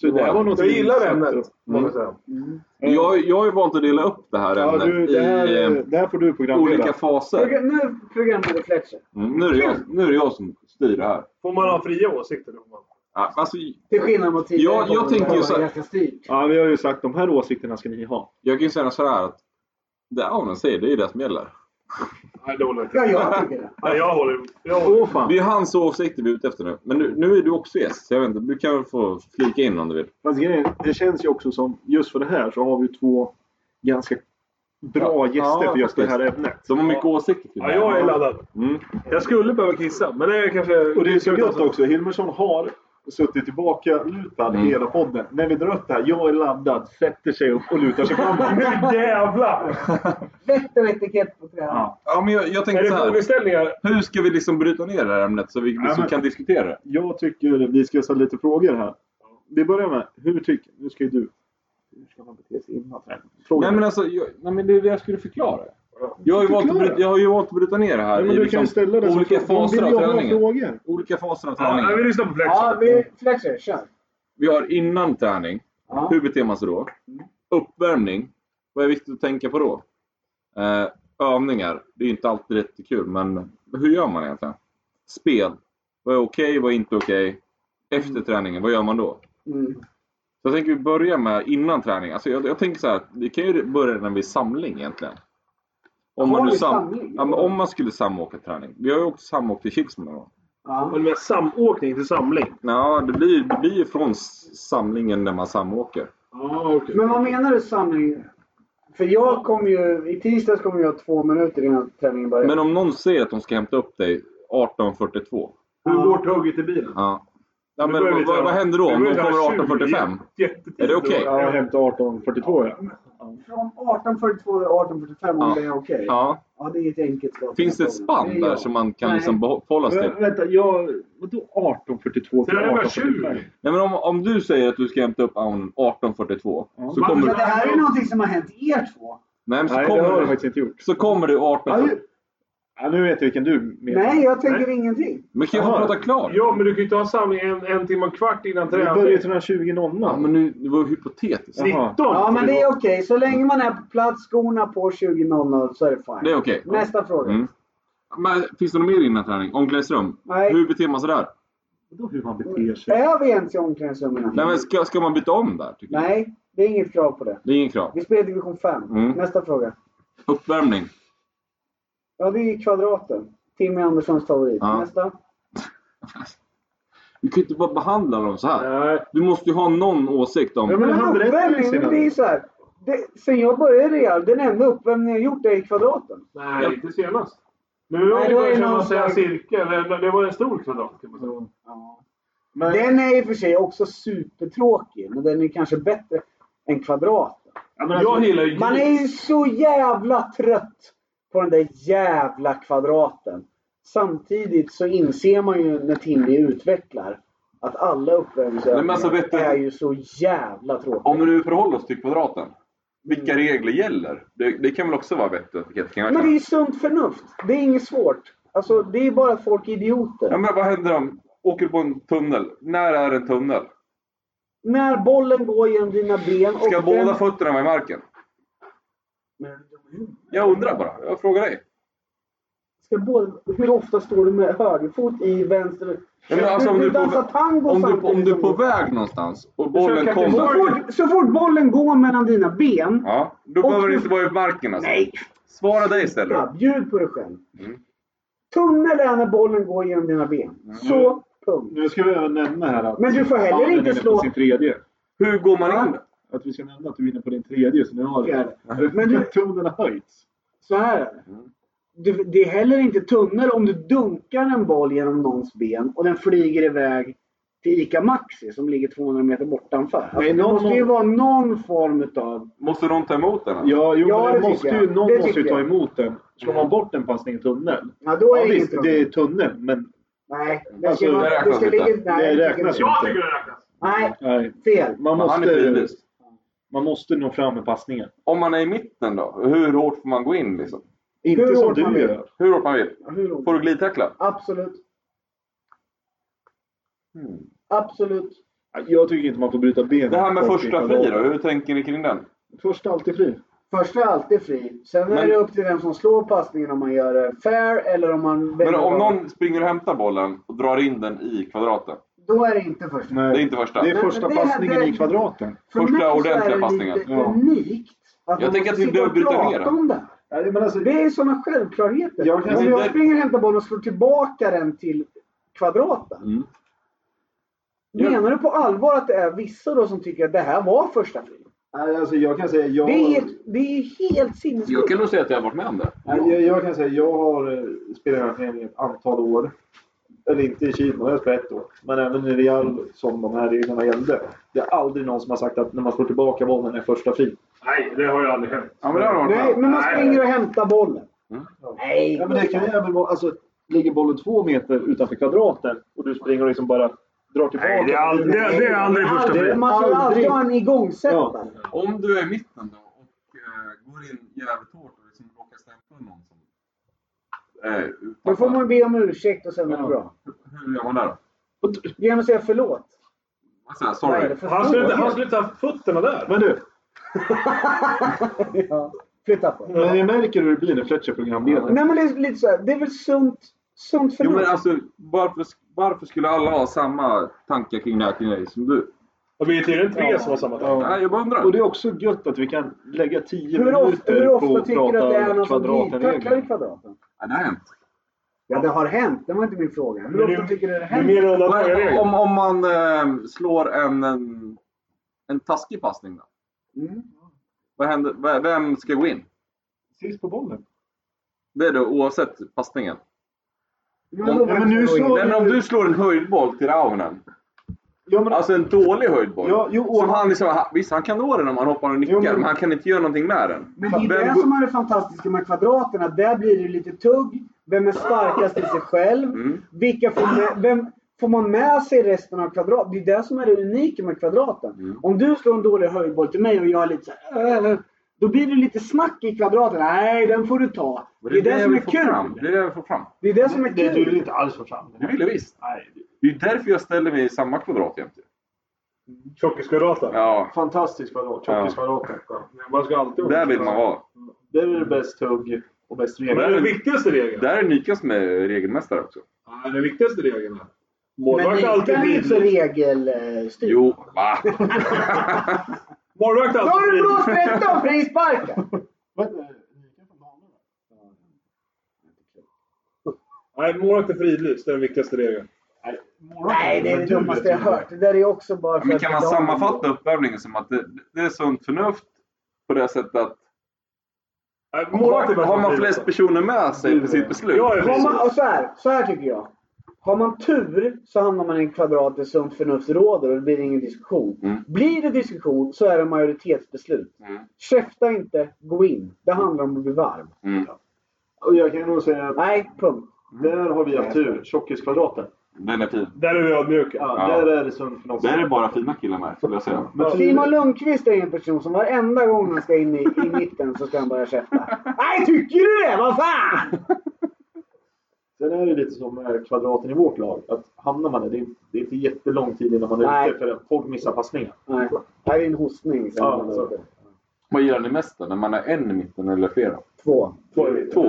[SPEAKER 2] Så det här var något
[SPEAKER 5] Jag gillar
[SPEAKER 2] intressant.
[SPEAKER 5] ämnet, måste jag säga.
[SPEAKER 3] Jag, jag har ju valt att dela upp det här
[SPEAKER 2] Ja,
[SPEAKER 3] ämnet
[SPEAKER 2] du, det,
[SPEAKER 3] i
[SPEAKER 2] här,
[SPEAKER 3] eh,
[SPEAKER 2] det här får du programleda.
[SPEAKER 3] olika faser.
[SPEAKER 4] Progra- Nu programledare Fletcher.
[SPEAKER 3] Mm, nu, är det jag, nu är det jag som styr det här.
[SPEAKER 5] Får man ha fria åsikter? Då får man.
[SPEAKER 3] Ja, Alltså,
[SPEAKER 4] Till skillnad mot tidigare.
[SPEAKER 3] Ja, jag
[SPEAKER 4] poddar,
[SPEAKER 3] tänker ju
[SPEAKER 4] där det
[SPEAKER 3] så
[SPEAKER 4] var
[SPEAKER 3] här-
[SPEAKER 4] Ganska styrt.
[SPEAKER 2] Ja, vi har ju sagt de här åsikterna ska ni ha.
[SPEAKER 3] jag kan ju säga så här att det Aunen säger, det är ju det som gäller.
[SPEAKER 5] Nej, det håller jag inte.
[SPEAKER 4] Ja, jag tycker det.
[SPEAKER 5] Nej, jag håller. Jag håller.
[SPEAKER 2] Åh fan!
[SPEAKER 3] Det är ju hans åsikter vi är ute efter nu. Men nu, nu är du också gäst, så jag vet inte. Du kan väl få flika in om du vill.
[SPEAKER 2] Fast grejen, det känns ju också som, just för det här så har vi ju två ganska bra
[SPEAKER 3] Ja,
[SPEAKER 2] gäster
[SPEAKER 3] ja,
[SPEAKER 2] för just det här
[SPEAKER 3] faktiskt.
[SPEAKER 2] ämnet.
[SPEAKER 3] De har mycket åsikter kring
[SPEAKER 5] Ja,
[SPEAKER 3] det här.
[SPEAKER 5] jag är laddad.
[SPEAKER 3] Mm.
[SPEAKER 5] Jag skulle behöva kissa, men det är kanske...
[SPEAKER 2] Och det är så
[SPEAKER 5] Ska vi ta
[SPEAKER 2] gött också, Hilmersson har suttit tillbaka lutad
[SPEAKER 3] Mm.
[SPEAKER 2] hela podden. När vi drar upp det här, jag är laddad, sätter sig upp och lutar sig
[SPEAKER 3] *laughs*
[SPEAKER 2] framåt.
[SPEAKER 5] Nu jävlar!
[SPEAKER 4] Vett och etikett på träning.
[SPEAKER 2] Ja.
[SPEAKER 3] Ja, men jag, jag
[SPEAKER 5] Är
[SPEAKER 3] tänkte
[SPEAKER 5] det
[SPEAKER 3] så här.
[SPEAKER 5] frågeställningar?
[SPEAKER 3] Hur ska vi liksom bryta ner det här ämnet så vi liksom
[SPEAKER 2] Ja, men-
[SPEAKER 3] kan diskutera det?
[SPEAKER 2] Jag tycker vi ska ställa lite frågor här. Vi börjar med, hur tycker... Nu ska ju du... Hur ska man bete sig innan träning? Fråga.
[SPEAKER 3] Nej men alltså, jag, nej, men det är det jag skulle förklara. Jag har, ju valt att
[SPEAKER 2] Förklara.
[SPEAKER 3] bryta, jag har ju valt att bryta ner det här
[SPEAKER 2] Nej, men
[SPEAKER 3] i
[SPEAKER 2] du kan
[SPEAKER 3] liksom
[SPEAKER 2] ju ställa den som
[SPEAKER 3] olika
[SPEAKER 2] fråga.
[SPEAKER 3] faser
[SPEAKER 2] Hon
[SPEAKER 3] av
[SPEAKER 2] vill ju ha
[SPEAKER 3] träningen.
[SPEAKER 2] frågor.
[SPEAKER 3] Olika faser av
[SPEAKER 5] Ja, nej, vi
[SPEAKER 3] träningen.
[SPEAKER 5] lyssnar på Flex.
[SPEAKER 4] Ja, vi, Fletcher, kör.
[SPEAKER 3] Vi har innan träning.
[SPEAKER 4] Ja.
[SPEAKER 3] Hur beter man sig då? Uppvärmning. Vad är viktigt att tänka på då? Eh, övningar. Det är ju inte alltid jättekul, men hur gör man egentligen? Spel. Vad är okej, vad är inte okej?
[SPEAKER 2] Mm.
[SPEAKER 3] Efter träningen, vad gör man då?
[SPEAKER 4] Mm.
[SPEAKER 3] Så jag tänker vi börjar med innan träning. Alltså jag, jag tänker så här, vi kan ju börja när vi är samling egentligen. Om
[SPEAKER 4] Har
[SPEAKER 3] man, nu
[SPEAKER 4] vi
[SPEAKER 3] sam,
[SPEAKER 4] samling?
[SPEAKER 3] ja, men om man skulle samåka träning. Vi har ju också samåkt i Kilsmo någon gång.
[SPEAKER 4] Ja.
[SPEAKER 5] Men med samåkning till samling.
[SPEAKER 3] Ja, det blir, det blir ju från s- samlingen när man samåker.
[SPEAKER 2] Ja, okej.
[SPEAKER 4] Men vad menar du samling? För jag kom ju, i tisdags kom jag två minuter innan träningen började.
[SPEAKER 3] Men om någon säger att de ska hämta upp dig 18.42.
[SPEAKER 5] Hur hårt hugget i bilen?
[SPEAKER 3] Ja.
[SPEAKER 7] Ja,
[SPEAKER 2] Nu
[SPEAKER 7] men
[SPEAKER 2] börjar vi
[SPEAKER 7] vad,
[SPEAKER 2] dra.
[SPEAKER 7] vad händer då om
[SPEAKER 2] Nu
[SPEAKER 7] de
[SPEAKER 2] börjar vi dra
[SPEAKER 7] kommer 18.45?
[SPEAKER 5] Jättetid.
[SPEAKER 7] Är det okej?
[SPEAKER 2] Ja, jag hämtar 1842 ja.
[SPEAKER 4] Från 1842 till 1845
[SPEAKER 7] Ja.
[SPEAKER 4] om det är okej. Ja.
[SPEAKER 7] Ja.
[SPEAKER 4] det är ett enkelt svar.
[SPEAKER 7] Finns det ett spann där som man kan
[SPEAKER 6] Nej.
[SPEAKER 7] liksom behålla sig till?
[SPEAKER 2] Men, vänta, jag... Vadå 1842 till
[SPEAKER 5] Sen är det bara
[SPEAKER 2] 1845?
[SPEAKER 5] 20.
[SPEAKER 7] Nej, men om, om du säger att du ska hämta upp aun 18.42 så
[SPEAKER 6] Men
[SPEAKER 7] kommer
[SPEAKER 6] det
[SPEAKER 7] du...
[SPEAKER 6] här är någonting som har hänt er två.
[SPEAKER 7] Nej, men så
[SPEAKER 2] Nej, det har jag
[SPEAKER 7] kommer,
[SPEAKER 2] faktiskt inte gjort.
[SPEAKER 7] så kommer du 18...
[SPEAKER 4] Ja,
[SPEAKER 2] Ja, nu vet jag vilken du menar.
[SPEAKER 4] Nej, jag tänker ingenting.
[SPEAKER 7] Men kan jag få
[SPEAKER 2] Jaha.
[SPEAKER 7] prata klart?
[SPEAKER 5] Ja, men du kan ju inte ha samling en, en timme och en kvart innan
[SPEAKER 2] Vi börjar ju
[SPEAKER 5] träning.
[SPEAKER 2] till den här 20.00.
[SPEAKER 7] Ja, men nu, det var ju hypotetiskt.
[SPEAKER 2] Ja.
[SPEAKER 5] 19!
[SPEAKER 4] Ja, men det är okej. Så länge man är på plats, skorna på 20.00 så är det fine.
[SPEAKER 7] Det är okej.
[SPEAKER 4] Nästa fråga.
[SPEAKER 7] Mm. Men finns det något mer innan träning? Omklädningsrum?
[SPEAKER 4] Nej.
[SPEAKER 7] Hur beter man sig där?
[SPEAKER 2] Vadå hur man beter sig?
[SPEAKER 4] Är vi ens i omklädningsrummen?
[SPEAKER 7] Nej, men ska, ska man byta om där? Tycker jag?
[SPEAKER 4] Nej, det är inget krav på det.
[SPEAKER 7] Det är ingen krav.
[SPEAKER 4] Vi spelar i division 5.
[SPEAKER 7] Mm.
[SPEAKER 4] Nästa fråga.
[SPEAKER 7] Uppvärmning?
[SPEAKER 4] Ja, det är kvadraten. Timmy Anderssons favorit.
[SPEAKER 7] Ja.
[SPEAKER 4] Nästa.
[SPEAKER 7] Du kan ju inte bara behandla dem så här.
[SPEAKER 2] Nej.
[SPEAKER 7] Du måste ju ha någon åsikt
[SPEAKER 2] Ja,
[SPEAKER 7] om...
[SPEAKER 2] men
[SPEAKER 4] Men
[SPEAKER 2] han berättar ju
[SPEAKER 4] uppvärmning,
[SPEAKER 2] sina...
[SPEAKER 4] det är ju så här. Det, sen jag började i Real, den enda uppvärmning jag gjort är i kvadraten.
[SPEAKER 5] Nej, inte senast. Nu
[SPEAKER 4] Nej,
[SPEAKER 5] har vi
[SPEAKER 4] det var ju
[SPEAKER 5] börjat känna
[SPEAKER 4] någon
[SPEAKER 5] oss i en
[SPEAKER 4] slags-
[SPEAKER 5] cirkel. Det det var en stor kvadrat kan man säga.
[SPEAKER 2] Men,
[SPEAKER 4] Den är i och för sig också supertråkig, men den är kanske bättre än kvadraten.
[SPEAKER 2] ja, men alltså,
[SPEAKER 5] Jag gillar ju
[SPEAKER 4] Man är ju så jävla trött på den där jävla kvadraten. Samtidigt så inser man ju när Timmy utvecklar att alla
[SPEAKER 7] Nej, men alltså,
[SPEAKER 4] uppvärmningsövningar
[SPEAKER 7] vet du-
[SPEAKER 4] är ju så jävla tråkiga.
[SPEAKER 3] Om vi nu förhåller oss till kvadraten. Vilka regler gäller? Det, det kan väl också vara vettigt? vilket kan jag
[SPEAKER 4] Mm. Men det är
[SPEAKER 3] känna.
[SPEAKER 4] ju sunt förnuft. Det är inget svårt. Alltså, det är bara att folk är idioter.
[SPEAKER 3] Ja, men vad händer om... Åker på en tunnel. När är en tunnel?
[SPEAKER 4] När bollen går genom dina ben och...
[SPEAKER 3] Ska båda
[SPEAKER 4] den-
[SPEAKER 3] fötterna vara i marken?
[SPEAKER 4] Men,
[SPEAKER 3] Jag undrar bara. Jag frågar dig.
[SPEAKER 4] Ska båda... Hur ofta står du med högerfot i vänster...
[SPEAKER 7] Ja, men alltså, om
[SPEAKER 4] du,
[SPEAKER 7] du
[SPEAKER 4] du
[SPEAKER 7] är på-
[SPEAKER 4] dansar tango
[SPEAKER 7] Om du, om
[SPEAKER 4] samtidigt
[SPEAKER 7] du är
[SPEAKER 4] som
[SPEAKER 7] på väg någonstans och
[SPEAKER 5] Försök
[SPEAKER 7] bollen
[SPEAKER 5] att inte
[SPEAKER 7] kommer...
[SPEAKER 5] våga.
[SPEAKER 4] Så fort, så fort bollen går mellan dina ben...
[SPEAKER 3] Ja, då
[SPEAKER 4] Och
[SPEAKER 3] behöver
[SPEAKER 4] du-
[SPEAKER 3] det inte vara i marken alltså.
[SPEAKER 4] Nej!
[SPEAKER 3] Svara dig istället.
[SPEAKER 4] Ja, bjud på dig själv.
[SPEAKER 3] Mm.
[SPEAKER 4] Tunnel är när bollen går genom dina ben. Så, punkt.
[SPEAKER 2] nu ska vi även nämna här att...
[SPEAKER 4] Men du får heller
[SPEAKER 2] Mannen
[SPEAKER 4] inte
[SPEAKER 2] är inne
[SPEAKER 4] slå-
[SPEAKER 2] På sin tredje.
[SPEAKER 3] Hur går man in?
[SPEAKER 2] Att vi ska nämna att du är inne på din tredje, så nu har
[SPEAKER 4] Fjärde.
[SPEAKER 2] du...
[SPEAKER 4] Men
[SPEAKER 2] Men
[SPEAKER 4] du-
[SPEAKER 2] du... *laughs* Tonen har höjts.
[SPEAKER 4] Så här är det.
[SPEAKER 3] Mm.
[SPEAKER 4] Du- Det är heller inte tunnel om du dunkar en boll genom någons ben och den flyger iväg till ICA Maxi som ligger 200 meter bortanför. Alltså,
[SPEAKER 2] Nej,
[SPEAKER 4] det
[SPEAKER 2] någon-
[SPEAKER 4] måste ju vara någon form utav...
[SPEAKER 3] Måste någon ta emot den? Alltså?
[SPEAKER 2] Ja, jo,
[SPEAKER 4] Ja,
[SPEAKER 2] men
[SPEAKER 4] det
[SPEAKER 2] det
[SPEAKER 4] tycker
[SPEAKER 2] måste
[SPEAKER 4] jag.
[SPEAKER 2] ju, någon
[SPEAKER 4] Det
[SPEAKER 2] måste ju
[SPEAKER 4] tycker
[SPEAKER 2] ta
[SPEAKER 4] jag.
[SPEAKER 2] emot den. Slår man bort en passning i tunnel?
[SPEAKER 4] Ja, då är
[SPEAKER 2] Ja,
[SPEAKER 4] det
[SPEAKER 2] visst,
[SPEAKER 4] inget
[SPEAKER 2] det är tunnel, men
[SPEAKER 4] Nej, det
[SPEAKER 2] Alltså,
[SPEAKER 4] ska, man,
[SPEAKER 3] det
[SPEAKER 4] det
[SPEAKER 3] räknas
[SPEAKER 4] ska
[SPEAKER 3] inte.
[SPEAKER 4] ligga... Nej,
[SPEAKER 2] Det
[SPEAKER 4] tycker
[SPEAKER 2] räknas
[SPEAKER 4] jag inte.
[SPEAKER 5] Jag tycker det räknas.
[SPEAKER 4] Nej,
[SPEAKER 2] nej.
[SPEAKER 4] fel.
[SPEAKER 2] Man
[SPEAKER 3] Fan, han är
[SPEAKER 2] måste,
[SPEAKER 3] finlist.
[SPEAKER 2] man måste nå fram med passningen.
[SPEAKER 3] Om man är i mitten då? Hur hårt får man gå in liksom?
[SPEAKER 2] Inte
[SPEAKER 4] Hur
[SPEAKER 2] som
[SPEAKER 4] hårt man
[SPEAKER 2] du
[SPEAKER 4] vill.
[SPEAKER 2] gör.
[SPEAKER 3] Hur hårt man vill?
[SPEAKER 4] Hur långt?
[SPEAKER 3] Får du glidtackla?
[SPEAKER 4] Absolut.
[SPEAKER 3] Mm.
[SPEAKER 4] Absolut.
[SPEAKER 2] Jag tycker inte man får bryta benen.
[SPEAKER 3] Det här med
[SPEAKER 2] på
[SPEAKER 3] första
[SPEAKER 2] folk i
[SPEAKER 3] fri då? Hur tänker ni kring den?
[SPEAKER 2] Första alltid fri.
[SPEAKER 4] Första är alltid fri. Sen är
[SPEAKER 3] Men-
[SPEAKER 4] det upp till vem som slår passningen om man gör det fair eller om man...
[SPEAKER 3] Men
[SPEAKER 4] väljer
[SPEAKER 3] om
[SPEAKER 4] bara-
[SPEAKER 3] någon springer och hämtar bollen och drar in den i kvadraten.
[SPEAKER 4] Då är det inte första.
[SPEAKER 3] Det är
[SPEAKER 2] Nej.
[SPEAKER 3] inte första.
[SPEAKER 2] Det
[SPEAKER 4] Men-
[SPEAKER 2] är första
[SPEAKER 4] men det-
[SPEAKER 2] passningen
[SPEAKER 4] det-
[SPEAKER 2] i kvadraten.
[SPEAKER 4] För
[SPEAKER 3] Första
[SPEAKER 4] mig så
[SPEAKER 3] ordentliga
[SPEAKER 4] är det
[SPEAKER 3] passningen.
[SPEAKER 4] lite
[SPEAKER 2] Ja.
[SPEAKER 4] unikt. Att
[SPEAKER 3] Jag
[SPEAKER 4] man
[SPEAKER 3] tänker
[SPEAKER 4] måste
[SPEAKER 3] att vi
[SPEAKER 4] sitta och
[SPEAKER 3] behöver bryta
[SPEAKER 4] prata
[SPEAKER 3] ner det.
[SPEAKER 4] om det.
[SPEAKER 2] Ja, men alltså,
[SPEAKER 4] Det är sådana självklarheter.
[SPEAKER 2] Jag kan-
[SPEAKER 4] om
[SPEAKER 3] Men
[SPEAKER 4] jag
[SPEAKER 3] där-
[SPEAKER 4] springer och hämtar bollen och slår tillbaka den till kvadraten.
[SPEAKER 7] Mm.
[SPEAKER 4] Menar du på allvar att det är vissa då som tycker att det här var första fri?
[SPEAKER 2] nej, alltså, jag kan säga jag,
[SPEAKER 4] Det är helt, det är helt
[SPEAKER 7] Jag
[SPEAKER 4] sinnessjukt.
[SPEAKER 7] kan nog säga att jag har varit med om det.
[SPEAKER 2] nej, jag, jag kan säga jag har eh, spelat i den här föreningen ett antal år. Eller inte i Kina, jag har spelat ett år. Men även i Real som de här reglerna gällde. Det är aldrig någon som har sagt att när man slår tillbaka bollen är första fri.
[SPEAKER 5] Nej, det har ju aldrig hänt.
[SPEAKER 3] Ja, men det har de varit med
[SPEAKER 4] Nej,
[SPEAKER 3] om.
[SPEAKER 4] men man
[SPEAKER 5] Nej.
[SPEAKER 4] springer och hämtar bollen.
[SPEAKER 3] Mm.
[SPEAKER 4] Nej,
[SPEAKER 2] Ja, men det kan ju även vara, alltså, ligger bollen två meter utanför kvadraten och du springer och liksom bara drar tillbaka.
[SPEAKER 5] Nej, det är aldrig- det- det är aldrig första
[SPEAKER 4] Aldrig.
[SPEAKER 5] fri.
[SPEAKER 4] Man ska alltid ha en igångsättare.
[SPEAKER 3] Om du är i mitten då och eh, går in jävligt hårt och liksom råkar stämpla någon som... Eh,
[SPEAKER 4] Då får man be om ursäkt och sen är det
[SPEAKER 2] Ja.
[SPEAKER 4] bra.
[SPEAKER 3] Hur gör man där då?
[SPEAKER 4] Genom att säga förlåt.
[SPEAKER 3] Vad säger jag?
[SPEAKER 4] Vad är
[SPEAKER 3] Sorry.
[SPEAKER 4] det för
[SPEAKER 5] Han skulle inte- han
[SPEAKER 4] fråga?
[SPEAKER 5] skulle inte haft fötterna där.
[SPEAKER 2] Men du,
[SPEAKER 4] Ja, Flytta på.
[SPEAKER 2] men jag märker hur det blir när Fletcher programledare.
[SPEAKER 4] Nej men det är lite så här, det är väl sunt, sunt
[SPEAKER 3] Jo, men
[SPEAKER 4] förnuft.
[SPEAKER 3] alltså, varför, varför skulle alla ha samma tankar kring det här kring dig som du?
[SPEAKER 5] Och vi är tydligen tre som har samma tanke.
[SPEAKER 2] Ja.
[SPEAKER 3] Nej, jag bara undrar.
[SPEAKER 2] Och det är också gött att vi kan lägga 10
[SPEAKER 4] Hur ofta,
[SPEAKER 2] minuter
[SPEAKER 4] hur
[SPEAKER 2] på
[SPEAKER 4] ofta
[SPEAKER 2] att
[SPEAKER 4] tycker du att det är
[SPEAKER 2] prata
[SPEAKER 4] någon som glidtacklar i
[SPEAKER 2] kvadraten
[SPEAKER 4] kvadraten?
[SPEAKER 3] Ja, det har hänt.
[SPEAKER 4] Ja det har hänt, det var inte min fråga. Hur
[SPEAKER 5] Men det-
[SPEAKER 4] ofta tycker du det
[SPEAKER 5] Det är
[SPEAKER 4] händer?
[SPEAKER 5] mer undantag än regel.
[SPEAKER 7] Om, om man eh, slår en, en, en taskig passning då?
[SPEAKER 4] Mm.
[SPEAKER 7] Vad händer, v- vem ska gå in?
[SPEAKER 2] Sist på bollen.
[SPEAKER 7] Det är det oavsett passningen.
[SPEAKER 4] Men då
[SPEAKER 2] Ja,
[SPEAKER 4] vem
[SPEAKER 2] men nu
[SPEAKER 4] ska gå in?
[SPEAKER 2] slår-
[SPEAKER 3] Nej, men om du slår en höjdboll till Raunen
[SPEAKER 2] Ja, men,
[SPEAKER 3] Alltså en dålig höjdboll.
[SPEAKER 2] ja, jo, och
[SPEAKER 3] Som han
[SPEAKER 2] han,
[SPEAKER 3] liksom, han- visst, han kan nå den om han hoppar och nickar,
[SPEAKER 2] Jo, men-
[SPEAKER 3] men... han kan inte göra någonting med den.
[SPEAKER 4] Men det är
[SPEAKER 3] Vem
[SPEAKER 4] det
[SPEAKER 3] går-
[SPEAKER 4] som är det fantastiska med kvadraterna. Där blir det lite tugg. Vem är starkast i sig själv?
[SPEAKER 3] Mm.
[SPEAKER 4] Vilka får med, vem får man med sig resten av kvadraten? Det är det som är det unika med kvadraten.
[SPEAKER 3] Mm.
[SPEAKER 4] Om du slår en dålig höjdboll till mig och jag är lite så här, "Äh", Då blir det lite snack i kvadraten. Nej, den får du ta.
[SPEAKER 3] Och
[SPEAKER 4] Det är det, som
[SPEAKER 3] vi
[SPEAKER 4] är
[SPEAKER 3] får
[SPEAKER 4] kul.
[SPEAKER 3] Fram. Det är det vi får fram.
[SPEAKER 4] Det är det som är
[SPEAKER 2] Alltså, det
[SPEAKER 4] kul.
[SPEAKER 2] vill inte alls få fram.
[SPEAKER 3] Det vill jag visst.
[SPEAKER 2] Nej, det-
[SPEAKER 3] Det är ju därför jag ställer mig i samma kvadrat jämt.
[SPEAKER 5] Tjockiskvadraten.
[SPEAKER 3] Ja,
[SPEAKER 2] Fantastisk kvadrat.
[SPEAKER 3] Ja.
[SPEAKER 2] Tjockiskvadraten.
[SPEAKER 5] Man ska alltid
[SPEAKER 3] där vill man vara.
[SPEAKER 2] Där är det
[SPEAKER 4] Mm.
[SPEAKER 2] bäst tugg och bäst regel.
[SPEAKER 5] Det är den viktigaste regeln.
[SPEAKER 3] Där är Niklas med regelmästare också.
[SPEAKER 5] Ja, den viktigaste regeln. är-
[SPEAKER 4] Men
[SPEAKER 5] Målvakt
[SPEAKER 4] det
[SPEAKER 5] är alltid
[SPEAKER 4] är ju så eh,
[SPEAKER 5] fridlyst.
[SPEAKER 4] regelstyrt.
[SPEAKER 3] Jo, va?
[SPEAKER 5] Målvakt är
[SPEAKER 4] Då har
[SPEAKER 5] alltid
[SPEAKER 4] du
[SPEAKER 5] fridlyst.
[SPEAKER 4] blåst 13 frisparkar!
[SPEAKER 3] *laughs*
[SPEAKER 5] Nej, målvakt är fridlyst. Det är den viktigaste regeln.
[SPEAKER 4] Nej, det är det dummaste jag hört. Det där är också bara
[SPEAKER 3] Ja,
[SPEAKER 4] för
[SPEAKER 3] Men kan man
[SPEAKER 4] att-
[SPEAKER 3] sammanfatta uppvärmningen som att det, det är sunt förnuft på det sättet att
[SPEAKER 5] Nej, målvakt är
[SPEAKER 3] har,
[SPEAKER 5] bäst
[SPEAKER 3] har man
[SPEAKER 5] fridlyst.
[SPEAKER 3] flest personer med sig på sitt beslut?
[SPEAKER 5] Jag är
[SPEAKER 4] Har
[SPEAKER 5] fridlyst.
[SPEAKER 4] man, och så här, så här tycker jag. Har man tur så hamnar man i en kvadrat där sunt förnuft råder och det blir ingen diskussion.
[SPEAKER 3] Mm.
[SPEAKER 4] Blir det diskussion så är det majoritetsbeslut.
[SPEAKER 3] Mm.
[SPEAKER 4] Käfta inte, gå in. Det handlar om att bli varm.
[SPEAKER 3] Mm.
[SPEAKER 2] Och jag kan nog säga att
[SPEAKER 4] Nej, punkt.
[SPEAKER 2] där har vi haft tur. Tjockiskvadraten.
[SPEAKER 3] Den är fin.
[SPEAKER 5] Där är vi ödmjuka.
[SPEAKER 2] Ja,
[SPEAKER 3] Ja.
[SPEAKER 2] Där är det sunt förnuft.
[SPEAKER 3] Där är det bara fina killar med, skulle jag säga.
[SPEAKER 2] Men tydligen-
[SPEAKER 4] Simon Lundqvist är en person som varenda gång han ska in i, i mitten så ska han börja käfta. Nej, tycker du det? Vad fan!
[SPEAKER 2] Sen är det lite som med kvadraten i vårt lag. Att hamnar man där, det är, det är inte jättelång tid innan man är
[SPEAKER 4] Nej.
[SPEAKER 2] ute för att folk missar passningar.
[SPEAKER 4] Nej, det är en hostning. Sen
[SPEAKER 2] Ja, så.
[SPEAKER 3] Vad gör ni mest då? När man är en i mitten eller flera?
[SPEAKER 4] Två.
[SPEAKER 3] Två.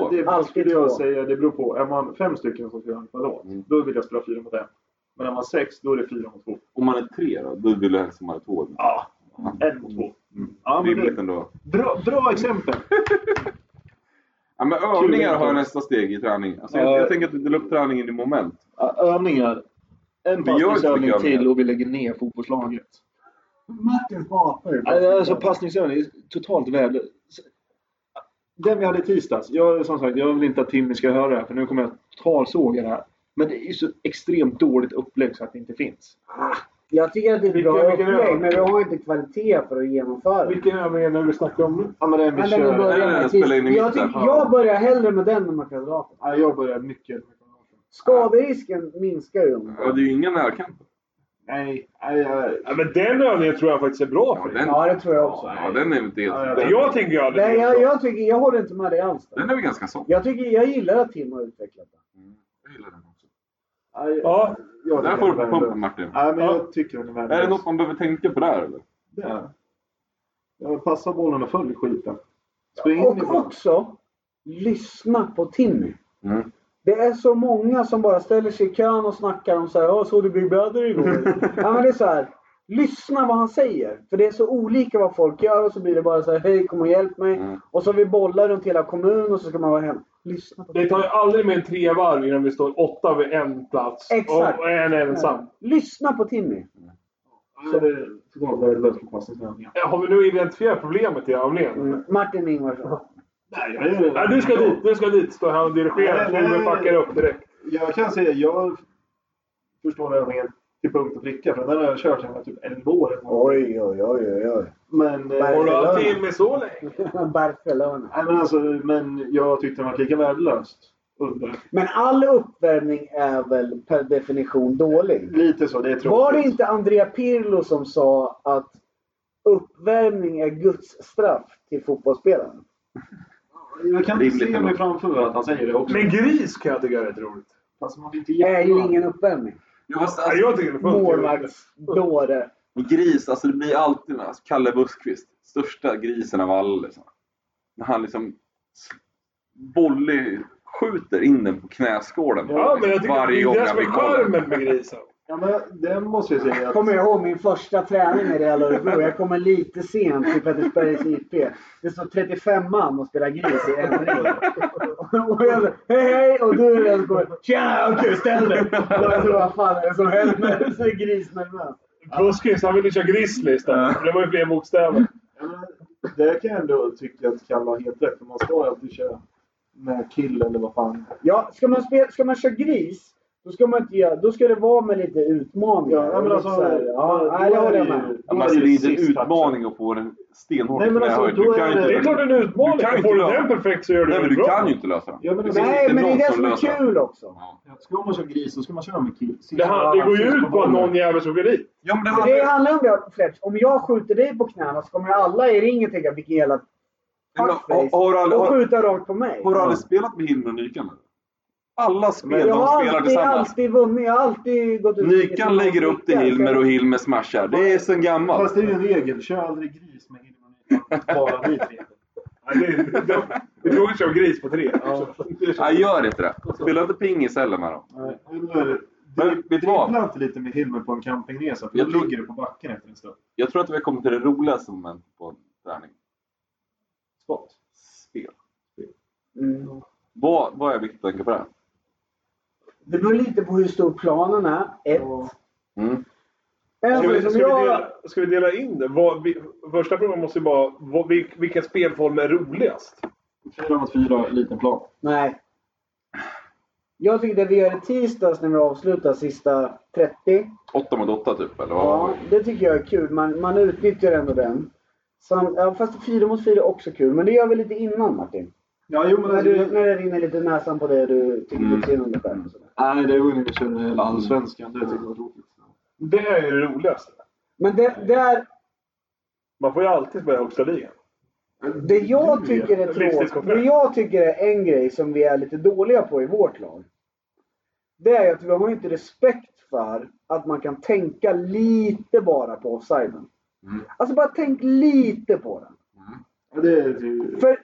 [SPEAKER 2] Det
[SPEAKER 4] Alltid
[SPEAKER 2] skulle jag
[SPEAKER 4] två.
[SPEAKER 2] säga, det beror på. Är man fem stycken som ska göra en kvadrat,
[SPEAKER 3] Mm.
[SPEAKER 2] då vill jag spela fyra mot en. Men är man sex, då är det fyra mot två.
[SPEAKER 3] Om man är tre då? Då vill jag helst att man är två.
[SPEAKER 2] Ja, en mot två. Ja, men
[SPEAKER 3] Mm. Rimligt
[SPEAKER 2] det,
[SPEAKER 3] ändå.
[SPEAKER 2] bra, bra exempel!
[SPEAKER 3] Ja, men övningar har jag nästa steg i träning. Alltså, jag,
[SPEAKER 2] Ja.
[SPEAKER 3] jag tänker att vi delar upp träningen i moment.
[SPEAKER 2] *laughs* Ja, Övningar. En
[SPEAKER 3] Vi gör inte
[SPEAKER 2] passningsövning
[SPEAKER 3] mycket
[SPEAKER 2] till
[SPEAKER 3] övningar.
[SPEAKER 2] och vi lägger ner fotbollslaget.
[SPEAKER 4] Martin hatar
[SPEAKER 2] Alltså passningsövning är totalt värdelös. Den vi hade i tisdags. Jag, som sagt, jag vill inte att Timmy ska höra det här för nu kommer jag talsåga det här. Men det är ju så extremt dåligt upplägg så att det inte finns.
[SPEAKER 4] Jag tycker att det är ett
[SPEAKER 5] Vilken-
[SPEAKER 4] bra
[SPEAKER 5] vilken
[SPEAKER 4] upplägg,
[SPEAKER 5] övning?
[SPEAKER 4] men vi har inte kvalitet för att genomföra det.
[SPEAKER 5] Vilken övning är det vi snackar om nu?
[SPEAKER 2] Ja, men den vi
[SPEAKER 4] Men den vi
[SPEAKER 2] kör.
[SPEAKER 4] börjar
[SPEAKER 3] Eller
[SPEAKER 4] med
[SPEAKER 3] spela in i
[SPEAKER 4] jag,
[SPEAKER 3] mitten.
[SPEAKER 4] tycker- jag börjar hellre med den än med kvadraten.
[SPEAKER 2] Ja, jag börjar mycket.
[SPEAKER 4] Skaderisken minskar ju. om-
[SPEAKER 3] Ja, det är ju inga närkamper.
[SPEAKER 2] Nej, nej, jag-
[SPEAKER 5] Ja, men den övningen tror jag faktiskt är bra
[SPEAKER 3] Ja,
[SPEAKER 5] för
[SPEAKER 3] den,
[SPEAKER 4] Ja, det tror jag också.
[SPEAKER 3] ja, den är inte
[SPEAKER 2] Ja,
[SPEAKER 3] helt...
[SPEAKER 5] dig.
[SPEAKER 3] Den,
[SPEAKER 5] Jag tänker jag aldrig
[SPEAKER 4] Nej,
[SPEAKER 5] bra.
[SPEAKER 4] jag, jag, tycker, jag håller inte med dig alls. där.
[SPEAKER 3] den är väl ganska soft?
[SPEAKER 4] Jag, tycker, jag gillar att Tim har utvecklat den.
[SPEAKER 3] Jag gillar den också.
[SPEAKER 2] nej,
[SPEAKER 5] Ja,
[SPEAKER 2] jag-
[SPEAKER 3] Där får du på pumpen Martin.
[SPEAKER 2] Nej, men
[SPEAKER 5] Ja.
[SPEAKER 2] jag tycker den är värdelös.
[SPEAKER 3] Är det något man behöver tänka på där eller?
[SPEAKER 2] Det är det. Ja, Passa bollen och följ skiten. Spring in i
[SPEAKER 4] Och
[SPEAKER 2] bollen.
[SPEAKER 4] också, lyssna på Timmy.
[SPEAKER 3] Mm.
[SPEAKER 4] Det är så många som bara ställer sig i kön och snackar om så här, "Ja, såg du Big Brother
[SPEAKER 3] *laughs*
[SPEAKER 4] igår? ja, men det är så här, lyssna vad han säger. För det är så olika vad folk gör och så blir det bara så här, hej kom och hjälp mig.
[SPEAKER 3] Mm.
[SPEAKER 4] Och så vi bollar runt hela kommunen och så ska man vara hem. Lyssna på
[SPEAKER 5] det tar ju aldrig mer än tre varv innan vi står åtta vid en plats.
[SPEAKER 4] Exakt.
[SPEAKER 5] Och en ensam.
[SPEAKER 4] Lyssna på Timmy.
[SPEAKER 2] Så det är totalt värdelöst på passningsövningar.
[SPEAKER 5] Har vi nu identifierat problemet i övningen?
[SPEAKER 4] Mm. Martin Ingvarsson.
[SPEAKER 2] Nej, jag gör det.
[SPEAKER 5] Nej, du ska dit, du ska dit. Står här och dirigerar.
[SPEAKER 2] Nej, nej,
[SPEAKER 5] Filmen packar upp direkt.
[SPEAKER 2] Jag kan säga, jag förstår övningen till punkt och pricka. För den har jag kört sedan jag var typ 11 år.
[SPEAKER 4] Oj, oj, oj, oj, oj.
[SPEAKER 2] Men, eh,
[SPEAKER 5] Har du
[SPEAKER 4] Barcelona.
[SPEAKER 5] haft in med så länge?
[SPEAKER 4] Barcelona.
[SPEAKER 2] nej, men, alltså, men jag tyckte den var lika värdelöst. Under.
[SPEAKER 4] Men all uppvärmning är väl per definition dålig?
[SPEAKER 2] Lite så, det är tråkigt.
[SPEAKER 4] Var det inte Andrea Pirlo som sa att uppvärmning är Guds straff till fotbollsspelaren?
[SPEAKER 2] Jag kan inte
[SPEAKER 3] Rimligt
[SPEAKER 2] se
[SPEAKER 3] ändå.
[SPEAKER 2] mig framför mig att han säger det också.
[SPEAKER 5] Men gris kan jag tycka är rätt roligt.
[SPEAKER 2] Fast man är inte
[SPEAKER 4] Det är ju
[SPEAKER 2] jättebra.
[SPEAKER 4] ingen uppvärmning.
[SPEAKER 3] Jo, fast,
[SPEAKER 5] Ja,
[SPEAKER 3] alltså,
[SPEAKER 5] jag tycker det är fullt roligt.
[SPEAKER 4] Målvaktsdåre.
[SPEAKER 3] och gris, alltså det blir alltid alltså, Kalle Buskqvist. Största grisen av alla liksom. När han liksom s- volley skjuter in den på knäskålen.
[SPEAKER 5] Ja, men jag tycker det
[SPEAKER 3] varje
[SPEAKER 5] är
[SPEAKER 3] gång
[SPEAKER 5] det som
[SPEAKER 3] han
[SPEAKER 5] är
[SPEAKER 3] vill kolla.
[SPEAKER 5] charmen med grisen.
[SPEAKER 2] Ja, men det måste jag säga.
[SPEAKER 4] Jag
[SPEAKER 2] Att,
[SPEAKER 4] kommer jag ihåg min första träning med Real Örebro. Jag kommer lite sent till Pettersbergs IP. Det står 35 man och spelar gris i en ring. Och jag bara, hej hej! Och du är den som kommer, tjena okej ställ dig! Och Jag tror vad fan är det som händer? Så är grisnervös.
[SPEAKER 5] Buskis, han ville köra grizzly istället. för Det var ju fler bokstäver.
[SPEAKER 2] ja, men, det kan jag ändå tycka att Kalle har helt rätt. för Man ska alltid köra med kill eller vad fan.
[SPEAKER 4] Ja, ska man, spela, ska man köra gris Då ska, man inte göra, då ska det vara med lite utmaningar.
[SPEAKER 9] Ja, men
[SPEAKER 4] och
[SPEAKER 9] alltså,
[SPEAKER 4] lite så här,
[SPEAKER 9] då-
[SPEAKER 4] ja, nej, det
[SPEAKER 9] då är
[SPEAKER 4] håller jag
[SPEAKER 9] det ju-
[SPEAKER 4] med
[SPEAKER 3] Att man
[SPEAKER 9] Då är det ju
[SPEAKER 3] sprider
[SPEAKER 9] sist touchen.
[SPEAKER 3] utmaning och får en stenhård
[SPEAKER 9] Nej, men alltså,
[SPEAKER 3] knähöjd.
[SPEAKER 9] då
[SPEAKER 3] Du
[SPEAKER 9] är
[SPEAKER 3] kan ju
[SPEAKER 9] det-
[SPEAKER 5] Det är
[SPEAKER 3] inte-
[SPEAKER 5] klart en utmaning.
[SPEAKER 3] Du kan inte
[SPEAKER 5] Får du
[SPEAKER 3] göra-
[SPEAKER 5] den perfekt så gör du
[SPEAKER 3] Nej, men
[SPEAKER 5] den
[SPEAKER 3] du
[SPEAKER 5] bra.
[SPEAKER 3] kan ju inte lösa den.
[SPEAKER 9] Ja, men alltså,
[SPEAKER 3] finns
[SPEAKER 4] Nej,
[SPEAKER 3] inte
[SPEAKER 4] men det är
[SPEAKER 3] någon
[SPEAKER 4] det
[SPEAKER 3] som
[SPEAKER 4] som är
[SPEAKER 3] löser det.
[SPEAKER 4] kul också.
[SPEAKER 2] Ska man köra gris så ska man köra med kill.
[SPEAKER 5] Det, här, det går ju ut på att någon jävel ska gå dit.
[SPEAKER 3] Ja, men det
[SPEAKER 4] För det
[SPEAKER 3] handlar
[SPEAKER 4] handlar om det, Fletch. Om jag skjuter dig på knäna så kommer ju alla i ringen tänka vilken jävla
[SPEAKER 3] Men har-
[SPEAKER 4] fuckface.
[SPEAKER 3] har alla-
[SPEAKER 4] Och
[SPEAKER 3] har-
[SPEAKER 4] skjuta rakt på mig.
[SPEAKER 3] Har du aldrig spelat med Hilmer och Nykan? eller? Alla spel
[SPEAKER 4] jag
[SPEAKER 3] de
[SPEAKER 4] har
[SPEAKER 3] spelar
[SPEAKER 4] alltid,
[SPEAKER 3] tillsammans.
[SPEAKER 4] alltid vunnit. Jag har alltid gått ut.
[SPEAKER 3] Nykan lägger upp till Hilmer och Hilmer smashar. Det är sen gammalt.
[SPEAKER 2] Fast det är ju en regel. Kör aldrig gris med Hilmer och Nyman. Bara vi tre.
[SPEAKER 5] Ja, Det är det är tråkigt att köra gris på tre.
[SPEAKER 3] Nej, gör inte det. Spela inte pingis heller med dem.
[SPEAKER 2] Nej, eller-
[SPEAKER 3] Men
[SPEAKER 2] dri-
[SPEAKER 3] vet du vad?
[SPEAKER 2] Dribbla inte lite med Hilmer på en campingresa för då
[SPEAKER 3] Jag tror-
[SPEAKER 2] ligger du på backen efter en stund.
[SPEAKER 3] Jag tror att vi har kommit till det roligaste momentet på en träning. Spot. Spel.
[SPEAKER 4] Mm.
[SPEAKER 3] Vad, vad är viktigt att tänka på det? här?
[SPEAKER 4] Det beror lite på hur stor planen är. Ett.
[SPEAKER 3] Mm.
[SPEAKER 4] En
[SPEAKER 5] Ska vi,
[SPEAKER 4] sak
[SPEAKER 5] ska, vi
[SPEAKER 4] som jag...
[SPEAKER 5] dela, ska vi dela in det? Vad, vi, första frågan måste ju vara vad, vil, vilken spelform är roligast?
[SPEAKER 2] Fyra mot fyra, liten plan.
[SPEAKER 4] Nej. Jag tycker det vi gör i tisdags när vi avslutar sista 30.
[SPEAKER 3] Åtta mot åtta typ, eller vad?
[SPEAKER 4] Ja, det tycker jag är kul. Man, man utnyttjar ändå den. Sam, ja, fast fyra mot fyra är också kul. Men det gör vi lite innan Martin.
[SPEAKER 2] Ja, jo men
[SPEAKER 4] När,
[SPEAKER 2] alltså,
[SPEAKER 4] du,
[SPEAKER 2] det,
[SPEAKER 4] när det rinner lite i näsan på dig och du tycker
[SPEAKER 3] Mm.
[SPEAKER 4] lite synd om dig själv. och sådär.
[SPEAKER 2] nej, det var ju när vi körde hela allsvenskan. Det tyckte jag var tråkigt.
[SPEAKER 5] Det är ju det roligaste.
[SPEAKER 4] Men det, där,
[SPEAKER 5] Man får ju alltid spela i högsta ligan.
[SPEAKER 4] det jag tycker är tråkigt.
[SPEAKER 5] Livstidskontrakt.
[SPEAKER 4] Det jag tycker är en grej som vi är lite dåliga på i vårt lag. Det är att vi har inte respekt för att man kan tänka lite bara på offsiden.
[SPEAKER 3] Mm.
[SPEAKER 4] Alltså bara tänk lite på den.
[SPEAKER 2] Ja, det, är ju-
[SPEAKER 4] För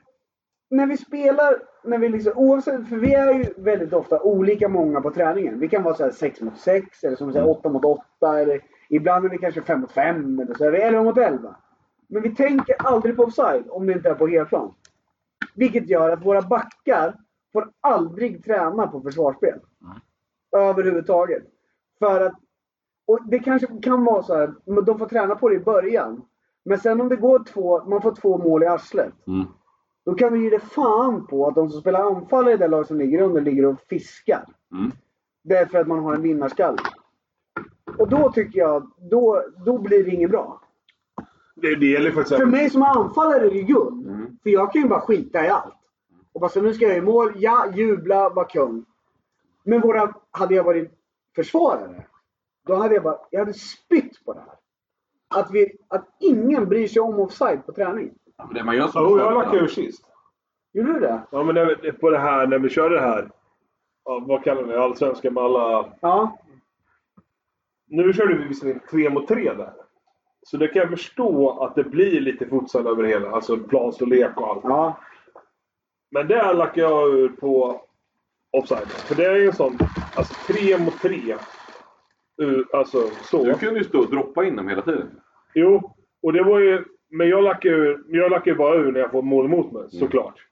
[SPEAKER 4] när vi spelar, när vi liksom, oavsett, för vi är ju väldigt ofta olika många på träningen. Vi kan vara så här 6 mot 6 eller som du säger 8 mot 8 eller ibland är vi kanske 5 mot 5 eller så är vi 11 mot 11. Men vi tänker aldrig på offside om det inte är på helplan. Vilket gör att våra backar får aldrig träna på försvarsspel. Överhuvudtaget. För att, och det kanske kan vara så här, men de får träna på det i början. Men sen om det går två, man får två mål i arslet.
[SPEAKER 3] Mm.
[SPEAKER 4] Då kan du ge dig fan på att de som spelar anfall i det lag som ligger under ligger och fiskar.
[SPEAKER 3] Mm.
[SPEAKER 4] Därför att man har en vinnarskalle. Och då tycker jag, då, då blir det inget bra.
[SPEAKER 5] Det, det gäller ju faktiskt...
[SPEAKER 4] För mig som anfallare är det ju guld.
[SPEAKER 3] Mm.
[SPEAKER 4] För jag kan ju bara skita i allt. Och bara så nu ska jag i mål, ja, jubla, vara kung. Men våra, hade jag varit försvarare, då hade jag bara, jag hade spytt på det här. Att, vi, att ingen bryr sig om offside på träning.
[SPEAKER 3] Ja, men Det man gör som
[SPEAKER 5] Jo, jag
[SPEAKER 3] förut,
[SPEAKER 5] lackade ur sist.
[SPEAKER 4] Gjorde du det?
[SPEAKER 5] Ja, men när vi, på det här, när vi körde det här. Ja, vad kallar vi det? Allsvenskan med alla...
[SPEAKER 4] Ja.
[SPEAKER 5] Nu körde vi visserligen tre mot tre där. Så det kan jag förstå att det blir lite futsal över det hela. Alltså planstorlek och allt.
[SPEAKER 4] Ja.
[SPEAKER 5] Men där lackar jag ur på offside. För det är ju en sån... Alltså tre mot tre. Ur- Alltså så.
[SPEAKER 3] Du kunde ju stå och droppa in dem hela tiden.
[SPEAKER 5] Jo, och det var ju... Men jag lackar ju jag lackar ju bara ur när jag får mål emot
[SPEAKER 3] Mm.
[SPEAKER 5] mig, såklart.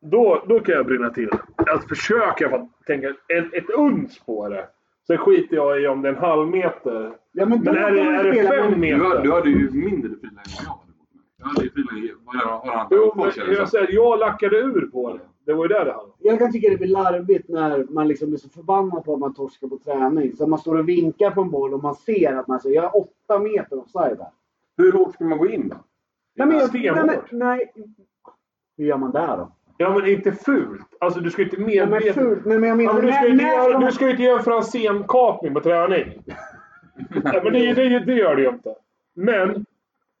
[SPEAKER 5] Då, då kan jag brinna till. Att försöka för att tänka en, ett uns på det. Sen skiter jag i om det är en halv meter.
[SPEAKER 4] Ja, men då
[SPEAKER 5] Men är
[SPEAKER 4] får
[SPEAKER 5] det,
[SPEAKER 4] man
[SPEAKER 5] är det
[SPEAKER 4] spela
[SPEAKER 5] fem
[SPEAKER 4] med-
[SPEAKER 5] meter?
[SPEAKER 3] Du, hade- du hade ju mindre friläge än vad jag hade. mot mig. Jag hade ju friläge... Vad gör har han?
[SPEAKER 5] Jo,
[SPEAKER 3] Folk känner
[SPEAKER 5] men
[SPEAKER 3] så.
[SPEAKER 5] jag, säger, jag lackade ur på det. Det var ju där det handlade om.
[SPEAKER 4] Jag kan tycka det blir larvigt när man liksom blir så förbannad på att man torskar på träning. Så man står och vinkar på en boll och man ser att man säger jag är åtta meter offside här.
[SPEAKER 3] Hur hårt ska man gå in då?
[SPEAKER 4] Nej, men jag, nej,
[SPEAKER 5] Stenhårt.
[SPEAKER 4] men, nej. Hur gör man där då?
[SPEAKER 5] Ja, men inte fult. Alltså, du ska ju inte
[SPEAKER 4] Ja, men
[SPEAKER 5] medvetet...
[SPEAKER 4] fult. Nej, men jag
[SPEAKER 5] Ja,
[SPEAKER 4] menar,
[SPEAKER 5] men du, ska
[SPEAKER 4] när,
[SPEAKER 5] ju inte
[SPEAKER 4] när
[SPEAKER 5] göra,
[SPEAKER 4] ska
[SPEAKER 5] du
[SPEAKER 4] man...
[SPEAKER 5] ska ju inte göra en Franzén-kapning på *laughs* träning. Nej, men det, det, det gör du ju inte. Men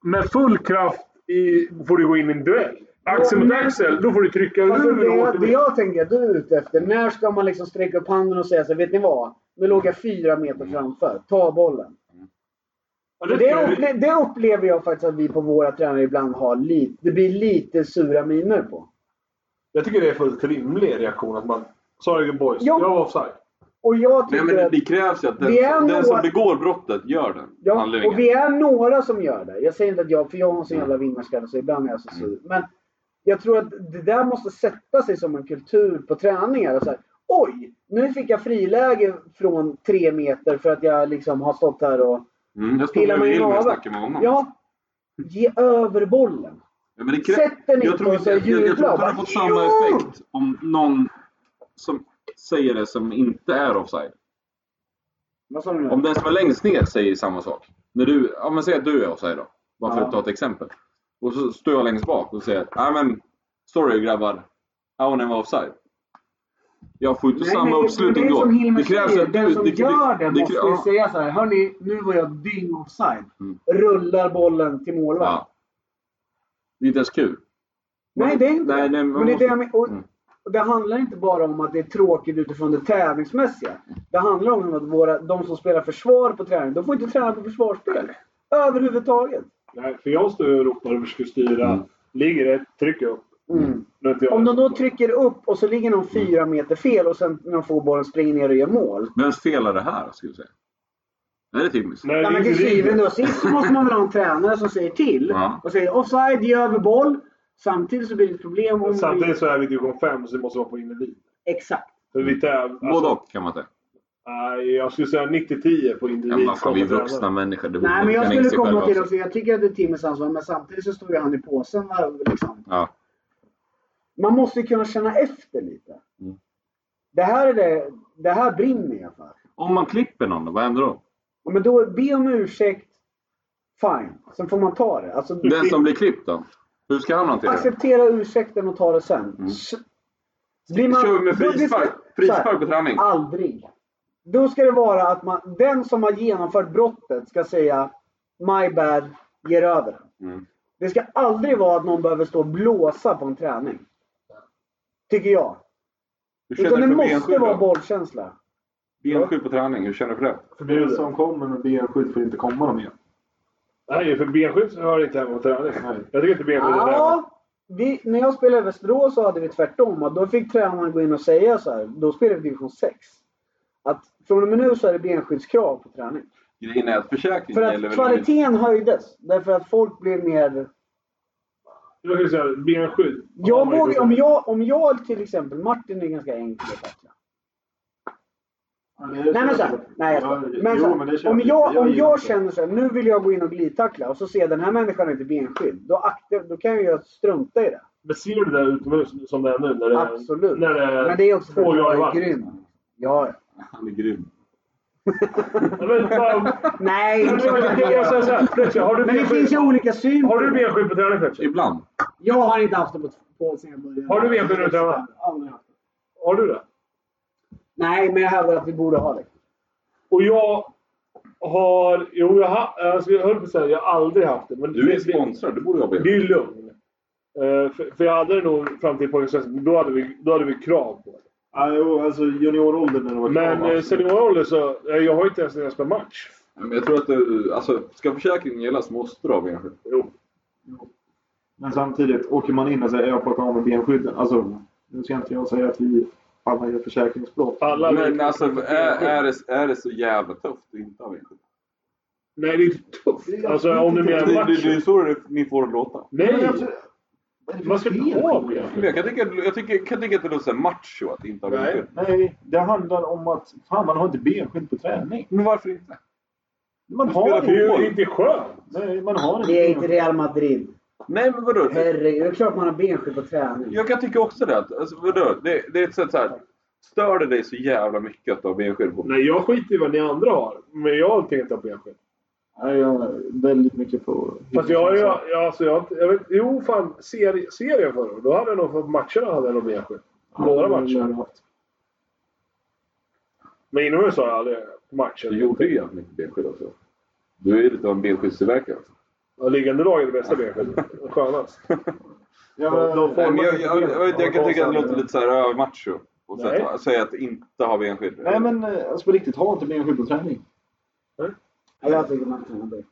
[SPEAKER 5] med full kraft i, får du gå in i en duell. Axel mot axel, då får du trycka ur
[SPEAKER 4] Alltså,
[SPEAKER 5] och
[SPEAKER 4] det,
[SPEAKER 5] återvinna.
[SPEAKER 4] det jag tänker att du är ute efter, när ska man liksom sträcka upp handen och säga så här, vet ni vad? Nu låg jag fyra meter framför, ta bollen.
[SPEAKER 5] Ja,
[SPEAKER 4] Det,
[SPEAKER 5] det tycker jag är-
[SPEAKER 4] det, det upplever jag faktiskt att vi på våra tränare ibland har lite, det blir lite sura miner på.
[SPEAKER 5] Jag tycker det är fullt rimlig reaktion att man... Sorry boys,
[SPEAKER 4] Ja.
[SPEAKER 5] jag var offside.
[SPEAKER 4] Och jag
[SPEAKER 3] Nej,
[SPEAKER 4] tycker
[SPEAKER 3] men det,
[SPEAKER 4] att...
[SPEAKER 3] det krävs ju att den,
[SPEAKER 4] Vi är
[SPEAKER 3] den
[SPEAKER 4] nog-
[SPEAKER 3] som begår brottet gör den
[SPEAKER 4] Ja,
[SPEAKER 3] handlingen. Mm.
[SPEAKER 4] och vi är några som gör det. Jag säger inte att jag, för jag har en sån jävla vinnarskalle så ibland är jag så sur. Men jag tror att det där måste sätta sig som en kultur på träningar. Och så här, Oj! Nu fick jag friläge från tre meter för att jag liksom har stått här och...
[SPEAKER 3] Mm, jag stod
[SPEAKER 4] Pilar man
[SPEAKER 3] bredvid
[SPEAKER 4] i
[SPEAKER 3] Hilmer och
[SPEAKER 4] naveln?
[SPEAKER 3] snackade med honom.
[SPEAKER 4] Ja! Ge över bollen.
[SPEAKER 3] Ja, men det krä...
[SPEAKER 4] Sätt den inte
[SPEAKER 3] jag tror
[SPEAKER 4] och
[SPEAKER 3] inte
[SPEAKER 4] så
[SPEAKER 3] jag, jag, jag tror
[SPEAKER 4] jubla
[SPEAKER 3] inte
[SPEAKER 4] och
[SPEAKER 3] det hade
[SPEAKER 4] bara,
[SPEAKER 3] fått samma
[SPEAKER 4] "Jo!"
[SPEAKER 3] effekt om någon som säger det som inte är offside.
[SPEAKER 4] Vad sa du nu?
[SPEAKER 3] Om den som är längst ner säger samma sak. När du, ja men säg att du är offside då. Bara för
[SPEAKER 4] Ja.
[SPEAKER 3] att ta ett exempel. Och så står jag längst bak och säger nej men sorry grabbar. Aunen var offside. Jag får ju inte
[SPEAKER 4] Nej,
[SPEAKER 3] samma
[SPEAKER 4] nej,
[SPEAKER 3] uppslutning
[SPEAKER 4] det är
[SPEAKER 3] då.
[SPEAKER 4] som Hilmer säger,
[SPEAKER 3] att-
[SPEAKER 4] den som
[SPEAKER 3] det- det-
[SPEAKER 4] gör det,
[SPEAKER 3] det-
[SPEAKER 4] måste ju
[SPEAKER 3] ja.
[SPEAKER 4] säga så här. Hörni, nu var jag dyng offside.
[SPEAKER 3] Mm.
[SPEAKER 4] Rullar bollen till målvakt.
[SPEAKER 3] Ja. Det är inte ens kul.
[SPEAKER 4] Nej, det är inte
[SPEAKER 3] Nej, nej,
[SPEAKER 4] men
[SPEAKER 3] man
[SPEAKER 4] det, är
[SPEAKER 3] måste-
[SPEAKER 4] det, jag men- och,
[SPEAKER 3] Mm.
[SPEAKER 4] och det handlar inte bara om att det är tråkigt utifrån det tävlingsmässiga. Det handlar om att våra, de som spelar försvar på träning, de får inte träna på försvarsspel. Överhuvudtaget.
[SPEAKER 5] Nej, för jag står ju och ropar och försöker styra.
[SPEAKER 3] Mm.
[SPEAKER 5] Ligger det, tryck upp. Nu är inte jag
[SPEAKER 4] Om de då
[SPEAKER 5] rätt.
[SPEAKER 4] trycker upp och så ligger de fyra meter fel och sen när de får bollen springer ner och gör mål.
[SPEAKER 3] Vems fel är det här skulle jag säga? Är det Timmys?
[SPEAKER 5] Nej,
[SPEAKER 4] Ja,
[SPEAKER 5] det
[SPEAKER 4] men
[SPEAKER 5] är
[SPEAKER 4] till
[SPEAKER 5] inte
[SPEAKER 4] syvende
[SPEAKER 5] det.
[SPEAKER 4] och sist så måste man väl ha en tränare som säger till.
[SPEAKER 3] Ja.
[SPEAKER 4] Och säger offside, ge över boll. Samtidigt så blir det ett problem om...
[SPEAKER 5] Samtidigt så är vi i division 5 så det måste vara på individ.
[SPEAKER 4] Exakt.
[SPEAKER 5] För vi täv-
[SPEAKER 3] Både och kan man säga.
[SPEAKER 5] Nej, jag skulle säga 90-10 på
[SPEAKER 3] Ja,
[SPEAKER 5] individ.
[SPEAKER 3] men vad fan, vi är
[SPEAKER 5] kontra
[SPEAKER 3] vuxna
[SPEAKER 5] tränare.
[SPEAKER 3] människor. Det
[SPEAKER 4] Nej, men jag
[SPEAKER 3] kan
[SPEAKER 4] skulle
[SPEAKER 3] inse själva
[SPEAKER 4] komma till
[SPEAKER 3] också.
[SPEAKER 4] också, jag tycker att det är Timmes ansvar, men samtidigt så står ju han i påsen. va, Liksom.
[SPEAKER 3] Ja.
[SPEAKER 4] Man måste ju kunna känna efter lite.
[SPEAKER 3] Mm.
[SPEAKER 4] Det här, är det, det här brinner jag för.
[SPEAKER 3] Om man klipper någon då, vad händer då?
[SPEAKER 4] Ja, Men då, be om ursäkt. Fine. Sen får man ta det. Alltså,
[SPEAKER 3] Den som blir klippt då? Hur ska han hantera det?
[SPEAKER 4] acceptera ursäkten och ta det sen.
[SPEAKER 3] Mm.
[SPEAKER 4] S- Blir
[SPEAKER 3] Kör vi med
[SPEAKER 4] då- det ska-
[SPEAKER 3] frispark,
[SPEAKER 4] så här,
[SPEAKER 3] frispark på träning?
[SPEAKER 4] Aldrig. Då ska det vara att man, den som har genomfört brottet ska säga My bad, ger över den.
[SPEAKER 3] Mm.
[SPEAKER 4] Det ska aldrig vara att någon behöver stå och blåsa på en träning. Tycker jag.
[SPEAKER 3] Hur
[SPEAKER 4] Utan
[SPEAKER 3] känner
[SPEAKER 4] det
[SPEAKER 3] du för
[SPEAKER 4] måste
[SPEAKER 3] benskydd
[SPEAKER 4] vara
[SPEAKER 3] då?
[SPEAKER 4] bollkänsla.
[SPEAKER 3] Benskydd på träning, hur känner du för det?
[SPEAKER 2] För den som kommer med benskydd får inte komma någon mer.
[SPEAKER 5] Nej, för benskydd så hör det inte hemma på träning.
[SPEAKER 2] Nej.
[SPEAKER 5] Jag tycker inte benskydd är hemma.
[SPEAKER 4] Ja, vi, när jag spelade i Västerås så hade vi tvärtom. Och då fick tränaren gå in och säga så här. Då spelade vi division 6. Att från och med nu så är det benskyddskrav på träning.
[SPEAKER 3] Grejen är att försäkringen
[SPEAKER 4] För
[SPEAKER 3] gäller
[SPEAKER 4] att
[SPEAKER 3] väl inte-
[SPEAKER 4] kvaliteten höjdes. Därför att folk blev mer...
[SPEAKER 5] Jag skulle säga benskydd.
[SPEAKER 4] Jag
[SPEAKER 5] Ja,
[SPEAKER 4] vågar,
[SPEAKER 5] men- liksom,
[SPEAKER 4] om, jag, om jag till exempel, Martin är ganska enkel att tackla. Nej men såhär, nej jag skojar. men, så här, om, jag, om jag känner såhär, nu vill jag gå in och glidtackla och så ser jag den här människan har inte benskydd. Då, aktiv, då kan jag ju strunta i det.
[SPEAKER 5] Men ser du det där utomhus som det är nu? När det är,
[SPEAKER 4] Absolut.
[SPEAKER 5] När det är
[SPEAKER 4] Men det är också för
[SPEAKER 5] två
[SPEAKER 4] att
[SPEAKER 5] grader
[SPEAKER 4] jag är
[SPEAKER 5] varmt.
[SPEAKER 4] grym. Ja, ja.
[SPEAKER 3] Han är grym.
[SPEAKER 5] Ja, Men,
[SPEAKER 4] *laughs*
[SPEAKER 5] bara,
[SPEAKER 4] Nej, det är klart att jag
[SPEAKER 5] jag säger
[SPEAKER 4] gör.
[SPEAKER 5] så här, Fletcher, har du
[SPEAKER 4] Men det finns ju
[SPEAKER 5] benskydd?
[SPEAKER 4] olika syn på
[SPEAKER 5] Har du
[SPEAKER 4] det.
[SPEAKER 5] benskydd på träning Fletcher?
[SPEAKER 3] Ibland.
[SPEAKER 4] Jag har inte haft det på, på sen jag började.
[SPEAKER 5] Har du benskydd när du tränar?
[SPEAKER 4] Aldrig haft det.
[SPEAKER 5] Har du det?
[SPEAKER 4] Nej, men jag hävdar att vi borde ha det.
[SPEAKER 5] Och jag har... Jo, jag, ha, alltså, jag höll på att säga jag har aldrig haft det. Men
[SPEAKER 3] Du är
[SPEAKER 5] det- det-
[SPEAKER 3] sponsrad, du borde ha
[SPEAKER 5] Det
[SPEAKER 3] benskyddet.
[SPEAKER 5] är lugn. Eh, för, för jag hade det nog fram till pojkens men då hade vi, då hade vi krav på det.
[SPEAKER 2] Ja, jo, alltså junioråldern när det var alltså.
[SPEAKER 5] Men eh, seniorålder så, eh, jag har ju inte ens när jag spelar match.
[SPEAKER 3] Men jag tror att du, alltså ska försäkringen gälla så måste du ha benskydd.
[SPEAKER 5] Jo.
[SPEAKER 2] Men samtidigt, åker man in och säger jag plockar av mig benskydden. Alltså, nu ska inte jag säga att vi alla gör försäkringsbrott.
[SPEAKER 5] Alla
[SPEAKER 3] Men alltså är, är, det, är det så jävla tufft att inte ha benskydd?
[SPEAKER 5] Nej, det är inte tufft. Alltså om du
[SPEAKER 3] Det,
[SPEAKER 5] menar
[SPEAKER 3] det, det är
[SPEAKER 5] matchen.
[SPEAKER 3] så det- ni får det låta.
[SPEAKER 5] Nej!
[SPEAKER 2] Men
[SPEAKER 5] Man ska inte ha det.
[SPEAKER 3] Men Jag kan tycka, jag tycker, kan tycka att det låter så här macho att inte ha
[SPEAKER 5] Nej.
[SPEAKER 3] benskydd.
[SPEAKER 2] Nej, det handlar om att fan, man har inte benskydd på träning.
[SPEAKER 3] Men varför inte?
[SPEAKER 2] Man
[SPEAKER 3] Du
[SPEAKER 2] har
[SPEAKER 3] spelar
[SPEAKER 5] Det
[SPEAKER 2] inte.
[SPEAKER 5] är ju inte skönt.
[SPEAKER 2] Nej, man har inte.
[SPEAKER 4] Det är inte
[SPEAKER 2] benskydd.
[SPEAKER 4] Real Madrid.
[SPEAKER 3] Nej men vadå?
[SPEAKER 4] Herregud, det är klart man har benskydd på träning.
[SPEAKER 3] Jag kan tycka också det. Att, alltså, vadå? Det, det är ett sätt så här. Stör det dig så jävla mycket att du har benskydd på?
[SPEAKER 5] Nej, jag skiter i vad ni andra har. Men jag tänker inte ha benskydd.
[SPEAKER 2] Nej, jag är väldigt mycket på...
[SPEAKER 5] Fast jag, jag, jag, alltså, jag, jag vet, Jo, fan. Serie, serien förra året, Då hade jag nog fått matcherna hade jag nog benskydd. Några matcher. Men inomhus har jag aldrig på matcher.
[SPEAKER 3] Du gjorde ju egentligen inte benskydd också. Du är ju lite av en benskyddsverkare. Alltså.
[SPEAKER 5] Ja, liggande lag är det bästa benskyddet. Skönast.
[SPEAKER 2] Ja, men,
[SPEAKER 5] De får-
[SPEAKER 3] Nej, men jag, jag, jag, vet inte, jag kan tycka att det låter lite så här äh, övermacho. Och så
[SPEAKER 5] Nej.
[SPEAKER 3] att säga att inte ha benskydd.
[SPEAKER 2] nej, men eh, alltså på riktigt, ha inte benskydd på träning.
[SPEAKER 4] Ja, Jag tycker man kan ha det.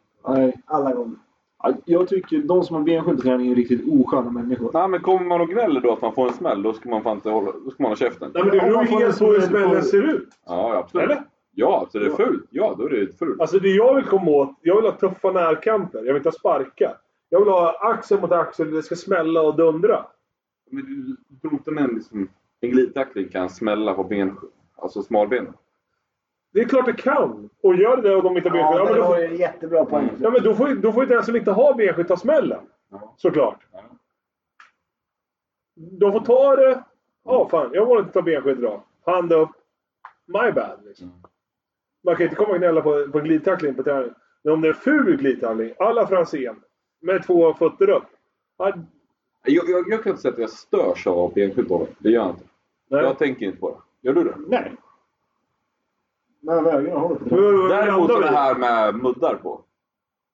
[SPEAKER 2] Nej.
[SPEAKER 4] Alla gånger.
[SPEAKER 2] Ja, Jag tycker de som har benskydd på träning är riktigt osköna människor.
[SPEAKER 3] Nej men kommer man och gnäller då att man får en smäll, då ska man fan inte hålla, då ska man ha käften.
[SPEAKER 5] Nej, men det
[SPEAKER 2] Om
[SPEAKER 5] beror
[SPEAKER 2] man
[SPEAKER 5] ju
[SPEAKER 2] får en
[SPEAKER 5] helt på hur
[SPEAKER 2] smäll på-
[SPEAKER 5] smällen ser ut.
[SPEAKER 3] Ja, ja, absolut.
[SPEAKER 5] Eller?
[SPEAKER 3] Ja, absolut. Det är fult. Ja, då är det ju fult.
[SPEAKER 5] Alltså det jag vill komma åt, jag vill ha tuffa närkamper. Jag vill inte ha sparkar. Jag vill ha axel mot axel, det ska smälla och dundra.
[SPEAKER 3] Men du- du tror inte en, liksom, en glidtackling kan smälla på ben, alltså smalbenen?
[SPEAKER 5] Det är klart det kan! Och gör det där och de inte har benskydd,
[SPEAKER 4] Ja,
[SPEAKER 5] ja, men Mm.
[SPEAKER 4] det var
[SPEAKER 5] då,
[SPEAKER 4] en jättebra poäng.
[SPEAKER 5] ja, men då får, ju- då får ju den som inte har benskydd ta smällen.
[SPEAKER 3] Ja.
[SPEAKER 5] Såklart.
[SPEAKER 3] Ja.
[SPEAKER 5] De får ta det... Ja, fan. Jag vågar inte ta benskydd idag. hand upp, my bad. Liksom.
[SPEAKER 3] Mm.
[SPEAKER 5] Man kan inte komma och gnälla på, på glidtackling på träning. Men om det är ful glidtackling, alla Franzén, med två fötter upp. Ja,
[SPEAKER 3] Jag, jag, jag kan inte säga att jag störs av att bli enskild på mig. Det gör jag inte.
[SPEAKER 5] nej.
[SPEAKER 3] Jag tänker inte på det. Gör du det?
[SPEAKER 5] nej.
[SPEAKER 2] Men vägarna håller på det.
[SPEAKER 5] Hur-
[SPEAKER 3] Däremot
[SPEAKER 5] hur
[SPEAKER 3] det
[SPEAKER 5] landar
[SPEAKER 3] här med muddar på.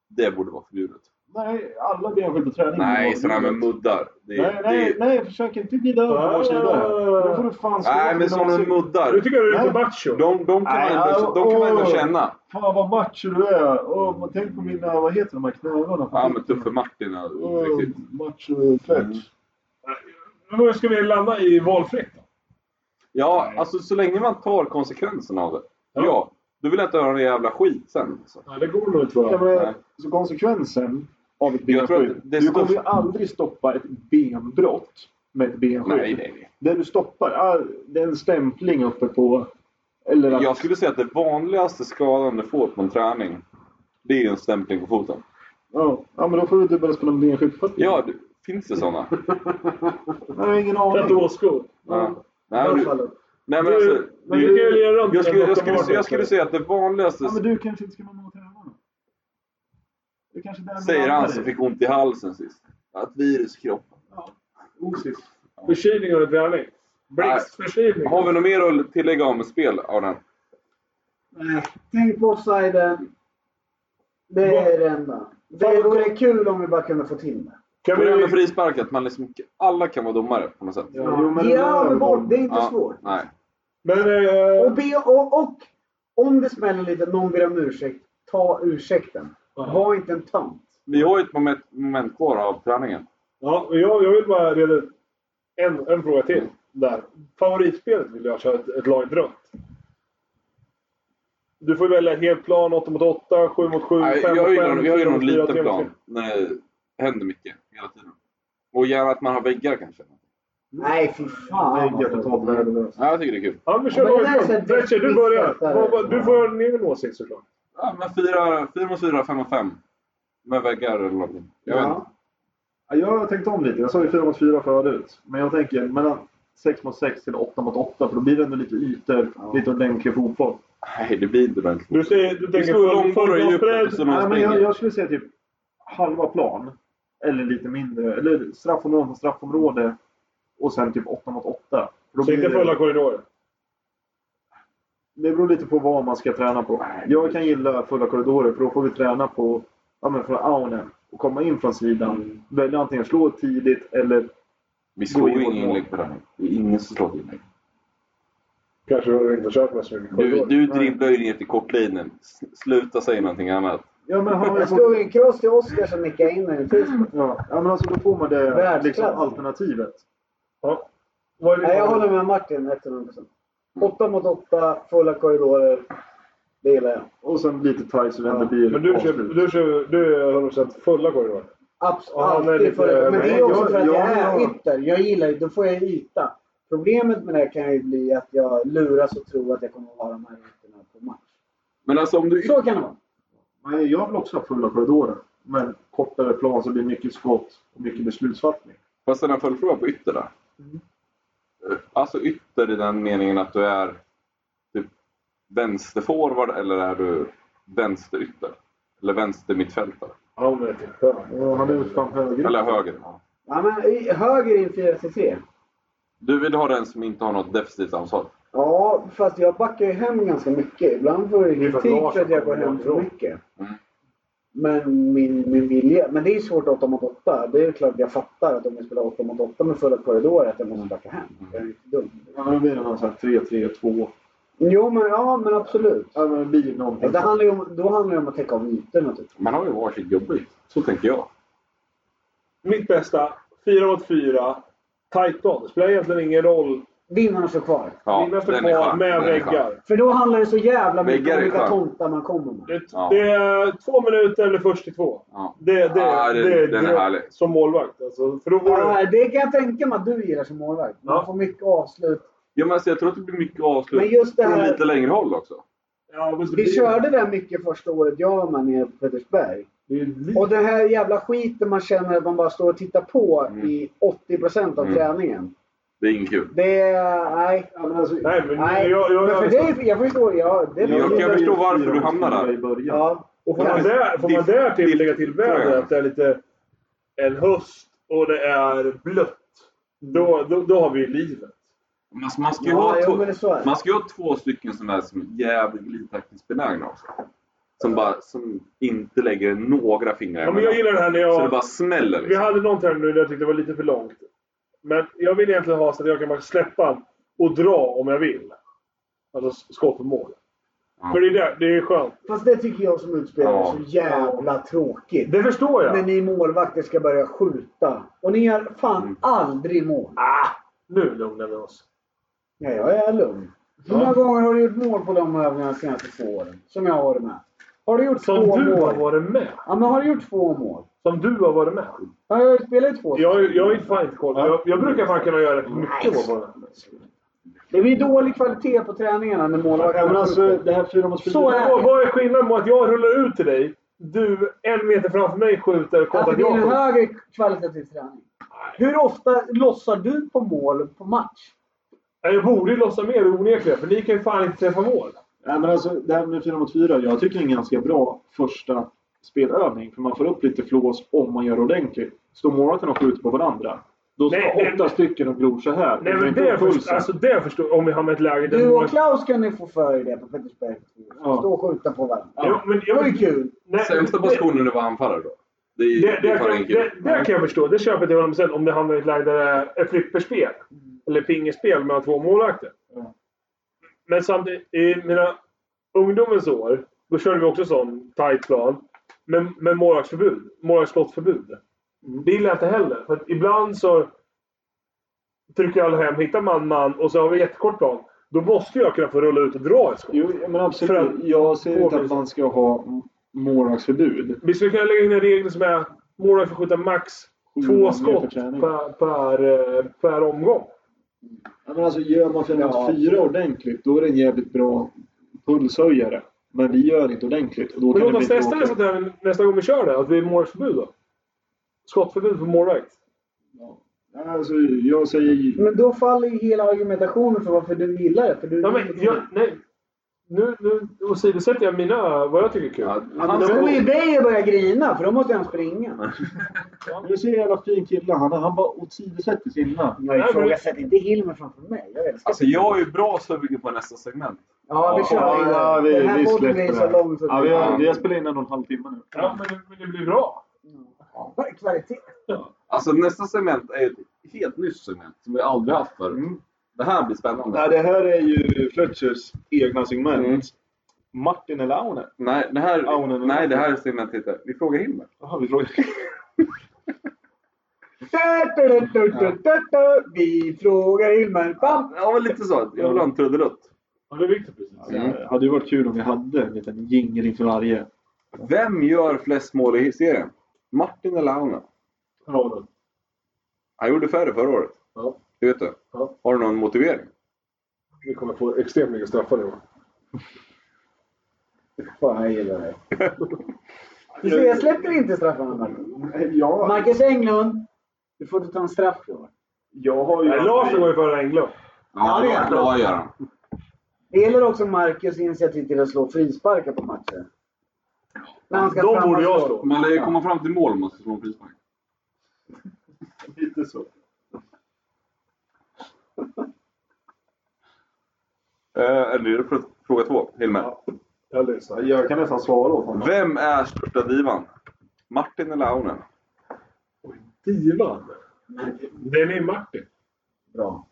[SPEAKER 3] Det borde vara förbjudet.
[SPEAKER 2] Nej, alla benskydd på träning.
[SPEAKER 3] Nej, sådana här med muddar. Det,
[SPEAKER 2] Mm. Nej, nej,
[SPEAKER 3] det,
[SPEAKER 2] nej, försök inte glida över
[SPEAKER 5] Ah.
[SPEAKER 2] på vår sida. Då får du fan slå
[SPEAKER 3] nej, men
[SPEAKER 2] till
[SPEAKER 3] sådana
[SPEAKER 2] någon-
[SPEAKER 3] med muddar.
[SPEAKER 5] vi? Du tycker du är lite
[SPEAKER 2] Nej.
[SPEAKER 5] macho?
[SPEAKER 3] De, de, kan man
[SPEAKER 2] Alltså, Nej,
[SPEAKER 3] ändå, de kan man ändå
[SPEAKER 2] åh.
[SPEAKER 3] känna.
[SPEAKER 2] Fan vad macho du är. Åh, men tänk på mina, vad heter de här knölarna?
[SPEAKER 3] Ja, men Tuffe Martin. ja,
[SPEAKER 2] Åh,
[SPEAKER 3] riktigt.
[SPEAKER 2] Macho
[SPEAKER 3] Mm.
[SPEAKER 2] fetch.
[SPEAKER 5] Hur ska vi landa i valfritt då?
[SPEAKER 3] Ja, alltså så länge man tar konsekvenserna av det.
[SPEAKER 5] Ja.
[SPEAKER 3] Ja, då vill jag inte höra någon jävla skit sen. Alltså.
[SPEAKER 5] Ja, det går nog inte.
[SPEAKER 2] Ja,
[SPEAKER 3] Nej.
[SPEAKER 2] men, så konsekvensen av ett
[SPEAKER 3] Jag tror att
[SPEAKER 2] benskydd.
[SPEAKER 3] det är
[SPEAKER 2] Du kommer ju
[SPEAKER 3] störst-
[SPEAKER 2] aldrig stoppa ett benbrott med ett benskydd.
[SPEAKER 3] Nej, nej, nej.
[SPEAKER 2] Det du stoppar är det är en stämpling uppe på... Eller att,
[SPEAKER 3] Jag skulle säga att det vanligaste skadan du får på en träning, det är ju en stämpling på foten.
[SPEAKER 2] ja, ja, men då får du inte börja spela med benskydd på fötterna.
[SPEAKER 3] Ja, det, finns det sådana?
[SPEAKER 2] Jag har ingen aning.
[SPEAKER 5] Platåskor.
[SPEAKER 3] Ja. Nej, men, du- nej, men alltså...
[SPEAKER 5] Men du kan ju lira runt
[SPEAKER 3] Jag skulle,
[SPEAKER 5] den
[SPEAKER 3] jag,
[SPEAKER 5] bortom
[SPEAKER 3] skulle, jag skulle
[SPEAKER 5] bortom.
[SPEAKER 3] säga att det vanligaste,
[SPEAKER 2] Ja, men du kanske inte ska vara med och träna då? Det är kanske där vi
[SPEAKER 3] säger han
[SPEAKER 2] landar
[SPEAKER 3] som
[SPEAKER 2] i.
[SPEAKER 3] fick ont i halsen sist, att virus i kroppen.
[SPEAKER 2] Osyft.
[SPEAKER 5] Förkylning under träning. Blixtförkylning.
[SPEAKER 3] Har vi något mer att tillägga om spel, Arne?
[SPEAKER 4] Nej, Eh, tänk på offsiden. Det är det enda. Det vore kul om vi bara kunde få till det.
[SPEAKER 5] Kan
[SPEAKER 3] Och det här med
[SPEAKER 5] vi...
[SPEAKER 3] frispark, att man liksom, alla kan vara domare på något sätt.
[SPEAKER 2] Ja, jo, men
[SPEAKER 4] Ge
[SPEAKER 2] där
[SPEAKER 4] över boll, det är inte
[SPEAKER 3] Ja,
[SPEAKER 4] svårt.
[SPEAKER 3] Nej.
[SPEAKER 5] Men...
[SPEAKER 4] Och,
[SPEAKER 5] Eh,
[SPEAKER 4] be, och, och om det smäller lite, någon ber om ursäkt. Ta ursäkten. Var inte en tönt.
[SPEAKER 3] Vi har ju ett moment, moment kvar av träningen.
[SPEAKER 5] ja, och jag, jag vill bara reda ut en, en fråga till. Där. Favoritspelet vill jag köra ett, ett lag runt. Du får välja helt plan, 8 mot 8, 7 mot 7, 5 mot
[SPEAKER 3] Nej,
[SPEAKER 5] 5.
[SPEAKER 3] jag har ju någon, vi har ju någon liten
[SPEAKER 5] tre mot
[SPEAKER 3] plan
[SPEAKER 5] fyra.
[SPEAKER 3] när det händer mycket hela tiden. Och gärna att man har väggar kanske.
[SPEAKER 4] Nej, fy
[SPEAKER 2] Det
[SPEAKER 4] fan.
[SPEAKER 2] är kapitalt värdelöst.
[SPEAKER 3] Ja, jag tycker det är kul.
[SPEAKER 5] Ja, vi
[SPEAKER 4] Ja,
[SPEAKER 5] kör
[SPEAKER 4] men det där
[SPEAKER 5] lag
[SPEAKER 4] är så
[SPEAKER 5] runt. Fletcher, du
[SPEAKER 4] ditt
[SPEAKER 5] börjar.
[SPEAKER 4] sätt där.
[SPEAKER 5] Vad- vad- Du får en egen åsikt såklart.
[SPEAKER 3] Ja, men fyra, fyra mot fyra, fem mot fem. Med väggar eller någonting. Jag vet inte.
[SPEAKER 2] Ja. Ja, Jag har tänkt om lite. Jag sa ju 4 mot 4 förut. Men jag tänker mellan 6 mot 6 till 8 mot 8. För då blir det ändå lite ytor, lite ordentlig fotboll.
[SPEAKER 3] Nej, det blir inte ordentligt.
[SPEAKER 5] Du, säger, du tänker
[SPEAKER 3] slår
[SPEAKER 5] full-
[SPEAKER 3] långbollar i djupet, liksom.
[SPEAKER 5] fullgångsbredd.
[SPEAKER 3] så någon
[SPEAKER 2] Nej, men jag,
[SPEAKER 3] springer.
[SPEAKER 2] jag skulle säga typ halva plan. Eller lite mindre. Eller straffområde mot straffområde. Och sen typ 8 mot 8. För då
[SPEAKER 5] Så
[SPEAKER 2] blir
[SPEAKER 5] inte
[SPEAKER 2] det-
[SPEAKER 5] fulla korridorer.
[SPEAKER 2] Det beror lite på vad man ska träna på. Jag kan gilla fulla korridorer för då får vi träna på ja, men från aunen och komma in från sidan.
[SPEAKER 3] Mm.
[SPEAKER 2] Välja antingen slå tidigt eller...
[SPEAKER 3] Vi slår
[SPEAKER 2] Gå
[SPEAKER 3] ju
[SPEAKER 2] in mot
[SPEAKER 3] inga
[SPEAKER 2] mål.
[SPEAKER 3] inlägg på träning. Det är ingen som slår inlägg.
[SPEAKER 5] Kanske du inte har kört med så mycket
[SPEAKER 3] Du,
[SPEAKER 5] korridorer.
[SPEAKER 3] du dribblar ju ner till kortlinjen. S- Sluta säga någonting annat.
[SPEAKER 2] Ja men, har man
[SPEAKER 4] Jag slog en cross till Oskar som nickade in den i Facebook.
[SPEAKER 2] ja, ja, men alltså då får man det
[SPEAKER 4] Världsklass.
[SPEAKER 2] liksom, alternativet.
[SPEAKER 5] Ja. Vad är
[SPEAKER 4] Nej, jag
[SPEAKER 5] ditt
[SPEAKER 4] håller med Martin 100%. 8 mot 8, fulla korridorer. Det gillar jag.
[SPEAKER 2] Och sen lite tights så det ändå blir
[SPEAKER 5] Men du kör,
[SPEAKER 2] avslut.
[SPEAKER 5] du kör du är 100% fulla korridorer.
[SPEAKER 4] Abs-
[SPEAKER 5] Ja, han är
[SPEAKER 4] alltid
[SPEAKER 5] lite-
[SPEAKER 4] fulla korridorer. Men det är
[SPEAKER 2] Nej,
[SPEAKER 4] också
[SPEAKER 2] jag-
[SPEAKER 4] för att
[SPEAKER 2] jag-
[SPEAKER 4] jag är
[SPEAKER 2] jag-
[SPEAKER 4] ytter. Jag gillar ju, då får jag yta. Problemet med det här kan ju bli att jag luras och tror att jag kommer att ha de här ytorna på match.
[SPEAKER 3] Men alltså om du...
[SPEAKER 4] Så kan det vara.
[SPEAKER 2] Nej, jag vill också ha fulla korridorer. Men kortare plan så blir det mycket skott och mycket beslutsfattning.
[SPEAKER 3] Fast den här följdfrågan på ytter där. Alltså ytter i den meningen att du är typ vänsterforward eller är du vänsterytter? Eller vänstermittfältare?
[SPEAKER 5] Ja, men det är skönt.
[SPEAKER 2] Och han är ju fan höger.
[SPEAKER 3] Eller höger?
[SPEAKER 4] Ja, men i- höger in 4 till 3.
[SPEAKER 3] Du vill ha den som inte har något defensivt ansvar?
[SPEAKER 4] Ja, fast jag backar ju hem ganska mycket. Ibland får jag
[SPEAKER 5] Det är
[SPEAKER 4] ju
[SPEAKER 5] för att
[SPEAKER 4] kritik
[SPEAKER 5] Larsson
[SPEAKER 4] för att jag går
[SPEAKER 5] kommer
[SPEAKER 4] hem för
[SPEAKER 5] bakifrån.
[SPEAKER 4] mycket.
[SPEAKER 3] Mm.
[SPEAKER 4] Men min, min vilja. Men det är svårt 8 mot 8. Det är ju klart jag fattar att om jag spelar 8 mot 8 med fulla korridorer att jag
[SPEAKER 5] Mm.
[SPEAKER 4] måste backa hem. Jag är inte dum.
[SPEAKER 2] Ja, men då blir det någon sån här 3-3-2.
[SPEAKER 4] Jo, men, ja, men absolut.
[SPEAKER 2] Ja, men det blir någonting.
[SPEAKER 5] Mm.
[SPEAKER 4] Det handlar ju om, då handlar det om att täcka av ytorna typ.
[SPEAKER 3] Man har ju varsitt jobbigt. Så tänker jag.
[SPEAKER 5] Mitt bästa, 4 mot 4, tight on. Det spelar egentligen ingen roll.
[SPEAKER 4] Vinnarna står kvar.
[SPEAKER 3] Ja,
[SPEAKER 5] Vinnaren står
[SPEAKER 3] den är
[SPEAKER 5] kvar
[SPEAKER 3] skön.
[SPEAKER 5] med
[SPEAKER 3] Den är skön.
[SPEAKER 5] väggar.
[SPEAKER 4] För då handlar det så jävla mycket
[SPEAKER 3] Väggar
[SPEAKER 4] om
[SPEAKER 3] är
[SPEAKER 4] vilka
[SPEAKER 3] skön.
[SPEAKER 4] tomtar man kommer med.
[SPEAKER 5] Det,
[SPEAKER 3] Ja.
[SPEAKER 5] det är två minuter eller först till två.
[SPEAKER 3] Ja.
[SPEAKER 5] Det, det,
[SPEAKER 3] Ja,
[SPEAKER 5] det,
[SPEAKER 3] det-
[SPEAKER 5] är
[SPEAKER 3] den är
[SPEAKER 5] dröm
[SPEAKER 3] härlig.
[SPEAKER 5] Som målvakt. Alltså, för då går det...
[SPEAKER 4] Ja, det kan jag tänka mig att du gillar som målvakt. Man
[SPEAKER 5] Ja.
[SPEAKER 4] får mycket avslut.
[SPEAKER 3] Ja, men alltså, jag tror att det blir mycket
[SPEAKER 4] Men
[SPEAKER 3] avslut
[SPEAKER 4] just det
[SPEAKER 3] från
[SPEAKER 4] här-
[SPEAKER 3] lite längre håll också.
[SPEAKER 5] Ja, men så
[SPEAKER 4] Vi
[SPEAKER 5] blir-
[SPEAKER 4] körde det mycket första året jag var med nere på Petersberg.
[SPEAKER 5] Det är lite-
[SPEAKER 4] Och den här jävla skiten man känner att man bara står och tittar på i 80% av
[SPEAKER 3] Mm.
[SPEAKER 4] träningen.
[SPEAKER 3] Det är inget kul.
[SPEAKER 4] Det är... Nej.
[SPEAKER 2] Ja, men alltså,
[SPEAKER 5] Nej, men
[SPEAKER 4] Nej.
[SPEAKER 5] jag... jag,
[SPEAKER 4] Men för
[SPEAKER 5] jag
[SPEAKER 4] dig, jag förstår. Ja, det
[SPEAKER 3] Jag
[SPEAKER 4] blir-
[SPEAKER 3] kan förstå varför
[SPEAKER 2] fyra
[SPEAKER 3] du hamnar
[SPEAKER 2] omskrivna I
[SPEAKER 3] där.
[SPEAKER 2] början.
[SPEAKER 4] Ja.
[SPEAKER 5] och får man, där, får man där till lägga till vädret, att det är lite en höst och det är blött. Då, då, då har vi livet.
[SPEAKER 3] Man, alltså, man, ska ju
[SPEAKER 4] Ja,
[SPEAKER 3] ha
[SPEAKER 4] jo,
[SPEAKER 3] två,
[SPEAKER 4] men det är så här.
[SPEAKER 3] man ska ju ha två stycken som är som är jävligt glidtekniskt benägna också. Som, bara, som inte lägger några fingrar
[SPEAKER 5] Ja, men jag gillar det här när jag...
[SPEAKER 3] Så det bara smäller
[SPEAKER 5] Vi
[SPEAKER 3] liksom.
[SPEAKER 5] hade någon term nu där jag tyckte det var lite för långt. Men jag vill egentligen ha så att jag kan bara släppa och dra om jag vill. Alltså skott på mål.
[SPEAKER 3] Ja.
[SPEAKER 5] För det är, där, det är skönt.
[SPEAKER 4] Fast det tycker jag som utspelare är
[SPEAKER 3] Ja.
[SPEAKER 4] så jävla tråkigt.
[SPEAKER 5] Det förstår
[SPEAKER 4] När
[SPEAKER 5] jag.
[SPEAKER 4] ni målvakter ska börja skjuta. Och ni gör fan
[SPEAKER 3] Mm.
[SPEAKER 4] aldrig mål.
[SPEAKER 5] Ah, nu lugnar vi oss.
[SPEAKER 4] Ja, jag är lugn. Hur många gånger har du gjort mål på de övningarna de senaste två åren? Som jag har varit med. Har du gjort
[SPEAKER 5] Som
[SPEAKER 4] två
[SPEAKER 5] du har
[SPEAKER 4] mål?
[SPEAKER 5] varit med.
[SPEAKER 4] Ja, men har du gjort två mål?
[SPEAKER 5] Som du har varit med.
[SPEAKER 4] Ja, jag har ju spelat två.
[SPEAKER 5] Jag, jag är inte fan inte koll. Jag, jag brukar fan kunna göra rätt mycket mål på den. här.
[SPEAKER 4] Det blir dålig kvalitet på träningarna när
[SPEAKER 2] Ja, men
[SPEAKER 4] målvakterna
[SPEAKER 2] alltså, det här fyra mot fyra.
[SPEAKER 4] Så är
[SPEAKER 5] Vad- Vad är skillnaden på att jag rullar ut till dig, du en meter framför mig skjuter
[SPEAKER 4] Att
[SPEAKER 5] kontra
[SPEAKER 4] Alltså, det
[SPEAKER 5] att
[SPEAKER 4] blir
[SPEAKER 5] jag
[SPEAKER 4] en
[SPEAKER 5] skjuter?
[SPEAKER 4] högre kvalitativ träning. Hur ofta lossar du på mål på match?
[SPEAKER 5] Nej, Jag borde ju lossa mer onekligen, för ni kan ju fan inte träffa mål.
[SPEAKER 2] Nej, men alltså, det här med fyra mot fyra. Jag tycker det är en ganska bra första spelövning. För man får upp lite flås om man gör det ordentligt. Står målvakten och skjuter på varandra. Då ska
[SPEAKER 5] Nej, nej,
[SPEAKER 2] åtta
[SPEAKER 5] nej.
[SPEAKER 2] stycken och glor så här.
[SPEAKER 5] Nej,
[SPEAKER 2] Det är
[SPEAKER 5] men
[SPEAKER 2] inte
[SPEAKER 5] det, först,
[SPEAKER 2] pulsen.
[SPEAKER 5] alltså, det förstår Om vi hamnar i ett läge där
[SPEAKER 4] Du
[SPEAKER 5] mål-
[SPEAKER 4] och Klaus kan ni få för er det på Pettersberg.
[SPEAKER 2] Ja.
[SPEAKER 4] Stå och skjuta på varandra.
[SPEAKER 5] Jo, men,
[SPEAKER 4] Det var ju kul.
[SPEAKER 5] Nej,
[SPEAKER 3] Sämsta
[SPEAKER 5] det-
[SPEAKER 3] positionen det var anfallare då. Det är,
[SPEAKER 5] Det,
[SPEAKER 3] det,
[SPEAKER 5] det,
[SPEAKER 3] är fan
[SPEAKER 5] kan,
[SPEAKER 3] inget kul.
[SPEAKER 5] det, det kan jag förstå. Det köper jag till 100% om det hamnar i ett läge där det är ett flipperspel. Eller pingerspel mellan två målvakter. Men samtidigt, i mina ungdomens år, då körde vi också sån tight plan. Men med målvaktsförbud. Målvaktsskottförbud. Det gillar jag inte heller. För att ibland så trycker alla hem, hittar man man och så har vi jättekort plan. Då måste jag kunna få rulla ut och dra ett skott.
[SPEAKER 2] Jo, men absolut.
[SPEAKER 5] För att-
[SPEAKER 2] jag säger inte
[SPEAKER 5] Påvis.
[SPEAKER 2] att man ska ha m- målvaktsförbud.
[SPEAKER 5] Vi skulle kunna lägga in en regel som är målvakten får skjuta max
[SPEAKER 2] Sju
[SPEAKER 5] två
[SPEAKER 2] gånger per
[SPEAKER 5] skott
[SPEAKER 2] träning.
[SPEAKER 5] per, per, eh, per omgång.
[SPEAKER 2] Ja, men alltså, gör man fyra
[SPEAKER 4] Ja.
[SPEAKER 2] mot fyra ordentligt, då är det en jävligt bra pulshöjare. Men vi gör det inte ordentligt. Och då
[SPEAKER 5] Men
[SPEAKER 2] kan
[SPEAKER 5] låt
[SPEAKER 2] det
[SPEAKER 5] oss
[SPEAKER 2] bli
[SPEAKER 5] testa det
[SPEAKER 2] tråkigt.
[SPEAKER 5] sånt här nästa gång vi kör det. Att vi är målvaktsförbud då. Skottförbud för målvakt.
[SPEAKER 2] Ja, Alltså, jag säger...
[SPEAKER 4] Men då faller ju hela argumentationen för varför du gillar det. För du
[SPEAKER 5] Ja, men jag, nej. Nu, nu åsidosätter jag mina, vad jag tycker är kul.
[SPEAKER 3] Ja,
[SPEAKER 4] Ja, men då kommer ju dig att börja grina för då måste han springa.
[SPEAKER 2] Du ser en jävla fin kille. Han, han bara åsidosätter sina.
[SPEAKER 4] Jag ifrågasätter inte Hilmer framför mig. Jag älskar
[SPEAKER 3] Alltså jag är ju bra sugen på nästa segment.
[SPEAKER 4] Ja, vi kör vidare.
[SPEAKER 2] Ja, vi,
[SPEAKER 4] Den här
[SPEAKER 2] vi
[SPEAKER 4] podden
[SPEAKER 2] släpper
[SPEAKER 4] är
[SPEAKER 2] det.
[SPEAKER 4] så lång så
[SPEAKER 2] Ja, vi,
[SPEAKER 4] ja,
[SPEAKER 2] har, vi har spelat in en och en halv timme nu.
[SPEAKER 5] Ja, men, det- men det blir bra.
[SPEAKER 4] Kvalitet.
[SPEAKER 3] Alltså nästa segment är ett helt nytt segment som vi aldrig haft förut.
[SPEAKER 5] Mm.
[SPEAKER 3] Det här blir spännande.
[SPEAKER 2] Nej, det här är ju Fletchers egna segment.
[SPEAKER 3] Mm.
[SPEAKER 2] Martin eller Aune?
[SPEAKER 3] Nej, det här,
[SPEAKER 2] Ja, men-
[SPEAKER 3] nej, det här segmentet heter Vi frågar Hilmer.
[SPEAKER 2] Jaha, vi frågar.
[SPEAKER 4] Vi frågar Hilmer. Bam!
[SPEAKER 3] Ja, men lite så. Jag vill ha en trudelutt.
[SPEAKER 5] Ja, det är viktigt precis.
[SPEAKER 3] Mm.
[SPEAKER 2] Det hade ju varit kul om vi hade en liten jingel inför varje.
[SPEAKER 3] Vem gör flest mål i serien? Martin eller Aune?
[SPEAKER 5] Ja,
[SPEAKER 3] Han gjorde färre förra året.
[SPEAKER 5] Ja.
[SPEAKER 3] Det vet du.
[SPEAKER 5] Ja.
[SPEAKER 3] Har du någon motivering?
[SPEAKER 5] vi kommer få extremt mycket straffar i år.
[SPEAKER 4] Fan, jag gillar det. Du ser, jag släpper inte straffarna Marcus.
[SPEAKER 2] Jag,
[SPEAKER 4] Marcus Englund, du får inte ta en straff i år.
[SPEAKER 2] jag har ju...
[SPEAKER 5] Nej, Larsson går ju före Englund.
[SPEAKER 4] Ja, det gör han.
[SPEAKER 3] bra gör han.
[SPEAKER 4] Det gäller också Marcus initiativ till att slå frisparkar på matcher. När han ska
[SPEAKER 5] De
[SPEAKER 4] framåt
[SPEAKER 5] borde jag slå.
[SPEAKER 3] Man lär ju komma fram till mål om man ska slå en frispark.
[SPEAKER 2] Lite så.
[SPEAKER 3] *laughs* Eh, Eller är det fr- fråga två, Hilmer?
[SPEAKER 5] Jag lyssnar.
[SPEAKER 2] Jag kan nästan svara åt honom.
[SPEAKER 3] Vem är största divan? Martin eller Aune?
[SPEAKER 5] Divan. Den är Martin.
[SPEAKER 4] Bra.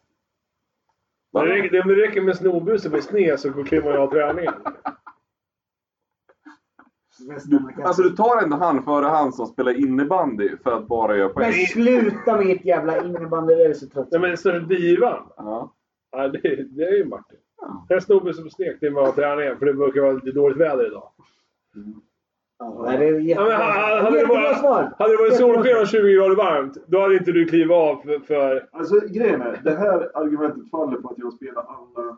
[SPEAKER 5] Det räcker, det räcker med snorbus och blir sned så kliver jag av träningen.
[SPEAKER 3] Alltså du tar ändå han före han som spelar innebandy för att bara göra
[SPEAKER 4] Men
[SPEAKER 3] poäng.
[SPEAKER 4] sluta med ert jävla innebandy, det är så trött.
[SPEAKER 5] Nej men så är det divan.
[SPEAKER 3] Ja.
[SPEAKER 5] Ja, det, det är ju Martin. Den snubben som snek till mig av träningen för det brukar vara lite dåligt väder idag.
[SPEAKER 4] Ja, det är
[SPEAKER 5] Ja, men,
[SPEAKER 4] jättebra.
[SPEAKER 5] ha- ha- hade, det
[SPEAKER 4] Jättebra
[SPEAKER 5] varit,
[SPEAKER 4] svar.
[SPEAKER 5] hade det varit
[SPEAKER 4] Jättebra
[SPEAKER 5] solsken och 20 grader varmt, då hade inte du klivit av för... för
[SPEAKER 2] Alltså grejen är, det här argumentet faller på att jag spelar alla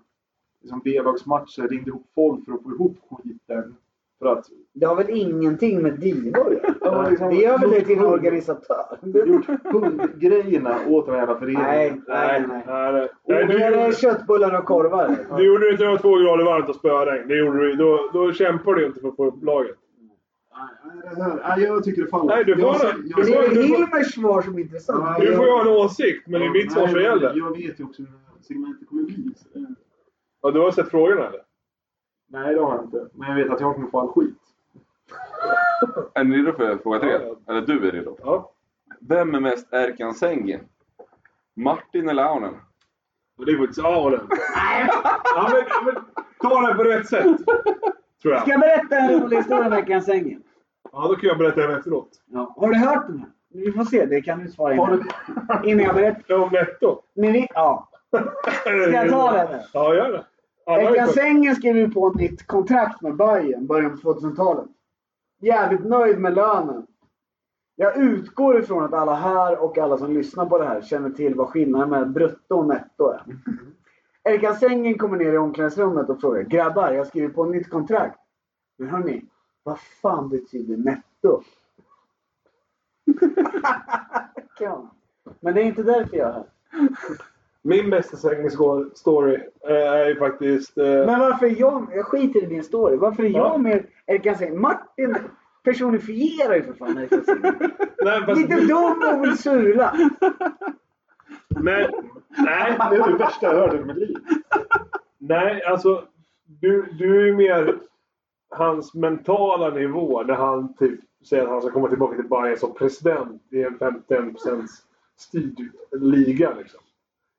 [SPEAKER 2] liksom, B-lagsmatcher, ringde ihop folk för att få ihop skiten. För att
[SPEAKER 4] Det har väl ingenting med Dino att göra?
[SPEAKER 2] Ja, men liksom-
[SPEAKER 4] Det gör väl dig till en organisatör?
[SPEAKER 2] gjort hundgrejerna åt den här jävla föreningen.
[SPEAKER 4] Nej, nej, nej.
[SPEAKER 5] Nej, nej.
[SPEAKER 4] Och
[SPEAKER 5] du,
[SPEAKER 4] det är
[SPEAKER 5] gjorde,
[SPEAKER 4] köttbullar och korvar.
[SPEAKER 5] du gjorde det inte när det var två grader varmt och spöregn. Det gjorde du Då, då kämpar du inte för att få upp laget.
[SPEAKER 2] Nej, det här- nej, jag tycker det faller.
[SPEAKER 5] Nej, du får
[SPEAKER 2] jag,
[SPEAKER 5] det.
[SPEAKER 2] jag,
[SPEAKER 5] Du
[SPEAKER 4] Det
[SPEAKER 5] får
[SPEAKER 2] jag,
[SPEAKER 5] det.
[SPEAKER 4] är Hilmers svar som är intressant.
[SPEAKER 5] Du får ju ha en åsikt, men det är mitt svar som
[SPEAKER 2] nej,
[SPEAKER 5] gäller.
[SPEAKER 2] Jag vet ju också hur segmentet kommer bli. så-
[SPEAKER 5] Ja, du har sett frågorna eller?
[SPEAKER 2] Nej, det har jag inte. Men jag vet att jag kommer få all skit.
[SPEAKER 3] Är ni redo för fråga tre?
[SPEAKER 5] Ja, ja.
[SPEAKER 3] Eller du är redo.
[SPEAKER 5] Ja.
[SPEAKER 3] Vem är mest Erkan Sengi? Martin eller Aunen?
[SPEAKER 5] Och det är faktiskt Aron. Ja, men, ja, men ta det på rätt sätt. Tror
[SPEAKER 4] Ska
[SPEAKER 5] jag.
[SPEAKER 4] jag berätta en rolig historia om veckans sängen?
[SPEAKER 5] Ja, då kan jag berätta den efteråt.
[SPEAKER 4] Ja. Har du hört den här? Vi får se, det kan du svara innan. Innan jag berättar.
[SPEAKER 5] Ja, Om netto.
[SPEAKER 4] Men vi, ja. Ska jag ta den? här?
[SPEAKER 5] Ja, gör det. Alla har ju
[SPEAKER 4] Veckans
[SPEAKER 5] fått-
[SPEAKER 4] sängen skrev ju på ett nytt kontrakt med Bayern början på 2000-talet. Jävligt nöjd med lönen. Jag utgår ifrån att alla här och alla som lyssnar på det här känner till vad skillnaden mellan brutto och netto
[SPEAKER 5] *laughs*
[SPEAKER 4] är. Erkan Sängen kommer ner i omklädningsrummet och frågar “Grabbar, jag skriver på ett nytt kontrakt. Men hörni, vad fan betyder
[SPEAKER 5] *laughs*
[SPEAKER 4] netto?” Kan. Men det är inte därför jag är här.
[SPEAKER 5] Min bästa sängstory är ju faktiskt... eh,
[SPEAKER 4] Men varför är jag Jag skiter i din story. Varför är
[SPEAKER 5] Ja.
[SPEAKER 4] jag med Erkan Sängen? Martin personifierar ju för fan Erkan Sängen.
[SPEAKER 5] Nej, fast-
[SPEAKER 4] Lite dum och vill sula.
[SPEAKER 5] Men, nej,
[SPEAKER 2] Det är det värsta jag hört i mitt liv.
[SPEAKER 5] nej, alltså. Du, du är ju mer hans mentala nivå när han typ säger att han ska komma tillbaka till Bayern som president i en 51 styrd liga. Liksom.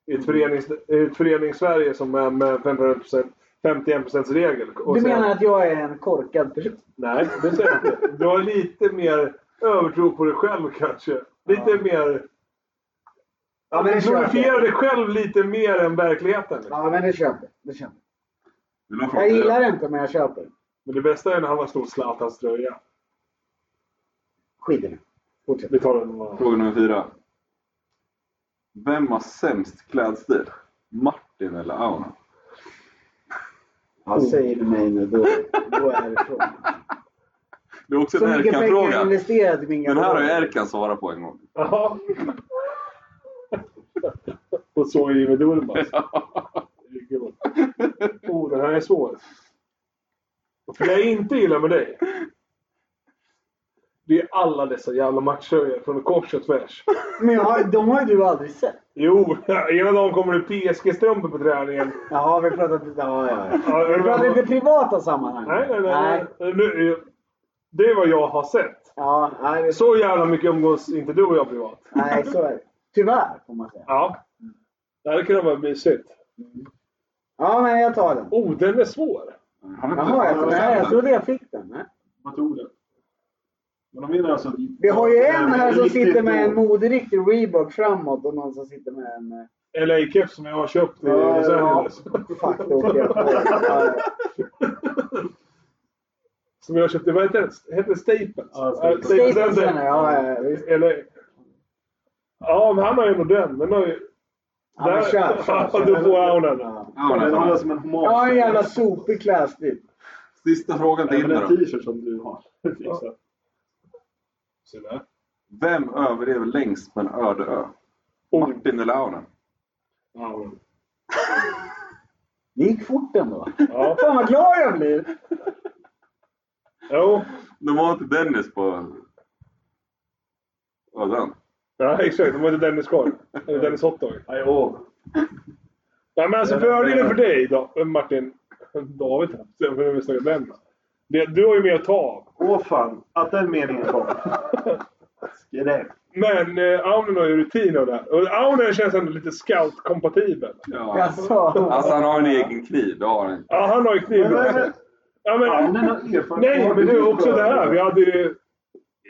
[SPEAKER 5] I ett, förenings, i ett förenings-Sverige som är med 51%, 51 regel. Och
[SPEAKER 4] Du
[SPEAKER 5] sen-
[SPEAKER 4] menar att jag är en korkad person?
[SPEAKER 5] Nej, det säger jag inte. Du har lite mer övertro på dig själv kanske. Lite mer... Ja,
[SPEAKER 4] men
[SPEAKER 5] men
[SPEAKER 4] det köper jag.
[SPEAKER 5] glorifierar dig själv lite mer än verkligheten. liksom.
[SPEAKER 4] Ja, men det köper det köper.
[SPEAKER 3] Vill du ha fråga
[SPEAKER 4] jag. gillar
[SPEAKER 3] fyra?
[SPEAKER 4] det inte, men jag köper.
[SPEAKER 5] Men det bästa är när han har snott Zlatans tröja.
[SPEAKER 4] Skit i det. Fortsätt.
[SPEAKER 5] Vi tar den någon annan.
[SPEAKER 3] Fråga nummer fyra. Vem har sämst klädstil? Martin eller Aunen?
[SPEAKER 4] Ja, säger du mig nu, då, då är det frågan.
[SPEAKER 3] Det är också
[SPEAKER 4] Så
[SPEAKER 3] en
[SPEAKER 4] mycket pengar jag
[SPEAKER 3] Erkan-fråga.
[SPEAKER 4] investerat i min
[SPEAKER 3] Den här har ju
[SPEAKER 4] garderob.
[SPEAKER 3] Erkan svarat på en gång.
[SPEAKER 5] Jaha. *laughs* Och så är Jimmy Durmaz. Herregud. Oh, den här är svår. För det jag inte gillar med dig. Det är alla dessa jävla matcher från kors och tvärs.
[SPEAKER 4] Men jag har, de har ju du aldrig sett.
[SPEAKER 5] Jo, *laughs* ena dagen kommer det PSG-strumpor på träningen.
[SPEAKER 4] Jaha, vi pratar inte... Ja, ja, ja.
[SPEAKER 5] Ja,
[SPEAKER 4] Vi pratar
[SPEAKER 5] nej,
[SPEAKER 4] inte privata sammanhang.
[SPEAKER 5] nej, nej. nej. Nu, eh, det är vad jag har sett.
[SPEAKER 4] Ja, nej, det-
[SPEAKER 5] Så jävla mycket umgås inte du och jag privat.
[SPEAKER 4] nej, så är det. Tyvärr, får man säga.
[SPEAKER 5] Ja. Det hade kunnat vara mysigt.
[SPEAKER 4] Ja, men jag tar den.
[SPEAKER 5] Oh, den är svår.
[SPEAKER 3] Han är
[SPEAKER 4] Jaha, jag,
[SPEAKER 3] inte-
[SPEAKER 4] nej, jag trodde jag fick den. Nej.
[SPEAKER 2] Vad tror du? Men de menar alltså...
[SPEAKER 4] Vi har ju en här som
[SPEAKER 2] Riktigt
[SPEAKER 4] sitter med en
[SPEAKER 2] då.
[SPEAKER 4] moderiktig Reebok framåt och någon som sitter med en... eh,
[SPEAKER 5] LA-keps som jag har köpt i Los
[SPEAKER 4] Ja,
[SPEAKER 5] Angeles.
[SPEAKER 4] fuck, då åkte jag på den. Ja, ja.
[SPEAKER 5] Som jag köpte, vad heter det? Heter det Staples?
[SPEAKER 2] Ja, Staples.
[SPEAKER 4] Staples
[SPEAKER 5] Center.
[SPEAKER 4] Center, ja, ja, visst.
[SPEAKER 5] Eller... Ja, men han har ju ändå den. Den har ju...
[SPEAKER 4] Ja, men
[SPEAKER 5] *laughs*
[SPEAKER 4] kör, kör,
[SPEAKER 5] Ja, då
[SPEAKER 4] kör.
[SPEAKER 5] får han den.
[SPEAKER 2] Den har
[SPEAKER 3] Aunen.
[SPEAKER 2] jag som alltså en hommage.
[SPEAKER 4] Ja, en jävla sopig klädstil.
[SPEAKER 3] Sista frågan till
[SPEAKER 2] Nej, men
[SPEAKER 3] Indra.
[SPEAKER 4] typ-
[SPEAKER 2] den t-shirt som du har. *laughs*
[SPEAKER 5] Så Liksom. där.
[SPEAKER 3] Vem överlever längst på en öde ö?
[SPEAKER 5] Oh.
[SPEAKER 3] Martin eller Aunen?
[SPEAKER 5] Ja, men-
[SPEAKER 4] Det gick fort ändå.
[SPEAKER 5] Ja.
[SPEAKER 4] Fan vad glad jag blir!
[SPEAKER 5] Jo.
[SPEAKER 3] De var inte Dennis på öden.
[SPEAKER 5] Ja, exakt. De var inte Dennis kvar. Eller Dennis Hotdog.
[SPEAKER 2] Nej, åh.
[SPEAKER 5] Ja, men alltså
[SPEAKER 2] Ja, det-
[SPEAKER 5] fördelen för dig då, eh, Martin. *laughs* David, sen får vi snacka den. Det- Du har ju mer att ta av.
[SPEAKER 2] Åh fan, att den meningen kom.
[SPEAKER 5] *laughs*
[SPEAKER 2] Skräp.
[SPEAKER 5] Men eh, Aunen har ju rutin av det här. Och Aunen känns ändå lite scout-kompatibel.
[SPEAKER 3] Ja.
[SPEAKER 4] Jaså?
[SPEAKER 3] Alltså han har en egen kniv, det har han.
[SPEAKER 5] Ja, han har ju kniv.
[SPEAKER 4] eh,
[SPEAKER 5] Ja,
[SPEAKER 2] Ja,
[SPEAKER 5] men,
[SPEAKER 2] men den har erfarenhet.
[SPEAKER 5] nej, men det är också det här. Vi hade ju...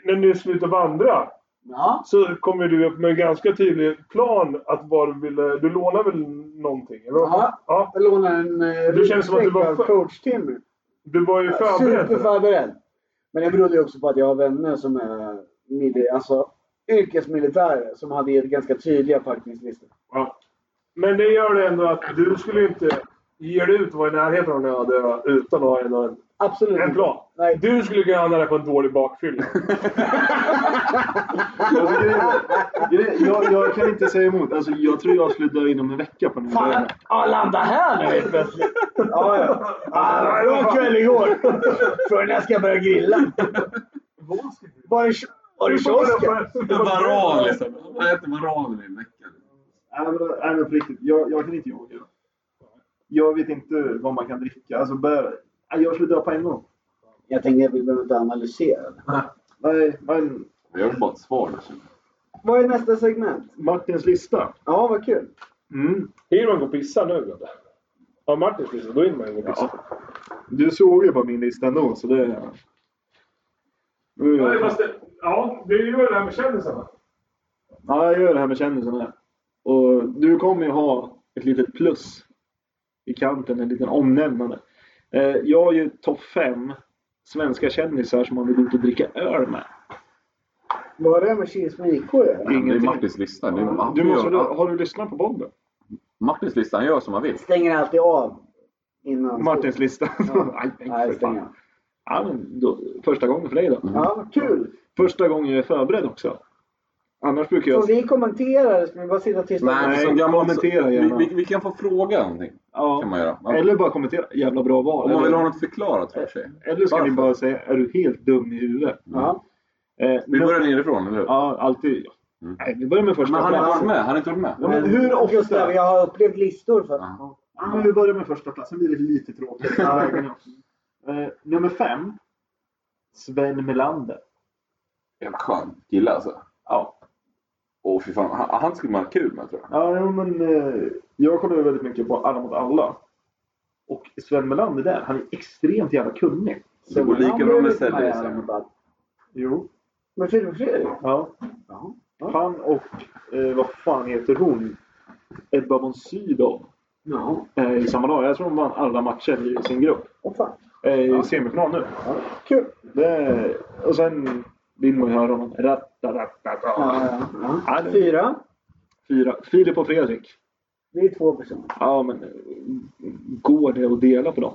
[SPEAKER 5] När ni slutade vandra
[SPEAKER 4] Ja.
[SPEAKER 5] så kom ju du upp med en ganska tydlig plan att vad du ville... Du lånade väl någonting? Eller? vad?
[SPEAKER 4] Ja.
[SPEAKER 5] ja.
[SPEAKER 4] Jag lånade en eh,
[SPEAKER 5] Det känns som att du var
[SPEAKER 4] ryggsäck av
[SPEAKER 5] för-
[SPEAKER 4] coach Timmy.
[SPEAKER 5] Du var ju förberedd. för det.
[SPEAKER 4] Superförberedd. Men det berodde ju också på att jag har vänner som är mili- alltså, yrkesmilitärer som hade gett ganska tydliga packningslistor.
[SPEAKER 5] Men det gör det ändå att du skulle ju inte... ger dig ut att vara i närheten av den här döda utan att ha en,
[SPEAKER 4] Absolut
[SPEAKER 5] en plan.
[SPEAKER 4] Nej.
[SPEAKER 5] Du skulle kunna hamna där på en
[SPEAKER 2] *laughs*
[SPEAKER 5] dålig bakfylla.
[SPEAKER 2] Alltså, grejen- grejen- jag, jag kan inte säga emot. Alltså, jag tror jag skulle dö inom en vecka på den här
[SPEAKER 4] Fan,
[SPEAKER 2] dörren.
[SPEAKER 4] ja, landa här nu helt plötsligt. Ja, ja. Ja, Ah, det var en kväll igår. Frågan när jag ska börja grilla. Var det, var det kiosken?
[SPEAKER 10] Varan liksom. Vad äter varan i en vecka?
[SPEAKER 2] Nej, men, nej, men på riktigt. Jag, jag kan inte jaga. Jag vet inte vad man kan dricka. Alltså, bär, nej, jag skulle dö på en gång.
[SPEAKER 4] Jag tänker att vi behöver inte analysera. det.
[SPEAKER 2] Nej, men
[SPEAKER 10] Jag vill bara ha ett svar. liksom.
[SPEAKER 4] Vad är nästa segment?
[SPEAKER 2] Martins lista.
[SPEAKER 4] Ja, vad kul.
[SPEAKER 2] Mm.
[SPEAKER 5] Hinner man gå och pissa nu eller? Ja, Martins pissa, då hinner man ju gå och pissa.
[SPEAKER 2] Du såg ju på min lista ändå, så det... Nu
[SPEAKER 5] Ja,
[SPEAKER 2] gör
[SPEAKER 5] det,
[SPEAKER 2] jag-
[SPEAKER 5] måste, ja, det är ju det här med kändisarna.
[SPEAKER 2] Ja, jag gör det här med kändisarna. Och du kommer ju ha ett litet plus i kanten, en liten omnämnande. Eh, Jag har ju topp fem svenska kändisar som man vill ut och dricka öl med.
[SPEAKER 4] Vad är det med Kils med IK att göra?
[SPEAKER 2] Det är
[SPEAKER 3] Det är
[SPEAKER 2] ingenting.
[SPEAKER 3] Martins lista. Det är, han
[SPEAKER 2] Du
[SPEAKER 3] får
[SPEAKER 2] måste,
[SPEAKER 3] göra-
[SPEAKER 2] har du lyssnat på podden?
[SPEAKER 3] Martins lista, han gör som han vill.
[SPEAKER 4] Stänger alltid av. Innan
[SPEAKER 2] Martins lista? *laughs*
[SPEAKER 4] Ja.
[SPEAKER 2] Nej,
[SPEAKER 4] *laughs* Nej,
[SPEAKER 2] för
[SPEAKER 4] stänger
[SPEAKER 2] fan.
[SPEAKER 4] av.
[SPEAKER 2] Ja, men då, första gången för dig då.
[SPEAKER 4] Ja, vad kul.
[SPEAKER 2] Första gången jag är förberedd också. Annars brukar
[SPEAKER 4] Om
[SPEAKER 2] jag...
[SPEAKER 4] vi kommenterar ska vi bara sitta tysta?
[SPEAKER 2] Nej,
[SPEAKER 3] som gammal-
[SPEAKER 2] kommentera
[SPEAKER 3] vi,
[SPEAKER 2] gärna.
[SPEAKER 3] vi, vi kan få fråga någonting. Kan
[SPEAKER 2] Ja.
[SPEAKER 3] man göra. Man-
[SPEAKER 2] Eller bara kommentera. Jävla bra val.
[SPEAKER 3] Om man vill ha
[SPEAKER 2] Eller,
[SPEAKER 3] något förklarat för sig.
[SPEAKER 2] eller ska ni
[SPEAKER 3] Varför?
[SPEAKER 2] bara säga, är du helt dum i huvudet?
[SPEAKER 4] Ja.
[SPEAKER 2] Eh,
[SPEAKER 3] Vi börjar nerifrån, eller hur?
[SPEAKER 2] Ja, alltid.
[SPEAKER 3] Mm.
[SPEAKER 2] Nej, vi börjar med första
[SPEAKER 3] Men han har inte
[SPEAKER 2] plats.
[SPEAKER 3] varit med. Han har inte varit med.
[SPEAKER 2] Ja, men hur ofta?
[SPEAKER 4] Gustav, jag har upplevt listor för.
[SPEAKER 3] Ja.
[SPEAKER 2] Ja, men vi börjar med första plats. Sen blir det lite *laughs* tråkigt. Eh, nummer fem. Sven Melander.
[SPEAKER 10] Jävla skön kille alltså.
[SPEAKER 2] Ja.
[SPEAKER 10] Åh fy fan, han, han skulle man ha kul med tror jag.
[SPEAKER 2] Ja, jo, men eh, jag kollar ju väldigt mycket på Alla mot alla. Och Sven Melander där, han är extremt jävla kunnig.
[SPEAKER 10] Det går lika bra med Sellers.
[SPEAKER 2] Jo.
[SPEAKER 4] Men Filip och Fredrik?
[SPEAKER 2] Ja.
[SPEAKER 4] Ja.
[SPEAKER 2] Han och, eh, vad fan heter hon? Ebba von Sydow.
[SPEAKER 4] Ja.
[SPEAKER 2] Eh, I samma dag. Jag tror de vann alla matcher i sin grupp.
[SPEAKER 4] Åh fan.
[SPEAKER 2] Eh, I semifinal nu.
[SPEAKER 4] Kul.
[SPEAKER 2] Det, och sen vill man ju höra honom.
[SPEAKER 4] Ja,
[SPEAKER 2] Rattarattata.
[SPEAKER 4] ja, ja.
[SPEAKER 2] Ja, det-
[SPEAKER 4] Fyra.
[SPEAKER 2] Fyra. Filip och Fredrik.
[SPEAKER 4] Det är två personer.
[SPEAKER 2] Ja, men eh, går det att dela på dem?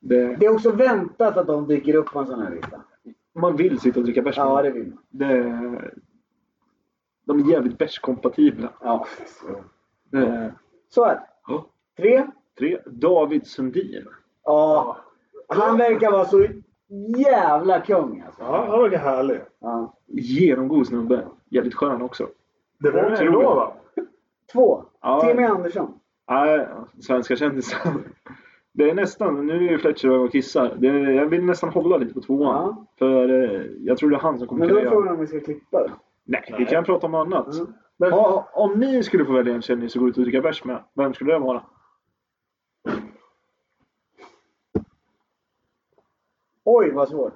[SPEAKER 2] Det,
[SPEAKER 4] Det är också väntat att de dyker upp på en sån här lista.
[SPEAKER 2] man vill sitta och dricka bärs med
[SPEAKER 4] Ja,
[SPEAKER 2] dem.
[SPEAKER 4] det vill man.
[SPEAKER 2] det, De är jävligt bärskompatibla.
[SPEAKER 4] Ja.
[SPEAKER 2] Eh,
[SPEAKER 4] Så är det.
[SPEAKER 2] Ja.
[SPEAKER 4] Tre.
[SPEAKER 2] Tre. David Sundin.
[SPEAKER 4] Ja. Han verkar vara så jävla kung alltså.
[SPEAKER 5] Ja, han verkar härlig.
[SPEAKER 4] Ja.
[SPEAKER 2] Genomgod snubbe. Jävligt skön också.
[SPEAKER 5] Det var väl bra va?
[SPEAKER 4] Två.
[SPEAKER 2] Ja.
[SPEAKER 4] Timmy Andersson.
[SPEAKER 2] Nej, svenska kändisar. Det är nästan, nu är ju Fletcher och kissar. Det är, jag vill nästan hålla lite på tvåan.
[SPEAKER 4] Ja.
[SPEAKER 2] För eh, jag tror det är han som kommer
[SPEAKER 4] Men då är
[SPEAKER 2] kunna göra...
[SPEAKER 4] frågan om vi ska klippa det.
[SPEAKER 2] Nej, vi kan prata om annat.
[SPEAKER 4] Mm.
[SPEAKER 2] Men, ha, om ni skulle få välja en kändis att gå ut och dricka bärs med, vem skulle det vara?
[SPEAKER 4] Oj, vad svårt.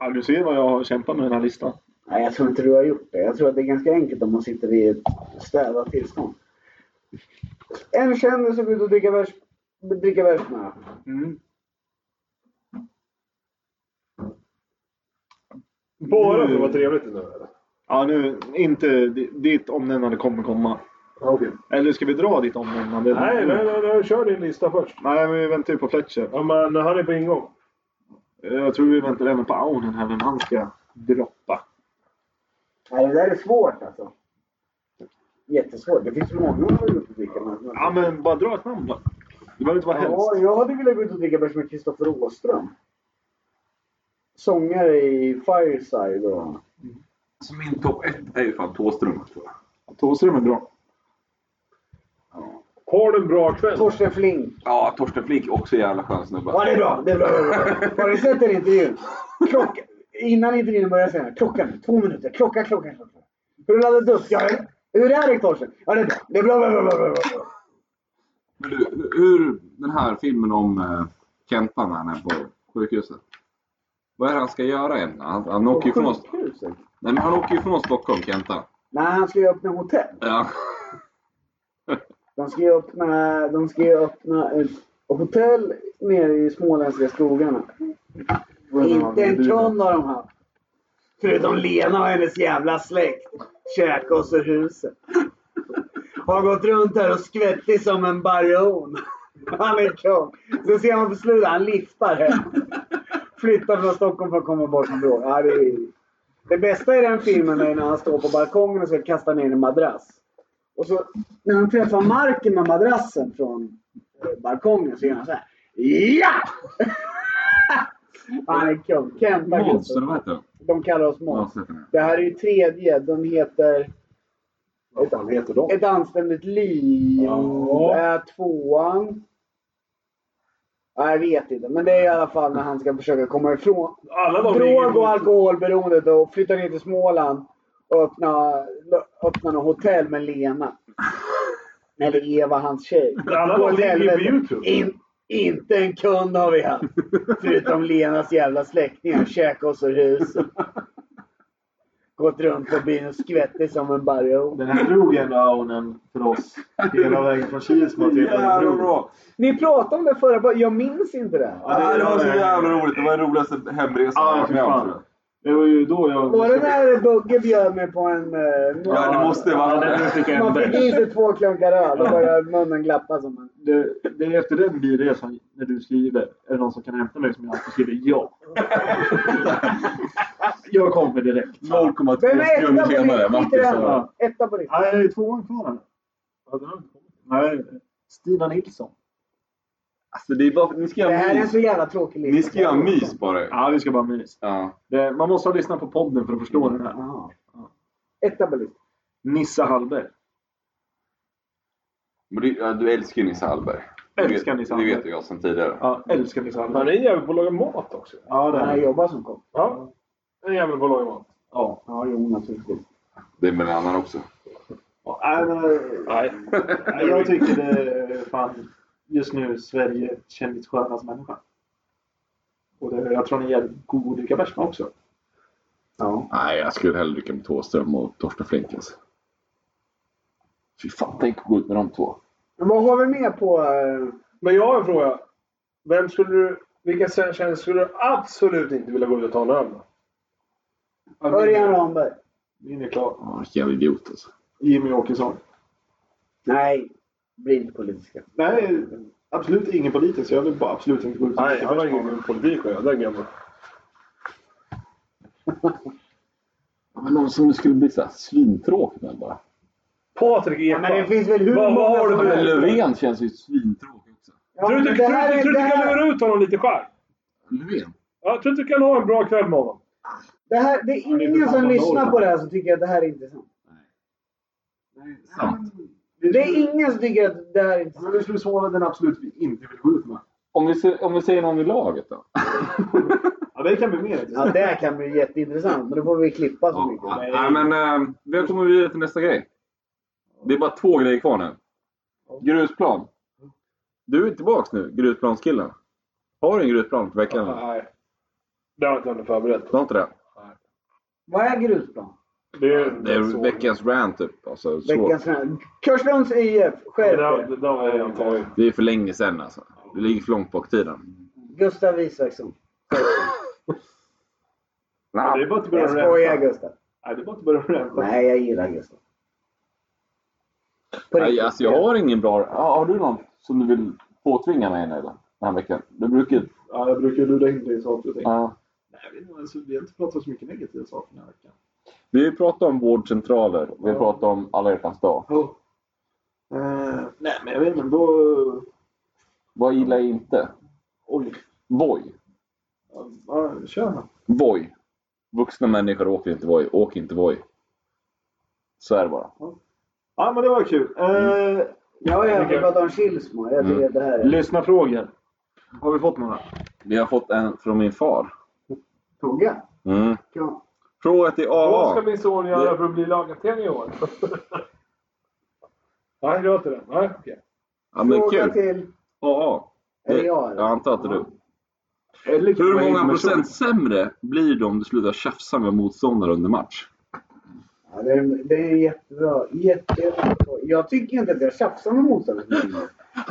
[SPEAKER 2] Ja, du ser vad jag har kämpat med den här listan.
[SPEAKER 4] Nej, jag tror inte du har gjort det. Jag tror att det är ganska enkelt om man sitter i ett städat tillstånd. En kändis som går ut och dricka bärs dricka bärs med.
[SPEAKER 5] Bara för att vara trevligt nu eller?
[SPEAKER 2] Ja, nu, inte di- ditt omnämnande kommer komma.
[SPEAKER 5] Okej.
[SPEAKER 2] Eller ska vi dra ditt omnämnande?
[SPEAKER 5] Nej, nej, nej, nej, kör din lista först.
[SPEAKER 2] Nej, men vi väntar ju på Fletcher.
[SPEAKER 5] Ja, men han är på ingång.
[SPEAKER 2] Jag tror vi väntar även på Aunen här, vem han ska droppa.
[SPEAKER 4] Nej, det där är svårt alltså. Jättesvårt. Det finns många som har gjort och dricka bärs med.
[SPEAKER 2] Ja, men bara dra ett namn då. Det behöver inte vara
[SPEAKER 4] Ja,
[SPEAKER 2] hemskt.
[SPEAKER 4] jag hade velat gå ut och dricka bärs med Kristoffer Åström. Sångare i Fireside och...
[SPEAKER 10] Så Alltså, min topp ett är ju fan Thåström tror jag.
[SPEAKER 2] Thåström är bra.
[SPEAKER 5] Har du en bra kväll?
[SPEAKER 4] Torsten Flink.
[SPEAKER 10] Ja, Torsten Flink också jävla skön snubbe.
[SPEAKER 4] Ja, det är bra. Det är bra. Det är bra. Har du sett den intervjun? Klocka... Innan intervjun börjar säger han, klockan, två minuter, klocka, klocka, klocka. Hur laddar du upp? Ja, hur är det Torsten? Ja, det är bra. Det är bra, bra, bra, bra, bra, bra.
[SPEAKER 3] Men du, hur den här filmen om eh, Kentan när han är på sjukhuset. Vad är det han ska göra egentligen? Han, han åker ju från oss.
[SPEAKER 4] Sjukhuset.
[SPEAKER 3] Nej, men han åker ju från Stockholm, Kentan.
[SPEAKER 4] Nej, han ska ju öppna hotell.
[SPEAKER 3] Ja.
[SPEAKER 4] De ska ju öppna, de ska ju öppna ett hotell nere i småländska skogarna. Inte en kund har de haft. Förutom Lena och hennes jävla släkt. Käkåsehuset. Har gått runt där och skvättit som en baron. Han är kung. Sen ser man på slutet, han liftar hem. Flyttar från Stockholm för att komma bort från bråk. Ja, det, är- det bästa i den filmen är när han står på balkongen och ska kasta ner en madrass. Och så när han träffar marken med madrassen från eh, balkongen så gör han så här. Ja! han är kung. Kent har gjort
[SPEAKER 3] Monster,
[SPEAKER 4] det.
[SPEAKER 3] vad heter den?
[SPEAKER 4] De kallar oss
[SPEAKER 3] Ja,
[SPEAKER 4] Måns.
[SPEAKER 3] så heter den.
[SPEAKER 4] Det här är ju tredje. Den heter
[SPEAKER 11] Vad fan heter de?
[SPEAKER 4] Ett anständigt liv.
[SPEAKER 5] Ja.
[SPEAKER 4] Är tvåan. Ja, jag vet inte. Men det är i alla fall när han ska försöka komma ifrån
[SPEAKER 5] Alla de ringer
[SPEAKER 4] drog och
[SPEAKER 5] mot-
[SPEAKER 4] alkoholberoendet och flytta ner till Småland och öppna, öppna något hotell med Lena. Eller Eva, hans tjej.
[SPEAKER 5] Alla
[SPEAKER 4] Gå åt
[SPEAKER 5] de ligger på
[SPEAKER 4] helvete.
[SPEAKER 5] Youtube.
[SPEAKER 4] In, inte en kund har vi haft. Förutom Lenas jävla släktingar. Käka oss ur huset. Gått runt på byn och skvättit som en baron.
[SPEAKER 2] Den här drog ändå öronen för oss hela vägen från Kilsmo till
[SPEAKER 12] Jävla
[SPEAKER 2] Örebro.
[SPEAKER 12] bra!
[SPEAKER 4] Ni pratade om det förra bara- Jag minns inte det.
[SPEAKER 12] Ja, det var så jävla roligt. Det var den roligaste hemresan
[SPEAKER 2] Ja,
[SPEAKER 12] jag varit
[SPEAKER 2] fy
[SPEAKER 12] med om.
[SPEAKER 2] fan.
[SPEAKER 12] tror jag.
[SPEAKER 2] Det var ju då jag...
[SPEAKER 4] Var det när Bugge bjöd mig på en... eh,
[SPEAKER 12] Ja, det måste ju vara
[SPEAKER 2] Ja, den
[SPEAKER 12] det.
[SPEAKER 2] fick jag
[SPEAKER 4] man
[SPEAKER 2] en
[SPEAKER 4] fick
[SPEAKER 2] bärs.
[SPEAKER 4] i sig två klunkar öl och började munnen glappa som en...
[SPEAKER 2] det, det är efter den bilresan, när du skriver, är det någon som kan hämta mig som jag alltid skriver
[SPEAKER 4] *laughs*
[SPEAKER 2] ja. jag kommer direkt.
[SPEAKER 3] 0,2
[SPEAKER 4] Vem är
[SPEAKER 3] sekunder
[SPEAKER 4] etta på
[SPEAKER 3] senare.
[SPEAKER 4] listan? Inte
[SPEAKER 3] Martin
[SPEAKER 4] den
[SPEAKER 3] sa
[SPEAKER 4] då? Etta på listan.
[SPEAKER 2] Nej, det är tvåan kvar här. Nej, Stina Nilsson.
[SPEAKER 3] Alltså, det är bara, ni ska
[SPEAKER 4] Det
[SPEAKER 3] göra
[SPEAKER 4] här är en
[SPEAKER 3] mys.
[SPEAKER 4] så jävla tråkig lista.
[SPEAKER 3] Ni ska göra mys på det.
[SPEAKER 2] Ja, vi ska bara mys.
[SPEAKER 3] Ja.
[SPEAKER 2] Det, man måste ha lyssnat på podden för att förstå den här.
[SPEAKER 4] Jaha. Etta på listan.
[SPEAKER 2] Nissa Hallberg.
[SPEAKER 3] Men du, ja, du älskar ju Nisse Hallberg.
[SPEAKER 2] Jag älskar
[SPEAKER 3] Det vet-
[SPEAKER 2] Nisse Hallberg.
[SPEAKER 3] Det vet ju jag sedan tidigare.
[SPEAKER 2] Ja, älskar Nissa
[SPEAKER 5] Han
[SPEAKER 2] Hallberg.
[SPEAKER 5] är en jävel på att laga mat också.
[SPEAKER 2] Ja, det
[SPEAKER 4] Han
[SPEAKER 2] är
[SPEAKER 4] jobbar som kock.
[SPEAKER 5] Ja. En jävel på att laga mat.
[SPEAKER 2] ja.
[SPEAKER 4] Ja, jo naturligtvis.
[SPEAKER 3] Det är med en annan också.
[SPEAKER 2] Ja, Nej, men, eh,
[SPEAKER 5] Nej.
[SPEAKER 2] nej, jag tycker det är fan just nu Sverige känns skönaste människa. Och det, jag tror ni är jävligt god att dricka bärs med också.
[SPEAKER 4] Ja.
[SPEAKER 3] Nej, jag skulle hellre dricka med Thåström och Torsten Flink. Alltså. Fy fan, tänk att gå ut med de två.
[SPEAKER 4] Men vad har vi med på... eh,
[SPEAKER 5] Men jag har en fråga. Vem skulle du... Vilka känslor skulle du absolut inte vilja gå ut och ta en öl med?
[SPEAKER 4] Örjan Ramberg?
[SPEAKER 2] Min är klar.
[SPEAKER 3] Ja, vilken jävla idiot alltså.
[SPEAKER 2] Jimmy Åkesson.
[SPEAKER 4] Nej. Blir inte politiska.
[SPEAKER 2] Nej, absolut ingen politisk. Jag vill bara absolut inte gå ut och
[SPEAKER 5] Nej,
[SPEAKER 2] dricka
[SPEAKER 5] han har
[SPEAKER 2] bärs med honom.
[SPEAKER 5] ingen politik att göra. Den gamla.
[SPEAKER 3] Ja, Men någon som du skulle bli såhär svintråkig med bara.
[SPEAKER 5] Patrik
[SPEAKER 4] Ja, men det
[SPEAKER 5] Ekwall.
[SPEAKER 4] finns väl hur
[SPEAKER 5] Vad
[SPEAKER 4] många
[SPEAKER 5] har du
[SPEAKER 4] som
[SPEAKER 5] med?
[SPEAKER 3] Men
[SPEAKER 4] helst.
[SPEAKER 3] Löfven känns ju svintråkig också.
[SPEAKER 4] Ja,
[SPEAKER 5] Tror du
[SPEAKER 4] men det
[SPEAKER 5] inte- tror du
[SPEAKER 4] här
[SPEAKER 5] inte-
[SPEAKER 4] är-
[SPEAKER 5] tror du
[SPEAKER 4] det
[SPEAKER 5] inte du kan
[SPEAKER 4] här-
[SPEAKER 5] lura ut honom lite själv?
[SPEAKER 3] Löfven?
[SPEAKER 5] Ja, tror du inte du kan ha en bra kväll med honom?
[SPEAKER 4] Det här- det är
[SPEAKER 2] det är
[SPEAKER 4] ingen
[SPEAKER 2] för fan
[SPEAKER 4] som
[SPEAKER 2] vad
[SPEAKER 4] lyssnar
[SPEAKER 2] noll.
[SPEAKER 4] på det här som tycker att det här är intressant.
[SPEAKER 3] Sant.
[SPEAKER 4] Det är ingen som tycker att det här är intressant.
[SPEAKER 2] Men du skulle svara den absolut vi inte vill gå ut med.
[SPEAKER 3] Om vi, ser- om vi säger någon i laget då?
[SPEAKER 2] Ja, det kan bli mer
[SPEAKER 4] Ja,
[SPEAKER 2] intressant.
[SPEAKER 4] det här kan bli jätteintressant, men då får vi klippa så mycket.
[SPEAKER 3] Ja, nej, men eh, vi kommer vidare till nästa grej. Det är bara två grejer kvar nu. Grusplan. Du är tillbaks nu, grusplanskillen. Har du en grusplan för veckan? eller?
[SPEAKER 5] Nej. Det har inte jag förberett.
[SPEAKER 3] Du har inte det?
[SPEAKER 4] Vad är grusplan?
[SPEAKER 5] Det är,
[SPEAKER 3] Det är veckans rant typ. Alltså, så.
[SPEAKER 4] Veckans rant. Körslunds IF,
[SPEAKER 5] Det
[SPEAKER 4] skärp
[SPEAKER 5] där-
[SPEAKER 4] er.
[SPEAKER 5] det där har jag redan tagit.
[SPEAKER 3] Det är för länge sedan alltså. Det ligger för långt bak i tiden.
[SPEAKER 4] Gustav Isaksson.
[SPEAKER 3] Nah.
[SPEAKER 2] Det är bara att börja
[SPEAKER 4] Jag skojar
[SPEAKER 2] ränta.
[SPEAKER 4] Gustav.
[SPEAKER 2] Nej, det är bara att börja ränta.
[SPEAKER 4] Nej, jag gillar Gustav. På
[SPEAKER 3] Nej,
[SPEAKER 4] riktigt.
[SPEAKER 3] alltså, jag har ingen bra... Ja, har du någon som du vill påtvinga mig nu, eller? den här veckan? Du brukar...
[SPEAKER 2] Ja, jag brukar lura in dig i saker och ting.
[SPEAKER 3] Ja.
[SPEAKER 2] Nej, jag vet inte, alltså, vi har inte pratat så mycket negativa saker den här veckan.
[SPEAKER 3] vi har ju pratat om vårdcentraler. Vi har pratat om alla hjärtans dag.
[SPEAKER 2] Eh, nej, men jag vet inte. Då...
[SPEAKER 3] Vad gillar jag inte?
[SPEAKER 2] Oj.
[SPEAKER 3] Voj.
[SPEAKER 2] Ja, kör.
[SPEAKER 3] Voj. Vuxna människor åker inte voj. Åk inte voj. Så är det bara.
[SPEAKER 2] Ja, men det var kul. Eh,
[SPEAKER 4] Ja, jag vill prata om Kilsmo. Jag tycker
[SPEAKER 3] Mm.
[SPEAKER 4] att det här är...
[SPEAKER 2] lyssna frågor. Har vi fått några?
[SPEAKER 3] Vi har fått en från min far.
[SPEAKER 4] Tugga.
[SPEAKER 3] Mm.
[SPEAKER 4] Ja.
[SPEAKER 3] Fråga till
[SPEAKER 5] Vad ska
[SPEAKER 3] AA.
[SPEAKER 5] min son göra för att bli lagkapten i år? *laughs* Nej, det var inte den. Nej, okej.
[SPEAKER 3] Ja, men
[SPEAKER 4] Fråga
[SPEAKER 3] kul.
[SPEAKER 4] till...
[SPEAKER 3] AA.
[SPEAKER 4] Är det
[SPEAKER 3] Det-
[SPEAKER 4] jag, eller?
[SPEAKER 3] Jag antar att det är du.
[SPEAKER 2] Eller kan
[SPEAKER 3] Hur
[SPEAKER 2] det vara
[SPEAKER 3] många
[SPEAKER 2] en person?
[SPEAKER 3] procent sämre blir du om du slutar tjafsa med motståndare under match?
[SPEAKER 4] Ja, det, är, det är jättebra. Jätte, jättebra. Jag tycker inte att jag tjafsar
[SPEAKER 3] *laughs*
[SPEAKER 4] med motståndarna.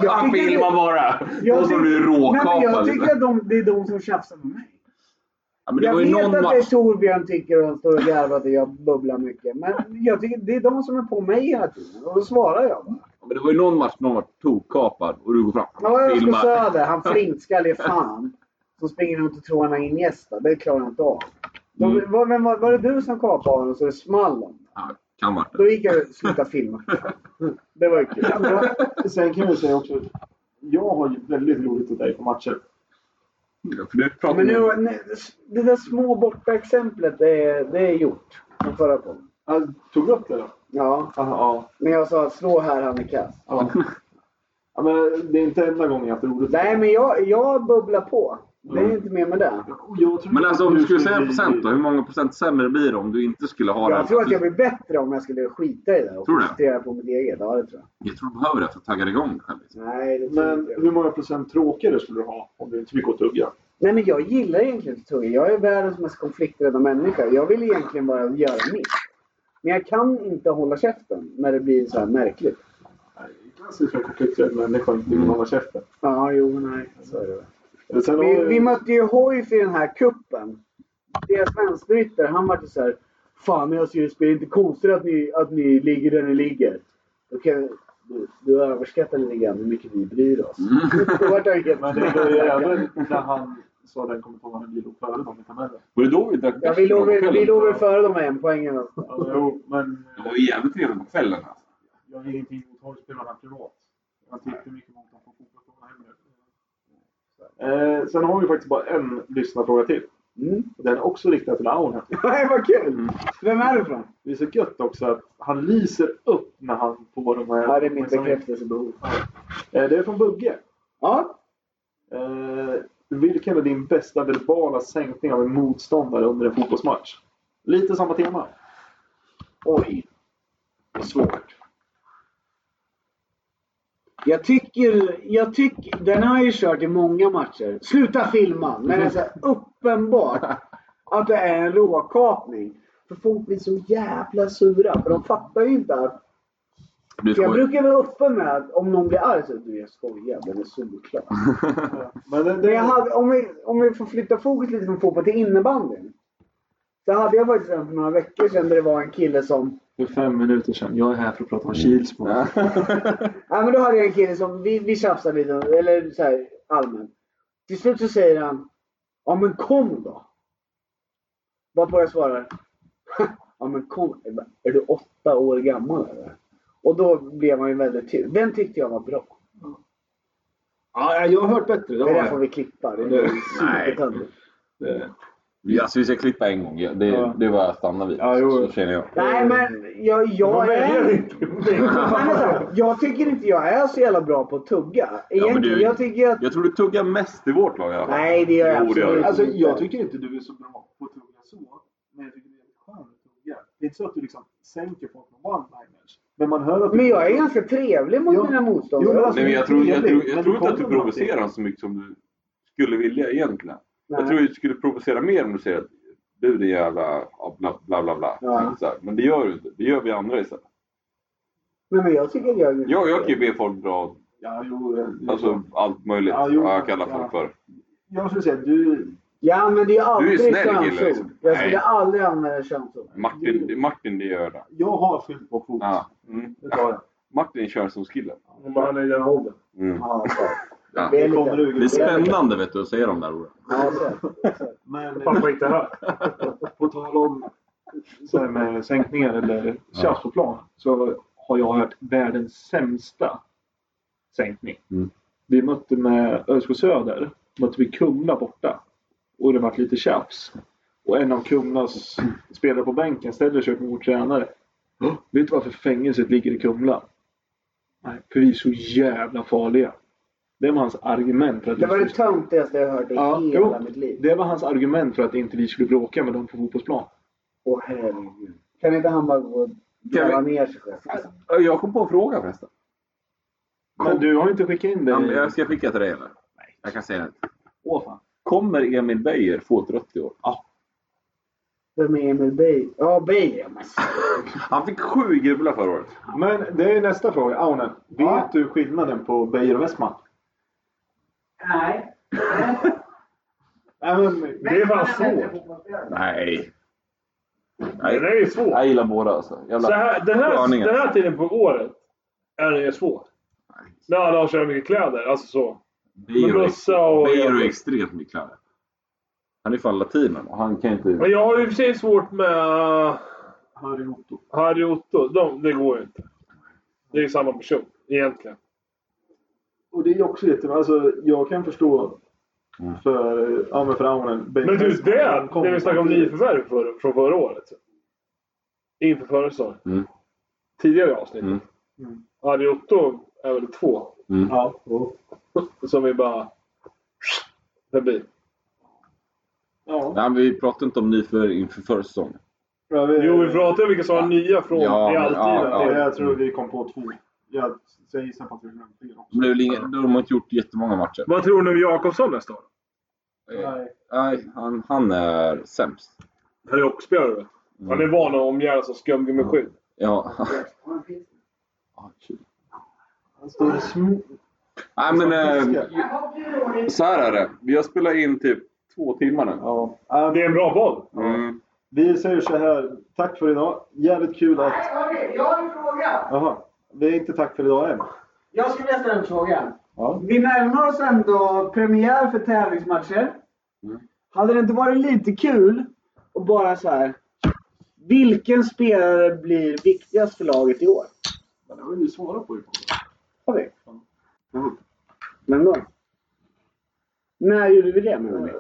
[SPEAKER 3] Han filmar bara!
[SPEAKER 4] jag
[SPEAKER 3] Och så
[SPEAKER 4] tycker-
[SPEAKER 3] blir du
[SPEAKER 4] Nej, men
[SPEAKER 3] råkapad.
[SPEAKER 4] Jag tycker att de, det är de som tjafsar med mig.
[SPEAKER 3] Ja, men det
[SPEAKER 4] Jag
[SPEAKER 3] var ju
[SPEAKER 4] vet att
[SPEAKER 3] någon
[SPEAKER 4] det är
[SPEAKER 3] match.
[SPEAKER 4] Torbjörn tycker och han står och garvar att jag bubblar mycket. Men jag tycker, det är de som är på mig hela tiden. Och då svarar jag bara.
[SPEAKER 3] Ja, Men det var ju någon match någon var tokkapad och du går fram
[SPEAKER 4] Ja,
[SPEAKER 3] och
[SPEAKER 4] jag ska
[SPEAKER 3] filmar.
[SPEAKER 4] söder.
[SPEAKER 3] *laughs*
[SPEAKER 4] Han flintskallig fan. Som springer runt och tror han har ingästa. Det klarar jag inte av. Då,
[SPEAKER 3] Mm.
[SPEAKER 4] var, men var, var det du som kapade honom så det small om?
[SPEAKER 3] Ja, kan vara det.
[SPEAKER 4] Då gick jag och slutade filma. *laughs* Det var ju kul.
[SPEAKER 2] Sen kan jag säga också, jag har ju väldigt roligt åt dig på matcher.
[SPEAKER 3] För du pratar
[SPEAKER 4] Men
[SPEAKER 3] ju-
[SPEAKER 4] nu, nej, det där små borta exemplet det är, det är gjort. Från förra gången.
[SPEAKER 2] Jag tog upp det då?
[SPEAKER 4] Ja.
[SPEAKER 2] Ja.
[SPEAKER 4] När jag sa slå här han är kass.
[SPEAKER 2] ja. ja men det är inte enda gången jag har haft roligt.
[SPEAKER 4] Nej men jag, jag bubblar på. Det
[SPEAKER 3] Mm.
[SPEAKER 4] är inte mer med det.
[SPEAKER 2] Och jag tror
[SPEAKER 3] Men alltså om
[SPEAKER 2] att
[SPEAKER 3] du skulle säga
[SPEAKER 2] bli-
[SPEAKER 3] procent då? Hur många procent sämre blir det om du inte skulle ha det här?
[SPEAKER 4] Jag tror att jag blir bättre om jag skulle skita i det och
[SPEAKER 3] Tror du?
[SPEAKER 4] fokusera på mitt eget. Ja det tror jag.
[SPEAKER 3] Jag tror du behöver det för att tagga igång dig själv. liksom.
[SPEAKER 4] Nej, det tror
[SPEAKER 2] Men
[SPEAKER 4] inte jag.
[SPEAKER 2] hur många procent tråkigare skulle du ha om du inte fick gå och tugga?
[SPEAKER 4] Nej men jag gillar egentligen inte tugga. Jag är världens mest konflikträdda människa. Jag vill egentligen bara göra mitt. Men jag kan inte hålla käften när det blir så här märkligt.
[SPEAKER 2] Klassiska konflikträdd människa, inte
[SPEAKER 5] Mm.
[SPEAKER 2] vill hålla käften.
[SPEAKER 4] Ja, jo, nej. Så är det.
[SPEAKER 2] Men Sen har
[SPEAKER 4] Vi,
[SPEAKER 2] ju-
[SPEAKER 4] vi mötte ju Hoif i den här kuppen. Deras vänsterytter, han var så här. Fan jag ser det är inte konstigt att ni, att ni ligger där ni ligger. Okej, du, du överskattar lite grann hur mycket vi bryr oss. *laughs* Då vart jag helt...
[SPEAKER 2] Mm. *laughs* Men det var ju
[SPEAKER 5] *laughs*
[SPEAKER 2] även när han sa den kommentaren vi låg före dem i tabellen.
[SPEAKER 3] Var det då vi drack
[SPEAKER 4] Ja, vi låg väl- vi låg väl före dem med en poäng eller något.
[SPEAKER 2] Ja, jo, men
[SPEAKER 3] Det var ju jävligt trevligt på kvällen. Alltså.
[SPEAKER 5] Jag har ingenting mot Hoifspelarna privat. Jag tycker mycket mot dem på fotbollsplanen.
[SPEAKER 2] eh, sen har vi faktiskt bara en lyssnarfråga till.
[SPEAKER 4] Mm.
[SPEAKER 2] Den är också riktad till Aon. här.
[SPEAKER 4] *laughs* Nej, vad kul! Vem är du från?
[SPEAKER 2] Det är så gött också att han lyser upp när han får de här...
[SPEAKER 4] Ja, det är mitt bekräftelsebehov.
[SPEAKER 2] Eh, det är från Bugge.
[SPEAKER 4] Ja,
[SPEAKER 2] Eh, vilken är din bästa verbala sänkning av en motståndare under en fotbollsmatch? Lite samma tema.
[SPEAKER 4] oj. Svårt. Jag tycker, jag tycker, den har jag ju kört i många matcher. Sluta filma! Men det är så här uppenbart att det är en råkapning. För folk blir så jävla sura. För de fattar ju inte att
[SPEAKER 3] Du
[SPEAKER 4] För jag
[SPEAKER 3] skojar.
[SPEAKER 4] brukar vara öppen med att om någon blir arg så du jag skojar, den är solklar.
[SPEAKER 2] Men den,
[SPEAKER 4] Men jag
[SPEAKER 2] den,
[SPEAKER 4] hade, om, vi, om vi får flytta fokus lite från fotboll till innebandyn. Så hade jag faktiskt en för några veckor sedan där det var en kille som...
[SPEAKER 2] för fem minuter sedan. Jag är här för att prata om Kilsbo.
[SPEAKER 4] Ja men då hade jag en kille som, vi, vi tjafsade lite, eller så här allmänt. Till slut så säger han, ja men kom då. Varpå jag svarar, *laughs* ja men kom, är du åtta år gammal eller? Och då blev man ju väldigt tyst. Den tyckte jag var bra.
[SPEAKER 2] Ja, jag har hört bättre. Det
[SPEAKER 4] Det
[SPEAKER 2] har
[SPEAKER 4] där får
[SPEAKER 2] jag.
[SPEAKER 4] vi klippa. Det
[SPEAKER 2] Det-
[SPEAKER 4] blir supertöntigt.
[SPEAKER 2] Det-
[SPEAKER 3] Vi- Alltså vi ska klippa en gång. Ja, Det,
[SPEAKER 2] Ja.
[SPEAKER 3] det var jag stannar vid.
[SPEAKER 2] Ja, jo.
[SPEAKER 3] Så känner jag.
[SPEAKER 4] Nej men jag, jag är... Men alltså, jag tycker inte jag är så jävla bra på att tugga. Egentligen,
[SPEAKER 3] du-
[SPEAKER 4] jag tycker att...
[SPEAKER 3] Jag tror du tuggar mest i vårt lag i alla fall.
[SPEAKER 4] Nej det gör jag
[SPEAKER 3] Jo, det gör
[SPEAKER 4] absolut
[SPEAKER 3] du.
[SPEAKER 2] Alltså,
[SPEAKER 4] inte.
[SPEAKER 2] jag tycker inte du är så bra på att tugga så. Men jag tycker det är väldigt skönt att tugga. Det är inte så att du liksom sänker folk med one-liners. Men man hör att du...
[SPEAKER 4] Men jag är ganska trevlig mot
[SPEAKER 2] Jo.
[SPEAKER 4] mina motståndare.
[SPEAKER 2] Jo, men alltså-
[SPEAKER 3] Nej, men jag tror, jag tror,
[SPEAKER 2] Men
[SPEAKER 3] jag tror inte att
[SPEAKER 2] kommer
[SPEAKER 3] du
[SPEAKER 2] man
[SPEAKER 3] provocerar
[SPEAKER 2] till-
[SPEAKER 3] honom så mycket som du skulle vilja egentligen. Jag
[SPEAKER 4] Nej.
[SPEAKER 3] tror du skulle provocera mer om du säger att du din jävla ja, bla bla bla. bla.
[SPEAKER 4] Ja.
[SPEAKER 3] Så här. Men det gör du inte. Det gör vi andra istället.
[SPEAKER 4] Nej, men jag tycker att jag är...
[SPEAKER 3] Jag, jag kan ju be folk dra
[SPEAKER 2] Ja, jo, eh,
[SPEAKER 3] alltså, allt möjligt.
[SPEAKER 2] Ja,
[SPEAKER 3] Ja,
[SPEAKER 2] jo.
[SPEAKER 3] jag kallar folk
[SPEAKER 2] Ja.
[SPEAKER 3] för.
[SPEAKER 2] Jag skulle säga du...
[SPEAKER 4] Jag använder ju aldrig
[SPEAKER 3] Du är snäll kille,
[SPEAKER 4] könsord.
[SPEAKER 3] liksom.
[SPEAKER 4] Jag skulle
[SPEAKER 3] Nej. Mm.
[SPEAKER 4] aldrig använda könsord.
[SPEAKER 3] Martin, Martin det gör det.
[SPEAKER 2] Jag har fyllt på fokus.
[SPEAKER 3] Ja. Mm.
[SPEAKER 2] Det tar jag.
[SPEAKER 3] Martin kör som skillen.
[SPEAKER 5] Om man är i den åldern.
[SPEAKER 3] Mm.
[SPEAKER 4] Ja, så.
[SPEAKER 3] Ja.
[SPEAKER 4] Det är
[SPEAKER 2] Kommer
[SPEAKER 4] lite...
[SPEAKER 2] du-
[SPEAKER 3] Det är spännande vet du att säga de där orden.
[SPEAKER 4] Ja, så.
[SPEAKER 2] Men eh,
[SPEAKER 5] Pappa inte här.
[SPEAKER 2] på tal om så här med sänkningar eller tjafs på plan. Så har jag hört världens sämsta sänkning.
[SPEAKER 3] Mm.
[SPEAKER 2] Vi mötte med ÖSK Söder. Mötte vi Kumla borta. Och det vart lite tjafs. Och en av Kumlas spelare på bänken ställer sig upp mot vår tränare. Vet du varför fängelset ligger i Kumla? Nej, för vi är så jävla farliga. Det var hans argument. För att
[SPEAKER 4] Det var
[SPEAKER 2] vi
[SPEAKER 4] det töntigaste jag hört i
[SPEAKER 2] Ja,
[SPEAKER 4] hela
[SPEAKER 2] jo.
[SPEAKER 4] mitt liv.
[SPEAKER 2] Det var hans argument för att inte vi skulle bråka med dem på fotbollsplan.
[SPEAKER 4] Åh herregud. Kan inte han bara gå och gräva ner sig själv?
[SPEAKER 3] Alltså, Jag kom på en fråga förresten.
[SPEAKER 2] Men du har inte skickat in det
[SPEAKER 3] Ja, men
[SPEAKER 2] i...
[SPEAKER 3] Jag ska skicka till dig eller? Nej. Jag kan säga det.
[SPEAKER 2] Åh fan.
[SPEAKER 3] Kommer Emil Beijer få ett rött i år? Ah,
[SPEAKER 4] Vem är Emil Bey? Ja, Bey är man.
[SPEAKER 3] Han fick sju gula förra året.
[SPEAKER 2] Men det är nästa fråga. Aune, vet
[SPEAKER 4] Ja.
[SPEAKER 2] du skillnaden på Beijer och Westman?
[SPEAKER 4] Nej.
[SPEAKER 2] Nej, men det är fan svårt.
[SPEAKER 3] Nej.
[SPEAKER 5] Det
[SPEAKER 3] Nej.
[SPEAKER 5] där är ju svårt.
[SPEAKER 3] Jag gillar båda alltså. Jävla
[SPEAKER 5] Så här, den, här,
[SPEAKER 3] sköningar.
[SPEAKER 5] den här tiden på året är det ju svårt. När alla har så här mycket kläder. Alltså så.
[SPEAKER 3] Det är ju
[SPEAKER 5] Men
[SPEAKER 3] ex-
[SPEAKER 5] Rossa och-
[SPEAKER 3] det är ju extremt mycket kläder. Han är fan latinen och han kan ju inte...
[SPEAKER 5] Men jag har ju i och för sig svårt med
[SPEAKER 2] Harry Otto.
[SPEAKER 5] Harry och Otto. De, det går ju inte. Det är ju samma person egentligen.
[SPEAKER 2] Och det är ju också jättebra. Alltså, jag kan förstå
[SPEAKER 3] Mm.
[SPEAKER 2] för, eh, ja, men för Aunen. Bengt
[SPEAKER 5] Men du,
[SPEAKER 2] Westman,
[SPEAKER 5] det!
[SPEAKER 2] han kom-
[SPEAKER 5] När vi snackade om nyförvärv för, från förra året. Inför förra säsongen.
[SPEAKER 3] Mm.
[SPEAKER 5] Tidigare avsnitt.
[SPEAKER 3] Mm.
[SPEAKER 2] Mm.
[SPEAKER 5] Harry och Otto är väl två
[SPEAKER 2] Ja, och-
[SPEAKER 5] som vi bara... Förbi.
[SPEAKER 2] ja.
[SPEAKER 3] Nej, men vi pratar inte om nyför inför förra säsongen.
[SPEAKER 2] Ja, vi-
[SPEAKER 5] Jo, vi pratade om vilka som var
[SPEAKER 3] Ja.
[SPEAKER 5] nya från.
[SPEAKER 3] Ja,
[SPEAKER 5] det
[SPEAKER 3] men-
[SPEAKER 5] är alltid
[SPEAKER 3] ja,
[SPEAKER 5] ja,
[SPEAKER 2] Ja, Jag tror vi kom på två. Jag, så jag gissar på att vi glömde fyra också.
[SPEAKER 3] Det blev väl ingen, de har inte gjort jättemånga matcher.
[SPEAKER 5] Vad tror ni om Jakobsson nästa år?
[SPEAKER 2] Nej.
[SPEAKER 3] Nej, han, han är sämst.
[SPEAKER 5] Han är hockeyspelare. vet du.
[SPEAKER 2] Mm.
[SPEAKER 5] Han är van att omgärdas av skumgummiskydd.
[SPEAKER 3] Ja. *laughs*
[SPEAKER 2] Han står i sm-
[SPEAKER 3] Nej, men
[SPEAKER 2] Ehm,
[SPEAKER 3] eh, så här är det. Vi har spelat in typ två timmar nu.
[SPEAKER 2] ja. Ja,
[SPEAKER 5] Det är
[SPEAKER 2] men
[SPEAKER 5] en bra boll.
[SPEAKER 3] Mm.
[SPEAKER 2] Vi säger så här. Tack för idag. Jävligt kul att...
[SPEAKER 4] Jag har en fråga.
[SPEAKER 2] Jaha. Det är inte tack för idag än.
[SPEAKER 4] Jag skulle vilja ställa en fråga.
[SPEAKER 2] Ja.
[SPEAKER 4] Vi närmar oss ändå premiär för tävlingsmatcher. Hade det inte varit lite kul att bara så här. Vilken spelare blir viktigast för laget i år?
[SPEAKER 2] Men det har vi ju svarat på. ju.
[SPEAKER 4] Har vi? Men då? När gjorde vi det menar ni?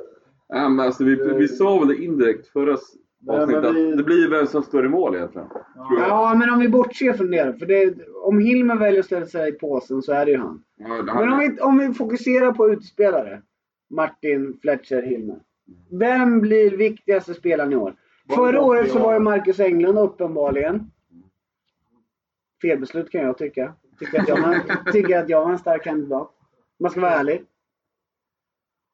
[SPEAKER 3] Ja, men alltså, vi, vi
[SPEAKER 4] Eh,
[SPEAKER 3] sa väl det indirekt förra s-
[SPEAKER 2] Nej, men
[SPEAKER 3] avsnittet.
[SPEAKER 2] vi-
[SPEAKER 3] att Det blir vem som står i mål egentligen. Tror jag.
[SPEAKER 4] Ja, men om vi bortser från det. För det om Hilmer väljer att ställa sig i påsen så är det ju han.
[SPEAKER 3] Ja, det
[SPEAKER 4] Men om
[SPEAKER 3] här-
[SPEAKER 4] vi, om vi fokuserar på utspelare. Martin Fletcher Hilmer. Vem blir viktigaste spelaren i år? Förra året så var ju Marcus Englund uppenbarligen. Felbeslut kan jag tycka. Tycker att jag, var, tycker att jag var en stark kandidat. Man ska vara ärlig.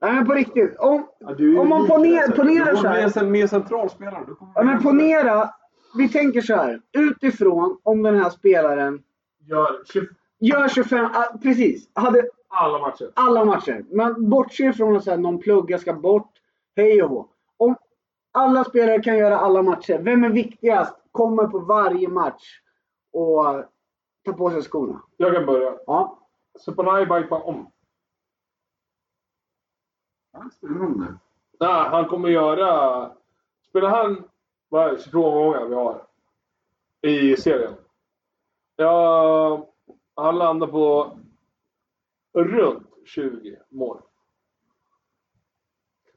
[SPEAKER 4] Nej men på riktigt. Om,
[SPEAKER 2] Ja, du är ju
[SPEAKER 4] om man
[SPEAKER 2] lik där,
[SPEAKER 4] ponerar,
[SPEAKER 2] säkert.
[SPEAKER 4] ponerar så här.
[SPEAKER 3] Du får bli en mer central spelare. Du kommer-
[SPEAKER 4] Ja, men ponera, vi tänker så här. Utifrån om den här spelaren
[SPEAKER 5] Gör 20
[SPEAKER 4] gör 25, ah, precis, hade
[SPEAKER 5] alla matcher.
[SPEAKER 4] alla matcher. Men bortse från att så här, någon plugga ska bort, hej och hå. Om alla spelare kan göra alla matcher, vem är viktigast? Kommer på varje match och tar på sig skorna.
[SPEAKER 5] Jag kan börja.
[SPEAKER 4] Ja.
[SPEAKER 5] Supanai Baikpa om.
[SPEAKER 3] Ja, spelar du om nu?
[SPEAKER 5] Nej, han kommer göra... Spelar han vad är det, 22 omgångar vi har i serien? Ja, han landar på runt 20 mål.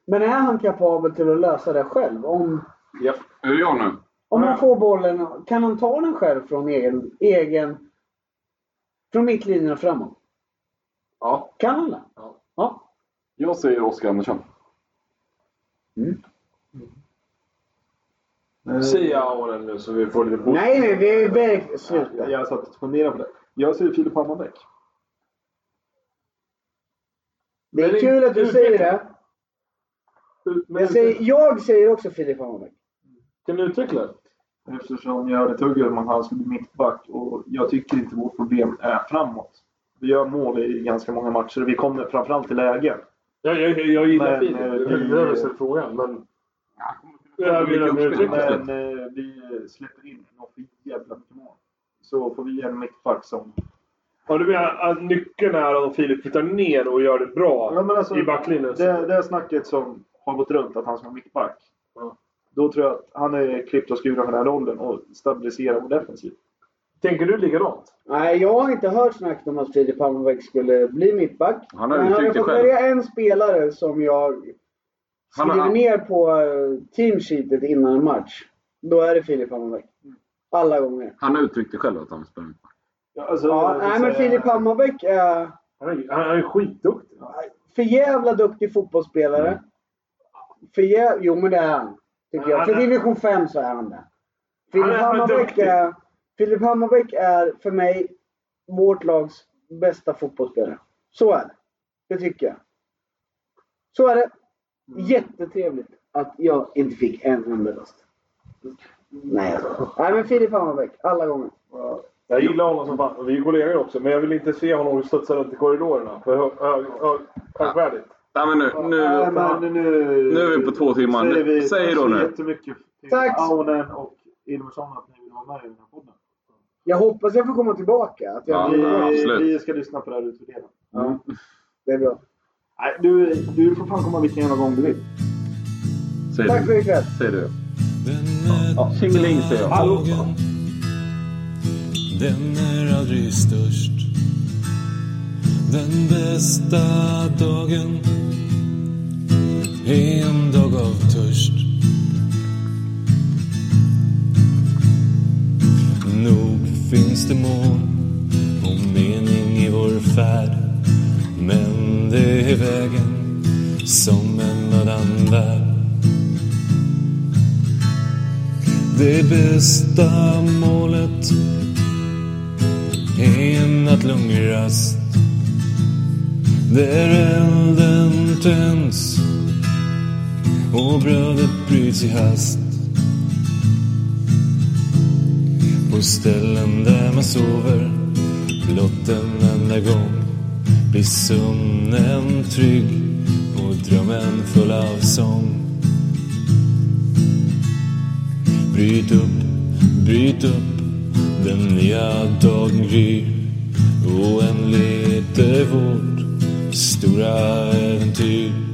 [SPEAKER 4] Men är han kapabel till att lösa det själv? Om,
[SPEAKER 5] Japp.
[SPEAKER 3] Är det jag nu?
[SPEAKER 4] om han får bollen, kan han ta den själv från egen, egen från mittlinjen och framåt?
[SPEAKER 5] Ja.
[SPEAKER 4] Kan han det?
[SPEAKER 5] Ja.
[SPEAKER 4] ja.
[SPEAKER 3] Jag säger Oskar Andersson.
[SPEAKER 5] Säga åren nu så vi får lite positivt.
[SPEAKER 4] Nej, nej, det är verkligen... Sluta.
[SPEAKER 2] Jag- Jag satt och funderade på det. Jag säger Filip Hammarbäck.
[SPEAKER 4] Det är kul att du säger det. Jag säger, jag säger också Filip Hammarbäck.
[SPEAKER 5] Kan du utveckla det?
[SPEAKER 2] Eftersom jag hade tuggat om att han skulle bli mittback och jag tycker inte vårt problem är framåt. Vi gör mål i ganska många matcher och vi kommer framförallt till lägen.
[SPEAKER 5] Jag, jag, jag gillar
[SPEAKER 2] Men,
[SPEAKER 5] Filip.
[SPEAKER 2] eh,
[SPEAKER 5] Det är
[SPEAKER 2] vi-
[SPEAKER 5] inte därför jag ställer frågan. Men... Jag vill att du
[SPEAKER 3] Mycket
[SPEAKER 5] utvecklar det.
[SPEAKER 2] Men eh, vi släpper in något jävla mycket mål. Så får vi en mittback som...
[SPEAKER 5] Ja, du menar att nyckeln är om Filip flyttar ner och gör det bra
[SPEAKER 2] Ja, men alltså,
[SPEAKER 5] i backlinjen?
[SPEAKER 2] Det, det här snacket som har gått runt att han ska vara mittback.
[SPEAKER 5] Ja.
[SPEAKER 2] Då tror jag att han är klippt och skuren för den här rollen och stabiliserar vår defensiv.
[SPEAKER 5] Tänker du likadant?
[SPEAKER 4] Nej, jag har inte hört snacket om att Filip Hammarbäck skulle bli mittback.
[SPEAKER 3] Han har
[SPEAKER 4] Men
[SPEAKER 3] uttryckt
[SPEAKER 4] hade
[SPEAKER 3] det
[SPEAKER 4] fått
[SPEAKER 3] själv.
[SPEAKER 4] välja en spelare som jag
[SPEAKER 3] Han har-
[SPEAKER 4] skriver ner på eh, teamsheetet innan en match. Då är det Filip Hammarbäck. Alla gånger.
[SPEAKER 3] Han har uttryckt det själv att han spelar mittback.
[SPEAKER 2] Ja, alltså, jag
[SPEAKER 4] Ja,
[SPEAKER 2] vill
[SPEAKER 4] nej, men eh,
[SPEAKER 2] säga-
[SPEAKER 4] Filip Hammarbäck är...
[SPEAKER 5] Han är, han är skitduktig.
[SPEAKER 4] för jävla duktig fotbollsspelare.
[SPEAKER 5] Mm.
[SPEAKER 4] För jä... Jo men det är han. Tycker jag.
[SPEAKER 5] Han
[SPEAKER 4] För
[SPEAKER 5] är-
[SPEAKER 4] division 5 så är han det. Filip
[SPEAKER 5] han är
[SPEAKER 4] Hammarbäck,
[SPEAKER 5] duktig.
[SPEAKER 4] är, Filip Hammarbäck är för mig vårt lags bästa fotbollsspelare. Så är det. Det tycker jag. Så är det.
[SPEAKER 5] Mm.
[SPEAKER 4] Jättetrevligt att jag inte fick en enda röst. Nej, jag skojar. Nej men Filip Hammarbäck, alla gånger.
[SPEAKER 5] Jag gillar honom som fan. Vi är kollegor också. Men jag vill inte se honom studsa runt i korridorerna. För hö- hö- hö- högvärdigt.
[SPEAKER 3] Nej, men nu, nu,
[SPEAKER 2] men nu,
[SPEAKER 3] nu är vi på två timmar.
[SPEAKER 2] Säger vi,
[SPEAKER 3] Nu- Säg
[SPEAKER 2] tack
[SPEAKER 3] då
[SPEAKER 2] så
[SPEAKER 3] nu.
[SPEAKER 2] jättemycket till
[SPEAKER 4] Tack.
[SPEAKER 2] Aunen och Ilmersson att ni vill vara med i den här podden.
[SPEAKER 4] Jag hoppas jag får komma tillbaka. Att jag
[SPEAKER 3] Ja,
[SPEAKER 4] blir...
[SPEAKER 3] ja.
[SPEAKER 2] Vi,
[SPEAKER 3] absolut.
[SPEAKER 2] vi ska lyssna på det här och utvärdera.
[SPEAKER 4] Det är bra.
[SPEAKER 2] Nej, du, du får fan komma vilken jävla gång du vill.
[SPEAKER 3] Säg
[SPEAKER 4] Tack
[SPEAKER 3] du.
[SPEAKER 4] för ikväll.
[SPEAKER 3] Säg du.
[SPEAKER 1] Den
[SPEAKER 3] Ja, tjingeling säger jag.
[SPEAKER 1] är dagen. Den är aldrig störst. Den bästa dagen är en dag av törst. Nog finns det mål och mening i vår färd. Men det är vägen som en mödan värd. Det bästa målet är en nattlång rast där elden tänds och brödet bryts i hast På ställen där man sover blott en enda gång blir sömnen trygg och drömmen full av sång Bryt upp, bryt upp, den nya dagen gryr. Oändligt är vårt stora äventyr.